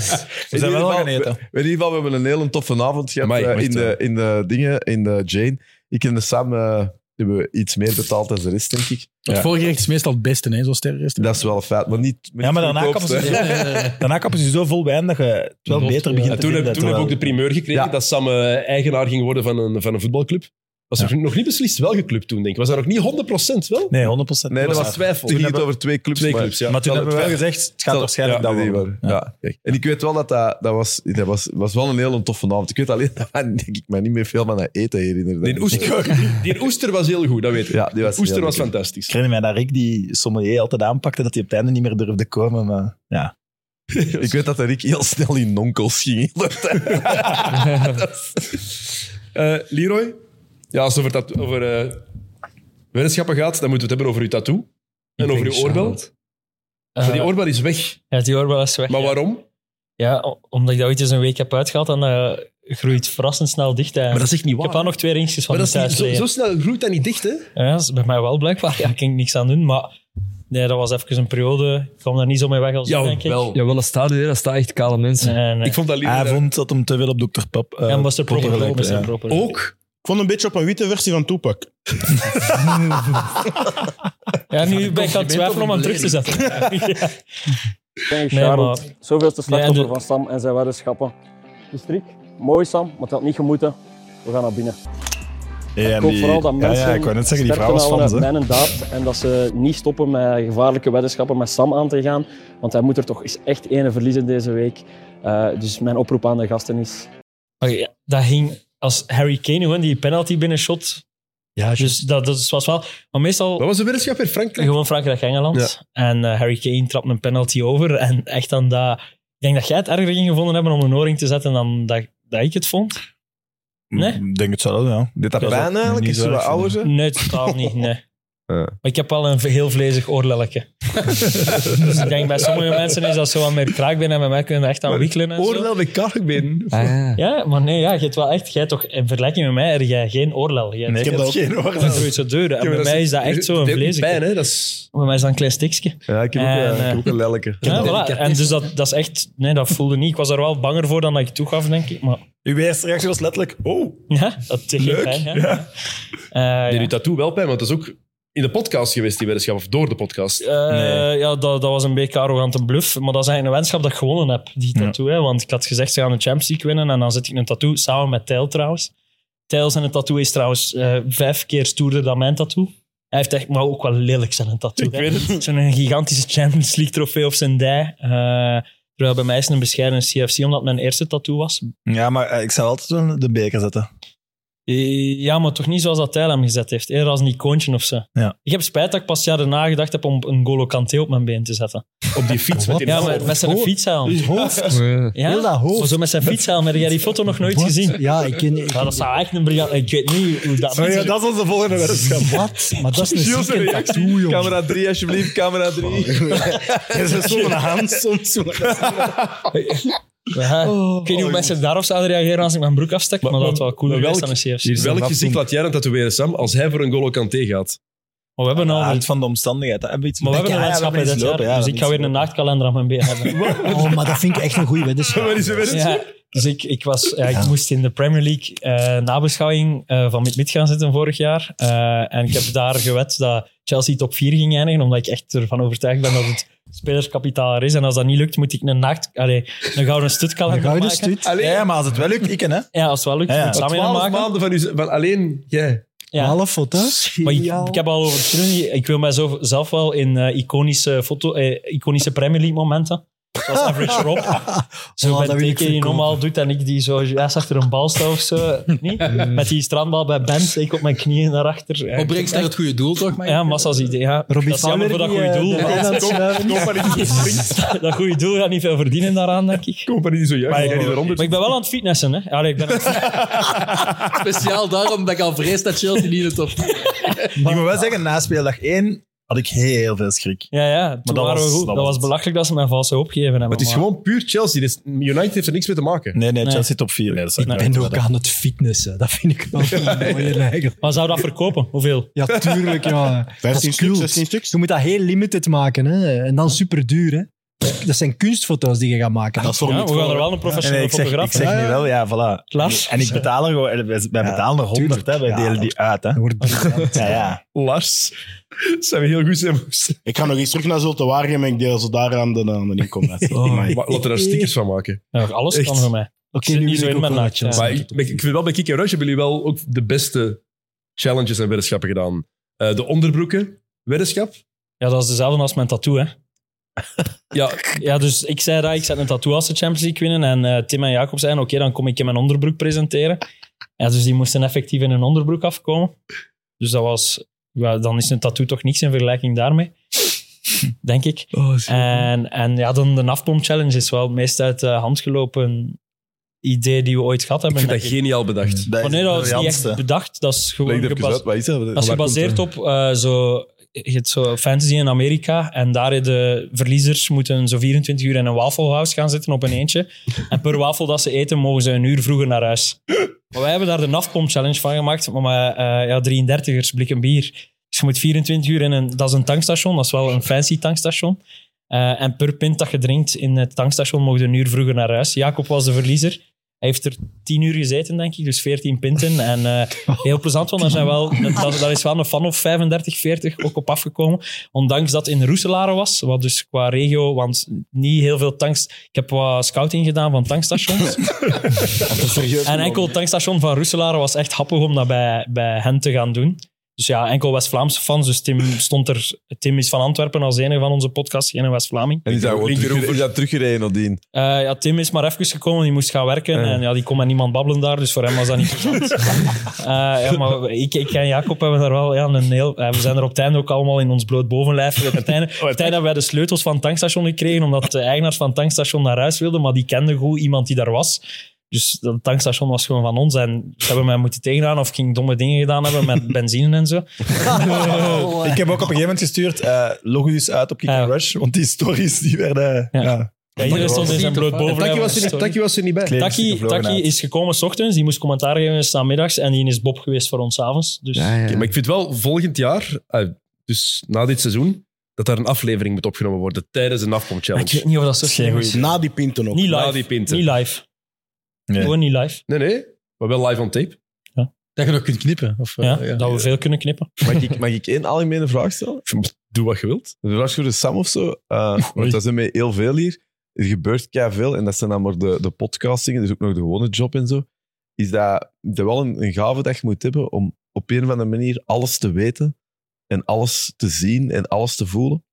C: zijn wel
H: gaan eten. In ieder geval, we hebben een hele toffe avond gehad
B: Amai,
H: eh,
B: echt,
H: in, de, in de dingen, in de Jane. Ik en de Sam eh, hebben we iets meer betaald dan de rest, denk ik.
E: Het
H: Ja.
E: voorgerecht is meestal het beste, hè, zo'n sterrenrest.
H: Dat is wel een feit, maar niet...
I: Ja, maar daarna kappen, ze, daarna kappen ze zo vol wijn dat je het wel beter begint
B: En
I: te
B: toen
I: vinden.
B: heb, toen heb ik ook de primeur gekregen dat Sam eh, eigenaar ging worden van een, van een voetbalclub. Was nog- nog niet beslist welke club toen, denk ik. Was dat nog niet 100% wel?
I: Nee, 100%.
B: Nee, dat was twijfel.
H: Toen ging
B: Toen
H: het over twee clubs.
B: Twee clubs, ja.
I: Maar toen hebben we wel gezegd, het gaat waarschijnlijk
H: dat
I: dat
H: niet
I: worden.
H: worden. Ja. kijk. En ik weet wel dat dat, dat, was, dat was, was wel een hele toffe avond. Ik weet alleen dat denk ik mij niet meer veel aan dat eten herinneren.
B: Die oester, die oester was heel goed, dat weet ik.
H: Ja, die was
B: oester
H: heel
B: was
H: lekker.
B: fantastisch.
I: Ik herinner mij dat Rick die sommelier altijd aanpakte, dat hij op het einde niet meer durfde komen, maar ja.
H: ik weet dat Rick heel snel in nonkels ging.
B: Eh, Leroy, ja, als het over, tat- over eh, weddenschappen gaat, dan moeten we het hebben over uw tattoo. En
C: Ik
B: over
C: denk
B: uw oorbel.
C: Charlotte.
B: Maar die
C: Eh,
B: oorbel is weg.
C: Ja, die oorbel is weg.
B: Maar
C: ja.
B: waarom?
C: Ja, o- omdat ik dat ooit eens een week heb uitgehaald en eh, groeit verrassend snel dicht. eigenlijk.
B: Maar dat is echt niet
C: Ik
B: waar.
C: heb wel nog twee ringetjes van
B: Maar dat is
C: die
B: niet,
C: thuis
B: zo,
C: liggen.
B: zo snel groeit dat niet dicht, hè?
C: Ja, dat is bij mij wel blijkbaar. Ja, ik kan ik niks aan doen, maar nee, dat was even een periode. Ik kwam daar niet zo mee weg als
J: Ja,
C: u, denk ik.
J: wel. Jawel, dat staat hier. Dat staat echt kale mensen.
C: Nee, nee.
B: Ik vond dat liever...
I: Hij vond dat hem te veel op Dr. Pap. eh,
C: Ja, Mr. Proper,
I: Proper lijkt,
C: Mr.
I: ja.
C: Proper.
B: Ook?
L: Ik vond een beetje op een witte versie van Tupac.
C: Ja, nu ben ik aan het twijfelen om hem terug te zetten. Ja. Nee,
R: Charlotte,
C: maar-
R: zoveel te slachtoffer
C: Nee, de-
R: van Sam en zijn weddenschappen. De strik, mooi Sam, maar het had niet gemoeten. We gaan naar binnen.
I: Ja,
R: ik
I: en
R: hoop
I: die-
R: vooral dat
I: ja,
R: mensen
I: ja, ik wou net zeggen, die
R: sterkte eh,
I: vrouw was
R: halen uit
I: fans, hè.
R: mijn daad en dat ze niet stoppen met gevaarlijke weddenschappen met Sam aan te gaan. Want hij moet er toch eens echt ene verliezen deze week. Eh, dus mijn oproep aan de gasten is...
C: Oké, ja, dat ging als Harry Kane gewoon die penalty binnenshot.
B: Ja,
C: dus dat, dat was wel. Maar meestal. Wat
B: was de weddenschap weer Frankrijk?
C: Gewoon Frankrijk-Engeland. En eh, Harry Kane trapt een penalty over. En echt dan dat. Ik denk dat jij het erger ging gevonden hebben om een oring te zetten dan dat, dat ik het vond. Nee?
I: Ik denk het zo, ja.
H: Dit
I: dat
H: pijn
I: ook
H: eigenlijk?
I: niet
H: Is
I: zo
H: ze
I: erg
H: wat
I: vinden.
H: ouder?
C: Nee, totaal niet. Nee. Maar ik heb wel een heel vlezig oorlelletje. dus ik denk bij sommige mensen is dat zo aan meer kraakbeen en bij mij kunnen we echt aan wikkelen. en zo.
B: Oorlel met karkbeen.
C: Ja, maar nee, ja, je hebt wel echt, jij toch, in vergelijking met mij, heb jij geen oorlel. Jij
B: Nee, ik heb
C: jij
B: dat
C: hebt
B: geen oorlel.
C: Dat groeit zo deur. En
B: maar
C: bij
B: dat is-
C: mij is dat echt zo'n
B: het heeft ook
C: vleesje.
B: pijn, hè?
C: Bij mij is dat een klein stikje.
H: Ja, ik heb ook,
C: En,
H: eh, ik heb
C: eh,
H: ook een lelijke.
C: Ja, voilà. En dus dat, dat is echt, nee, dat voelde niet. Ik was er wel banger voor dan dat ik toegaf, denk ik. Maar
I: Uw eerste reactie was letterlijk, oh.
C: ja, dat deed geen
B: Leuk,
C: pijn, hè.
B: ja.
C: Eh,
B: Nee,
C: ja.
B: uw tattoo wel pijn, want dat is ook in de podcast geweest, die weddenschap. Of door de podcast.
C: Eh, ja, dat, dat was een beetje arrogante bluff. Maar dat is eigenlijk een weddenschap dat ik gewonnen heb, die tattoo. Hè? Want ik had gezegd, ze gaan de Champions League winnen. En dan zet ik een tattoo, samen met Tijl trouwens. Tijl zijn tattoo is trouwens eh, vijf keer stoerder dan mijn tattoo. Hij heeft echt, maar ook wel lelijk zijn tattoo.
B: Ik
C: hè.
B: weet het.
C: Zo'n gigantische Champions League trofee op zijn dij. Eh, terwijl bij mij is het een bescheiden CFC, omdat het mijn eerste tattoo was.
I: Ja, maar eh, ik zou altijd wel de beker zetten.
C: Ja, maar toch niet zoals dat hij hem gezet heeft. Eerder als een icoontje of zo.
I: Ja.
C: Ik heb spijt dat ik pas jaren nagedacht heb om een Golo Kanté op mijn been te zetten.
B: Op die fiets met die
C: Ja,
B: hoofd.
C: met, met zijn
B: Hoofd.
C: fietshelm.
B: Die hoofd.
C: Ja,
B: Heel
K: dat hoofd.
C: Maar Zo met zijn fietshelm. Heb jij die foto nog nooit
K: Wat?
C: gezien?
K: Ja, ik ken-
C: Ja, dat zou echt een briljant... Ik weet niet hoe dat...
K: Oh ja, dat is
C: onze volgende
K: wedstrijd. Wat? Maar dat is een
N: Jules'
K: zieke
N: reactie.
K: tattoo, jongen.
N: Camera 3, alsjeblieft, camera 3.
L: Is het zo'n hand soms?
C: Ja,
K: Oh.
C: ik weet niet hoe mensen daarop zouden reageren als ik mijn broek afstek, maar, dat had wel cooler geweest dan een CFC.
B: Welk gezicht laat jij dan tatoeëren, Sam, als hij voor een Golo Kanté gaat?
C: Maar we
B: Ah,
C: hebben al...
I: Uit van de omstandigheid. Hebben we iets
C: Maar we hebben een landschap dit jaar, dus ik ga weer een naaktkalender aan mijn been hebben.
K: Oh, maar dat vind ik echt een goede weddenschap.
C: Ja, dus ik, ik, was, ja, ik moest in de Premier League eh, nabeschouwing eh, van Mid-Mid gaan zitten vorig jaar. Eh, en ik heb daar gewet dat Chelsea top 4 ging eindigen, omdat ik echt ervan overtuigd ben dat het spelerskapitaal er is. En als dat niet lukt, moet ik een nacht... Allee, een gouden stutkalender maken.
I: Ja, maar als het wel lukt, ik hè.
C: Ja, als het wel lukt,
I: Ja, ja.
C: moet ik samen
I: Twaalf
C: maken.
B: maanden van, u, van alleen jij.
C: Ja.
K: foto's.
C: Maar ik, ik heb al over verschillende- Ik wil mijzelf zelf wel in eh, iconische, foto, eh, iconische Premier League momenten. Zoals Average Rob. Zo
K: Oh,
C: met
K: dat wil
C: twee
K: ik
C: keer die
K: verkopen.
C: normaal doet en ik die zo juist achter een bal sta of zo. Niet? Met die strandbal bij Bent, ik op mijn knieën naar achter. Ja,
E: Opbrengst naar het goede doel, toch? Maar
C: Ja, massa's idee. Ja. dat is jammer voor dat goede doel. maar- dat goede doel gaat niet veel verdienen daaraan, denk ik.
B: Company die zojuist.
C: Maar,
B: jij die eronder-
C: maar ik ben wel aan het fitnessen. Hè. Allee, ik ben aan het
E: Speciaal daarom dat ik al vrees dat Chelsea niet in de top
I: Ik moet wel zeggen, na speeldag 1 had ik heel veel schrik.
C: Ja, ja. Toen
I: dat
C: waren we
I: was-
C: goed.
I: dat
C: Dat was
I: was-
C: belachelijk dat ze mij valse opgeven hebben.
B: Maar het is
C: maar-
B: gewoon puur Chelsea. Dus United heeft er niks mee te maken.
I: Nee, nee,
C: Nee.
I: Chelsea top 4. Nee, dat zou
K: Ik
I: nooit
K: ben ook
I: worden.
K: aan het fitnessen. Dat vind ik wel mooi eigenlijk.
C: Maar zou dat verkopen? Hoeveel?
K: Ja, tuurlijk. Ja.
L: 15
K: Dat is
L: stuks,
K: cult.
L: 16 stuks.
K: Je moet dat heel limited maken. Hè. En dan super duur. Hè. Dat zijn kunstfoto's die je gaat maken.
I: Dat is voor
C: Ja,
I: niet
C: we gaan
I: voor-
C: er wel een professionele
I: Nee, nee, ik zeg,
C: fotograaf
I: Ik zeg
C: van
I: nu wel, ja, voilà.
C: Lars.
I: En ik betaal er gewoon, wij, wij betalen er 100, hè, wij delen die uit. Hè. ja, ja.
B: Lars. Zijn we heel goed zijn.
L: Ik ga nog eens terug naar Zulte Waregem en ik deel ze daar aan de, aan de inkom.
B: Maar Laten we daar stickers van maken.
C: Oh, Ja, alles
B: Echt.
C: kan voor mij.
K: Oké,
C: Ik zit
K: nu wil
C: niet zo
K: ik
C: in
K: ook
C: mijn
K: wel
C: naadje.
K: een
B: Maar ik, ik vind wel bij Kick en Rush hebben jullie wel ook de beste challenges en weddenschappen gedaan. Eh, de onderbroeken, weddenschap.
C: Ja, dat is dezelfde als mijn tattoo, hè. ja, ja, dus ik zei dat, ik zet een tattoo als de Champions League winnen. En eh, Tim en Jacob zeiden, oké, dan kom ik in mijn onderbroek presenteren. Ja, dus die moesten effectief in hun onderbroek afkomen. Dus dat was... ja, dan is een tattoo toch niks in vergelijking daarmee. Denk ik.
K: Oh,
C: en, en ja, dan de Nafpom Challenge is wel het meest uit de hand gelopen idee die we ooit
B: Ik
C: gehad hebben.
B: vind dat
C: denk ik.
B: geniaal bedacht.
I: Dat
C: Maar
H: Mm.
C: nee, dat is niet echt
I: briljantste.
C: bedacht. Dat is gewoon
H: Leg het even
C: gebas-
H: uit, wat is dat?
C: dat is gebaseerd op eh, zo, je hebt zo fantasy in Amerika. En daar de verliezers moeten zo 24 uur in een wafelhuis gaan zitten op een eentje. En per wafel dat ze eten, mogen ze een uur vroeger naar huis. Maar wij hebben daar de nafpomp challenge van gemaakt. Maar met, eh, ja, 33ers, blik een bier. Dus je moet 24 uur in een... Dat is een tankstation, dat is wel een fancy tankstation. Eh, en per pint dat je drinkt in het tankstation, mogen ze een uur vroeger naar huis. Jacob was de verliezer. Hij heeft er tien uur gezeten, denk ik, dus 14 pinten. En eh, heel plezant, want daar, zijn wel, dat, daar is wel een fan of 35, 40 ook op afgekomen. Ondanks dat het in Roeselare was, wat dus qua regio, want niet heel veel tanks... Ik heb wat scouting gedaan van tankstations. en enkel het tankstation van Roeselare was echt happig om dat bij, bij hen te gaan doen. Dus ja, enkel West-Vlaamse fans. Dus Tim, stond er, Tim is van Antwerpen als enige van onze podcast, geen West-Vlaming.
H: En is dat, gewoon teruggereden, is dat teruggereden, nadien?
C: Eh, ja, Tim is maar even gekomen, die moest gaan werken.
H: Ja.
C: En ja, die kon met niemand babbelen daar, dus voor hem was dat niet plezant. Eh, ja, maar ik, ik en Jacob hebben daar wel ja, een heel... eh, we zijn er op het einde ook allemaal in ons bloot bovenlijf. Op het einde, op het einde hebben wij de sleutels van het tankstation gekregen, omdat de eigenaars van het tankstation naar huis wilden, maar die kenden goed iemand die daar was. Dus dat tankstation was gewoon van ons. En ze hebben mij moeten tegenaan of ik ging domme dingen gedaan hebben met benzine en zo.
I: Ik heb ook op een gegeven moment gestuurd, eh log u eens uit op Kick and Rush, want die stories die werden... Ja.
C: Ja, iedereen stond in zijn bloot bovenlijf.
B: Taki was, er niet-
C: Sorry.
B: Taki was er niet bij.
I: Kleren is
C: Taki,
I: gevlogen
C: Taki
I: uit.
C: is gekomen s ochtends, die moest commentaar geven s'namiddags en die is Bob geweest voor ons 's avonds. Dus
B: Oké, maar ik vind wel volgend jaar, eh, dus na dit seizoen, dat daar een aflevering moet opgenomen worden tijdens de Nafpom
C: Maar ik
B: Challenge.
C: weet niet of dat zo slim is.
L: Na die pinten ook.
C: Niet
B: Na
C: live.
B: die pinten.
C: Niet live.
I: Nee.
C: Gewoon niet live.
B: Nee, nee, maar wel live on tape.
E: Dat je nog kunt knippen. Of, eh,
C: Ja,
E: ja.
C: dat we veel kunnen knippen.
H: Mag ik, mag ik één algemene vraag stellen?
B: Doe wat je wilt.
H: De vraag voor de Sam of zo. eh want dat zijn mij heel veel hier. Er gebeurt kei veel en dat zijn dan maar de, de podcastingen, dus ook nog de gewone job en zo. Is dat, dat wel een, een gave dat je moet hebben om op een of andere manier alles te weten en alles te zien en alles te voelen?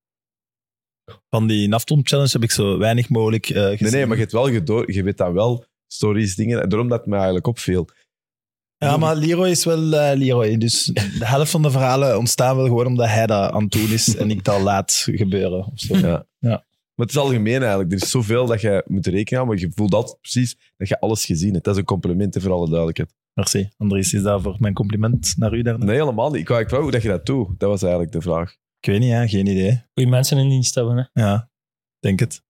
I: Van die Naftom Challenge heb ik zo weinig mogelijk eh gezien.
H: Nee, nee, maar je, hebt wel gedoor, je weet dat wel, stories, dingen. En Daarom dat het mij eigenlijk opviel.
I: Ja, maar Leroy is wel eh, Leroy. Dus de helft van de verhalen ontstaan wel gewoon omdat hij dat aan het doen is en ik dat laat gebeuren. Of zo.
H: Ja. Maar het is algemeen eigenlijk. Er is zoveel dat je moet rekenen houden, maar je voelt altijd precies dat je alles gezien hebt. Dat is een compliment hè, voor alle duidelijkheid.
I: Merci. Andries, is dat voor mijn compliment naar u daarna?
H: Nee, helemaal niet. Ik wou ik wou hoe dat je dat doet. Dat was eigenlijk de vraag.
I: Ik weet niet, hè? geen idee.
C: Goede mensen in dienst hebben, hè?
I: Ja, denk het.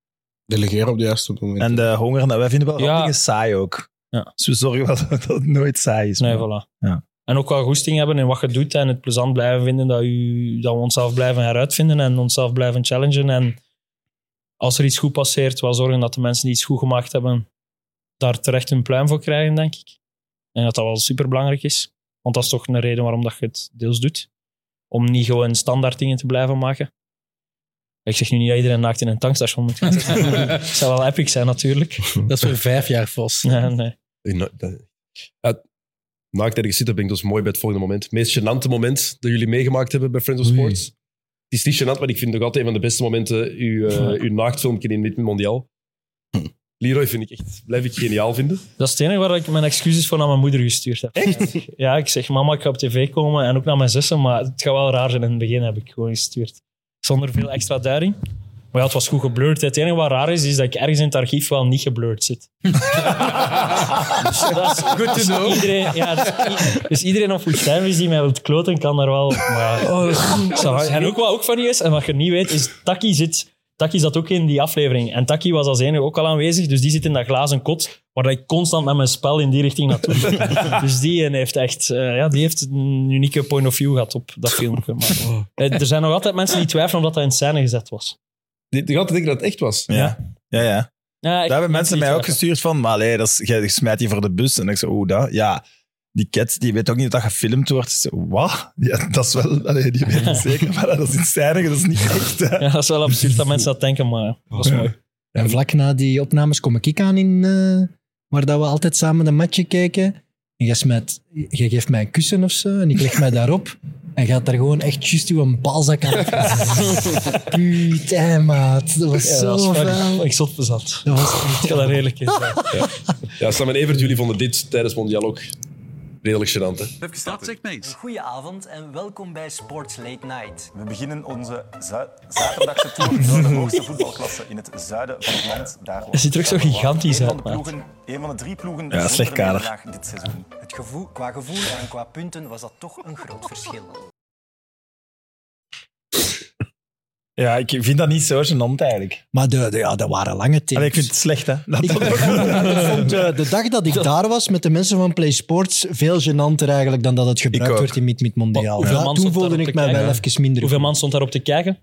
O: Delegeren op de juiste moment.
I: En de honger, nou, wij vinden wel
C: Ja.
I: ja. dingen saai ook.
C: Ja.
I: Dus we zorgen wel dat het nooit saai is.
C: Nee,
I: maar-
C: voilà.
I: Ja.
C: En ook wel goesting hebben in wat je doet en het plezant blijven vinden dat, u, dat we onszelf blijven heruitvinden en onszelf blijven challengen. En als er iets goed passeert, wel zorgen dat de mensen die iets goed gemaakt hebben daar terecht hun pluim voor krijgen, denk ik. En dat dat wel superbelangrijk is. Want dat is toch een reden waarom dat je het deels doet. Om niet gewoon standaard dingen te blijven maken. Ik zeg nu niet dat iedereen naakt in een tankstation moet gaan zitten. Het zou wel epic zijn, natuurlijk.
E: Dat is voor vijf jaar vast.
C: Nee, nee.
B: Na- Eh, dat- Ja, Naakt ergens zitten brengt ons mooi bij het volgende moment. Het meest gênante moment dat jullie meegemaakt hebben bij Friends of Sports. Het is niet gênant, maar ik vind het nog altijd een van de beste momenten. Uw, eh, uw naaktfilmpje in dit mondiaal. Leroy vind ik echt, blijf ik geniaal vinden.
C: Dat is het enige waar ik mijn excuses voor naar mijn moeder gestuurd heb. Echt? Ja, ik zeg, mama, ik ga op tv komen en ook naar mijn zussen, maar het gaat wel raar zijn in het begin, heb ik gewoon gestuurd. Zonder veel extra duiding. Maar ja, het was goed geblurred. Het enige wat raar is, is dat ik ergens in het archief wel niet geblurred zit. dus dat is
E: Good to
C: dus
E: know.
C: Iedereen, ja, dus, i- dus iedereen op Woestijn is die mij wilt kloten, kan daar wel... Maar, ja. Zo, en ook wat ook funny is, en wat je niet weet, is Taki zit... Taki zat ook in die aflevering. En Taki was als enige ook al aanwezig, dus die zit in dat glazen kot, waar ik constant met mijn spel in die richting naartoe ging. Dus die een heeft echt... eh, ja, die heeft een unieke point of view gehad op dat filmpje. Maar, eh, er zijn nog altijd mensen die twijfelen omdat dat in scène gezet was.
B: Die die gaat denken dat het echt was.
I: Ja, ja, ja.
C: Ja, ik-
I: Daar hebben mensen
C: niet
I: mij ook
C: twijfelen.
I: gestuurd van, maar allee, dat is, jij smijt die voor de bus. En ik zei, oeh, dat? Ja, die cat, die weet ook niet dat dat gefilmd wordt. Ik zei, wat? Ja, dat is wel, allee, die weet het zeker, maar dat is in scène, dat is niet echt. hè.
C: Ja, dat is wel absurd dat mensen dat denken, maar eh, dat is mooi.
K: En vlak na die opnames kom ik aan in, eh, waar dat we altijd samen een matje kijken. En jij, smijt, jij geeft mij een kussen of zo en ik leg mij daarop. En gaat daar gewoon echt juist uw balzak aan. Putain, maat. Dat was
C: Ja,
K: zo
C: dat was funny.
K: vuil.
C: Ik zat bezat.
K: Dat was...
C: Ik ga daar eerlijk in zijn.
B: Ja, Sam en Evert, jullie vonden dit tijdens het mondiaal ook redelijk gênant. Hè?
S: Even
T: Goedenavond en welkom bij Sports Late Night. We beginnen onze zu- zaterdagse tour door de hoogste voetbalklasse in het zuiden van het land. Daar
C: Het ziet er ook zo gigantisch
T: Een
C: uit,
T: van de
C: maat.
T: ploegen- Een van de drie ploegen
I: Ja, slecht
T: zonder
I: kader.
T: nederlaag dit seizoen. Het gevoel, qua gevoel en qua punten was dat toch een groot verschil.
I: Ja, ik vind dat niet zo gênant eigenlijk.
K: Maar de, de- ja, dat waren lange takes.
I: Allee, ik vind het slecht, hè. Dat-
K: Ik vond eh, de dag dat ik daar was met de mensen van Play Sports veel gênanter eigenlijk dan dat het
I: Ik
K: gebruikt
I: ook.
K: werd in Meet Meet Mondiaal.
C: Hoeveel
K: Ja,
C: man
K: toen
C: stond
K: voelde
C: daarop
K: ik
C: te
K: mij wel
C: kijken?
K: even minder.
C: Hoeveel man stond daarop te kijken?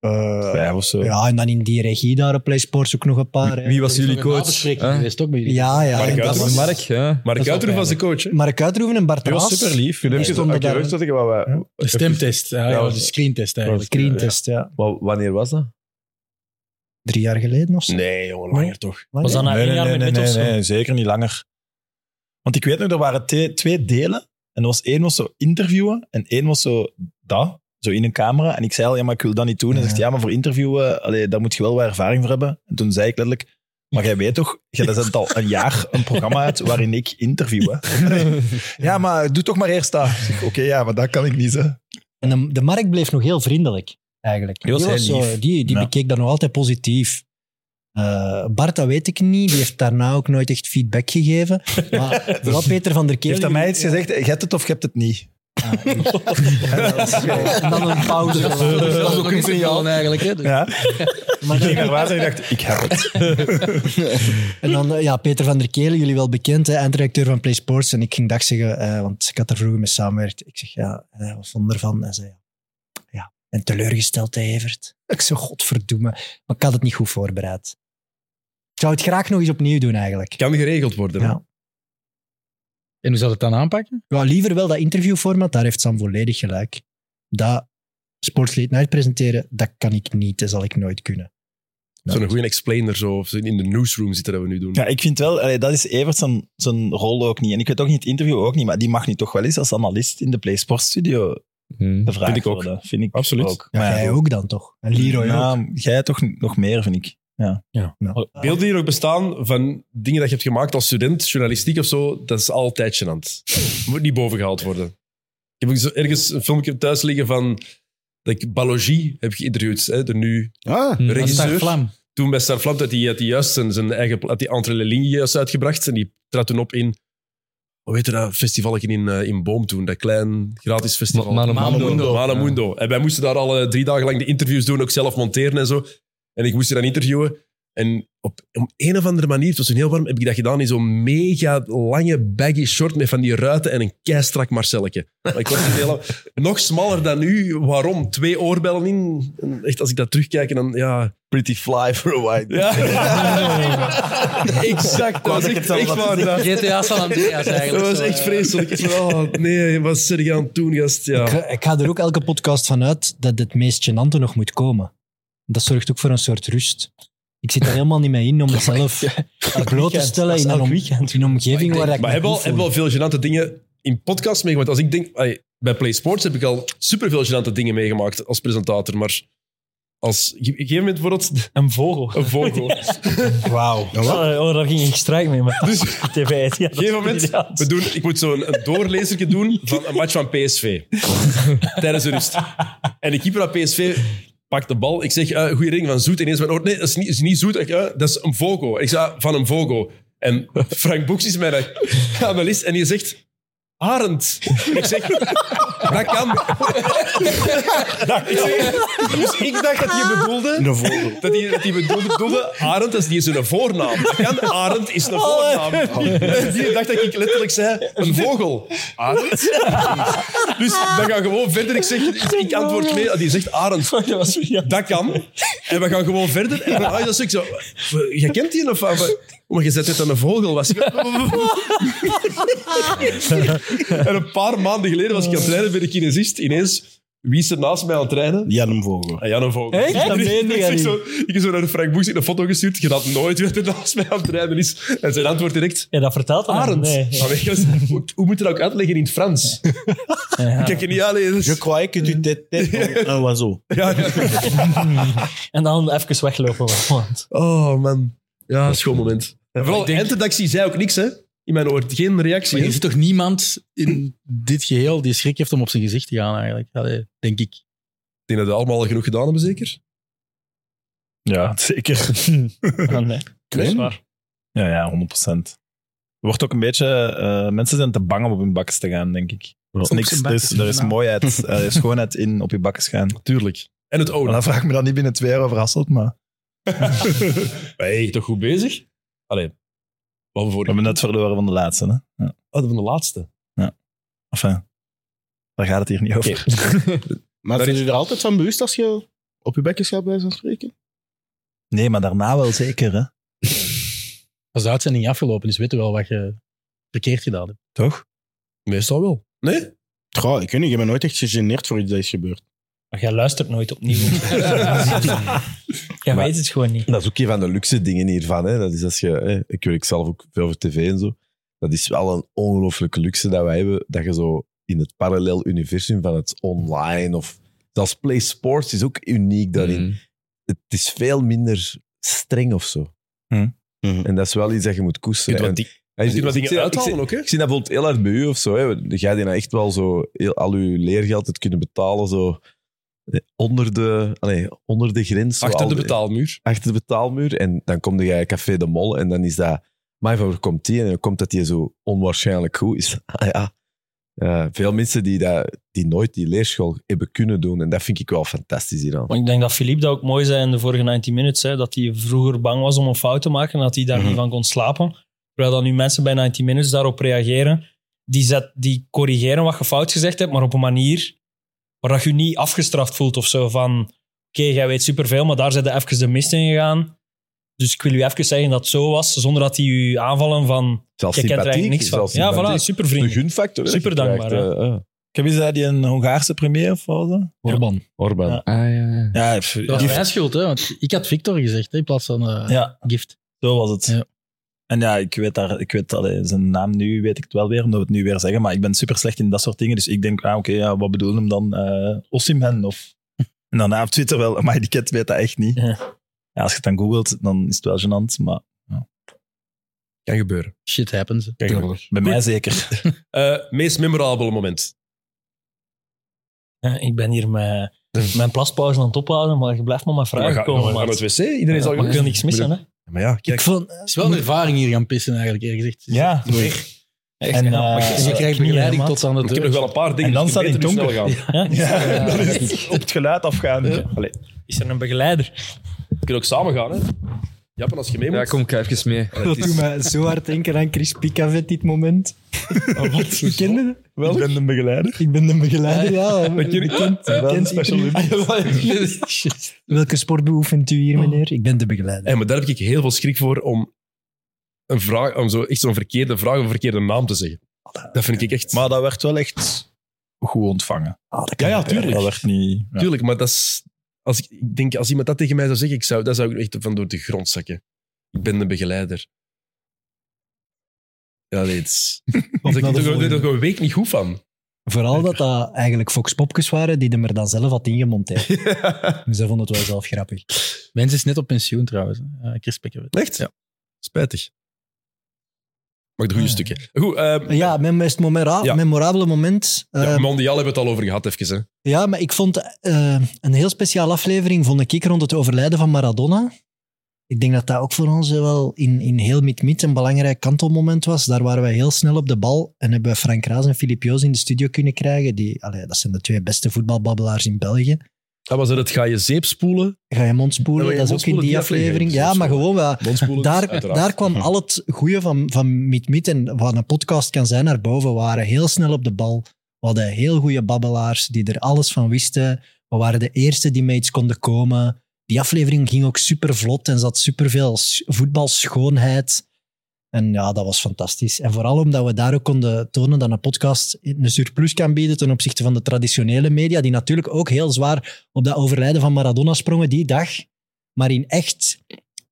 I: Eh, Vijf of zo.
K: Ja, en dan in die regie daar op Play Sports ook nog een paar. hè.
J: Wie was jullie coach? Huh?
E: ook bij
K: Ja, ja.
J: Mark
K: en dat
J: Uiterhoef.
K: was-
J: Mark, ja.
B: Mark Uiterhoef was de coach. hè?
K: Mark Uiterhoeven en Bart
H: Die
K: Raas.
H: was super lief.
K: Die stonden daar-
E: De stemtest, ja, ja,
H: Ja,
E: de screentest eigenlijk.
K: Screentest, ja.
H: Wa- Wanneer was dat?
K: Drie jaar geleden of zo.
B: Nee, jongen,
K: langer
B: toch?
C: Was dat na één jaar
I: nee,
C: met
I: nee,
C: Beatles?
I: nee, nee, zeker niet langer. Want ik weet nog, er waren te- twee delen. En er was één was zo interviewen en één was zo dat, zo in een camera. En ik zei al, ja, maar ik wil dat niet doen. En hij zegt, ja, maar voor interviewen, allee, daar moet je wel wat ervaring voor hebben. En toen zei ik letterlijk, maar jij weet toch, jij zet al een jaar een programma uit waarin ik interview. hè?" ja, maar doe toch maar eerst dat. Ik zeg, Oké, ja, maar dat kan ik niet, hè.
K: En de, de Mark bleef nog heel vriendelijk, eigenlijk.
I: Die was heel
K: zo-
I: lief.
K: die die
I: Ja.
K: bekeek dat nog altijd positief. Eh, Bart, dat weet ik niet. Die heeft daarna ook nooit echt feedback gegeven. Maar wel Ah, Peter van der Keel...
I: Heeft aan mij iets gezegd, je hebt het of je hebt het niet?
K: En dan een pauze.
E: Dat is ook een signaal eigenlijk. Hè?
I: Ja. Maar ik ging naar water en ik dacht, ik heb het.
K: En dan, eh, ja, Peter van der Kelen, jullie wel bekend, hè, eindredacteur van Play Sports. En ik ging dag zeggen, eh, want ik had er vroeger mee samengewerkt. Ik zeg, ja, eh, wat vond ervan? Hij zei, ja. ja. En teleurgesteld, hè, Evert. Ik zo, godverdomme. Maar ik had het niet goed voorbereid. Ik zou het graag nog eens opnieuw doen, eigenlijk.
B: Kan geregeld worden. hè?
K: Ja.
E: En hoe zou het dan aanpakken?
K: Ja, liever wel dat interviewformat, daar heeft Sam volledig gelijk. Dat Sports Late Night presenteren, dat kan ik niet. Dat zal ik nooit kunnen.
B: Zo'n goede explainer zo, of zo in de newsroom zitten dat we nu doen.
I: Ja, ik vind wel, allee, dat is Evert zijn, zijn rol ook niet. En ik weet ook niet, het interview ook niet, maar die mag nu toch wel eens als analist in de Play Sports Studio de vraag
B: Hmm. Vind ik ook.
I: worden. Vind ik
B: Absoluut.
I: ook.
K: Ja,
I: Maar
K: jij
I: ja,
K: ook dan toch? En Leroy ook.
I: nou, Jij toch nog meer, vind ik. Ja.
B: Ja. Oh, Beelden die er ook bestaan van dingen dat je hebt gemaakt als student, journalistiek of zo, dat is altijd gênant. Moet niet bovengehaald worden. Ik heb ook zo ergens een filmpje thuis liggen van dat ik Balogie heb geïnterviewd, hè, de nu
E: Hmm.
I: Ah,
B: regisseur.
I: Star Vlam.
B: Toen bij Star Vlam, dat hij had die juist zijn, zijn eigen, pla- had die Entre les Lignes juist uitgebracht en die trad toen op in, hoe weet je dat, festivalje in, eh, in Boom toen, dat klein gratis festival.
J: Ma- Manomundo.
B: Manomundo.
J: Manomundo.
B: En wij moesten daar alle drie dagen lang de interviews doen, ook zelf monteren en zo. En ik moest je dan interviewen. En op, op een of andere manier, het was toen heel warm, heb ik dat gedaan in zo'n mega lange baggy short met van die ruiten en een keistrak Marcelletje. Maar Ik was toen heel, nog smaller dan nu. Waarom? Twee oorbellen in. En echt, als ik dat terugkijk, dan ja... Pretty fly for a white. Ja. exact. Dat was echt, echt waar. dat-
E: GTA San Andreas eigenlijk.
B: Dat was
E: Zo,
B: echt
E: ja.
B: vreselijk. Ik zei, oh, nee, wat zit je aan het doen, gast?
K: Ik,
B: Ja.
K: ga- ik ga er ook elke podcast van uit dat het meest gênante nog moet komen. Dat zorgt ook voor een soort rust. Ik zit er helemaal niet mee in om mezelf bloot te
B: weekend.
K: stellen
B: Dat is
K: in een,
B: elk
K: om- in een omgeving waar ik
B: maar
K: me
B: hebben
K: goed
B: al, hebben
K: voel.
B: al veel gênante dingen in podcasts meegemaakt. Als ik denk, ai, bij Play Sports heb ik al superveel gênante dingen meegemaakt als presentator, maar als op een gegeven moment bijvoorbeeld
C: een vogel.
B: Een vogel.
I: Wauw.
C: Oh, oh, daar ging ik strijk mee, maar tv ja,
B: Op een gegeven moment, we doen, ik moet zo'n een doorlezertje doen van een match van PSV. Tijdens de rust. En de keeper van PSV pakt de bal. Ik zeg, eh goede ring van Zoet. Ineens mijn oor, nee, dat is niet, is niet Zoet. Ik, eh, dat is een Vogo. Ik zei, van een Vogo. En Frank Boeks is mijn analist en die zegt, Arend. Ik zeg, dat kan. Ik zeg, dus ik dacht dat je bedoelde...
I: Een vogel.
B: Dat hij dat die bedoelde, bedoelde, Arend is niet zijn voornaam. Dat kan, Arend is een voornaam. Die dacht dat ik letterlijk zei, een vogel. Arend? Dus we gaan gewoon verder. Ik zeg, ik antwoord mee. Ah, Die zegt Arend. Dat kan. En we gaan gewoon verder. En dan, ah, dat is ook zo. Je kent die of wat? Maar je zet dit aan een vogel. Was ik, en een paar maanden geleden was ik aan het trainen bij de kinesist. Ineens, wie is er naast mij aan het trainen?
I: Jan een Vogel.
B: Ah, Jan een Vogel.
I: Echt? Dat meen je
B: ik, zeg
I: niet.
B: zo, ik heb zo naar Frank Boeks een foto gestuurd. Je had nooit wie er naast mij aan het rijden is. En zijn antwoord direct...
C: Ja, dat vertelt
I: hem.
B: Arend.
I: Nee.
B: Maar weet je, hoe, hoe moet je dat ook uitleggen in het Frans? Kijk je niet alleen. Je
I: kwaai, kunt u dit, dit, en wat zo.
C: En dan even weglopen. Want...
B: Oh man. Ja, schoon moment. En vooral
E: Ik denk-
B: eindredactie zei ook niks, hè? In mijn oor. Geen reactie.
E: Maar
B: hè?
E: er zit toch niemand in dit geheel die schrik heeft om op zijn gezicht te gaan, eigenlijk. Allee, denk ik.
B: Ik denk dat we allemaal al genoeg gedaan hebben, zeker?
I: Ja, zeker.
C: nee.
I: Dat is waar. Ah, Ja, ja, 100 procent. Wordt ook een beetje... eh, mensen zijn te bang om op hun bakkes te gaan, denk ik. Er is
B: Op
I: niks,
B: zijn
I: er is,
B: bakkes,
I: er is
B: ja.
I: mooiheid, er is schoonheid in op je bakkes gaan. Oh,
B: Tuurlijk. En het ownen.
I: Dan vraag ik me dan niet binnen twee jaar over Hasselt, maar...
B: hey, toch goed bezig? Allee. Wat voor...
I: We hebben net verloren van de laatste, hè? Ja.
B: Oh, van de laatste.
I: Enfin, daar gaat het hier niet over.
O: Maar zijn jullie er altijd van bewust als je op je bekjes gaat bij zo'n spreken?
I: Nee, maar daarna wel zeker, hè?
E: Als de uitzending afgelopen is, weten we wel wat je verkeerd gedaan hebt.
B: Toch? Meestal wel. Nee?
O: Goh, ik weet niet, ik ben nooit echt gegeneerd voor iets dat is gebeurd.
C: Maar jij luistert nooit opnieuw. jij weet het gewoon niet.
H: Dat is ook een van de luxe dingen hiervan. Hè. Dat is als je, hè, ik werk zelf ook veel voor tv en zo. Dat is wel een ongelooflijke luxe dat wij hebben. Dat je zo in het parallel universum van het online of zelfs Play Sports is ook uniek daarin.
B: Mhm.
H: Het is veel minder streng of zo.
C: Mhm.
H: En dat is wel iets dat je moet koesteren.
B: Je Mhm.
H: En-
B: kunt wat di-
H: Ja,
B: je kunt wat
H: ik
B: dingen
H: zie dat-
B: uithalen
H: ik zie-
B: ook, hè?
H: Ik zie dat bijvoorbeeld heel erg bij u of zo. Hè. Jij die nou echt wel zo heel, al uw leergeld het kunnen betalen. Zo, eh, onder, de, allee, onder de grens. zo
B: Achter
H: al
B: de
H: die-
B: betaalmuur.
H: Achter de betaalmuur. En dan kom jij Café de Mol en dan is dat... Maar waar komt die? En dan komt dat die zo onwaarschijnlijk goed is. Ah ja. Eh, veel mensen die, dat, die nooit die leerschool hebben kunnen doen. En dat vind ik wel fantastisch hieraan.
C: Maar ik denk dat Philippe dat ook mooi zei in de vorige 90 minutes. Hè, dat hij vroeger bang was om een fout te maken en dat hij daar
H: Mhm.
C: niet van kon slapen. Terwijl dan nu mensen bij 90 minutes daarop reageren. Die, zet, die corrigeren wat je fout gezegd hebt, maar op een manier waar dat je je niet afgestraft voelt of zo. Van, oké, jij weet superveel, maar daar zijn de even de mist in gegaan. Dus ik wil u even zeggen dat het zo was, zonder dat die u aanvallen van...
H: Zelfs
C: je kent er eigenlijk
H: sympathiek,
C: niks van.
H: zelfs
C: Ja, voilà,
H: sympathiek.
C: super vriendelijk.
H: De gunfactor, hè,
C: Super
H: dat je
C: dankbaar.
H: krijgt,
C: hè.
H: eh, eh.
I: Ik heb eens dat die een Hongaarse premier of zo.
K: Orban.
H: Orban.
I: Ja.
J: Ah, ja.
I: Ja, ik-
E: Dat was
I: Gift.
E: mijn schuld, hè? Want ik had Victor gezegd hè, in plaats van eh,
I: Ja.
E: Gift.
I: Zo was het. En ja, ik weet daar, ik weet allee, zijn naam nu, weet ik het wel weer, omdat we het nu weer zeggen, maar ik ben super slecht in dat soort dingen, dus ik denk, ah, oké, ja, wat bedoelen hem dan? eh Osimhen of... En daarna op Twitter wel, maar die kent weet dat echt niet. Ja, als je het dan googelt, dan is het wel gênant, maar... Ja.
B: Kan gebeuren.
E: Shit happens.
I: Kan gebeuren. Bij mij zeker.
B: Eh, meest memorabele moment.
S: Eh, Ik ben hier met mijn plaspauze aan het ophouden, maar je blijft maar met vragen
B: Maar Hm. ga-
S: komen.
B: maar ga
S: maat.
B: naar het wc, iedereen zal
S: Ja, maar
B: je-
S: je kan niks missen, hè.
B: Maar ja,
S: kijk. vond-
E: het is wel een ervaring hier gaan pissen, eigenlijk, eerlijk gezegd.
I: Ja.
E: Echt,
I: En,
E: ja,
I: eh,
E: maar je- je krijgt begeleiding tot aan de deur.
I: Ik heb nog wel een paar dingen, En dan dus je staat weet het hoe donker. snel
S: Ja.
I: Ja, dan is het op het geluid afgaan. Allee.
S: Is er een begeleider?
B: We kunnen ook samen gaan, hè? Jappen, als je mee moet.
J: Ja, kom, ik ga even mee.
B: Dat
K: Dat doet mij zo hard denken aan Chris Picavet dit moment. wat? Je kende dat?
I: Oh, Ik ben een begeleider.
K: Ik ben de begeleider, ja. Bekend-
I: Wel een
K: bekend
I: special
K: interview. Welke sport beoefent u hier, meneer? Ik ben de begeleider.
B: Hey, maar daar heb ik heel veel schrik voor om, een vraag, om zo, echt zo'n verkeerde vraag of een verkeerde naam te zeggen. Dat vind ik echt...
I: Maar dat werd wel echt goed ontvangen.
K: Ah,
B: ja, ja, tuurlijk.
I: Dat werd niet... ja.
B: Tuurlijk, maar dat is... Als ik, ik denk, als iemand dat tegen mij zou zeggen, ik zou, dat zou ik echt van door de grond zakken. Ik ben de begeleider. Ja, nee, het is...
K: naar
B: Daar
K: de
B: ben ik
K: volgende.
B: toch een week niet goed van.
K: Vooral dat dat eigenlijk Fox Popkes waren die hem er dan zelf had ingemonteerd. dus dat vond het wel zelf grappig.
E: Mens is net op pensioen, trouwens. hè. Eh, Chris Pikken.
B: Echt?
E: Ja.
B: Spijtig. Maar de
K: Ah.
B: goede stukken. Goed, ehm,
K: Ja, mijn meest memora-
B: Ja.
K: memorabele moment. eh,
B: ja, mondiaal hebben we het al over gehad, even. Hè.
K: Ja, maar ik vond eh, een heel speciale aflevering vond ik rond het overlijden van Maradona. Ik denk dat dat ook voor ons wel in, in heel mid-mid een belangrijk kantelmoment was. Daar waren wij heel snel op de bal en hebben we Frank Raas en Filip Joos in de studio kunnen krijgen. Die, allee, dat zijn de twee beste voetbalbabbelaars in België.
B: Dat was het, het ga je zeep spoelen.
K: Ga je mond
B: Ja,
K: spoelen,
B: maar
K: dat is ook in
B: mondspoelen,
K: die
B: die
K: aflevering.
B: aflevering, dus
K: Ja, maar gewoon, wel.
B: Bondspoelen, dus
K: daar,
B: uiteraard.
K: daar kwam al het goede van, van Meet Meet en wat een podcast kan zijn naar boven. We waren heel snel op de bal. We hadden heel goede babbelaars die er alles van wisten. We waren de eerste die mee iets konden komen. Die aflevering ging ook super vlot en zat superveel s- voetbalschoonheid. En ja, dat was fantastisch. En vooral omdat we daar ook konden tonen dat een podcast een surplus kan bieden ten opzichte van de traditionele media, die natuurlijk ook heel zwaar op dat overlijden van Maradona sprongen die dag, maar in echt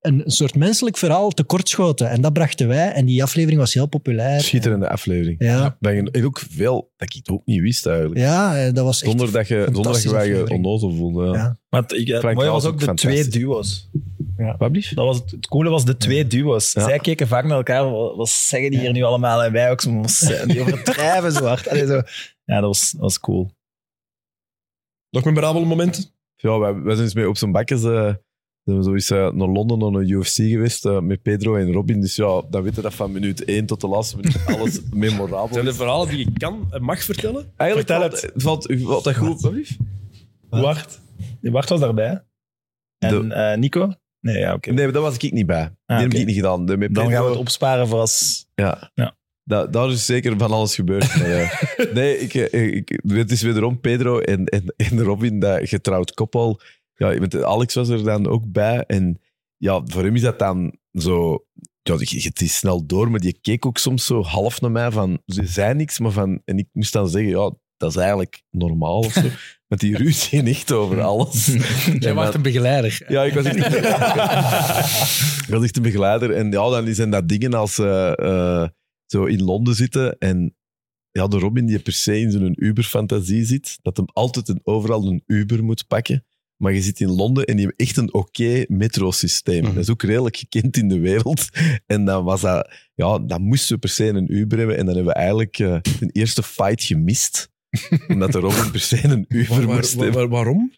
K: een soort menselijk verhaal tekortschoten. En dat brachten wij en die aflevering was heel populair.
H: Schitterende aflevering.
K: Ja.
H: Dat je- en ook veel dat ik het ook niet wist eigenlijk.
K: Ja, eh, dat was echt
H: Zonder dat je, zonder dat je,
K: fantastische
H: wij je
K: aflevering.
H: onnozel voelde. Ja.
I: Maar het, ik, het
H: Frank
I: mooie
H: Raas
I: was ook
H: ook
I: de twee
H: fantastisch.
I: duo's. Ja. Dat was het, het coole was de twee duo's. Zij keken vaak naar elkaar. Wat, wat zeggen die hier nu allemaal? En wij ook zo. "Mos, Die overdrijven zo hard. Allee, zo. Ja, dat was, dat was cool.
B: Nog memorabele momenten?
H: Ja, wij, wij zijn eens mee op zijn bakkes. eh zijn we zoiets eh, naar Londen, naar een UFC geweest eh, met Pedro en Robin. Dus ja, dan weten dat van minuut 1 tot de laatste minuut alles memorabel
B: Zijn
H: is.
B: er verhalen die je kan en mag vertellen?
H: Eigenlijk
B: Vertel
H: valt, valt, valt dat goed, alsjeblieft?
I: Wart. Wart was daarbij. En eh, Nico? Nee, ja, oké. Ah,
H: Nee, maar daar was ik niet bij. Die heb
I: oké.
H: ik niet gedaan. De, met
I: Dan
H: Pedro-
I: gaan we het opsparen voor als...
H: Ja.
I: ja.
H: Da- daar is zeker van alles gebeurd. Maar, eh, nee, ik, eh, ik, het is wederom Pedro en, en, en Robin, dat getrouwd koppel. Ja, want Alex was er dan ook bij. En ja, voor hem is dat dan zo... Ja, je- het is snel door, maar die keek ook soms zo half naar mij van... Ze zei niks, maar van... En ik moest dan zeggen, ja, dat is eigenlijk normaal of zo. Met die ruzie niet over alles.
E: Jij
H: En
E: was
H: dan-
E: een begeleider.
H: Ja, ik was echt ik was echt een begeleider. En ja, dan zijn dat dingen als ze eh, zo in Londen zitten en ja, de Robin die per se in zo'n Uber-fantasie zit, dat hem altijd en overal een Uber moet pakken. Maar je zit in Londen en je hebt echt een oké metrosysteem. Dat is ook redelijk gekend in de wereld. En dan was dat, ja, dan moesten we per se een Uber hebben. En dan hebben we eigenlijk eh, een eerste fight gemist. Omdat de Robin per se een Uber
B: Waar-
H: moest
B: waar-
H: hebben.
B: waar- waarom?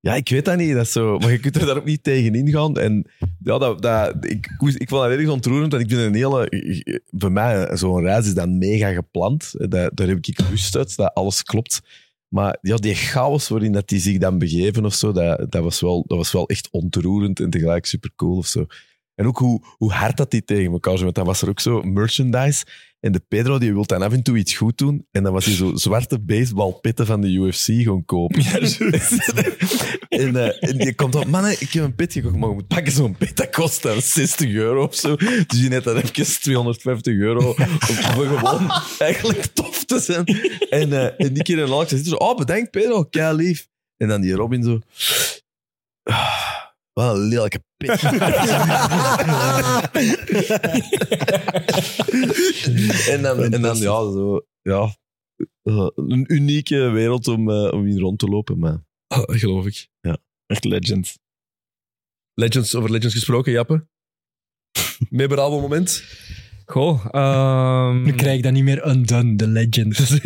H: Ja, ik weet dat niet. Dat is zo, maar je kunt er daar ook niet tegen ingaan. En ja, dat, dat, ik, moest- ik vond dat ergens ontroerend. Want ik ben een hele... Voor mij, zo'n reis is dan mega gepland. Dat, daar heb ik rust uit, dat alles klopt. Maar ja, die chaos waarin dat die zich dan begeven of zo, dat, dat, was wel, dat was wel echt ontroerend en tegelijk supercool of zo. En ook hoe, hoe hard dat die tegen elkaar zijn. Want dan was er ook zo merchandise. En de Pedro die wil dan af en toe iets goed doen. En dan was hij zo zwarte baseballpitten van de UFC gaan kopen. En, eh, en je komt op, mannen, ik heb een pit gekocht, maar je moet pakken zo'n pit, dat kost dan 60 euro of zo. Dus je net dan even 250 euro om voor gewoon eigenlijk tof te zijn. En, eh en die keer in Alex zitten zo, oh bedankt Pedro, kei lief. En dan die Robin zo, "Ah, wat een lelijke pit. en dan, en dan ja, zo, ja, eh, een unieke wereld om, eh, om in rond te lopen, maar...
B: geloof ik.
H: Ja.
I: Echt legend.
H: Legends, over Legends gesproken, Jappe. Memorabel moment?
J: Goh,
K: Nu krijg ik dat niet meer undone, de legend.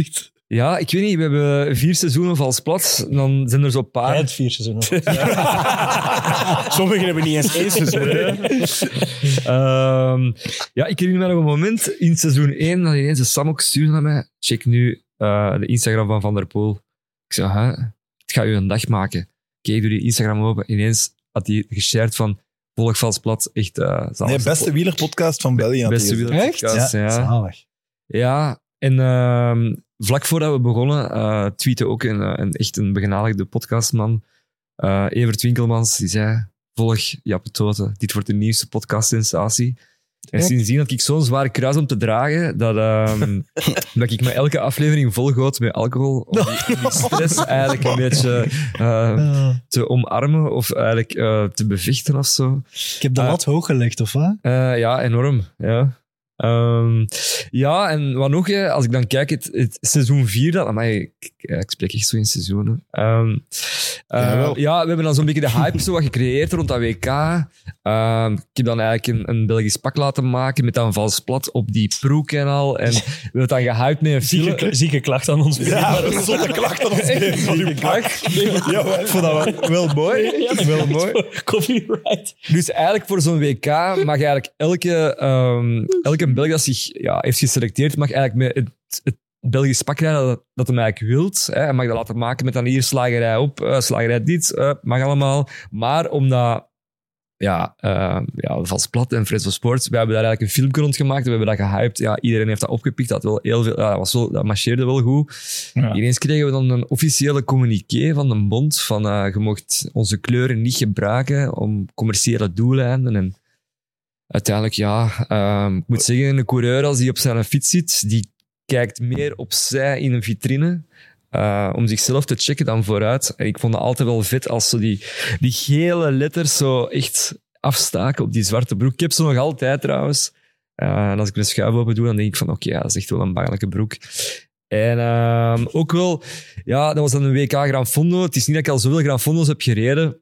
J: Ja, ik weet niet. We hebben vier seizoenen vals plat. Dan zijn er zo'n paar. Jij
K: vier seizoenen.
L: Sommigen hebben niet eens één seizoen.
J: Ehm, ja, ik herinner me nog een moment in seizoen 1 dat ineens een Sam ook stuurde naar mij. Check nu eh, de Instagram van Van der Poel. Ik zei, hè, het gaat u een dag maken. Oké, ik doe die Instagram open. Ineens had hij geshared van volg vals plat. Echt eh zalig.
I: Nee, beste wielerpodcast van België. had
J: Beste
I: hij gezegd.
J: wielerpodcast,
I: Ja,
J: ja.
I: zalig.
J: Ja, en ehm, vlak voordat we begonnen, eh tweette ook een, eh, een echt een begenadigde podcastman, eh, Evert Winkelmans, die zei, volg Jappe Toten, dit wordt de nieuwste podcastsensatie. En
U: Echt?
J: sindsdien had ik zo'n zware kruis om te dragen, dat, ehm, dat ik me elke aflevering volgoot met alcohol, om die, om die stress eigenlijk een
K: Oh,
J: beetje eh, te omarmen of eigenlijk eh, te bevechten of zo.
K: Ik heb de lat hoog gelegd, of wat?
J: Eh, ja, enorm. Ja. Ehm, ja, en wat nog, hè, als ik dan kijk, het, het seizoen 4, dat, amai, ik, ja, ik spreek echt zo in seizoenen. Ehm, eh,
U: Jawel.
J: ja, we hebben dan zo'n beetje de hype zo wat gecreëerd rond dat WK. Ehm, ik heb dan eigenlijk een, een Belgisch pak laten maken met dan vals plat op die proek en al. En we hebben het dan gehyped met een film.
C: Zieke, zieke klacht aan ons.
J: Ja,
C: een
J: zotte klacht aan ons
C: Echt,
J: van uw
C: zieke
J: pak.
C: klacht.
J: Ja, ik vond dat wel- wel mooi. Wel mooi.
C: Copyright.
J: Dus eigenlijk voor zo'n WK mag eigenlijk elke, ehm, elke Belg dat zich ja, heeft geselecteerd, mag eigenlijk met het, het Belgisch pak rijden dat, dat hem eigenlijk wilt. Hè. Hij mag dat laten maken met dan hier slagerij op, eh, slagerij dit, eh, mag allemaal. Maar omdat ja, eh ja, Vals Plat en Fred van Sports. We hebben daar eigenlijk een filmpje rond gemaakt. We hebben dat gehyped. Ja, iedereen heeft dat opgepikt. Dat, had wel heel veel, ja, dat, was wel, dat marcheerde wel goed. Ineens kregen we dan een officiële communiqué van de bond. Van, eh, je mocht onze kleuren niet gebruiken om commerciële doeleinden. En uiteindelijk, ja, ehm, ik moet zeggen, een coureur als die op zijn fiets zit, die kijkt meer opzij in een vitrine eh, om zichzelf te checken dan vooruit. En ik vond het altijd wel vet als ze die, die gele letters zo echt afstaken op die zwarte broek. Ik heb ze nog altijd trouwens. Eh, en als ik mijn schuif open doe, dan denk ik van oké, ja, dat is echt wel een bangelijke broek. En ehm, ook wel, ja, dat was dan een WK Gran Fondo. Het is niet dat ik al zoveel Gran Fondo's heb gereden.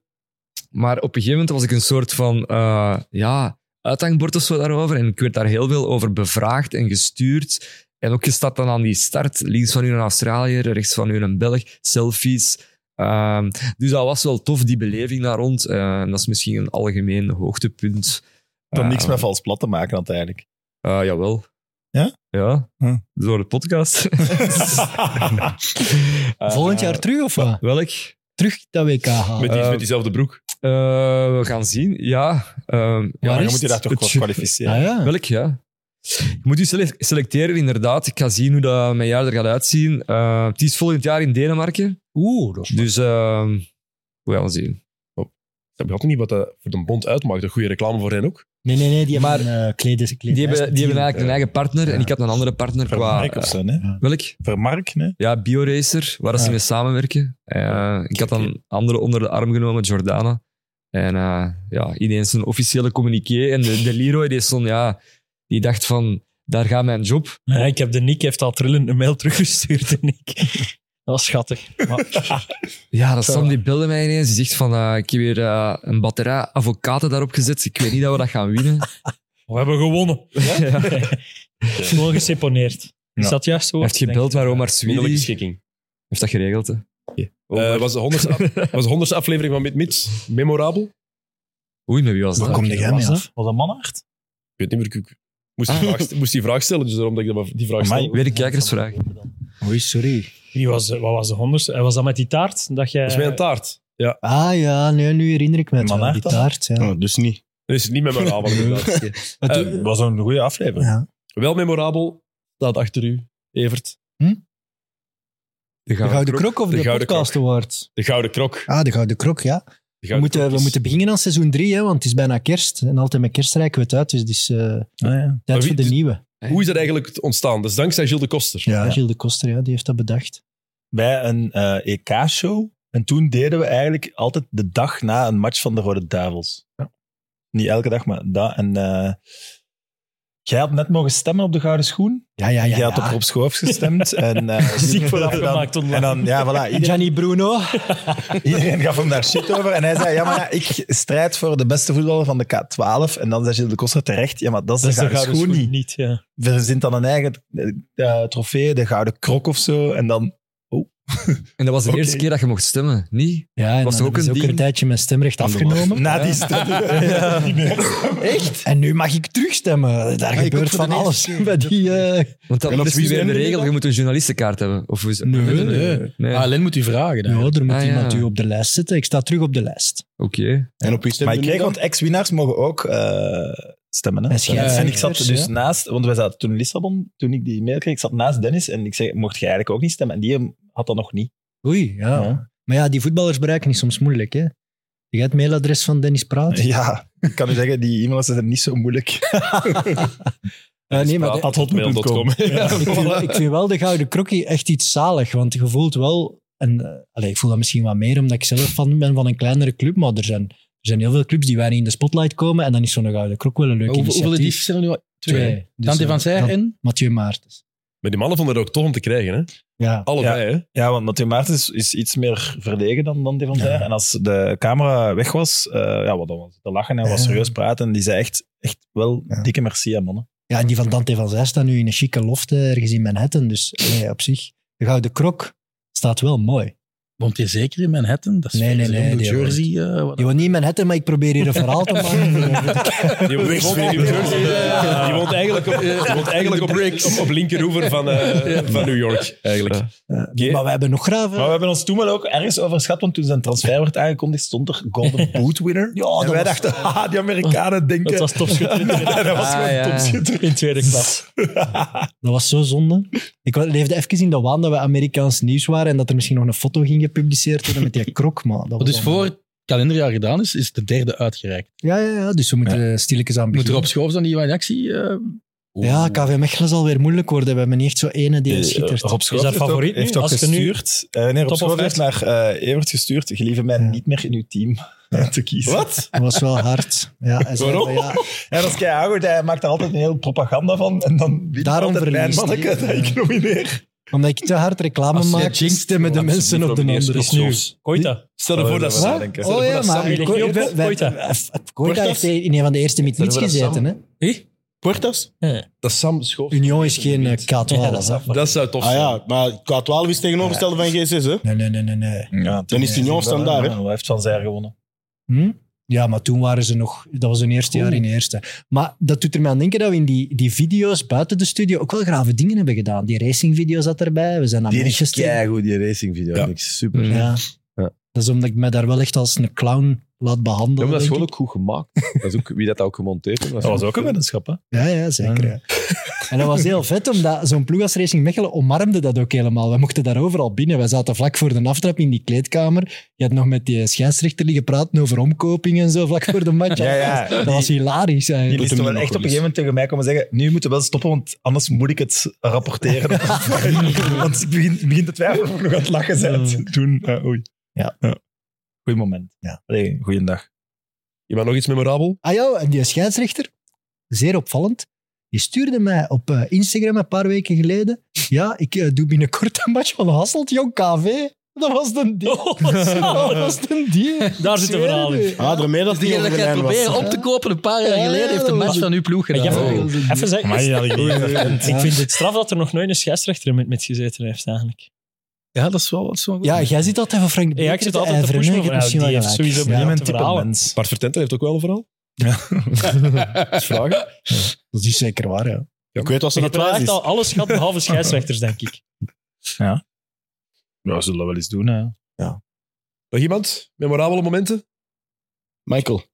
J: Maar op een gegeven moment was ik een soort van eh, ja, uithangbord of zo daarover. En ik werd daar heel veel over bevraagd en gestuurd. En ook gestapt dan aan die start. Links van u een Australiër, rechts van u een Belg. Selfies. Ehm, dus dat was wel tof, die beleving daar rond. Eh, en dat is misschien een algemeen hoogtepunt.
I: Dat niks
J: Ehm,
I: met vals plat te maken had eigenlijk.
J: eh, jawel.
I: Ja? Hm.
J: Ja, door de podcast.
K: Volgend jaar terug, of wat?
J: Welk?
K: Terug dat WK halen.
H: Met, die, met diezelfde broek.
J: Eh, we gaan zien, ja. Ehm,
I: dan
J: ja,
I: moet je daar toch
J: het-
I: wel kwalificeren. Ah, ja.
J: Welk, ja. Je moet je sele- selecteren, inderdaad. Ik ga zien hoe dat mijn jaar er gaat uitzien. Eh, het is volgend jaar in Denemarken.
B: Oeh, dat
J: Dus ehm we gaan zien.
B: Oh, Ik begrijp niet wat dat voor de bond uitmaakt. Een goede reclame voor hen ook.
K: Nee, nee, nee, die hebben een eh, kledes- kledes-
J: Die hebben, die hebben eigenlijk een
K: Ja.
J: eigen partner en ik had een andere partner qua...
I: Vermark eh, of zo, hè?
J: eh, Welk?
I: Vermark, nee?
J: Ja, BioRacer, waar dat ze
I: Ja.
J: mee samenwerken. Eh, ik had dan een andere onder de arm genomen, Jordana. En eh, ja, ineens een officiële communiqué. En de, de Leroy, die, stond, ja, die dacht van, daar gaat mijn job.
C: Nee, ik heb de Nick heeft al trillend een mail teruggestuurd, en ik. Dat was schattig. Maar,
J: Ja, dat Sam die belde mij ineens. Die zegt van, eh, ik heb weer eh, een batterij avocaten daarop gezet. Ik weet niet dat we dat gaan winnen.
C: we hebben gewonnen.
J: Ja.
C: Gewoon geseponeerd. Is dat juist zo?
J: Hij heeft gebeld naar Omar Sweden.
C: Onmiddellijke
J: schikking. Heeft dat geregeld, hè? Oh,
B: Eh, was, de honderdste af- was de honderdste aflevering van Mid Mid memorabel?
J: Oei, met wie was
B: dat?
I: kom jij mee af?
B: Was dat Mannaert? Ik weet niet meer. Ik ik moest, die vraag, moest die vraag stellen, dus daarom dat ik dat- die vraag stel.
J: Ah. Weer een kijkersvraag.
C: Oei, sorry. Wie was, de- wat was de honderdste? Eh, Was dat met die taart? Dat jij...
B: Dat is mijn taart. Ja.
K: Ah ja, nee, nu herinner ik me het wel, die taart. Ja.
I: Oh,
B: dus niet. Dat is niet memorabel, inderdaad.
K: Het-
B: Eh, was een goede aflevering.
K: Ja.
B: Wel memorabel, staat achter u, Evert.
J: De
K: Gouden, Krok of Hm? de,
B: Gouden
K: Podcast
B: Krok.
K: Award?
B: De Gouden Krok.
K: Ah, de Gouden Krok, ja. We
B: Gouden
K: moeten,
B: Krok
K: we
B: is-
K: moeten beginnen aan seizoen 3, want het is bijna kerst. En altijd met kerst reiken we het uit, dus het is eh,
B: Ah, Maar
K: tijd
B: wie-
K: voor de
B: dus-
K: nieuwe.
B: Hoe is dat eigenlijk ontstaan? Dat is dankzij Gilles de Koster.
K: Ja, Gilles de Koster, ja, die heeft dat bedacht.
I: bij een eh, EK-show. En toen deden we eigenlijk altijd de dag na een match van de Rode Duivels. Niet elke dag, maar dat. En eh, Jij had net mogen stemmen op de Gouden Schoen.
K: Ja, ja, ja.
I: Jij had
K: ja.
I: op Rob Schoofs gestemd. en, eh,
K: Ziek voor
I: dan-
K: afgemaakt online.
I: En dan, ja, voilà. Iedereen,
K: Gianni Bruno.
I: iedereen gaf hem daar shit over. En hij zei, ja, maar ja, ik strijd voor de beste voetballer van de K12. En dan zei Gilles de Koster terecht, ja, maar dat is de Gouden Schoen niet.
C: ja.
I: Verzint dan een eigen eh, trofee, de Gouden Krok of zo. En dan... Oh.
J: En dat was de
I: Oké.
J: eerste keer dat je mocht stemmen, niet?
K: Ja, en
J: was
K: dan
J: er ook
K: hebben
J: een
K: ze ook
J: ding?
K: een tijdje mijn stemrecht afgenomen.
I: Na die stem. Ja. Ah,
K: Echt? En nu mag ik terugstemmen. Daar
J: ik ook
K: gebeurt
J: voor
K: van
J: de eerste
K: alles.
J: keer.
K: Bij die, eh,
J: Want dat
K: En op
J: dat is
K: wie
J: nu weer de
K: stemde je
J: regel,
K: dan?
J: je moet een journalistenkaart hebben. Of hoe is-
K: Nee, nee,
J: nee.
E: Ah, Len moet u vragen. Dan.
K: Ja, er moet
J: Ah, ja.
K: iemand u op de lijst zetten. Ik sta terug op de lijst.
J: Oké.
I: En op
K: stemde
I: Maar ik
K: nu
I: kreeg,
K: dan?
I: want ex-winnaars mogen ook eh, stemmen. Hè?
K: En scheidsrechters,
I: en ik zat
K: ja.
I: dus naast, want wij zaten toen in Lissabon, toen ik die mail kreeg, ik zat naast Dennis en ik zei, mocht jij eigenlijk ook niet stemmen? En die had dat nog niet.
K: Oei, ja. Maar ja, die voetballers bereiken is soms moeilijk, hè. Je hebt het mailadres van Dennis Praat.
I: Ja, ik kan u zeggen, die e-mails zijn niet zo moeilijk.
K: Eh, nee, maar de-
I: At hotmail.com.
K: Ja, ik, vind wel, ik vind wel de Gouden Krokkie echt iets zalig, want je voelt wel... En, eh, allee, ik voel dat misschien wat meer, omdat ik zelf fan ben van een kleinere club, maar er zijn, er zijn heel veel clubs die weinig in de spotlight komen en dan is zo'n Gouden Krok wel een leuk
E: Hoeveel
K: initiatief.
E: hoeveel edities zijn er nu? al?
K: Twee. Dus,
E: Dante
K: eh,
E: van Zijr
K: Dan-
E: en?
K: Mathieu Maartens.
B: Maar die mannen vonden het ook tof om te krijgen, hè?
K: Ja.
B: Allebei, hè?
I: Ja, want Mathieu Maartens is, is iets meer verlegen dan, dan die van Zijr. En als de camera weg was, eh, ja, wat dan was te lachen en was
K: Ja.
I: serieus praten. En die zei echt, echt wel dikke merci aan mannen.
K: Ja, en die van Dante van Zijl staat nu in een chique loft eh, ergens in Manhattan, dus allee, op zich. De Gouden Krok staat wel mooi.
E: Woont je zeker in Manhattan? Dat is
K: Nee, nee,
E: veel,
K: nee.
E: New
K: die
E: Jersey.
K: woont-
E: eh, wat-
K: Die woont niet in Manhattan, maar ik probeer hier een verhaal te maken.
B: Die woont, die woont eigenlijk op, die woont eigenlijk op, op, op linkeroever van, eh, van New York, eigenlijk.
K: Maar we hebben nog graven.
I: Maar we hebben ons toen wel ook ergens overschat, want toen zijn transfer werd aangekondigd, stond er Golden Boot winner. Ja, en
K: dat was-
I: wij dachten, ah, die Amerikanen denken...
C: Dat was topschutter.
I: dat was
C: Ah,
I: gewoon
C: ja.
I: topschutter.
C: In tweede klas.
K: Dat was zo zonde. Ik wa- leefde even in de waan dat we Amerikaans nieuws waren en dat er misschien nog een foto ging gepubliceerd worden met die krok. Maar dat
E: Wat
K: was
E: dus
K: allemaal-
E: voor het kalenderjaar gedaan is, is de derde uitgereikt.
K: Ja, ja, ja, dus we moeten stilletjes aan
E: Moet er
K: beginnen.
E: op schoof dan die in actie? eh,
K: Ja, KV Mechelen zal weer moeilijk worden. We hebben niet echt zo ene die
I: Eh,
K: schittert.
I: Rob Schoof heeft ook- Heeft ook gestuurd. Eh, nee, Rob
K: Top of
I: Schoof heeft naar eh Evert gestuurd. Gelieve mij niet meer in uw team te kiezen. Wat?
K: Dat was wel hard. Ja, hij zei
I: Waarom?
K: van, ja,
I: Ja, dat is keigoed. Hij maakt daar altijd een heel propaganda van. En dan wint
K: Daarom
I: altijd mijn
K: verliest hij.
I: manneke dat ik nomineer.
K: omdat ik te hard reclame
I: Als jij
K: maak,
I: jinxt,
K: stemmen de
I: dan
K: mensen op de
I: absoluut
K: andere.
I: nomineer Rob Schoof.
C: Koita.
B: Stel ervoor dat
K: Wat?
B: Sam... Stel
K: Oh
B: ervoor
K: ja,
B: dat
K: maar
B: Sam-
K: Ko-
B: Koita-
K: wij- wij- F- F- Koita heeft in een van de eerste meet-meets
B: Stel ervoor dat
K: gezeten. Hè?
B: Sam- Puertas? Dat is Sam Schoof.
K: Union is geen eh, K12. hè.
B: Dat zou tof
K: Ah,
B: zijn.
K: ja,
L: maar K12 is tegenovergestelde van G6, hè?
K: Nee, nee, nee, nee. nee.
L: Dan is Union standaard, hè?
I: Hij heeft Van Zijr gewonnen.
K: Hm? Ja, maar toen waren ze nog... Dat was hun eerste jaar in de eerste. Maar dat doet er mij aan denken dat we in die, die video's buiten de studio ook wel grave dingen hebben gedaan. Die racingvideo zat erbij. We zijn naar
H: Die is
K: Manchester.
H: keigoed, die racingvideo. Ja. Super.
K: Ja.
H: Ja.
K: Dat is omdat ik me daar wel echt als een clown laat
H: Ja,
K: behandelen.
H: maar dat is
K: denk
H: gewoon ook goed gemaakt. Dat is ook, wie dat eh, ook gemonteerd heeft.
I: Dat was ook een weddenschap, hè?
K: ik. Ja, ja, zeker. ja. En dat was heel vet, omdat zo'n ploeg als Racing Mechelen omarmde dat ook helemaal. We mochten daar overal binnen. Wij zaten vlak voor de aftrap in die kleedkamer. Je had nog met die scheidsrechter liggen praten over omkoping en zo, vlak voor de match.
I: Ja, ja.
K: Dat was hilarisch
I: Die
K: eigenlijk.
I: is wel echt op een gegeven moment tegen mij komen zeggen: Nu moeten we wel stoppen, want anders moet ik het rapporteren. want ik begin, ik begin te twijfelen of ik nog aan het lachen
B: Mm.
I: bent. Toen, eh, oei.
K: Ja.
I: Goeie moment. Ja. Allee, goeiedag.
B: Je bent nog iets memorabel?
K: Ah ja, en die scheidsrechter, zeer opvallend, die stuurde mij op eh, Instagram een paar weken geleden. Ja, ik eh, doe binnenkort een match van Hasselt, jong KV. Dat was de deal.
B: Oh,
K: Oh, dat was de deal.
C: Daar zit een verhaal in.
L: Ah, daarmee dat die
E: Dus
L: over
E: diegene dat
L: de lijn
E: jij
L: was.
E: proberen op te kopen een paar jaar
K: Ja,
E: geleden
K: ja,
E: heeft een
K: dat
E: match
K: was-
E: van uw ploeg
C: Maar
E: gedaan.
C: jij-
E: Oh.
C: Even zeggen,
I: Amai, dat had ik niet gekend.
C: ik vind het straf dat er nog nooit een scheidsrechter in met, met gezeten heeft, eigenlijk.
E: Ja, dat is wel wat zo'n
K: Ja, jij zit altijd van Frank de
C: Ja, ik
K: Beker
C: zit
K: te
C: altijd te
K: ijveren,
C: pushen
K: hè. Ik
C: voor
K: heb misschien
C: jou.
K: wel
C: Die heeft
K: gelijk.
C: sowieso
K: Ja.
C: briljante verhalen.
B: Bart Vertenten heeft ook wel een verhaal.
K: Dat is vragen. Dat is zeker waar, ja.
L: Ik weet wat
C: Je
L: ze
C: hebt
L: dat
C: wel echt
L: is.
C: al alles gehad, behalve scheidsrechters, denk ik.
I: Ja, zullen we wel eens doen, hè? Ja.
B: Nog iemand? Memorabele momenten?
L: Michael.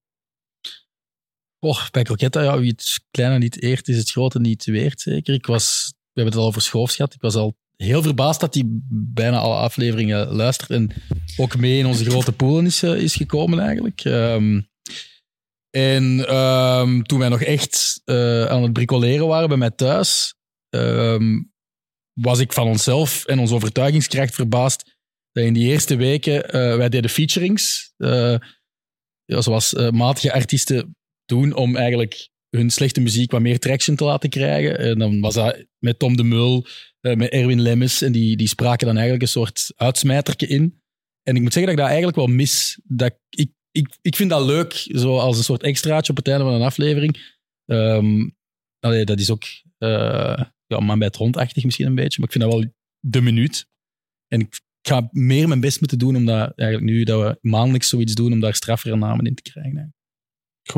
E: Oh, bij Croquetta, ja, wie het kleine niet eert, is het grote niet weert, zeker. Ik was, we hebben het al over Schoofs gehad. Ik was al heel verbaasd dat hij bijna alle afleveringen luistert en ook mee in onze grote poelen is, eh, is gekomen eigenlijk. Ehm, en ehm, toen wij nog echt eh, aan het bricoleren waren bij mij thuis, ehm, was ik van onszelf en onze overtuigingskracht verbaasd dat in die eerste weken eh, wij deden featurings. eh, ja, zoals eh, matige artiesten doen om eigenlijk hun slechte muziek wat meer traction te laten krijgen. En dan was dat met Tom de Mul, eh, met Erwin Lemmes. En die, die spraken dan eigenlijk een soort uitsmijtertje in. En ik moet zeggen dat ik dat eigenlijk wel mis. Dat ik, ik, ik, ik vind dat leuk, zo als een soort extraatje op het einde van een aflevering. Ehm, allee, dat is ook eh, ja, man bij het hondachtig misschien een beetje. Maar ik vind dat wel de minuut. En ik ga meer mijn best moeten doen om dat eigenlijk nu dat we maandelijks zoiets doen, om daar straffere namen in te krijgen. eigenlijk.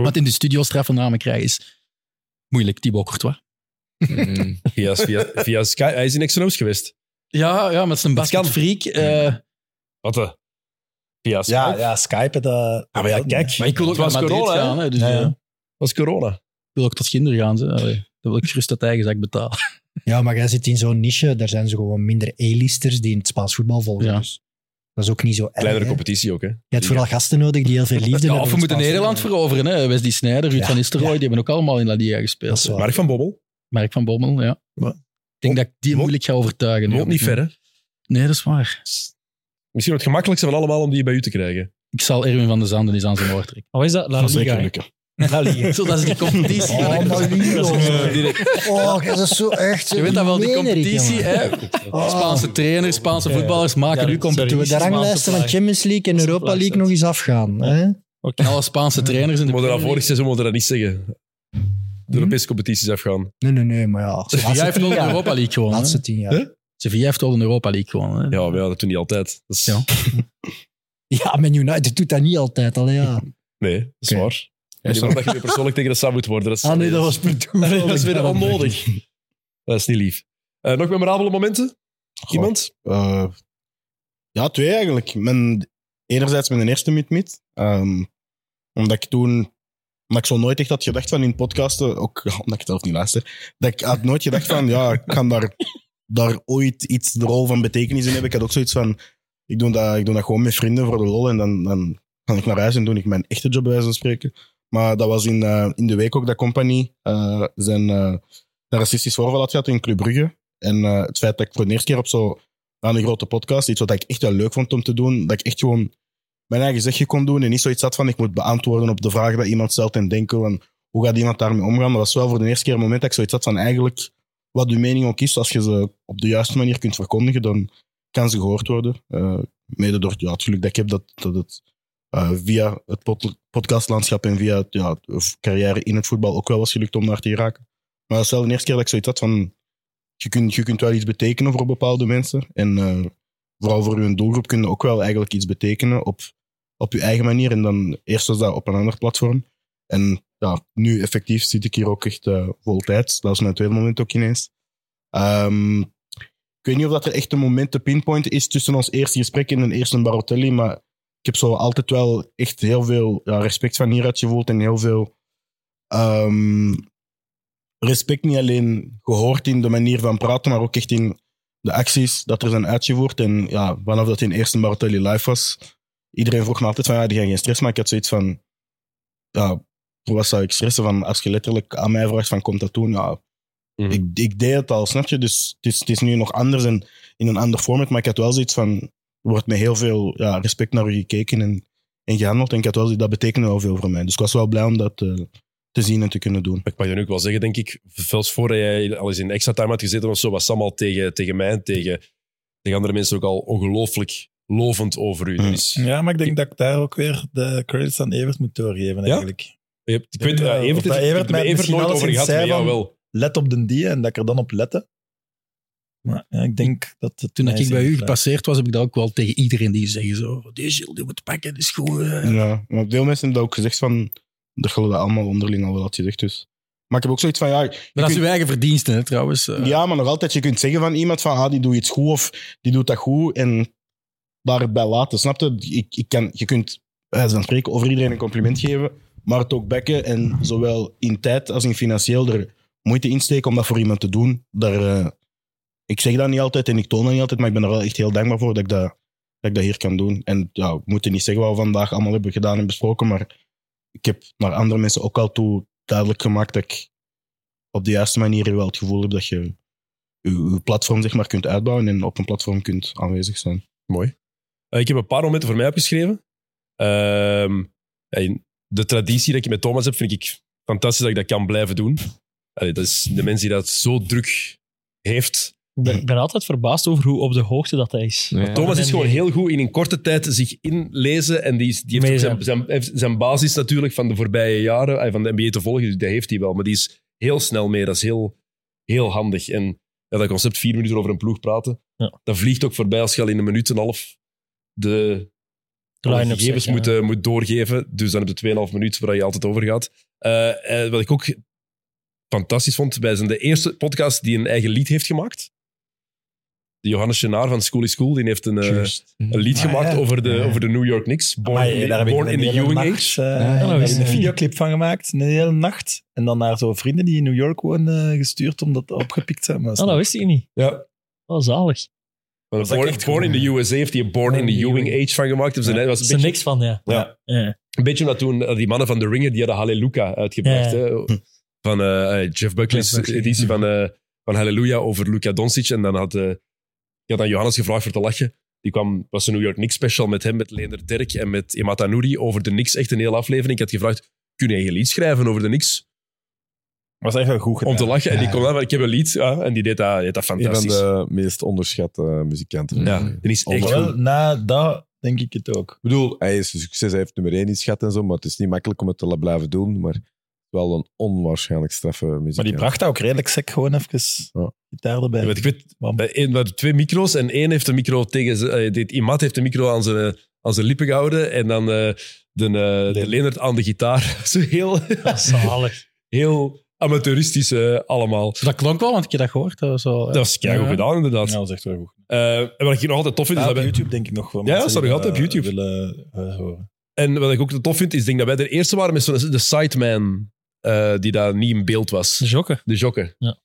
E: Wat in de studio straffe namen krijgen is moeilijk, Thibaut Courtois.
B: Via, via, via Sky. Hij is in Xeno's geweest.
E: Ja, ja, maar het is een basketfreak. eh
B: Wat eh, Via Skype?
I: Ja, ja Skype, dat...
B: Ah, maar ja, kijk.
E: Maar ik wil ook
B: was
E: naar Madrid
B: corona, hè?
E: gaan. Hè, dus,
B: Ja, ja.
E: eh,
B: was corona.
E: Ik wil ook tot Ginder gaan. Ze. Allee, Dan wil ik gerust dat eigen zak betalen.
K: Ja, maar jij zit in zo'n niche, daar zijn ze gewoon minder A-listers die in het Spaans voetbal volgen. Dus dat is ook niet zo erg.
B: Kleinere
K: hè.
B: competitie ook, hè?
K: Je hebt vooral gasten nodig die heel veel liefde
E: Ja,
K: hebben.
E: of we
K: voor het
E: moeten
K: Spaans
E: Nederland veroveren. Hè. Wesley Sneijder, Ruud van Nistelrooy, die hebben ook allemaal in La Liga gespeeld.
B: Mark van Bommel.
E: Mark van Bommel, ja. Ik denk dat ik die moeilijk ga overtuigen.
B: Woont niet ver, hè?
E: Nee, dat is waar.
B: Misschien het gemakkelijkste van allemaal om die bij u te krijgen.
E: Ik zal Erwin van der Zanden eens aan zijn oor trekken.
V: Wat is dat? La
E: Dat zal
V: Liga,
E: zeker
V: hè?
E: lukken. La Liga. Zo, dat is die competitie.
K: Oh, La Liga.
E: Dat is, eh, direct.
K: Oh, dat is zo echt.
E: Je weet dat wel, die
K: Menerik,
E: competitie.
K: jongen.
E: Hè? Oh. Spaanse trainers, Spaanse voetballers maken nu
K: Moeten we
E: competitie.
K: de ranglijsten van Champions League en Europa League nog eens afgaan? Hè?
E: Alle Spaanse trainers in de
B: We dat vorig seizoen moeten we dat niet zeggen. De
K: Hmm?
B: Europese competities afgaan.
K: Nee, nee, nee, maar ja.
E: Sevilla heeft wel de Europa League gewonnen. hè?
K: Laatste tien jaar.
B: Huh?
E: Sevilla heeft wel de Europa League gewonnen. hè?
B: Ja, maar ja, dat doen die altijd. Dat is-
K: Ja, Man United doet dat niet altijd. Allee, ja.
B: Nee, dat is waar. En die
K: sorry.
B: dat je weer persoonlijk tegen de Sam moet worden. Dat is,
K: Ah nee, dat was per toeval.
B: Nee, dat is weer onnodig. Dat is niet lief. Eh, nog memorabele momenten? Iemand?
L: Eh, ja, twee eigenlijk. Mijn, enerzijds mijn eerste meet-meet.
O: Ehm,
L: omdat ik toen... Maar ik zo nooit echt had gedacht van in podcasten, ook ja, omdat ik zelf niet luister, dat ik had nooit gedacht van, ja, ik kan daar, daar ooit iets de rol van betekenis in hebben. Ik had ook zoiets van, ik doe dat, ik doe dat gewoon met vrienden voor de lol en dan, dan ga ik naar huis en doe ik mijn echte job bij wijze van spreken. Maar dat was in, eh, in de week ook dat Company eh, zijn, eh, een racistisch voorval had gehad in Club Brugge. En eh, het feit dat ik voor de eerste keer op zo aan een grote podcast, iets wat ik echt wel leuk vond om te doen, dat ik echt gewoon mijn eigen zegje kon doen en niet zoiets had van ik moet beantwoorden op de vraag dat iemand stelt en denken van hoe gaat iemand daarmee omgaan. Maar dat was wel voor de eerste keer een moment dat ik zoiets had van eigenlijk wat uw mening ook is, als je ze op de juiste manier kunt verkondigen, dan kan ze gehoord worden. Eh, mede door ja, het geluk dat ik heb dat, dat het eh, via het pod- podcastlandschap en via het, ja, de carrière in het voetbal ook wel was gelukt om daar te geraken. Maar dat is wel de eerste keer dat ik zoiets had van je kunt, je kunt wel iets betekenen voor bepaalde mensen. En eh, vooral voor hun doelgroep kun je ook wel eigenlijk iets betekenen op, op je eigen manier. En dan eerst was dat op een ander platform. En ja, nu effectief zit ik hier ook echt eh vol tijd. Dat is mijn tweede moment ook ineens. Ehm, ik weet niet of dat er echt een moment te pinpointen is tussen ons eerste gesprek en een eerste Barotelli. Maar ik heb zo altijd wel echt heel veel ja, respect van hieruit gevoeld. En heel veel ehm, respect niet alleen gehoord in de manier van praten, maar ook echt in de acties dat er zijn uitgevoerd. En ja, vanaf dat in eerste Bartelli live was, iedereen vroeg me altijd van, ja, die gaan geen stress maken. Ik had zoiets van, ja, voor wat zou ik stressen? Van, als je letterlijk aan mij vraagt van, komt dat doen? Ja, ik, ik deed het al, snap je? Dus het is, het is nu nog anders en in een ander format, maar ik had wel zoiets van, er wordt met heel veel ja, respect naar u gekeken en, en gehandeld. En ik had wel zoiets, dat betekende wel veel voor mij. Dus ik was wel blij om dat eh, te zien en te kunnen doen.
B: Ik mag je nu ook wel zeggen, denk ik, zelfs voordat jij al eens in extra time had gezeten of zo, was Sam al tegen, tegen mij en tegen, tegen andere mensen ook al ongelooflijk lovend over u.
K: Hmm.
B: Dus,
I: Ja, maar ik denk dat ik daar ook weer de credits aan Evert moet doorgeven, eigenlijk.
B: je hebt, ik weet, eh, Evert, heeft-
I: Of dat
B: ik heb het
I: Evert
B: met
I: mij
B: Evert
I: misschien
B: nooit
I: alles
B: over
I: in
B: gehad, maar
I: zei
B: jou
I: van,
B: wel.
I: Let op de die en dat ik er dan op lette. Maar ja, ik denk dat... het
E: Toen dat
I: mij
E: ik bij
I: zeer
E: u
I: gevraagd.
E: gepasseerd was, heb ik dat ook wel tegen iedereen die zeggen zo, die Gilles, die moet pakken, die is goed. hè."
L: Ja, maar veel mensen hebben dat ook gezegd van... Dat geloof dat allemaal onderling al wel had gezegd, dus... Maar ik heb ook zoiets van, ja... je
E: Maar dat is
L: kunt-
E: uw eigen verdienste, hè, trouwens. Eh,
L: Ja, maar nog altijd, je kunt zeggen van iemand van, ah, die doet iets goed of die doet dat goed en daarbij laten, snap je? Ik, ik kan, je kunt, wij van spreken, over iedereen een compliment geven, maar het ook bekken en zowel in tijd als in financieel er moeite insteken om dat voor iemand te doen. Daar, eh, ik zeg dat niet altijd en ik toon dat niet altijd, maar ik ben er wel echt heel dankbaar voor dat ik dat, dat, ik dat hier kan doen. En ja, we moeten niet zeggen wat we vandaag allemaal hebben gedaan en besproken, maar ik heb naar andere mensen ook al toe duidelijk gemaakt dat ik op de juiste manier wel het gevoel heb dat je je, je platform zeg maar, kunt uitbouwen en op een platform kunt aanwezig zijn.
B: Mooi. Eh, ik heb een paar momenten voor mij opgeschreven. Ehm, ja, in de traditie dat ik met Thomas heb, vind ik fantastisch dat ik dat kan blijven doen. Allee, dat is de mens die dat zo druk heeft.
C: Ik ben, ik ben altijd verbaasd over hoe op de hoogte dat hij is.
B: Maar Thomas is gewoon heel goed in een korte tijd zich inlezen. En die, is- die heeft ook
C: Meezaam.
B: zijn, zijn, heeft zijn basis natuurlijk van de voorbije jaren, eh, van de NBA te volgen, dus die heeft hij wel. Maar die is heel snel mee, dat is heel, heel handig. En ja, dat concept vier minuten over een ploeg praten, dat vliegt ook voorbij als je al in een minuut en een half de, alle
C: line-up
B: gegevens
C: zeggen,
B: moet,
C: ja.
B: eh, moet doorgeven. Dus dan heb je 2,5 minuten waar je altijd over gaat. Eh, eh, wat ik ook fantastisch vond, wij zijn de eerste podcast die een eigen lied heeft gemaakt. De Johannes Genaar van School is School, die heeft een, eh, een lied
I: Ah,
B: gemaakt
I: ja.
B: over, de,
I: Ja.
B: over de New York Knicks. Born
I: Amai,
B: in,
I: eh, daar heb ik
B: born
I: een
B: in the
I: hele
B: Ewing
I: nacht,
B: Age.
I: eh,
B: Ja,
I: daar
B: ja,
I: is
B: ja.
I: een videoclip van gemaakt, een hele nacht. En dan naar zo'n vrienden die in New York wonen eh, gestuurd om dat opgepikt te hebben.
C: Ah, dat wist ik niet.
B: Ja.
C: Oh, zalig.
B: Maar
C: Was dat
B: Born,
C: echt
B: Born in the USA heeft hij Born in the Ewing Age van gemaakt. Daar
C: Ja.
B: was
C: Is er niks van, ja.
B: Ja. Een beetje omdat toen eh, die mannen van The Ringer, die hadden Hallelujah uitgebracht.
C: Ja, ja.
B: Hè? Van eh, eh, Jeff Buckley's
C: Jeff Buckley.
B: editie van, eh, van Hallelujah over Luka Doncic. En dan had, eh ik had aan Johannes gevraagd voor te lachen. Die kwam, was een New York Knicks special met hem, met Leender Dirk en met Imata Nouri over de Knicks. Echt een hele aflevering. Ik had gevraagd, kun jij een lied schrijven over de Knicks?
I: Was echt wel goed
B: Om te lachen. En die kwam dan, maar ik heb een lied. Ja, en die deed dat, deed dat
H: Een van
B: fantastisch.
H: de meest onderschatte muzikanten.
B: Ja, die is echt
I: Wel,
B: goed.
I: na dat denk ik het ook.
H: Ik bedoel, hij is een succes, hij heeft nummer 1 iets gehad en zo, maar het is niet makkelijk om het te la- blijven doen. Maar wel een onwaarschijnlijk straffe muziek.
I: Maar die bracht dat ook redelijk sec gewoon even gitaar erbij.
B: Ja, want ik weet, bij één- we hadden twee micro's en één heeft de micro tegen zijn- eh, dit Imat heeft de micro aan zijn, eh, aan zijn lippen gehouden en dan eh, de, eh de Leonard aan de gitaar. Zo heel, heel amateuristisch eh, allemaal.
E: Dus Dat klonk wel, want ik heb dat gehoord. Dat was, wel,
B: Dat was keigoed
E: Ja.
B: gedaan, inderdaad.
I: dat is echt wel goed.
B: Eh, en wat ik nog altijd tof vind... is
I: Staat
B: dat
I: op
B: wij-
I: YouTube denk ik nog wel.
B: Ja,
I: mensen
B: dat staat nog
I: die
B: altijd
I: dat
B: op YouTube.
I: Willen eh, horen.
B: En wat ik ook tof vind, is ik denk dat wij de eerste waren met zo'n de sideman eh, die daar niet in beeld was. De
C: jokken.
B: De jokken.
C: Ja.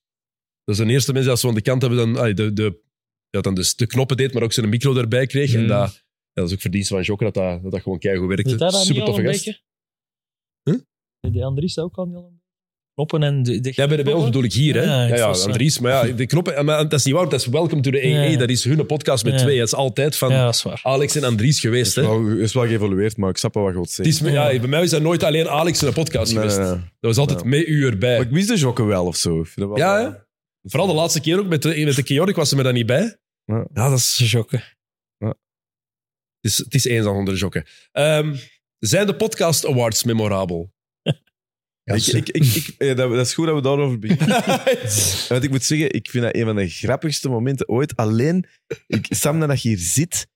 B: Dat zijn de eerste mensen die ze aan de kant hebben dan, ah, de, de, ja, dan dus de knoppen deed, maar ook zijn micro erbij kreeg. En
C: Mm.
B: dat, ja, dat is ook verdienste van jokken dat dat, dat, dat gewoon keigoed
C: Deed
B: werkte.
C: hij dat niet
B: Super
C: al een
B: toffe gast.
C: beetje? Deed die Andries dat ook al niet al een beetje? Knoppen en... De, de
B: Ja, bij, de- bij ons bedoel ik hier, hè?
C: Ja,
B: Ja,
C: ik eh,
B: ja,
C: zou zeggen.
B: Andries. Maar ja, de knoppen, maar dat is niet waar, dat is Welcome to the AA.
C: Ja.
B: Dat is hun podcast met
C: Ja.
B: twee. Dat is altijd van
C: Ja, dat is waar.
B: Alex en Andries geweest. Hè?
H: Wel, is wel geëvolueerd, maar ik snap wel wat je wilt
B: Het is,
H: zeggen.
B: me- ja, bij mij is dat nooit alleen Alex in een podcast geweest.
H: nee, nee.
B: Dat was altijd met u erbij.
H: Maar ik mis de jokken wel of zo. Ik vind dat wel-
B: Ja, hè? Vooral de laatste keer ook met de, met de Kiorik was ze me daar niet bij.
H: Ja.
B: dat is jokken. Het, is, het is eenzaam onder de jokken. Ehm, zijn de podcast awards memorabel?
H: ik, ik, ik, ik- eh, dat, dat is goed dat we daarover beginnen. Want ik moet zeggen, ik vind dat een van de grappigste momenten ooit. Alleen, ik, Sam, dat je hier zit.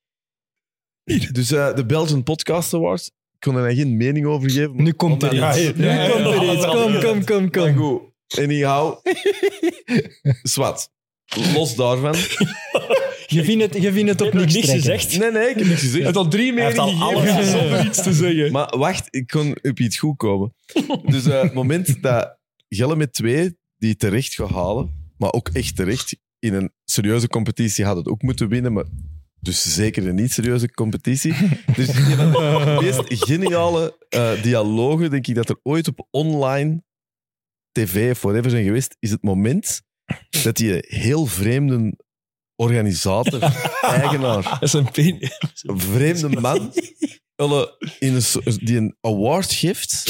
H: Dus eh, de Belgian Podcast Awards, ik kon er nou geen mening over geven. maar-
J: Nu komt er
H: Omdat-
J: iets. Nu komt er iets. Kom, kom, kom, kom.
H: Maar goed, anyhow. Zwat. Los daarvan.
J: Je vindt het, je vindt het op niks trekken.
H: Nee, nee, ik heb niks gezegd.
J: Hij heeft al drie
H: Hij heeft
J: meningen
H: al
J: gegeven
H: alles
J: zonder
H: gezegd.
J: iets te zeggen.
H: Maar wacht, ik kon op iets goed komen. Dus eh, het moment dat Gelle met twee, die terecht gaat halen, maar ook echt terecht, in een serieuze competitie had het ook moeten winnen, maar dus zeker een niet-serieuze competitie. Dus een van de meest geniale eh, dialogen, denk ik, dat er ooit op online tv of whatever zijn geweest, is het moment dat die heel vreemde organisator, eigenaar, dat is een vreemde man, hulle in een, so- die een award geeft,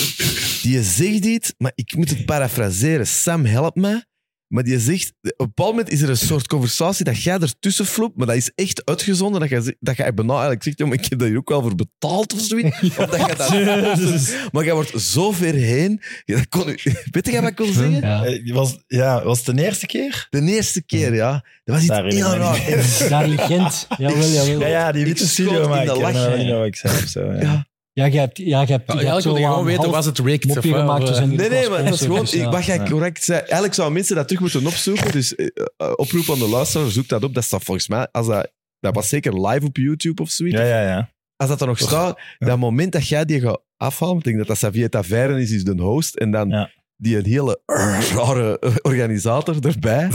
H: die zegt iets, maar ik moet het parafraseren. Sam, help me. Maar die zegt, op een bepaald moment is er een soort conversatie dat jij ertussen floept, maar dat is echt uitgezonden, dat jij, zegt- dat jij bijna eigenlijk zegt, "Jongen, ik heb daar hier ook wel voor betaald of zoiets. Of dat jij dat
I: Jezus.
H: maar jij wordt zo ver heen. Ja, dat kon, weet je wat ik wil zeggen?
I: Eh, Was, ja, was het de eerste keer?
H: De eerste keer, ja. Dat was iets
I: Daar herinner
H: heel
I: ik me
H: raar.
I: niet. Daar ligt Gent. Jawel, jawel. Ja, ja, die witte
H: Ik
I: studio
H: schoot in
I: maken.
H: de
K: nou,
H: lach,
I: Ja, dat
H: hè.
I: weet ik nog wat ik zei of zo, ja.
K: Ja, jij hebt... Ja, jij hebt
H: Ja,
K: jij
H: eigenlijk
K: hebt zo
H: wil je gewoon
K: aan
H: weten,
K: half
H: was het rigged of
K: mopje
H: wat,
K: gemaakt
H: of,
K: dus
H: eh,
K: en die
H: Nee, nee,
K: was
H: maar dat is gewoon...
K: sponsor, dus
H: Ik, wat
K: ja.
H: jij correct zei... Eigenlijk zouden mensen dat terug moeten opzoeken. Dus eh, eh, oproep aan de luisteraar, zoek dat op. Dat staat volgens mij... Als dat, dat was zeker live op YouTube of zoiets.
I: Ja, ja, ja.
H: Als dat er nog staat, dat moment dat jij die gaat afhalen... Ik denk dat dat Xavier Taverne is, is de host. En dan... Die een hele rare organisator erbij.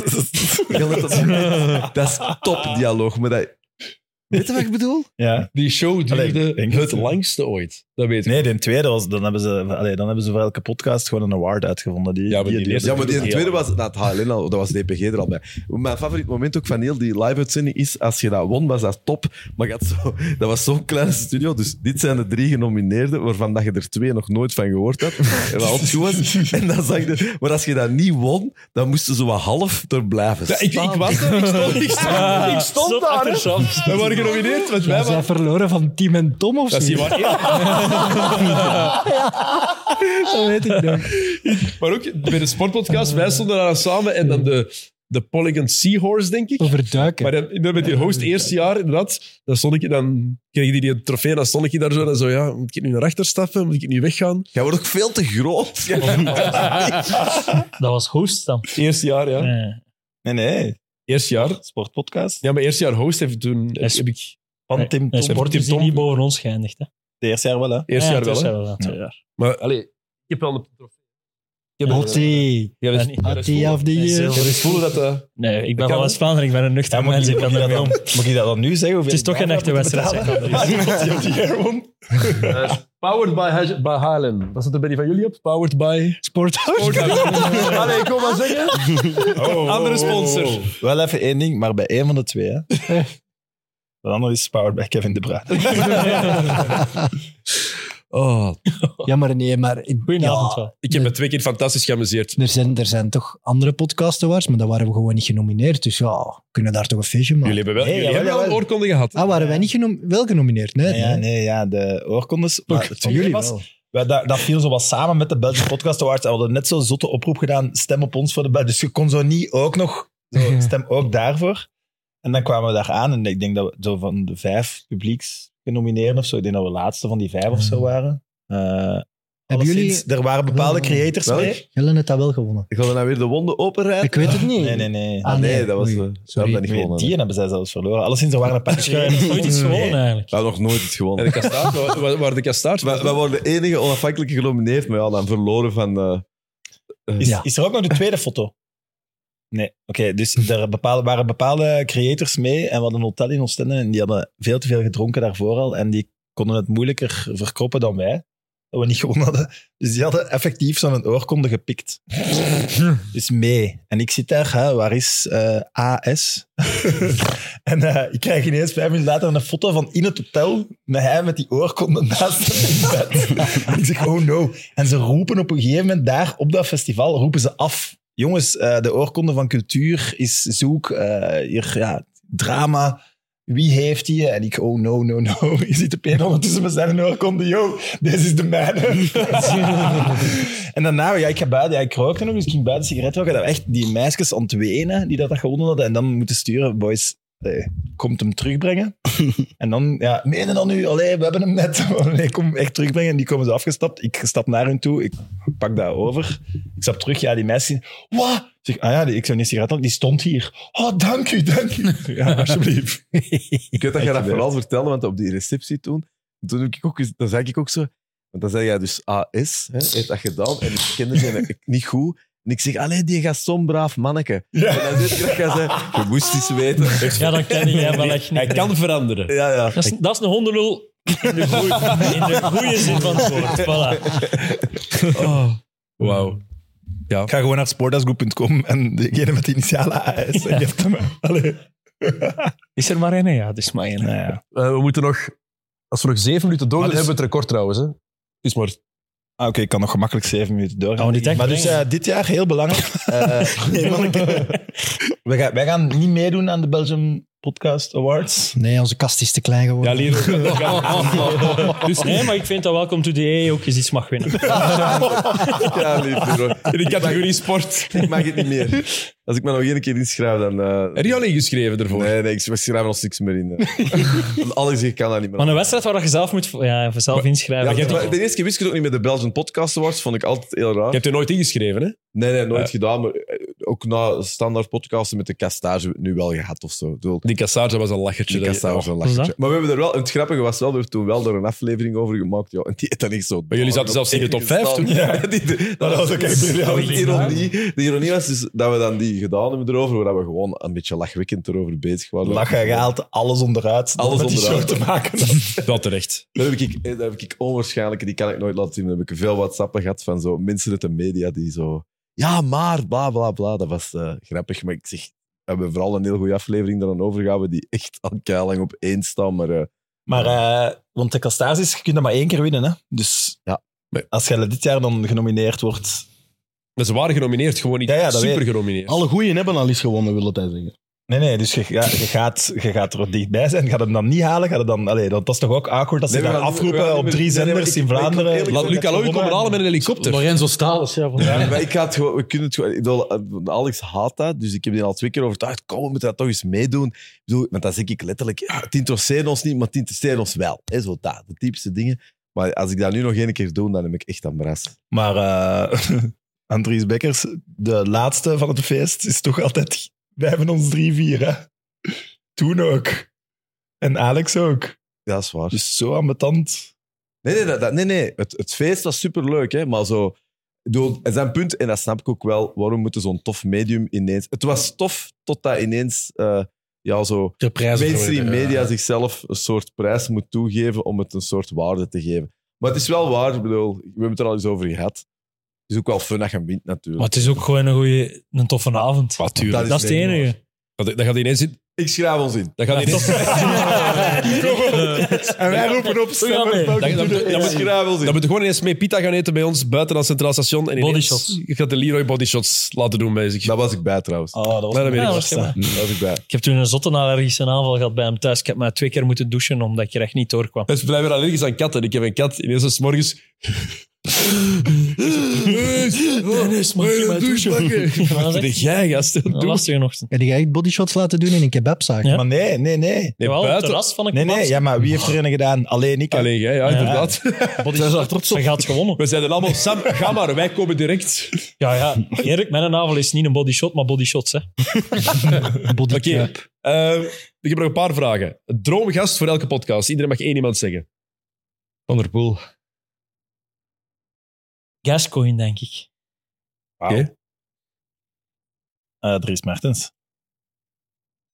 H: Heel dat moment. Dat is topdialoog. Maar dat, Weet je wat ik bedoel?
I: Ja.
B: Die show duurde
I: Allee, ik denk
B: het
I: het, ja.
B: langste ooit. Dat weet ik.
I: Nee, de tweede was, dan hebben ze, allee, dan hebben ze voor elke podcast gewoon een award uitgevonden. Die,
H: Ja, maar die,
I: eerste
H: ja, maar die
I: doet.
H: tweede was... Nou, het HLN al, dat was de EPG er al bij. Mijn favoriet moment ook van heel die live-uitzending is... Als je dat won, was dat top. Maar je had zo, dat was zo'n kleine studio. Dus dit zijn de drie genomineerden... waarvan dat je er twee nog nooit van gehoord had. En wat altijd goed was. En dan zag je... Maar als je dat niet won... dan moesten ze wat half er blijven
B: Ja, ik, ik
H: staan.
B: was er, ik stond, ik stond,
C: Ah.
B: ik
H: Stond
B: stond daar. hè.
H: achterstand.
B: We waren genomineerd, want wij
K: Ja, zij
B: waren...
K: verloren van Tim en Tom of zo.
B: Dat is niet waar.
K: Dat weet ik nog.
B: Maar ook bij de sportpodcast, wij stonden daar samen en dan de, de Polygon Seahorse, denk ik.
K: Overduiken.
B: Maar dan, dan met die host eerste jaar, inderdaad, dan, stond ik, dan kreeg die, die trofee, dan stond ik daar zo, dan zo, ja, moet ik nu naar achter stappen, moet ik nu weggaan?
H: Jij wordt ook veel te groot.
C: Dat was host dan.
B: Eerste jaar, ja.
I: Nee, nee.
B: Eerste jaar.
I: Sportpodcast.
B: Ja, maar eerste jaar host heeft toen... eh, Heb, heb ik,
I: Van Tim
B: Tom.
I: Tom.
B: Sport Tim
I: Tim
B: Tom.
I: Tom.
C: dus Die boven ons geëindigd. Hè.
I: Het eerste jaar wel, hè?
B: Eerste
C: Ja,
B: jaar
C: het
B: wel,
C: eerste
B: hè?
C: jaar wel, ja, twee jaar.
B: Maar, allee, ik heb wel een trofee. Ik heb
K: Had die.
B: Ja, dus- dat is-
K: Had die of die. eh,
B: Ik heb eens voelen dat... eh,
C: Nee, ik ben
B: kan,
C: van West-Vlaanderen, ik ben een nuchter mens, ik kan ermee om.
I: Moet ik dat dan nu zeggen?
C: Het is toch geen echte wedstrijd, zeg maar.
B: Eh, powered by, Hij- by Highland. Wat zit er bij die van jullie op? Powered by...
K: Sporthouse.
B: Allee, ik wil maar zeggen.
I: Oh,
B: Andere sponsor.
I: Wel even één ding, maar bij één van de twee. Hè. De andere is powered by Kevin De Bruyne.
B: Oh.
K: Ja, maar nee, maar... Ik,
C: Goedenavond wel.
B: Ik heb me twee keer fantastisch geamuseerd.
K: Er zijn, er zijn toch andere podcast awards, maar daar waren we gewoon niet genomineerd. Dus ja, we kunnen daar toch een feestje maken.
B: Jullie hebben wel,
I: Nee,
B: jullie
I: jawel,
B: hebben wel een
I: jawel.
B: oorkonde gehad.
K: Ah, waren wij niet genom wel genomineerd? Nee,
I: Nee, ja,
K: nee.
I: nee, ja, de oorkondes. Maar het
K: Jullie
I: probleem was,
K: wel.
I: wij- dat, dat viel zo wat samen met de Belgische Podcast Awards. En we hadden net zo'n zotte oproep gedaan, stem op ons voor de Bel. Dus je kon zo niet ook nog, zo, stem ook daarvoor. En dan kwamen we daar aan en ik denk dat we zo van de vijf publieks genomineerden of zo. Ik denk dat we laatste van die vijf of zo waren. Eh
K: Ah. Hebben
I: alleszins,
K: jullie... Oh, Ah.
I: er waren bepaalde
K: Wel,
I: creators
H: Welk?
I: mee.
K: Jullie het dat wel gewonnen.
H: Ik wilde nou weer de wonden openrijden.
K: Ik weet het niet.
I: Nee, nee, nee.
H: Ah, nee, dat was...
K: Oei.
H: eh, we hebben dat niet gewonnen.
I: die
H: hè.
I: hebben zij zelfs verloren. Alleszins, er waren een paar
C: Schuin, nooit iets gewoon eigenlijk.
H: We hebben nog nooit iets gewonnen.
B: En de kastaart, waar- waar, waar de kastaart...
H: We, we worden de enige onafhankelijke genomineerd, maar ja, dan verloren van... eh,
I: Is,
K: Ja.
I: is er ook nog de tweede foto? Nee, oké. dus er bepaalde, waren bepaalde creators mee en we hadden een hotel in Oostende en die hadden veel te veel gedronken daarvoor al en die konden het moeilijker verkroppen dan wij, dat we niet gewonnen hadden. Dus die hadden effectief zo'n oorkonde gepikt. dus mee. En ik zit daar, hè, waar is eh, AS? en eh, ik krijg ineens vijf minuten later een foto van in het hotel met hij met die oorkonde naast hem in bed. ik zeg, oh no. En ze roepen op een gegeven moment daar op dat festival, roepen ze af. Jongens, eh, de oorkonde van cultuur is zoek. eh, hier, ja, drama. Wie heeft die? En ik, oh no, no, no. Je ziet de pen ondertussen met zijn oorkonde. Yo, this is the man. en daarna, ja, ik ga buiten. Ja, ik rookte nog, dus ik ging buiten sigaret roken. Dat we echt die meisjes aan het wenen die dat, dat gewonnen hadden. En dan moeten sturen, boys, eh, komt hem terugbrengen. En dan, ja, menen dan nu, allee, we hebben hem net. Nee, kom hem echt terugbrengen. En die komen ze afgestapt. Ik stap naar hun toe, ik pak dat over. Ik stap terug, ja, die meisje. Wat? Ik Zeg, ah ja, die, ik zou niet sigaret roken, die stond hier. Oh, dank u, dank u. Ja, alsjeblieft.
H: Ik weet
I: Echt
H: dat jij dat
I: gebeurd.
H: vooral vertelde, want op die receptie toen, toen heb ik ook, eens- dan zei ik ook zo, want dan zei jij dus AS, hè, heeft dat gedaan, en ik kende die niet goed. En ik zeg, allee, die gaat zo'n braaf manneke. En dan zit ik dat jij zei, je moest iets weten.
C: Ja, dat ken jij wel echt
B: Hij
C: niet.
B: kan veranderen.
H: Ja, ja.
C: Dat is, dat is een hondenlul in de goeie- in de goede zin van het woord. Voilà.
B: Wauw.
I: Ik ga gewoon naar sportdasgroep.com en degene met de initiale AS. Ja. heeft hem. Allee.
S: Is er maar één? hè? Ja, het is maar één.
I: Nou ja.
B: Eh, we moeten nog... Als we nog zeven minuten door,
I: Maar
B: dan
I: dus-
B: hebben we het record trouwens. Hè. Is maar...
I: Ah, Oké, ik kan nog gemakkelijk zeven minuten doorgaan.
C: Gaan we niet echt
I: maar dus
C: brengen?
I: eh, dit jaar heel belangrijk. Eh, nee, manneke. wij, gaan, wij gaan niet meedoen aan de Belgium Podcast Awards.
K: Nee, onze kast is te klein geworden.
C: Dus nee, maar ik vind dat Welcome to the EA ook eens iets mag winnen.
H: Ja, lief, hoor.
B: In de categorie sport.
H: Ik mag het niet meer. Als ik me nog één keer inschrijf, dan... eh,
B: Heb je al ingeschreven ervoor?
H: nee, nee, ik schrijf ons niks meer in. eh. Want Alles, ik kan dat niet meer.
C: Maar een wedstrijd waar je zelf moet ja, zelf
H: Ja,
C: inschrijven.
H: maar
C: Ja,
H: de eerste keer wist ik het ook niet met de Belgian Podcast Awards, vond ik altijd heel raar.
B: Je hebt er nooit ingeschreven, hè?
H: Nee, nee, nooit gedaan. Maar eh, oké, ook na standaard podcasten met de castage hebben we het nu wel gehad of zo.
B: Die castage was een lachertje.
H: Die
B: dat-
H: castage was een
B: Oh,
H: lachertje.
B: was dat?
H: Maar we hebben er wel, het grappige was wel, we hebben toen wel daar een aflevering over gemaakt. Ja, en die heeft dan echt zo...
B: Maar jullie zaten zelfs in de top vijf toen. Oh,
H: Ja, die- die- dat was ook echt briljant.
B: Dat was
H: De ironie, de ironie was dus dat we dan die gedaan hebben erover, waar we gewoon een beetje lachwekkend erover bezig waren.
I: Lachen gehaald, alles onderuit.
H: Alles
I: met die
H: onderuit.
I: show te maken.
B: Wel terecht.
H: Daar heb, ik, daar heb ik onwaarschijnlijke, die kan ik nooit laten zien. Daar heb ik veel WhatsAppen gehad van zo mensen uit de media die zo. Ja, maar bla bla bla. Dat was eh, grappig. Maar ik zeg, we hebben vooral een heel goede aflevering daar aan overgehouden die echt al lang op één staan. Maar, eh,
I: Maar, eh, want de castages, je kunt dat maar één keer winnen. Hè? Dus als jij dit jaar dan genomineerd wordt...
B: Maar ze waren genomineerd, gewoon niet super genomineerd.
I: Alle goeien hebben al eens gewonnen, wil dat hij zeggen. Nee, nee, dus je, ga- je, gaat, je gaat er dichtbij zijn. Gaat hem dan niet halen? Gaat het dan, allee, dat, dat is toch ook awkward dat ze
H: Nee,
I: daar
H: we gaan- we
I: afroepen
H: gaan
I: op
H: niet
I: drie
H: meer- nee, nee,
I: zenders
H: maar ik-
I: in
H: ik- ik-
I: Vlaanderen?
H: eerlijk gezegd, ik heb gewonnen.
E: Lorenzo Stalens, ja. van-
H: Ja, maar ik ga het gewoon, we kunnen het gewoon. ik bedoel, eh, Alex haat dat, dus ik heb die al twee keer overtuigd. Kom, we moeten dat toch eens meedoen. Ik bedoel, want dan zeg ik letterlijk: ja, het interesseert ons niet, maar het interesseert ons wel. Hè, zo dat, de diepste dingen. Maar als ik dat nu nog één keer doe, dan heb ik echt een bras.
I: Maar eh Andries Bekkers, de laatste van het feest, is toch altijd... Wij hebben ons drie vieren. Toen ook. En Alex ook.
H: Ja, dat is waar.
I: Dus zo ambetant.
H: Nee, nee, dat, dat- nee, nee. Het, het feest was superleuk, hè, maar zo... ik bedoel, er zijn punten, en dat snap ik ook wel, waarom moeten zo'n tof medium ineens... Het was tof totdat ineens eh, ja, zo
E: prijzen
H: mainstream
E: worden, ja.
H: media zichzelf een soort prijs moet toegeven om het een soort waarde te geven. Maar het is wel waar, ik bedoel, we hebben het er al eens over gehad. Het is ook wel fun dat je wint, natuurlijk.
C: Maar het is ook gewoon een goeie, een toffe avond.
H: tuurlijk. Dat
C: Dat is het
H: is het
C: enige.
B: Dat, dat gaat ineens in.
H: Ik schrijf ons in.
B: Dat gaat ineens Eh,
I: En wij roepen op stemmen.
B: Dat, dat, dat, dat,
I: Ja,
B: moet, dat moet gewoon eens mee pita gaan eten bij ons, buiten aan Centraal Station. En ineens
C: Bodyshots.
B: gaat de Leroy bodyshots laten doen bij zich.
H: Daar was ik bij trouwens.
I: Oh, dat
B: was Ah, dat weet ik
C: Ja,
B: wel.
C: dat was
B: Daar
C: prima.
H: was ik bij.
C: Ik heb toen een zottenallergische aanval gehad bij hem thuis. Ik heb mij twee keer moeten douchen omdat ik er echt niet doorkwam.
B: Dat is blijkbaar allergisch aan katten. Ik heb een kat, ineens is 's morgens...
C: Dennis, mag je mij douchen?
B: Wat doe jij, gast?
C: Een lastige ochtend.
K: Heb jij echt bodyshots laten doen in een kebabzaak?
I: Maar nee, nee, nee.
K: Jawel, op het buiten- terras van een
I: Nee, nee,
K: kebabzaak.
I: ja, maar wie heeft er een gedaan? Alleen ik.
B: Alleen jij, ja, inderdaad.
C: Body is trots op. Je gaat gewonnen.
B: We zijn er allemaal... Sam, ga maar, wij komen direct.
C: Ja, ja. Erik, mijn aanval is niet een bodyshot, maar bodyshots, hè.
B: Oké. eh, ik heb nog een paar vragen. Droomgast voor elke podcast. Iedereen mag één iemand zeggen. Van der Poel.
C: Gascoin, denk ik.
B: Oké.
I: Eh, Dries Mertens.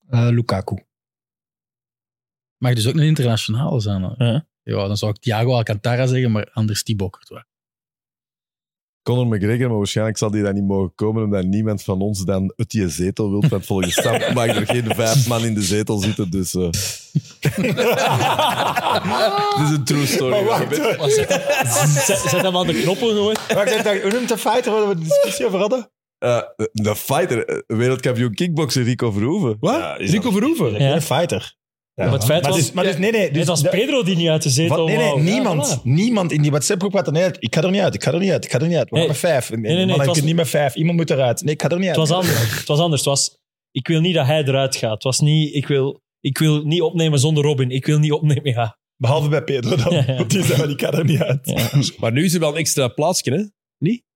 K: Lukaku.
E: Mag dus ook een internationale zijn. hè?
C: Ja.
E: dan zou ik Thiago Alcantara zeggen, maar anders die Bokkert. wel.
H: Conor McGregor, maar waarschijnlijk zal die dan niet mogen komen omdat niemand van ons dan uit die zetel wil. Want volgens Sam mag er geen vijf man in de zetel zitten, dus... eh. Dit is een true story.
I: eh,
C: Zet, zet hem aan de knoppen gewoon.
I: Maar ik dacht, hoe noemt de fighter waar we de discussie over hadden?
H: Eh, de fighter, eh, wereldkampioen kickbokser Rico Verhoeven. Wat?
B: Rico Verhoeven?
I: Geen fighter. Ja.
C: Maar het feit
I: maar
C: was-
I: dus- maar dus, nee, nee, dus
C: Het was
I: de-
C: Pedro die niet uit de zetel
I: Wat? Nee, nee,
C: wou.
I: niemand.
C: Ja, voilà.
I: Niemand in die WhatsApp-groep gaat er niet uit. Ik ga er niet uit, ik ga er niet uit, ik ga er niet uit. We
C: Nee.
I: gaan met vijf. Nee,
C: nee, nee,
I: nee,
C: het
I: ik
C: was-
I: kan niet met vijf. Iemand moet eruit. Nee, ik ga er niet
C: Het
I: uit.
C: was anders. Het was anders. Het was, ik wil niet dat hij eruit gaat. Het was niet, ik wil, ik wil niet opnemen zonder Robin. Ik wil niet opnemen, ja.
I: Behalve bij Pedro dan.
C: Ja, ja.
I: Want Die zei, ik ga er niet uit.
B: Maar nu is er wel een extra plaatsje, hè? Niet?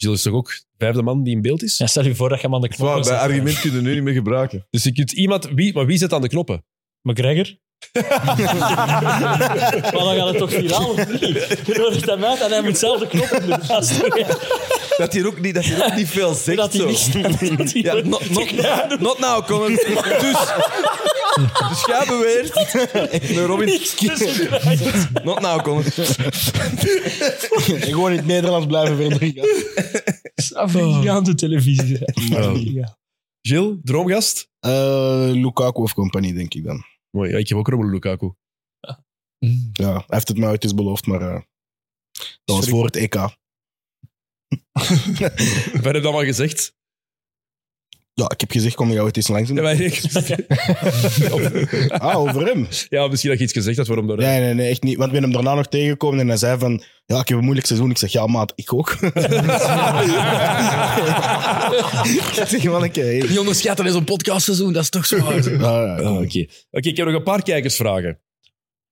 B: Gilles is toch ook de vijfde man die in beeld is?
C: Ja, stel je voor dat je hem aan de knoppen
H: bij
C: zet. eh.
H: argument kunnen we nu niet meer gebruiken.
B: Dus je kunt iemand... Wie, maar wie zit aan de knoppen?
C: McGregor? maar dan gaat het toch viraal, of niet? Je nodigt hem uit en hij moet zelf de knoppen doen. Dat is toch echt-
H: Dat hij ook niet, dat hij ook niet veel zegt.
C: Dat hij
H: zo.
C: niet- dat hij
H: ja,
C: ook-
H: not, not, not now, Conor. Dus, dus jij beweert... Nee, Robin.
C: Niks tussen krijgt.
H: Not now, Conor.
I: Gewoon in het Nederlands blijven verdrinken.
C: Afrikaanse televisie. Ja.
B: Gilles, droomgast?
L: Eh, Lukaku of compagnie, denk ik dan.
B: Mooi, ja, ik heb ook Romelu Lukaku. Mm.
L: Ja, hij heeft het mij ooit eens beloofd, maar eh, dat was
B: Sorry.
L: voor het EK.
B: Wat heb je allemaal gezegd?
L: Ja, ik heb gezegd, kom jij ooit eens langs.
B: Ja, maar ik-
L: Ah, over hem?
B: ja, misschien dat je iets gezegd had waarom dat...
L: Nee, nee, nee, echt niet. Want we hebben hem daarna nog tegengekomen en hij zei van... Ja, ik heb een moeilijk seizoen. Ik zeg, ja maat, ik ook. ik zeg, manneke, hey.
E: Niet onderschatten, dat is een podcastseizoen, dat is toch zo hard.
L: Ah,
B: Ah, Oké, Oké, ik heb nog een paar kijkersvragen.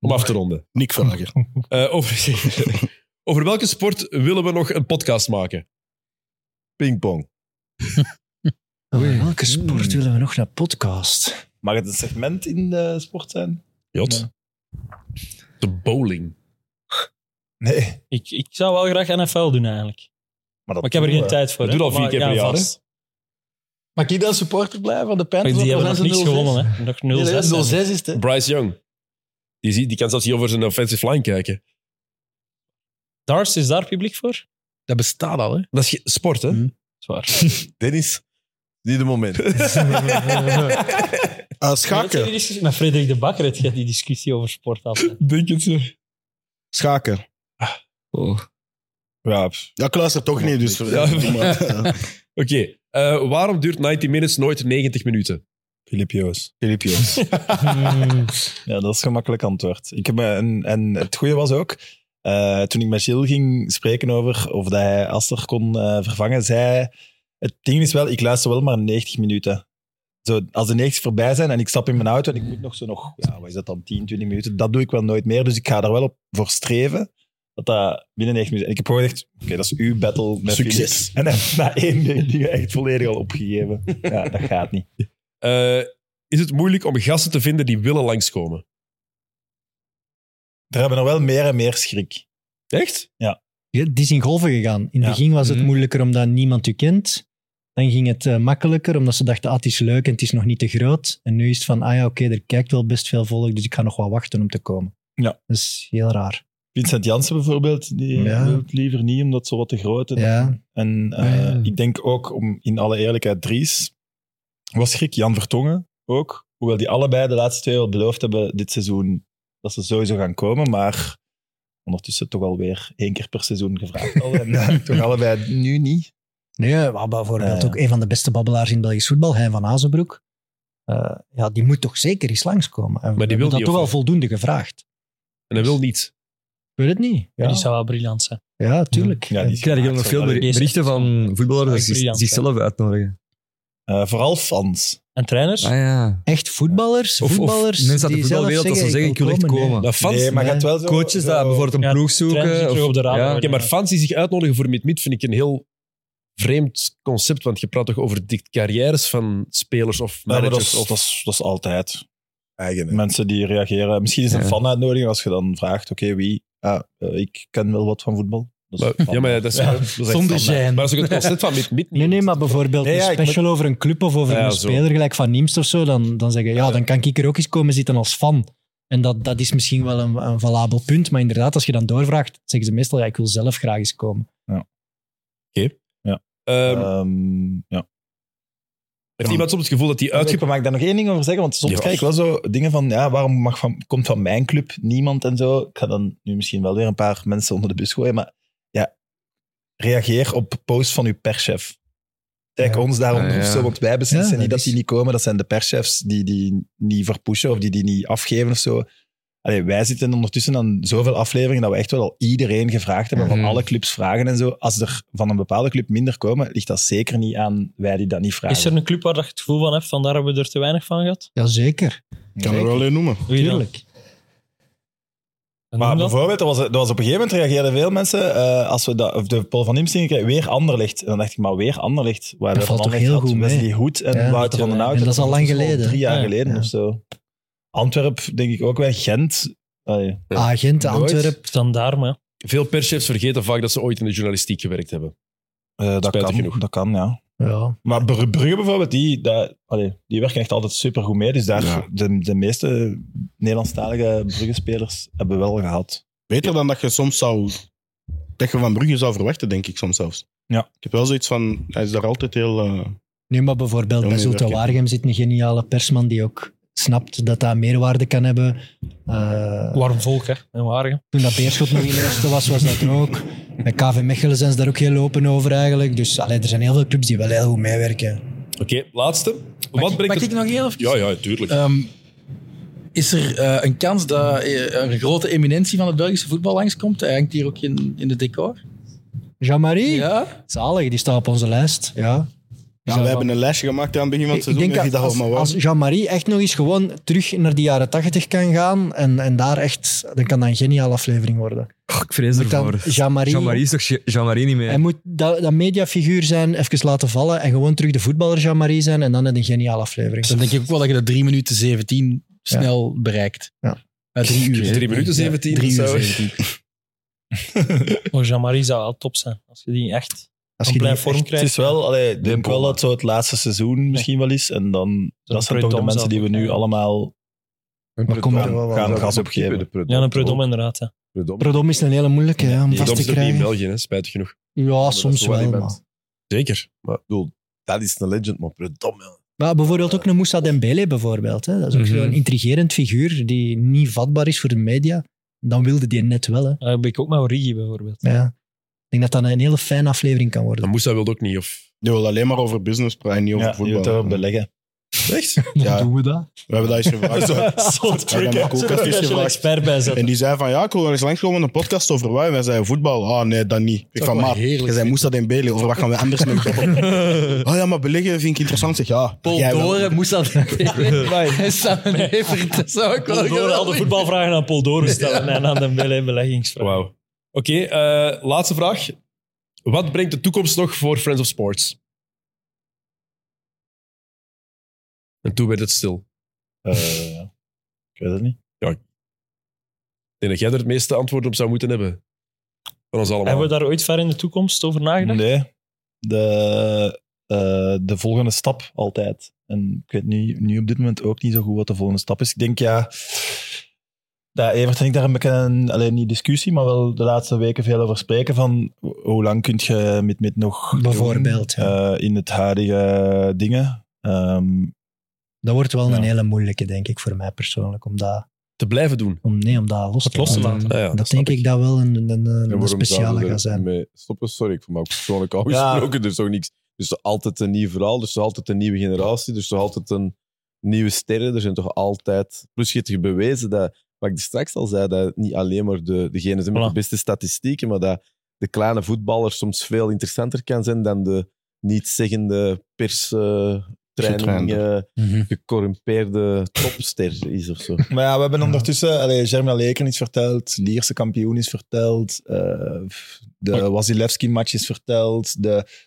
B: Om af te ronden.
L: Nick Verhager.
B: Eh, over, over welke sport willen we nog een podcast maken?
H: Pingpong.
K: Oei, Welke sport willen we nog naar podcast?
I: Mag het een segment in de sport zijn?
B: Jot. De bowling.
I: Nee.
S: Ik, ik zou wel graag NFL doen eigenlijk. Maar, ik heb er geen tijd voor.
I: Dat
S: hè.
I: doen we al
S: Maar
I: vier keer
S: ja,
I: per jaar,
S: vast.
I: Mag ik dan supporter blijven van de Panthers?
S: Maar die
I: Want
S: hebben
I: dan
S: nog niets
I: zijn ze 0-6.
S: gewonnen, hè. Nog 0-6
I: Nee,
S: zijn
I: 0-6
S: ze.
I: is het, hè.
B: Bryce Young. Die, zie- die kan zelfs niet over zijn offensive line kijken.
S: Darts, is daar publiek voor?
E: Dat bestaat al, hè?
B: Dat is ge- sport, hè?
S: Zwaar.
H: Dennis, niet de moment. Ah,
C: Ah,
S: Weet je die discussie Met Frederik de Bakker het gaat die discussie over sport af. hè.
I: Denk het zo.
L: Schaken.
B: Oh.
I: Ja,
L: ja, ik luister toch niet, dus...
B: Ja.
L: Doe maar.
B: Oké, eh, waarom duurt 90 minutes nooit 90 minuten?
I: Filipio's. Filipio's. ja, dat is gemakkelijk antwoord. Ik heb, eh, en, en het goede was ook, eh, toen ik met Gilles ging spreken over of dat hij Aster kon eh, vervangen, zei het ding is wel, ik luister wel maar 90 minuten. Zo, als de 90 voorbij zijn en ik stap in mijn auto en ik moet nog zo nog, ja, wat is dat dan, 10, 20 minuten, dat doe ik wel nooit meer. Dus ik ga er wel op voor streven dat dat binnen 90 minuten... en Ik heb gewoon echt, oké, dat is uw battle met
B: Succes.
I: Philips. En dan, na één ding ding echt volledig al opgegeven. Ja, dat gaat niet.
B: Eh, is het moeilijk om gasten te vinden die willen langskomen?
I: Er hebben er wel meer en meer schrik.
B: Echt?
I: Ja.
K: Ja, die is in golven gegaan. In het
I: Ja.
K: begin was het
I: Mhm.
K: moeilijker omdat niemand u kent. Dan ging het eh, makkelijker omdat ze dachten, ah, het is leuk en het is nog niet te groot. En nu is het van, ah ja, oké, er kijkt wel best veel volk, dus ik ga nog wat wachten om te komen.
I: Ja.
K: Dat is heel raar.
I: Vincent Jansen bijvoorbeeld, die
K: Ja.
I: wil het liever niet, omdat ze wat te groot is.
K: Ja. Ah,
I: En eh,
K: Ja.
I: ik denk ook, om in alle eerlijkheid, Dries was schrik. Jan Vertongen ook. Hoewel die allebei de laatste twee al beloofd hebben dit seizoen dat ze sowieso gaan komen, maar ondertussen toch alweer één keer per seizoen gevraagd. al. en eh, toch allebei nu niet.
K: Nee, maar bijvoorbeeld
I: Eh.
K: ook een van de beste babbelaars in Belgisch voetbal, Hein van Azenbroek. Eh, ja, die moet toch zeker eens langskomen. En
B: Maar die
K: we
B: wil
K: hebben dat
B: niet,
K: toch
B: of
K: wel
B: wat?
K: voldoende gevraagd.
B: En hij wil niet.
K: Ik weet het niet. Ja,
S: Die zou wel briljant zijn.
K: ja tuurlijk.
I: Ja, die
J: Ik krijg hier nog veel beri- berichten van voetballers dat ze
S: briljant,
J: zichzelf uitnodigen.
I: Eh, vooral fans.
S: En trainers?
J: Ah ja.
K: Echt voetballers?
J: Of, of
K: voetballers
J: mensen uit de
K: die zelf
J: voetbalwereld dat ze zeggen, ik wil echt komen.
B: Dat fans-
I: Nee, maar je hebt wel zo-
J: Coaches
I: zo-
J: daar bijvoorbeeld een ploeg
S: trainers die
J: zoeken.
S: terug op de radar
J: ja.
S: worden.
B: Oké, maar fans die zich uitnodigen voor mid-mid vind ik een heel vreemd concept, want je praat toch over de carrières van spelers of
I: Ja, maar dat
B: managers?
I: is, dat, is, dat is altijd.
H: Eigen.
I: Mensen die reageren. Misschien is het een
B: Ja.
I: fan uitnodiging als je dan vraagt: oké, wie? Ah, eh, ik ken wel wat van voetbal. Dat is
B: Maar-
I: fan.
B: ja, maar ja, dat is,
I: Ja.
B: dat is echt
I: Zonder
B: standaard.
I: zijn.
B: Maar als ik het concept van mid-mid niet...
K: Nee, nee, maar bijvoorbeeld
I: Nee, ja,
K: een
I: ik
K: special over een club of over
B: Ah, ja,
K: een
B: zo.
K: speler, gelijk van Niemst of zo, dan, dan zeggen ja, dan kan ik er ook eens komen zitten als fan. En dat, dat is misschien wel een, een valabel punt, maar inderdaad, als je dan doorvraagt, zeggen ze meestal, ja, ik wil zelf graag eens komen.
B: Ehm,
I: Ehm, ja.
B: heeft iemand soms het gevoel dat die uitge...
I: Ik mag ik daar nog één ding over zeggen? Want soms
B: Ja.
I: krijg ik wel zo dingen van, ja, waarom mag van, komt van mijn club niemand en zo? Ik ga dan nu misschien wel weer een paar mensen onder de bus gooien, maar ja, reageer op posts van uw perschef. Kijk ons daarom
J: Ah, ja.
I: zo, want wij beslissen
K: Ja, dat
I: niet dat
K: is-
I: die niet komen. Dat zijn de perschefs die die niet verpushen of die die niet afgeven of zo. Allee, wij zitten ondertussen aan zoveel afleveringen dat we echt wel al iedereen gevraagd hebben, van
J: Mhm.
I: alle clubs vragen en zo. Als er van een bepaalde club minder komen, ligt dat zeker niet aan wij die dat niet vragen.
S: Is er een club waar dat je het gevoel van hebt, van daar hebben we er te weinig van gehad?
K: Jazeker,
L: Ik kan er wel een noemen.
S: Wie dan?
K: tuurlijk.
S: En
I: Maar
S: noem dat?
I: bijvoorbeeld, er was, er was op een gegeven moment reageerden veel mensen, eh, als we dat, of de Paul van Imsting kregen, weer Anderlecht. En dan dacht ik, maar weer Anderlecht. Waar
K: Dat valt toch heel
I: gehad,
K: goed mee.
I: Wesley Hoed en
K: Ja.
I: Wouter van den Hout.
K: En dat is al lang geleden.
I: Drie jaar
K: Ja,
I: geleden
K: ja.
I: of zo. Antwerp, denk ik ook wel. Gent. Allee.
K: Agent,
I: Nooit.
K: Ah, Antwerp.
S: Dan daar, maar ja.
B: Veel perschefs vergeten vaak dat ze ooit in de journalistiek gewerkt hebben.
I: Eh, dat,
B: Spijtig
I: kan,
B: genoeg.
I: dat kan, ja.
K: Ja.
I: Maar Br- Brugge bijvoorbeeld, die, dat, allee, die werken echt altijd supergoed mee. Dus daar,
L: Ja.
I: de, de meeste Nederlandstalige Brugge-spelers hebben wel gehad.
L: Beter dan dat je soms zou... Dat je van Brugge zou verwachten, denk ik soms zelfs.
I: Ja.
L: Ik heb wel zoiets van... Hij is daar altijd heel... eh,
K: Nu, maar bijvoorbeeld bij
L: Ja, nee,
K: Zulte
L: werk je.
K: Waregem zit een geniale persman die ook snapt dat dat meerwaarde kan hebben. Eh,
S: Warm volk, hè. En Waregem.
K: toen dat Beerschot nog in de eerste was, was dat er ook. Met KV Mechelen zijn ze daar ook heel open over eigenlijk. Dus allee, er zijn heel veel clubs die wel heel goed meewerken.
B: Oké, laatste. Wat
E: Mag
B: brengt
E: ik
B: het-
E: nog heel even?
B: Ja, ja, tuurlijk.
E: Ehm, is er eh, een kans dat eh, een grote eminentie van het Belgische voetbal langskomt? Hij hangt hier ook in, in het decor.
K: Jean-Marie?
E: Ja?
K: Zalig, die staat op onze lijst. Ja.
O: Ja, we hebben een lijstje gemaakt aan het begin van het
K: Ik
O: seizoen.
K: denk
O: Ik denk
K: dat
O: dat
K: als, als Jean-Marie echt nog eens gewoon terug naar die jaren tachtig kan gaan en, en daar echt, dan kan dat een geniale aflevering worden.
J: ik vrees
K: Moet dan
J: ervoor.
K: Jean-Marie-
J: Jean-Marie is toch Je- Jean-Marie niet meer?
K: Hij moet dat, dat mediafiguur zijn, even laten vallen en gewoon terug de voetballer Jean-Marie zijn en dan net een geniale aflevering.
E: Dan denk ik ook wel dat je dat 3 minuten 17 snel bereikt.
K: Ja.
E: Na drie uur. hè.
B: Drie minuten 17,
E: Ja, drie
B: dat
E: uur
B: zou-
E: 17.
S: Oh, Jean-Marie zou wel top zijn. Als je die echt
I: Als
S: een
I: je
S: blij
I: die
S: vorm
I: echt-
S: krijgt.
I: Het is wel, allee, ik denk wel dat het zo het laatste seizoen misschien wel is. En dan, dat zijn toch de
S: Preud'homme
I: mensen die we nu allemaal
H: Maar
I: gaan,
H: komt er wel wat-
I: gaan gas
N: Ja,
I: opgeven.
N: een
S: Ja, een Predom inderdaad. Hè.
K: Predom is een hele moeilijke hè, om
N: Die
K: vast te
N: domster die in
K: krijgen.
N: België, hè, spijtig genoeg.
K: Ja, soms wel. Maar.
N: Zeker.
H: Maar ik bedoel, dat is een legend, maar verdomme.
K: maar bijvoorbeeld ook een Moussa Dembele bijvoorbeeld. Hè. Dat is ook
H: Mhm.
K: zo'n intrigerend figuur die niet vatbaar is voor de media. Dan wilde die net wel. Hè.
S: Daar heb Eh, ik ook met Origi bijvoorbeeld.
K: Ja. Ik denk dat dat een hele fijne aflevering kan worden.
N: Dan moest dat wel ook niet. Of...
O: Je wil alleen maar over business praten, niet over
I: Ja, je
O: voetbal.
I: wilt daarop beleggen.
N: Echt?
O: Ja.
K: doen we dat?
O: We hebben dat eens gevraagd.
I: Zo'n
O: We
I: trick,
O: hebben
I: hè.
O: ook een
I: Zo'n
O: kastje gevraagd.
S: expert bij zetten.
O: En die zei van, ja, ik wil wel eens langskomen met een podcast over wij. En wij zeiden voetbal. Ah, nee, dat niet. Ik
N: Zou
O: van,
N: wel
O: maar,
N: heerlijk
O: je zei Moussa Dembele, over wat gaan we anders met Ah ja, maar beleggen vind ik interessant. Zeg, ja,
E: Paul
O: jij wel.
E: Doren moest dat en Sam Evert, dat zou ik wel
S: Paul Doren, al de
E: geweldig-
S: voetbalvragen aan Paul Doren stellen en aan de Bele beleggingsvraag.
B: Wauw. Oké, eh, laatste vraag. Wat brengt de toekomst nog voor Friends of Sports? En toen werd het stil.
I: Eh, ja. ik weet het niet.
B: Ik denk dat jij er het meeste antwoord op zou moeten hebben. Van ons allemaal.
S: Hebben we daar ooit ver in de toekomst over nagedacht?
I: Nee. De, eh, de volgende stap altijd. En ik weet nu, nu op dit moment ook niet zo goed wat de volgende stap is. Ik denk, ja... Ja, Evert en ik daar een beetje een, alleen niet discussie, maar wel de laatste weken veel over spreken van ho- hoe lang kun je met, met nog doen,
K: Bijvoorbeeld,
I: eh, in het huidige dingen. Ehm,
K: Dat wordt wel
I: Ja.
K: een hele moeilijke, denk ik, voor mij persoonlijk. Om dat,
B: Te blijven doen.
K: om, nee, om dat los te
B: los te laten. Ja, ja,
K: dat
B: dat
K: denk ik dat wel een, een, een, een
H: En waarom zouden
K: speciale
H: we
K: gaat zijn.
H: ermee stoppen? Sorry, ik vond me ook persoonlijk al
I: Ja.
H: gesproken. Er is toch niks. Er is toch altijd een nieuw verhaal, er is toch altijd een nieuwe generatie, er is toch altijd een nieuwe sterren. Er zijn toch altijd. Plus, je hebt je bewezen dat, wat ik er straks al zei, dat het niet alleen maar de, degene zijn met de beste statistieken, maar dat de kleine voetballer soms veel interessanter kan zijn dan de niet-zeggende pers. eh, training, eh, gecorrumpeerde topster is of zo.
I: Maar ja, we hebben ondertussen... Allee, Germin Leken is verteld, Lierse kampioen is verteld, eh, de Wasilewski-match is verteld, de...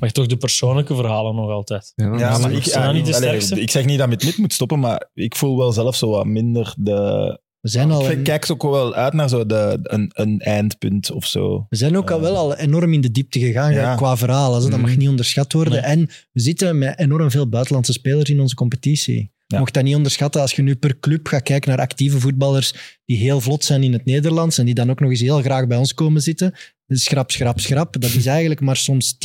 S: Maar toch de persoonlijke verhalen nog altijd.
I: Ja, maar
S: Zijn
I: ik,
S: dat
I: ja,
S: niet de
I: allee,
S: sterkste?
I: ik zeg niet dat met mid moet stoppen, maar ik voel wel zelf zo wat minder de...
K: We zijn al
I: Ik kijk ook wel uit naar zo de, een, een eindpunt of zo. Eh.
K: We zijn ook al wel al enorm in de diepte gegaan
I: Ja.
K: qua verhalen. hè. Dat mag
I: Mhm.
K: niet onderschat worden. En we zitten met enorm veel buitenlandse spelers in onze competitie. Je Mocht dat niet onderschatten als je nu per club gaat kijken naar actieve voetballers die heel vlot zijn in het Nederlands en die dan ook nog eens heel graag bij ons komen zitten. Dus Schrap, schrap, schrap. Dat is eigenlijk maar soms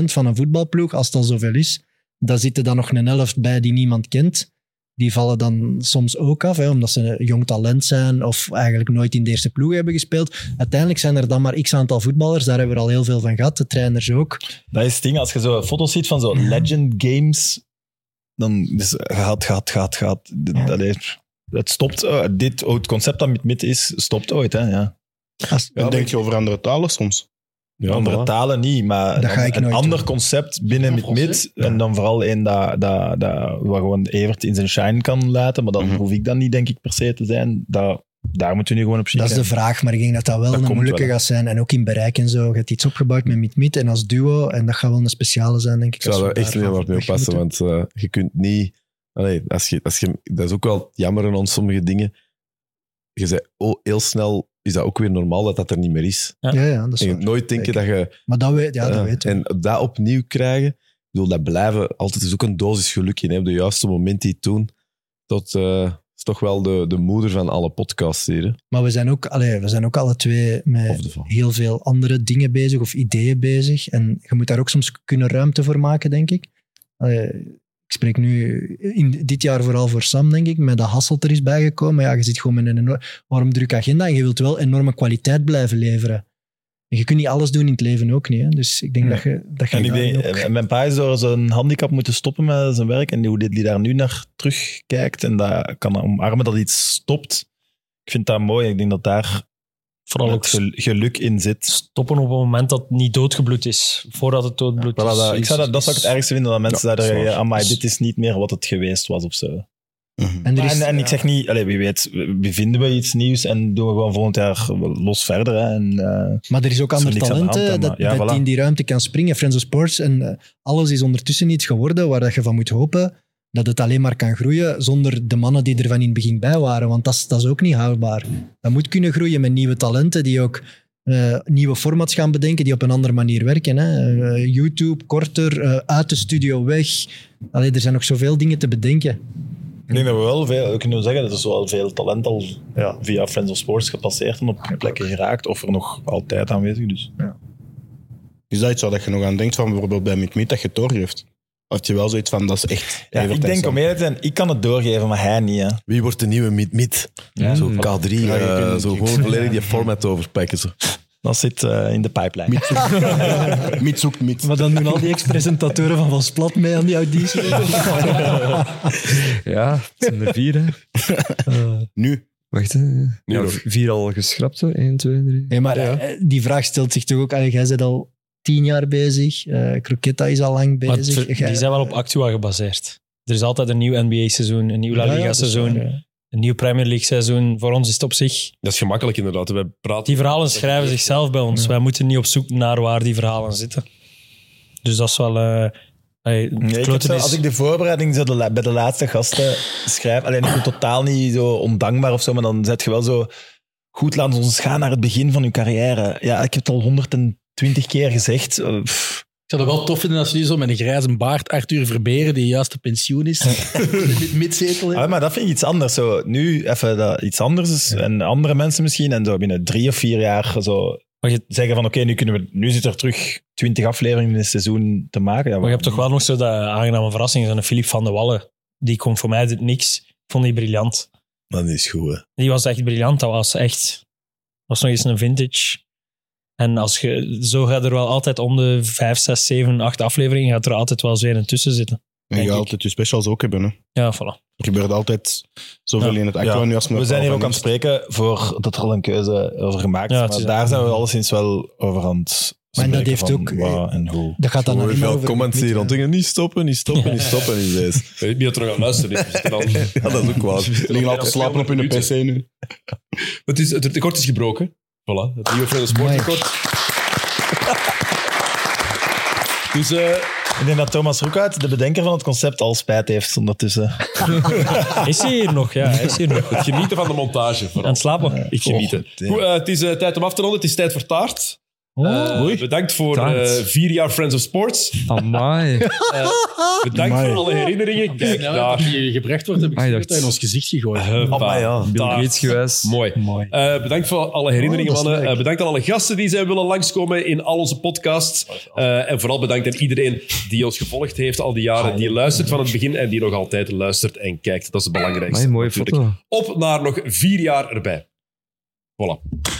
K: 10% van een voetbalploeg, als het al zoveel is. Daar zitten dan nog een helft bij die niemand kent. Die vallen dan soms ook af, hè, omdat ze een jong talent zijn of eigenlijk nooit in de eerste ploeg hebben gespeeld. Uiteindelijk zijn er dan maar x aantal voetballers, daar hebben we er al heel veel van gehad, de trainers ook.
I: Dat is het ding, als je zo foto's ziet van zo
O: Mhm.
I: Legend Games, dan dus gaat, gaat, gaat, gaat. D- allee, het stopt, eh, dit, oh, het concept dat met mid is, stopt ooit. Hè, ja.
O: Dan denk je over andere talen soms.
I: Andere
O: voilà.
I: talen niet, maar
O: Dat
I: dan
O: ga ik
I: een
O: nooit
I: ander
O: doen.
I: concept binnen met mid. En dan vooral één dat, dat, dat, waar gewoon Evert in zijn shine kan laten. Maar dan hoef ik dat niet, denk ik, per se te zijn. Dat, daar moeten we nu gewoon op
K: Dat is de
I: zitten.
K: vraag, maar ik denk dat dat wel
I: Dat
K: een
I: komt
K: moeilijke
I: wel, hè.
K: gaat zijn. En ook in bereik en zo. Je hebt iets opgebouwd met Meet Meet en als duo. En dat gaat wel een speciale zijn, denk ik.
H: Ik zou
K: als
H: daar
K: we
H: echt
K: daarvan
H: heel hard mee
K: weg
H: oppassen,
K: moeten.
H: want eh, je kunt niet... Allee, als je, als je, dat is ook wel jammer aan ons, sommige dingen. Je zei, oh, heel snel is dat ook weer normaal dat dat er niet meer is.
K: Ja, ja, dat is
H: en je
K: waar.
H: moet nooit denken dat je...
K: Maar dat weet, ja, dat
H: eh,
K: weet
H: En dat opnieuw krijgen, ik bedoel, dat blijven altijd is ook een dosis geluk in. Hè, op de juiste moment die het doen, dat eh, is toch wel de, de moeder van alle podcasts hier. hè.
K: Maar we zijn ook, allee, we zijn ook alle twee met heel veel andere dingen bezig of ideeën bezig. En je moet daar ook soms kunnen ruimte voor maken, denk ik. Allee, ik spreek nu in, dit jaar vooral voor Sam, denk ik, met dat Hasselt er is bijgekomen. Ja, je zit gewoon met een enorm waarom druk agenda en je wilt wel enorme kwaliteit blijven leveren. En je kunt niet alles doen in het leven ook niet. Hè? Dus ik denk dat je dat je
I: en ik
K: daarin
I: denk,
K: ook-
I: eh, mijn pa is door zijn handicap moeten stoppen met zijn werk. En hoe dit- die daar nu naar terugkijkt en dat kan omarmen dat iets stopt. Ik vind dat mooi. Ik denk dat daar
C: Vooral
I: ook gel- geluk in zit.
C: Stoppen op het moment dat het niet doodgebloed is. Voordat het doodbloed
I: Voilà,
C: is.
I: dat, ik
C: is-
I: zou dat, dat zou ik het ergste vinden, dat mensen
C: Ja,
I: zouden
C: dat is
I: zeggen,
C: waar.
I: amai,
C: Dus- Mhm.
I: dit is niet meer wat het geweest was of zo.
K: En,
I: En,
K: er is,
I: en, ik
K: ja.
I: zeg niet, allez, wie weet, we- bevinden we iets nieuws en doen we gewoon volgend jaar los verder. Hè, en, eh,
K: Maar er is ook ander
I: niks aan de
K: talent
I: hand,
K: hè,
I: hè,
K: dat,
I: maar- ja,
K: dat
I: voilà.
K: die in die ruimte kan springen. Friends of Sports en eh, alles is ondertussen iets geworden waar dat je van moet hopen dat het alleen maar kan groeien zonder de mannen die er van in het begin bij waren. Want dat is, dat is ook niet houdbaar. Dat moet kunnen groeien met nieuwe talenten die ook eh, nieuwe formats gaan bedenken die op een andere manier werken. Hè. Eh, YouTube, korter, eh, uit de studio weg. Allee, er zijn nog zoveel dingen te bedenken.
I: Ik denk dat we wel veel, we kunnen zeggen dat er wel veel talent al ja, via Friends of Sports gepasseerd en op plekken geraakt, of er nog altijd aanwezig. Dus.
O: Is dat iets waar dat je nog aan denkt van bijvoorbeeld bij Meet Meet dat je het doorgeeft? Of heb je wel zoiets van, dat is echt...
I: Ja, ik denk om eerlijk te zijn, ik kan het doorgeven, maar hij niet. Hè.
H: Wie wordt de nieuwe Meet-Meet?
I: Ja.
H: Zo
I: Mm.
H: K3,
I: Ja, je
H: eh,
I: kunt-
H: zo
I: je-
H: gewoon volledig die format overpakken. Zo.
I: Dat zit eh, in de pipeline.
O: Miet zoekt Miet.
K: Maar dan doen al die ex-presentatoren van Van Splat mee aan die auditie.
J: Ja, het zijn er vier, hè.
O: nu.
J: Eh, Wacht, hè. Ja,
K: nog.
J: vier al geschrapt, hè. 1, 2, 3.
K: Nee, maar eh, die vraag stelt zich toch ook. Allee, jij bent al tien jaar bezig. eh Croquetta is al lang
C: Maar het
K: bezig.
C: ver-
K: Jij-
C: die zijn wel op Actua gebaseerd. Er is altijd een nieuw NBA-seizoen, een nieuw La
B: Ja, ja,
C: Liga-seizoen,
B: dat is waar, ja.
C: een nieuw Premier League-seizoen. Voor ons is het op zich...
B: Dat is gemakkelijk inderdaad. Wij praten...
C: Die verhalen schrijven zichzelf bij ons. Wij moeten niet op zoek naar waar die verhalen zitten. Dus dat is wel... eh hey,
I: Nee, ik heb
C: kloten
I: zo-
C: is-
I: als ik de voorbereiding zo de la- bij de laatste gasten schrijf, alleen ik ben totaal niet zo ondankbaar of zo, maar dan zet je wel zo goed, laat ons gaan naar het begin van uw carrière. Ja, ik heb het al 120 keer gezegd. Eh, pff.
E: Ik zou het wel tof vinden als jullie zo met een grijze baard Arthur Verberen, die juist op pensioen is, met midzetel heeft.
I: Ah, maar dat vind ik iets anders. Zo, nu even dat iets anders is en andere mensen misschien en zo binnen drie of vier jaar zo zeggen van oké, nu kunnen we, nu zit er terug 20 afleveringen in een seizoen te maken. Ja,
C: Maar je hebt toch wel nog zo dat aangename verrassing. Zo'n Filip van de Wallen. Die komt voor mij uit het niks. Ik vond die briljant.
H: Dat is goed, hè.
C: Die was echt briljant. Dat was echt... was nog eens een vintage. En als je, zo gaat er wel altijd om de vijf, zes, zeven, acht afleveringen gaat er altijd wel eens een tussen zitten.
O: En je gaat altijd je specials ook hebben. Hè.
C: Ja, voilà.
O: Er gebeurt altijd zoveel in het
I: Ja.
O: actua nu als
I: we zijn hier ook aan
O: het
I: het spreken voor dat er al een keuze over gemaakt is.
O: Ja, het
I: maar
O: is-
I: daar zijn we alleszins wel over aan het
K: Maar en dat
I: spreken
K: heeft
I: van
K: ook-
I: waar en hoe.
K: Dat gaat dan
H: Gewoon
K: alleen maar
H: veel
K: over-
H: comments hier rond dingen. Niet stoppen, niet stoppen, niet stoppen. Is deze.
B: Weet niet dat er nog aan dus luisteren is.
H: ja, dat is ook waar.
O: liggen al te slapen op hun pc nu.
B: Het, is, het tekort is gebroken. Voilà, het nieuwe Friends Sporttekort. Dus,
I: eh, Ik denk dat Thomas Roekhout, de bedenker van het concept, al spijt heeft ondertussen.
C: Is hij hier nog? Ja, hij is hier nog.
B: Het genieten van de montage. Vooral.
C: Aan het slapen.
B: Ik geniet het. Goed, eh, het is eh, tijd om af te ronden. Het is tijd voor taart.
C: Oh.
B: Eh, bedankt voor eh,
J: Taart.
B: vier jaar Friends of Sports.
J: Amai.
B: Eh, bedankt
J: Amai.
B: voor alle herinneringen. Kijk
E: Nou,
B: daar.
E: dat die gebracht wordt, heb ik
B: Ah, je
E: gezien dat
B: dacht-
E: hij in ons gezicht gegooid.
B: Huppa.
J: Bill
B: Taart.
J: Gates gewijs.
B: Mooi. Eh, bedankt voor alle herinneringen,
J: Oh, dat is
B: mannen.
J: leuk.
B: Eh, bedankt aan alle gasten die zijn willen langskomen in al onze
J: Oh,
B: podcasts. Eh, en vooral bedankt aan iedereen die ons gevolgd heeft al die
J: Ah,
B: jaren. Die luistert van het begin en die nog altijd luistert en kijkt. Dat is het belangrijkste.
J: Amai, mooie
B: natuurlijk.
J: foto.
B: Op naar nog vier jaar erbij. Voilà.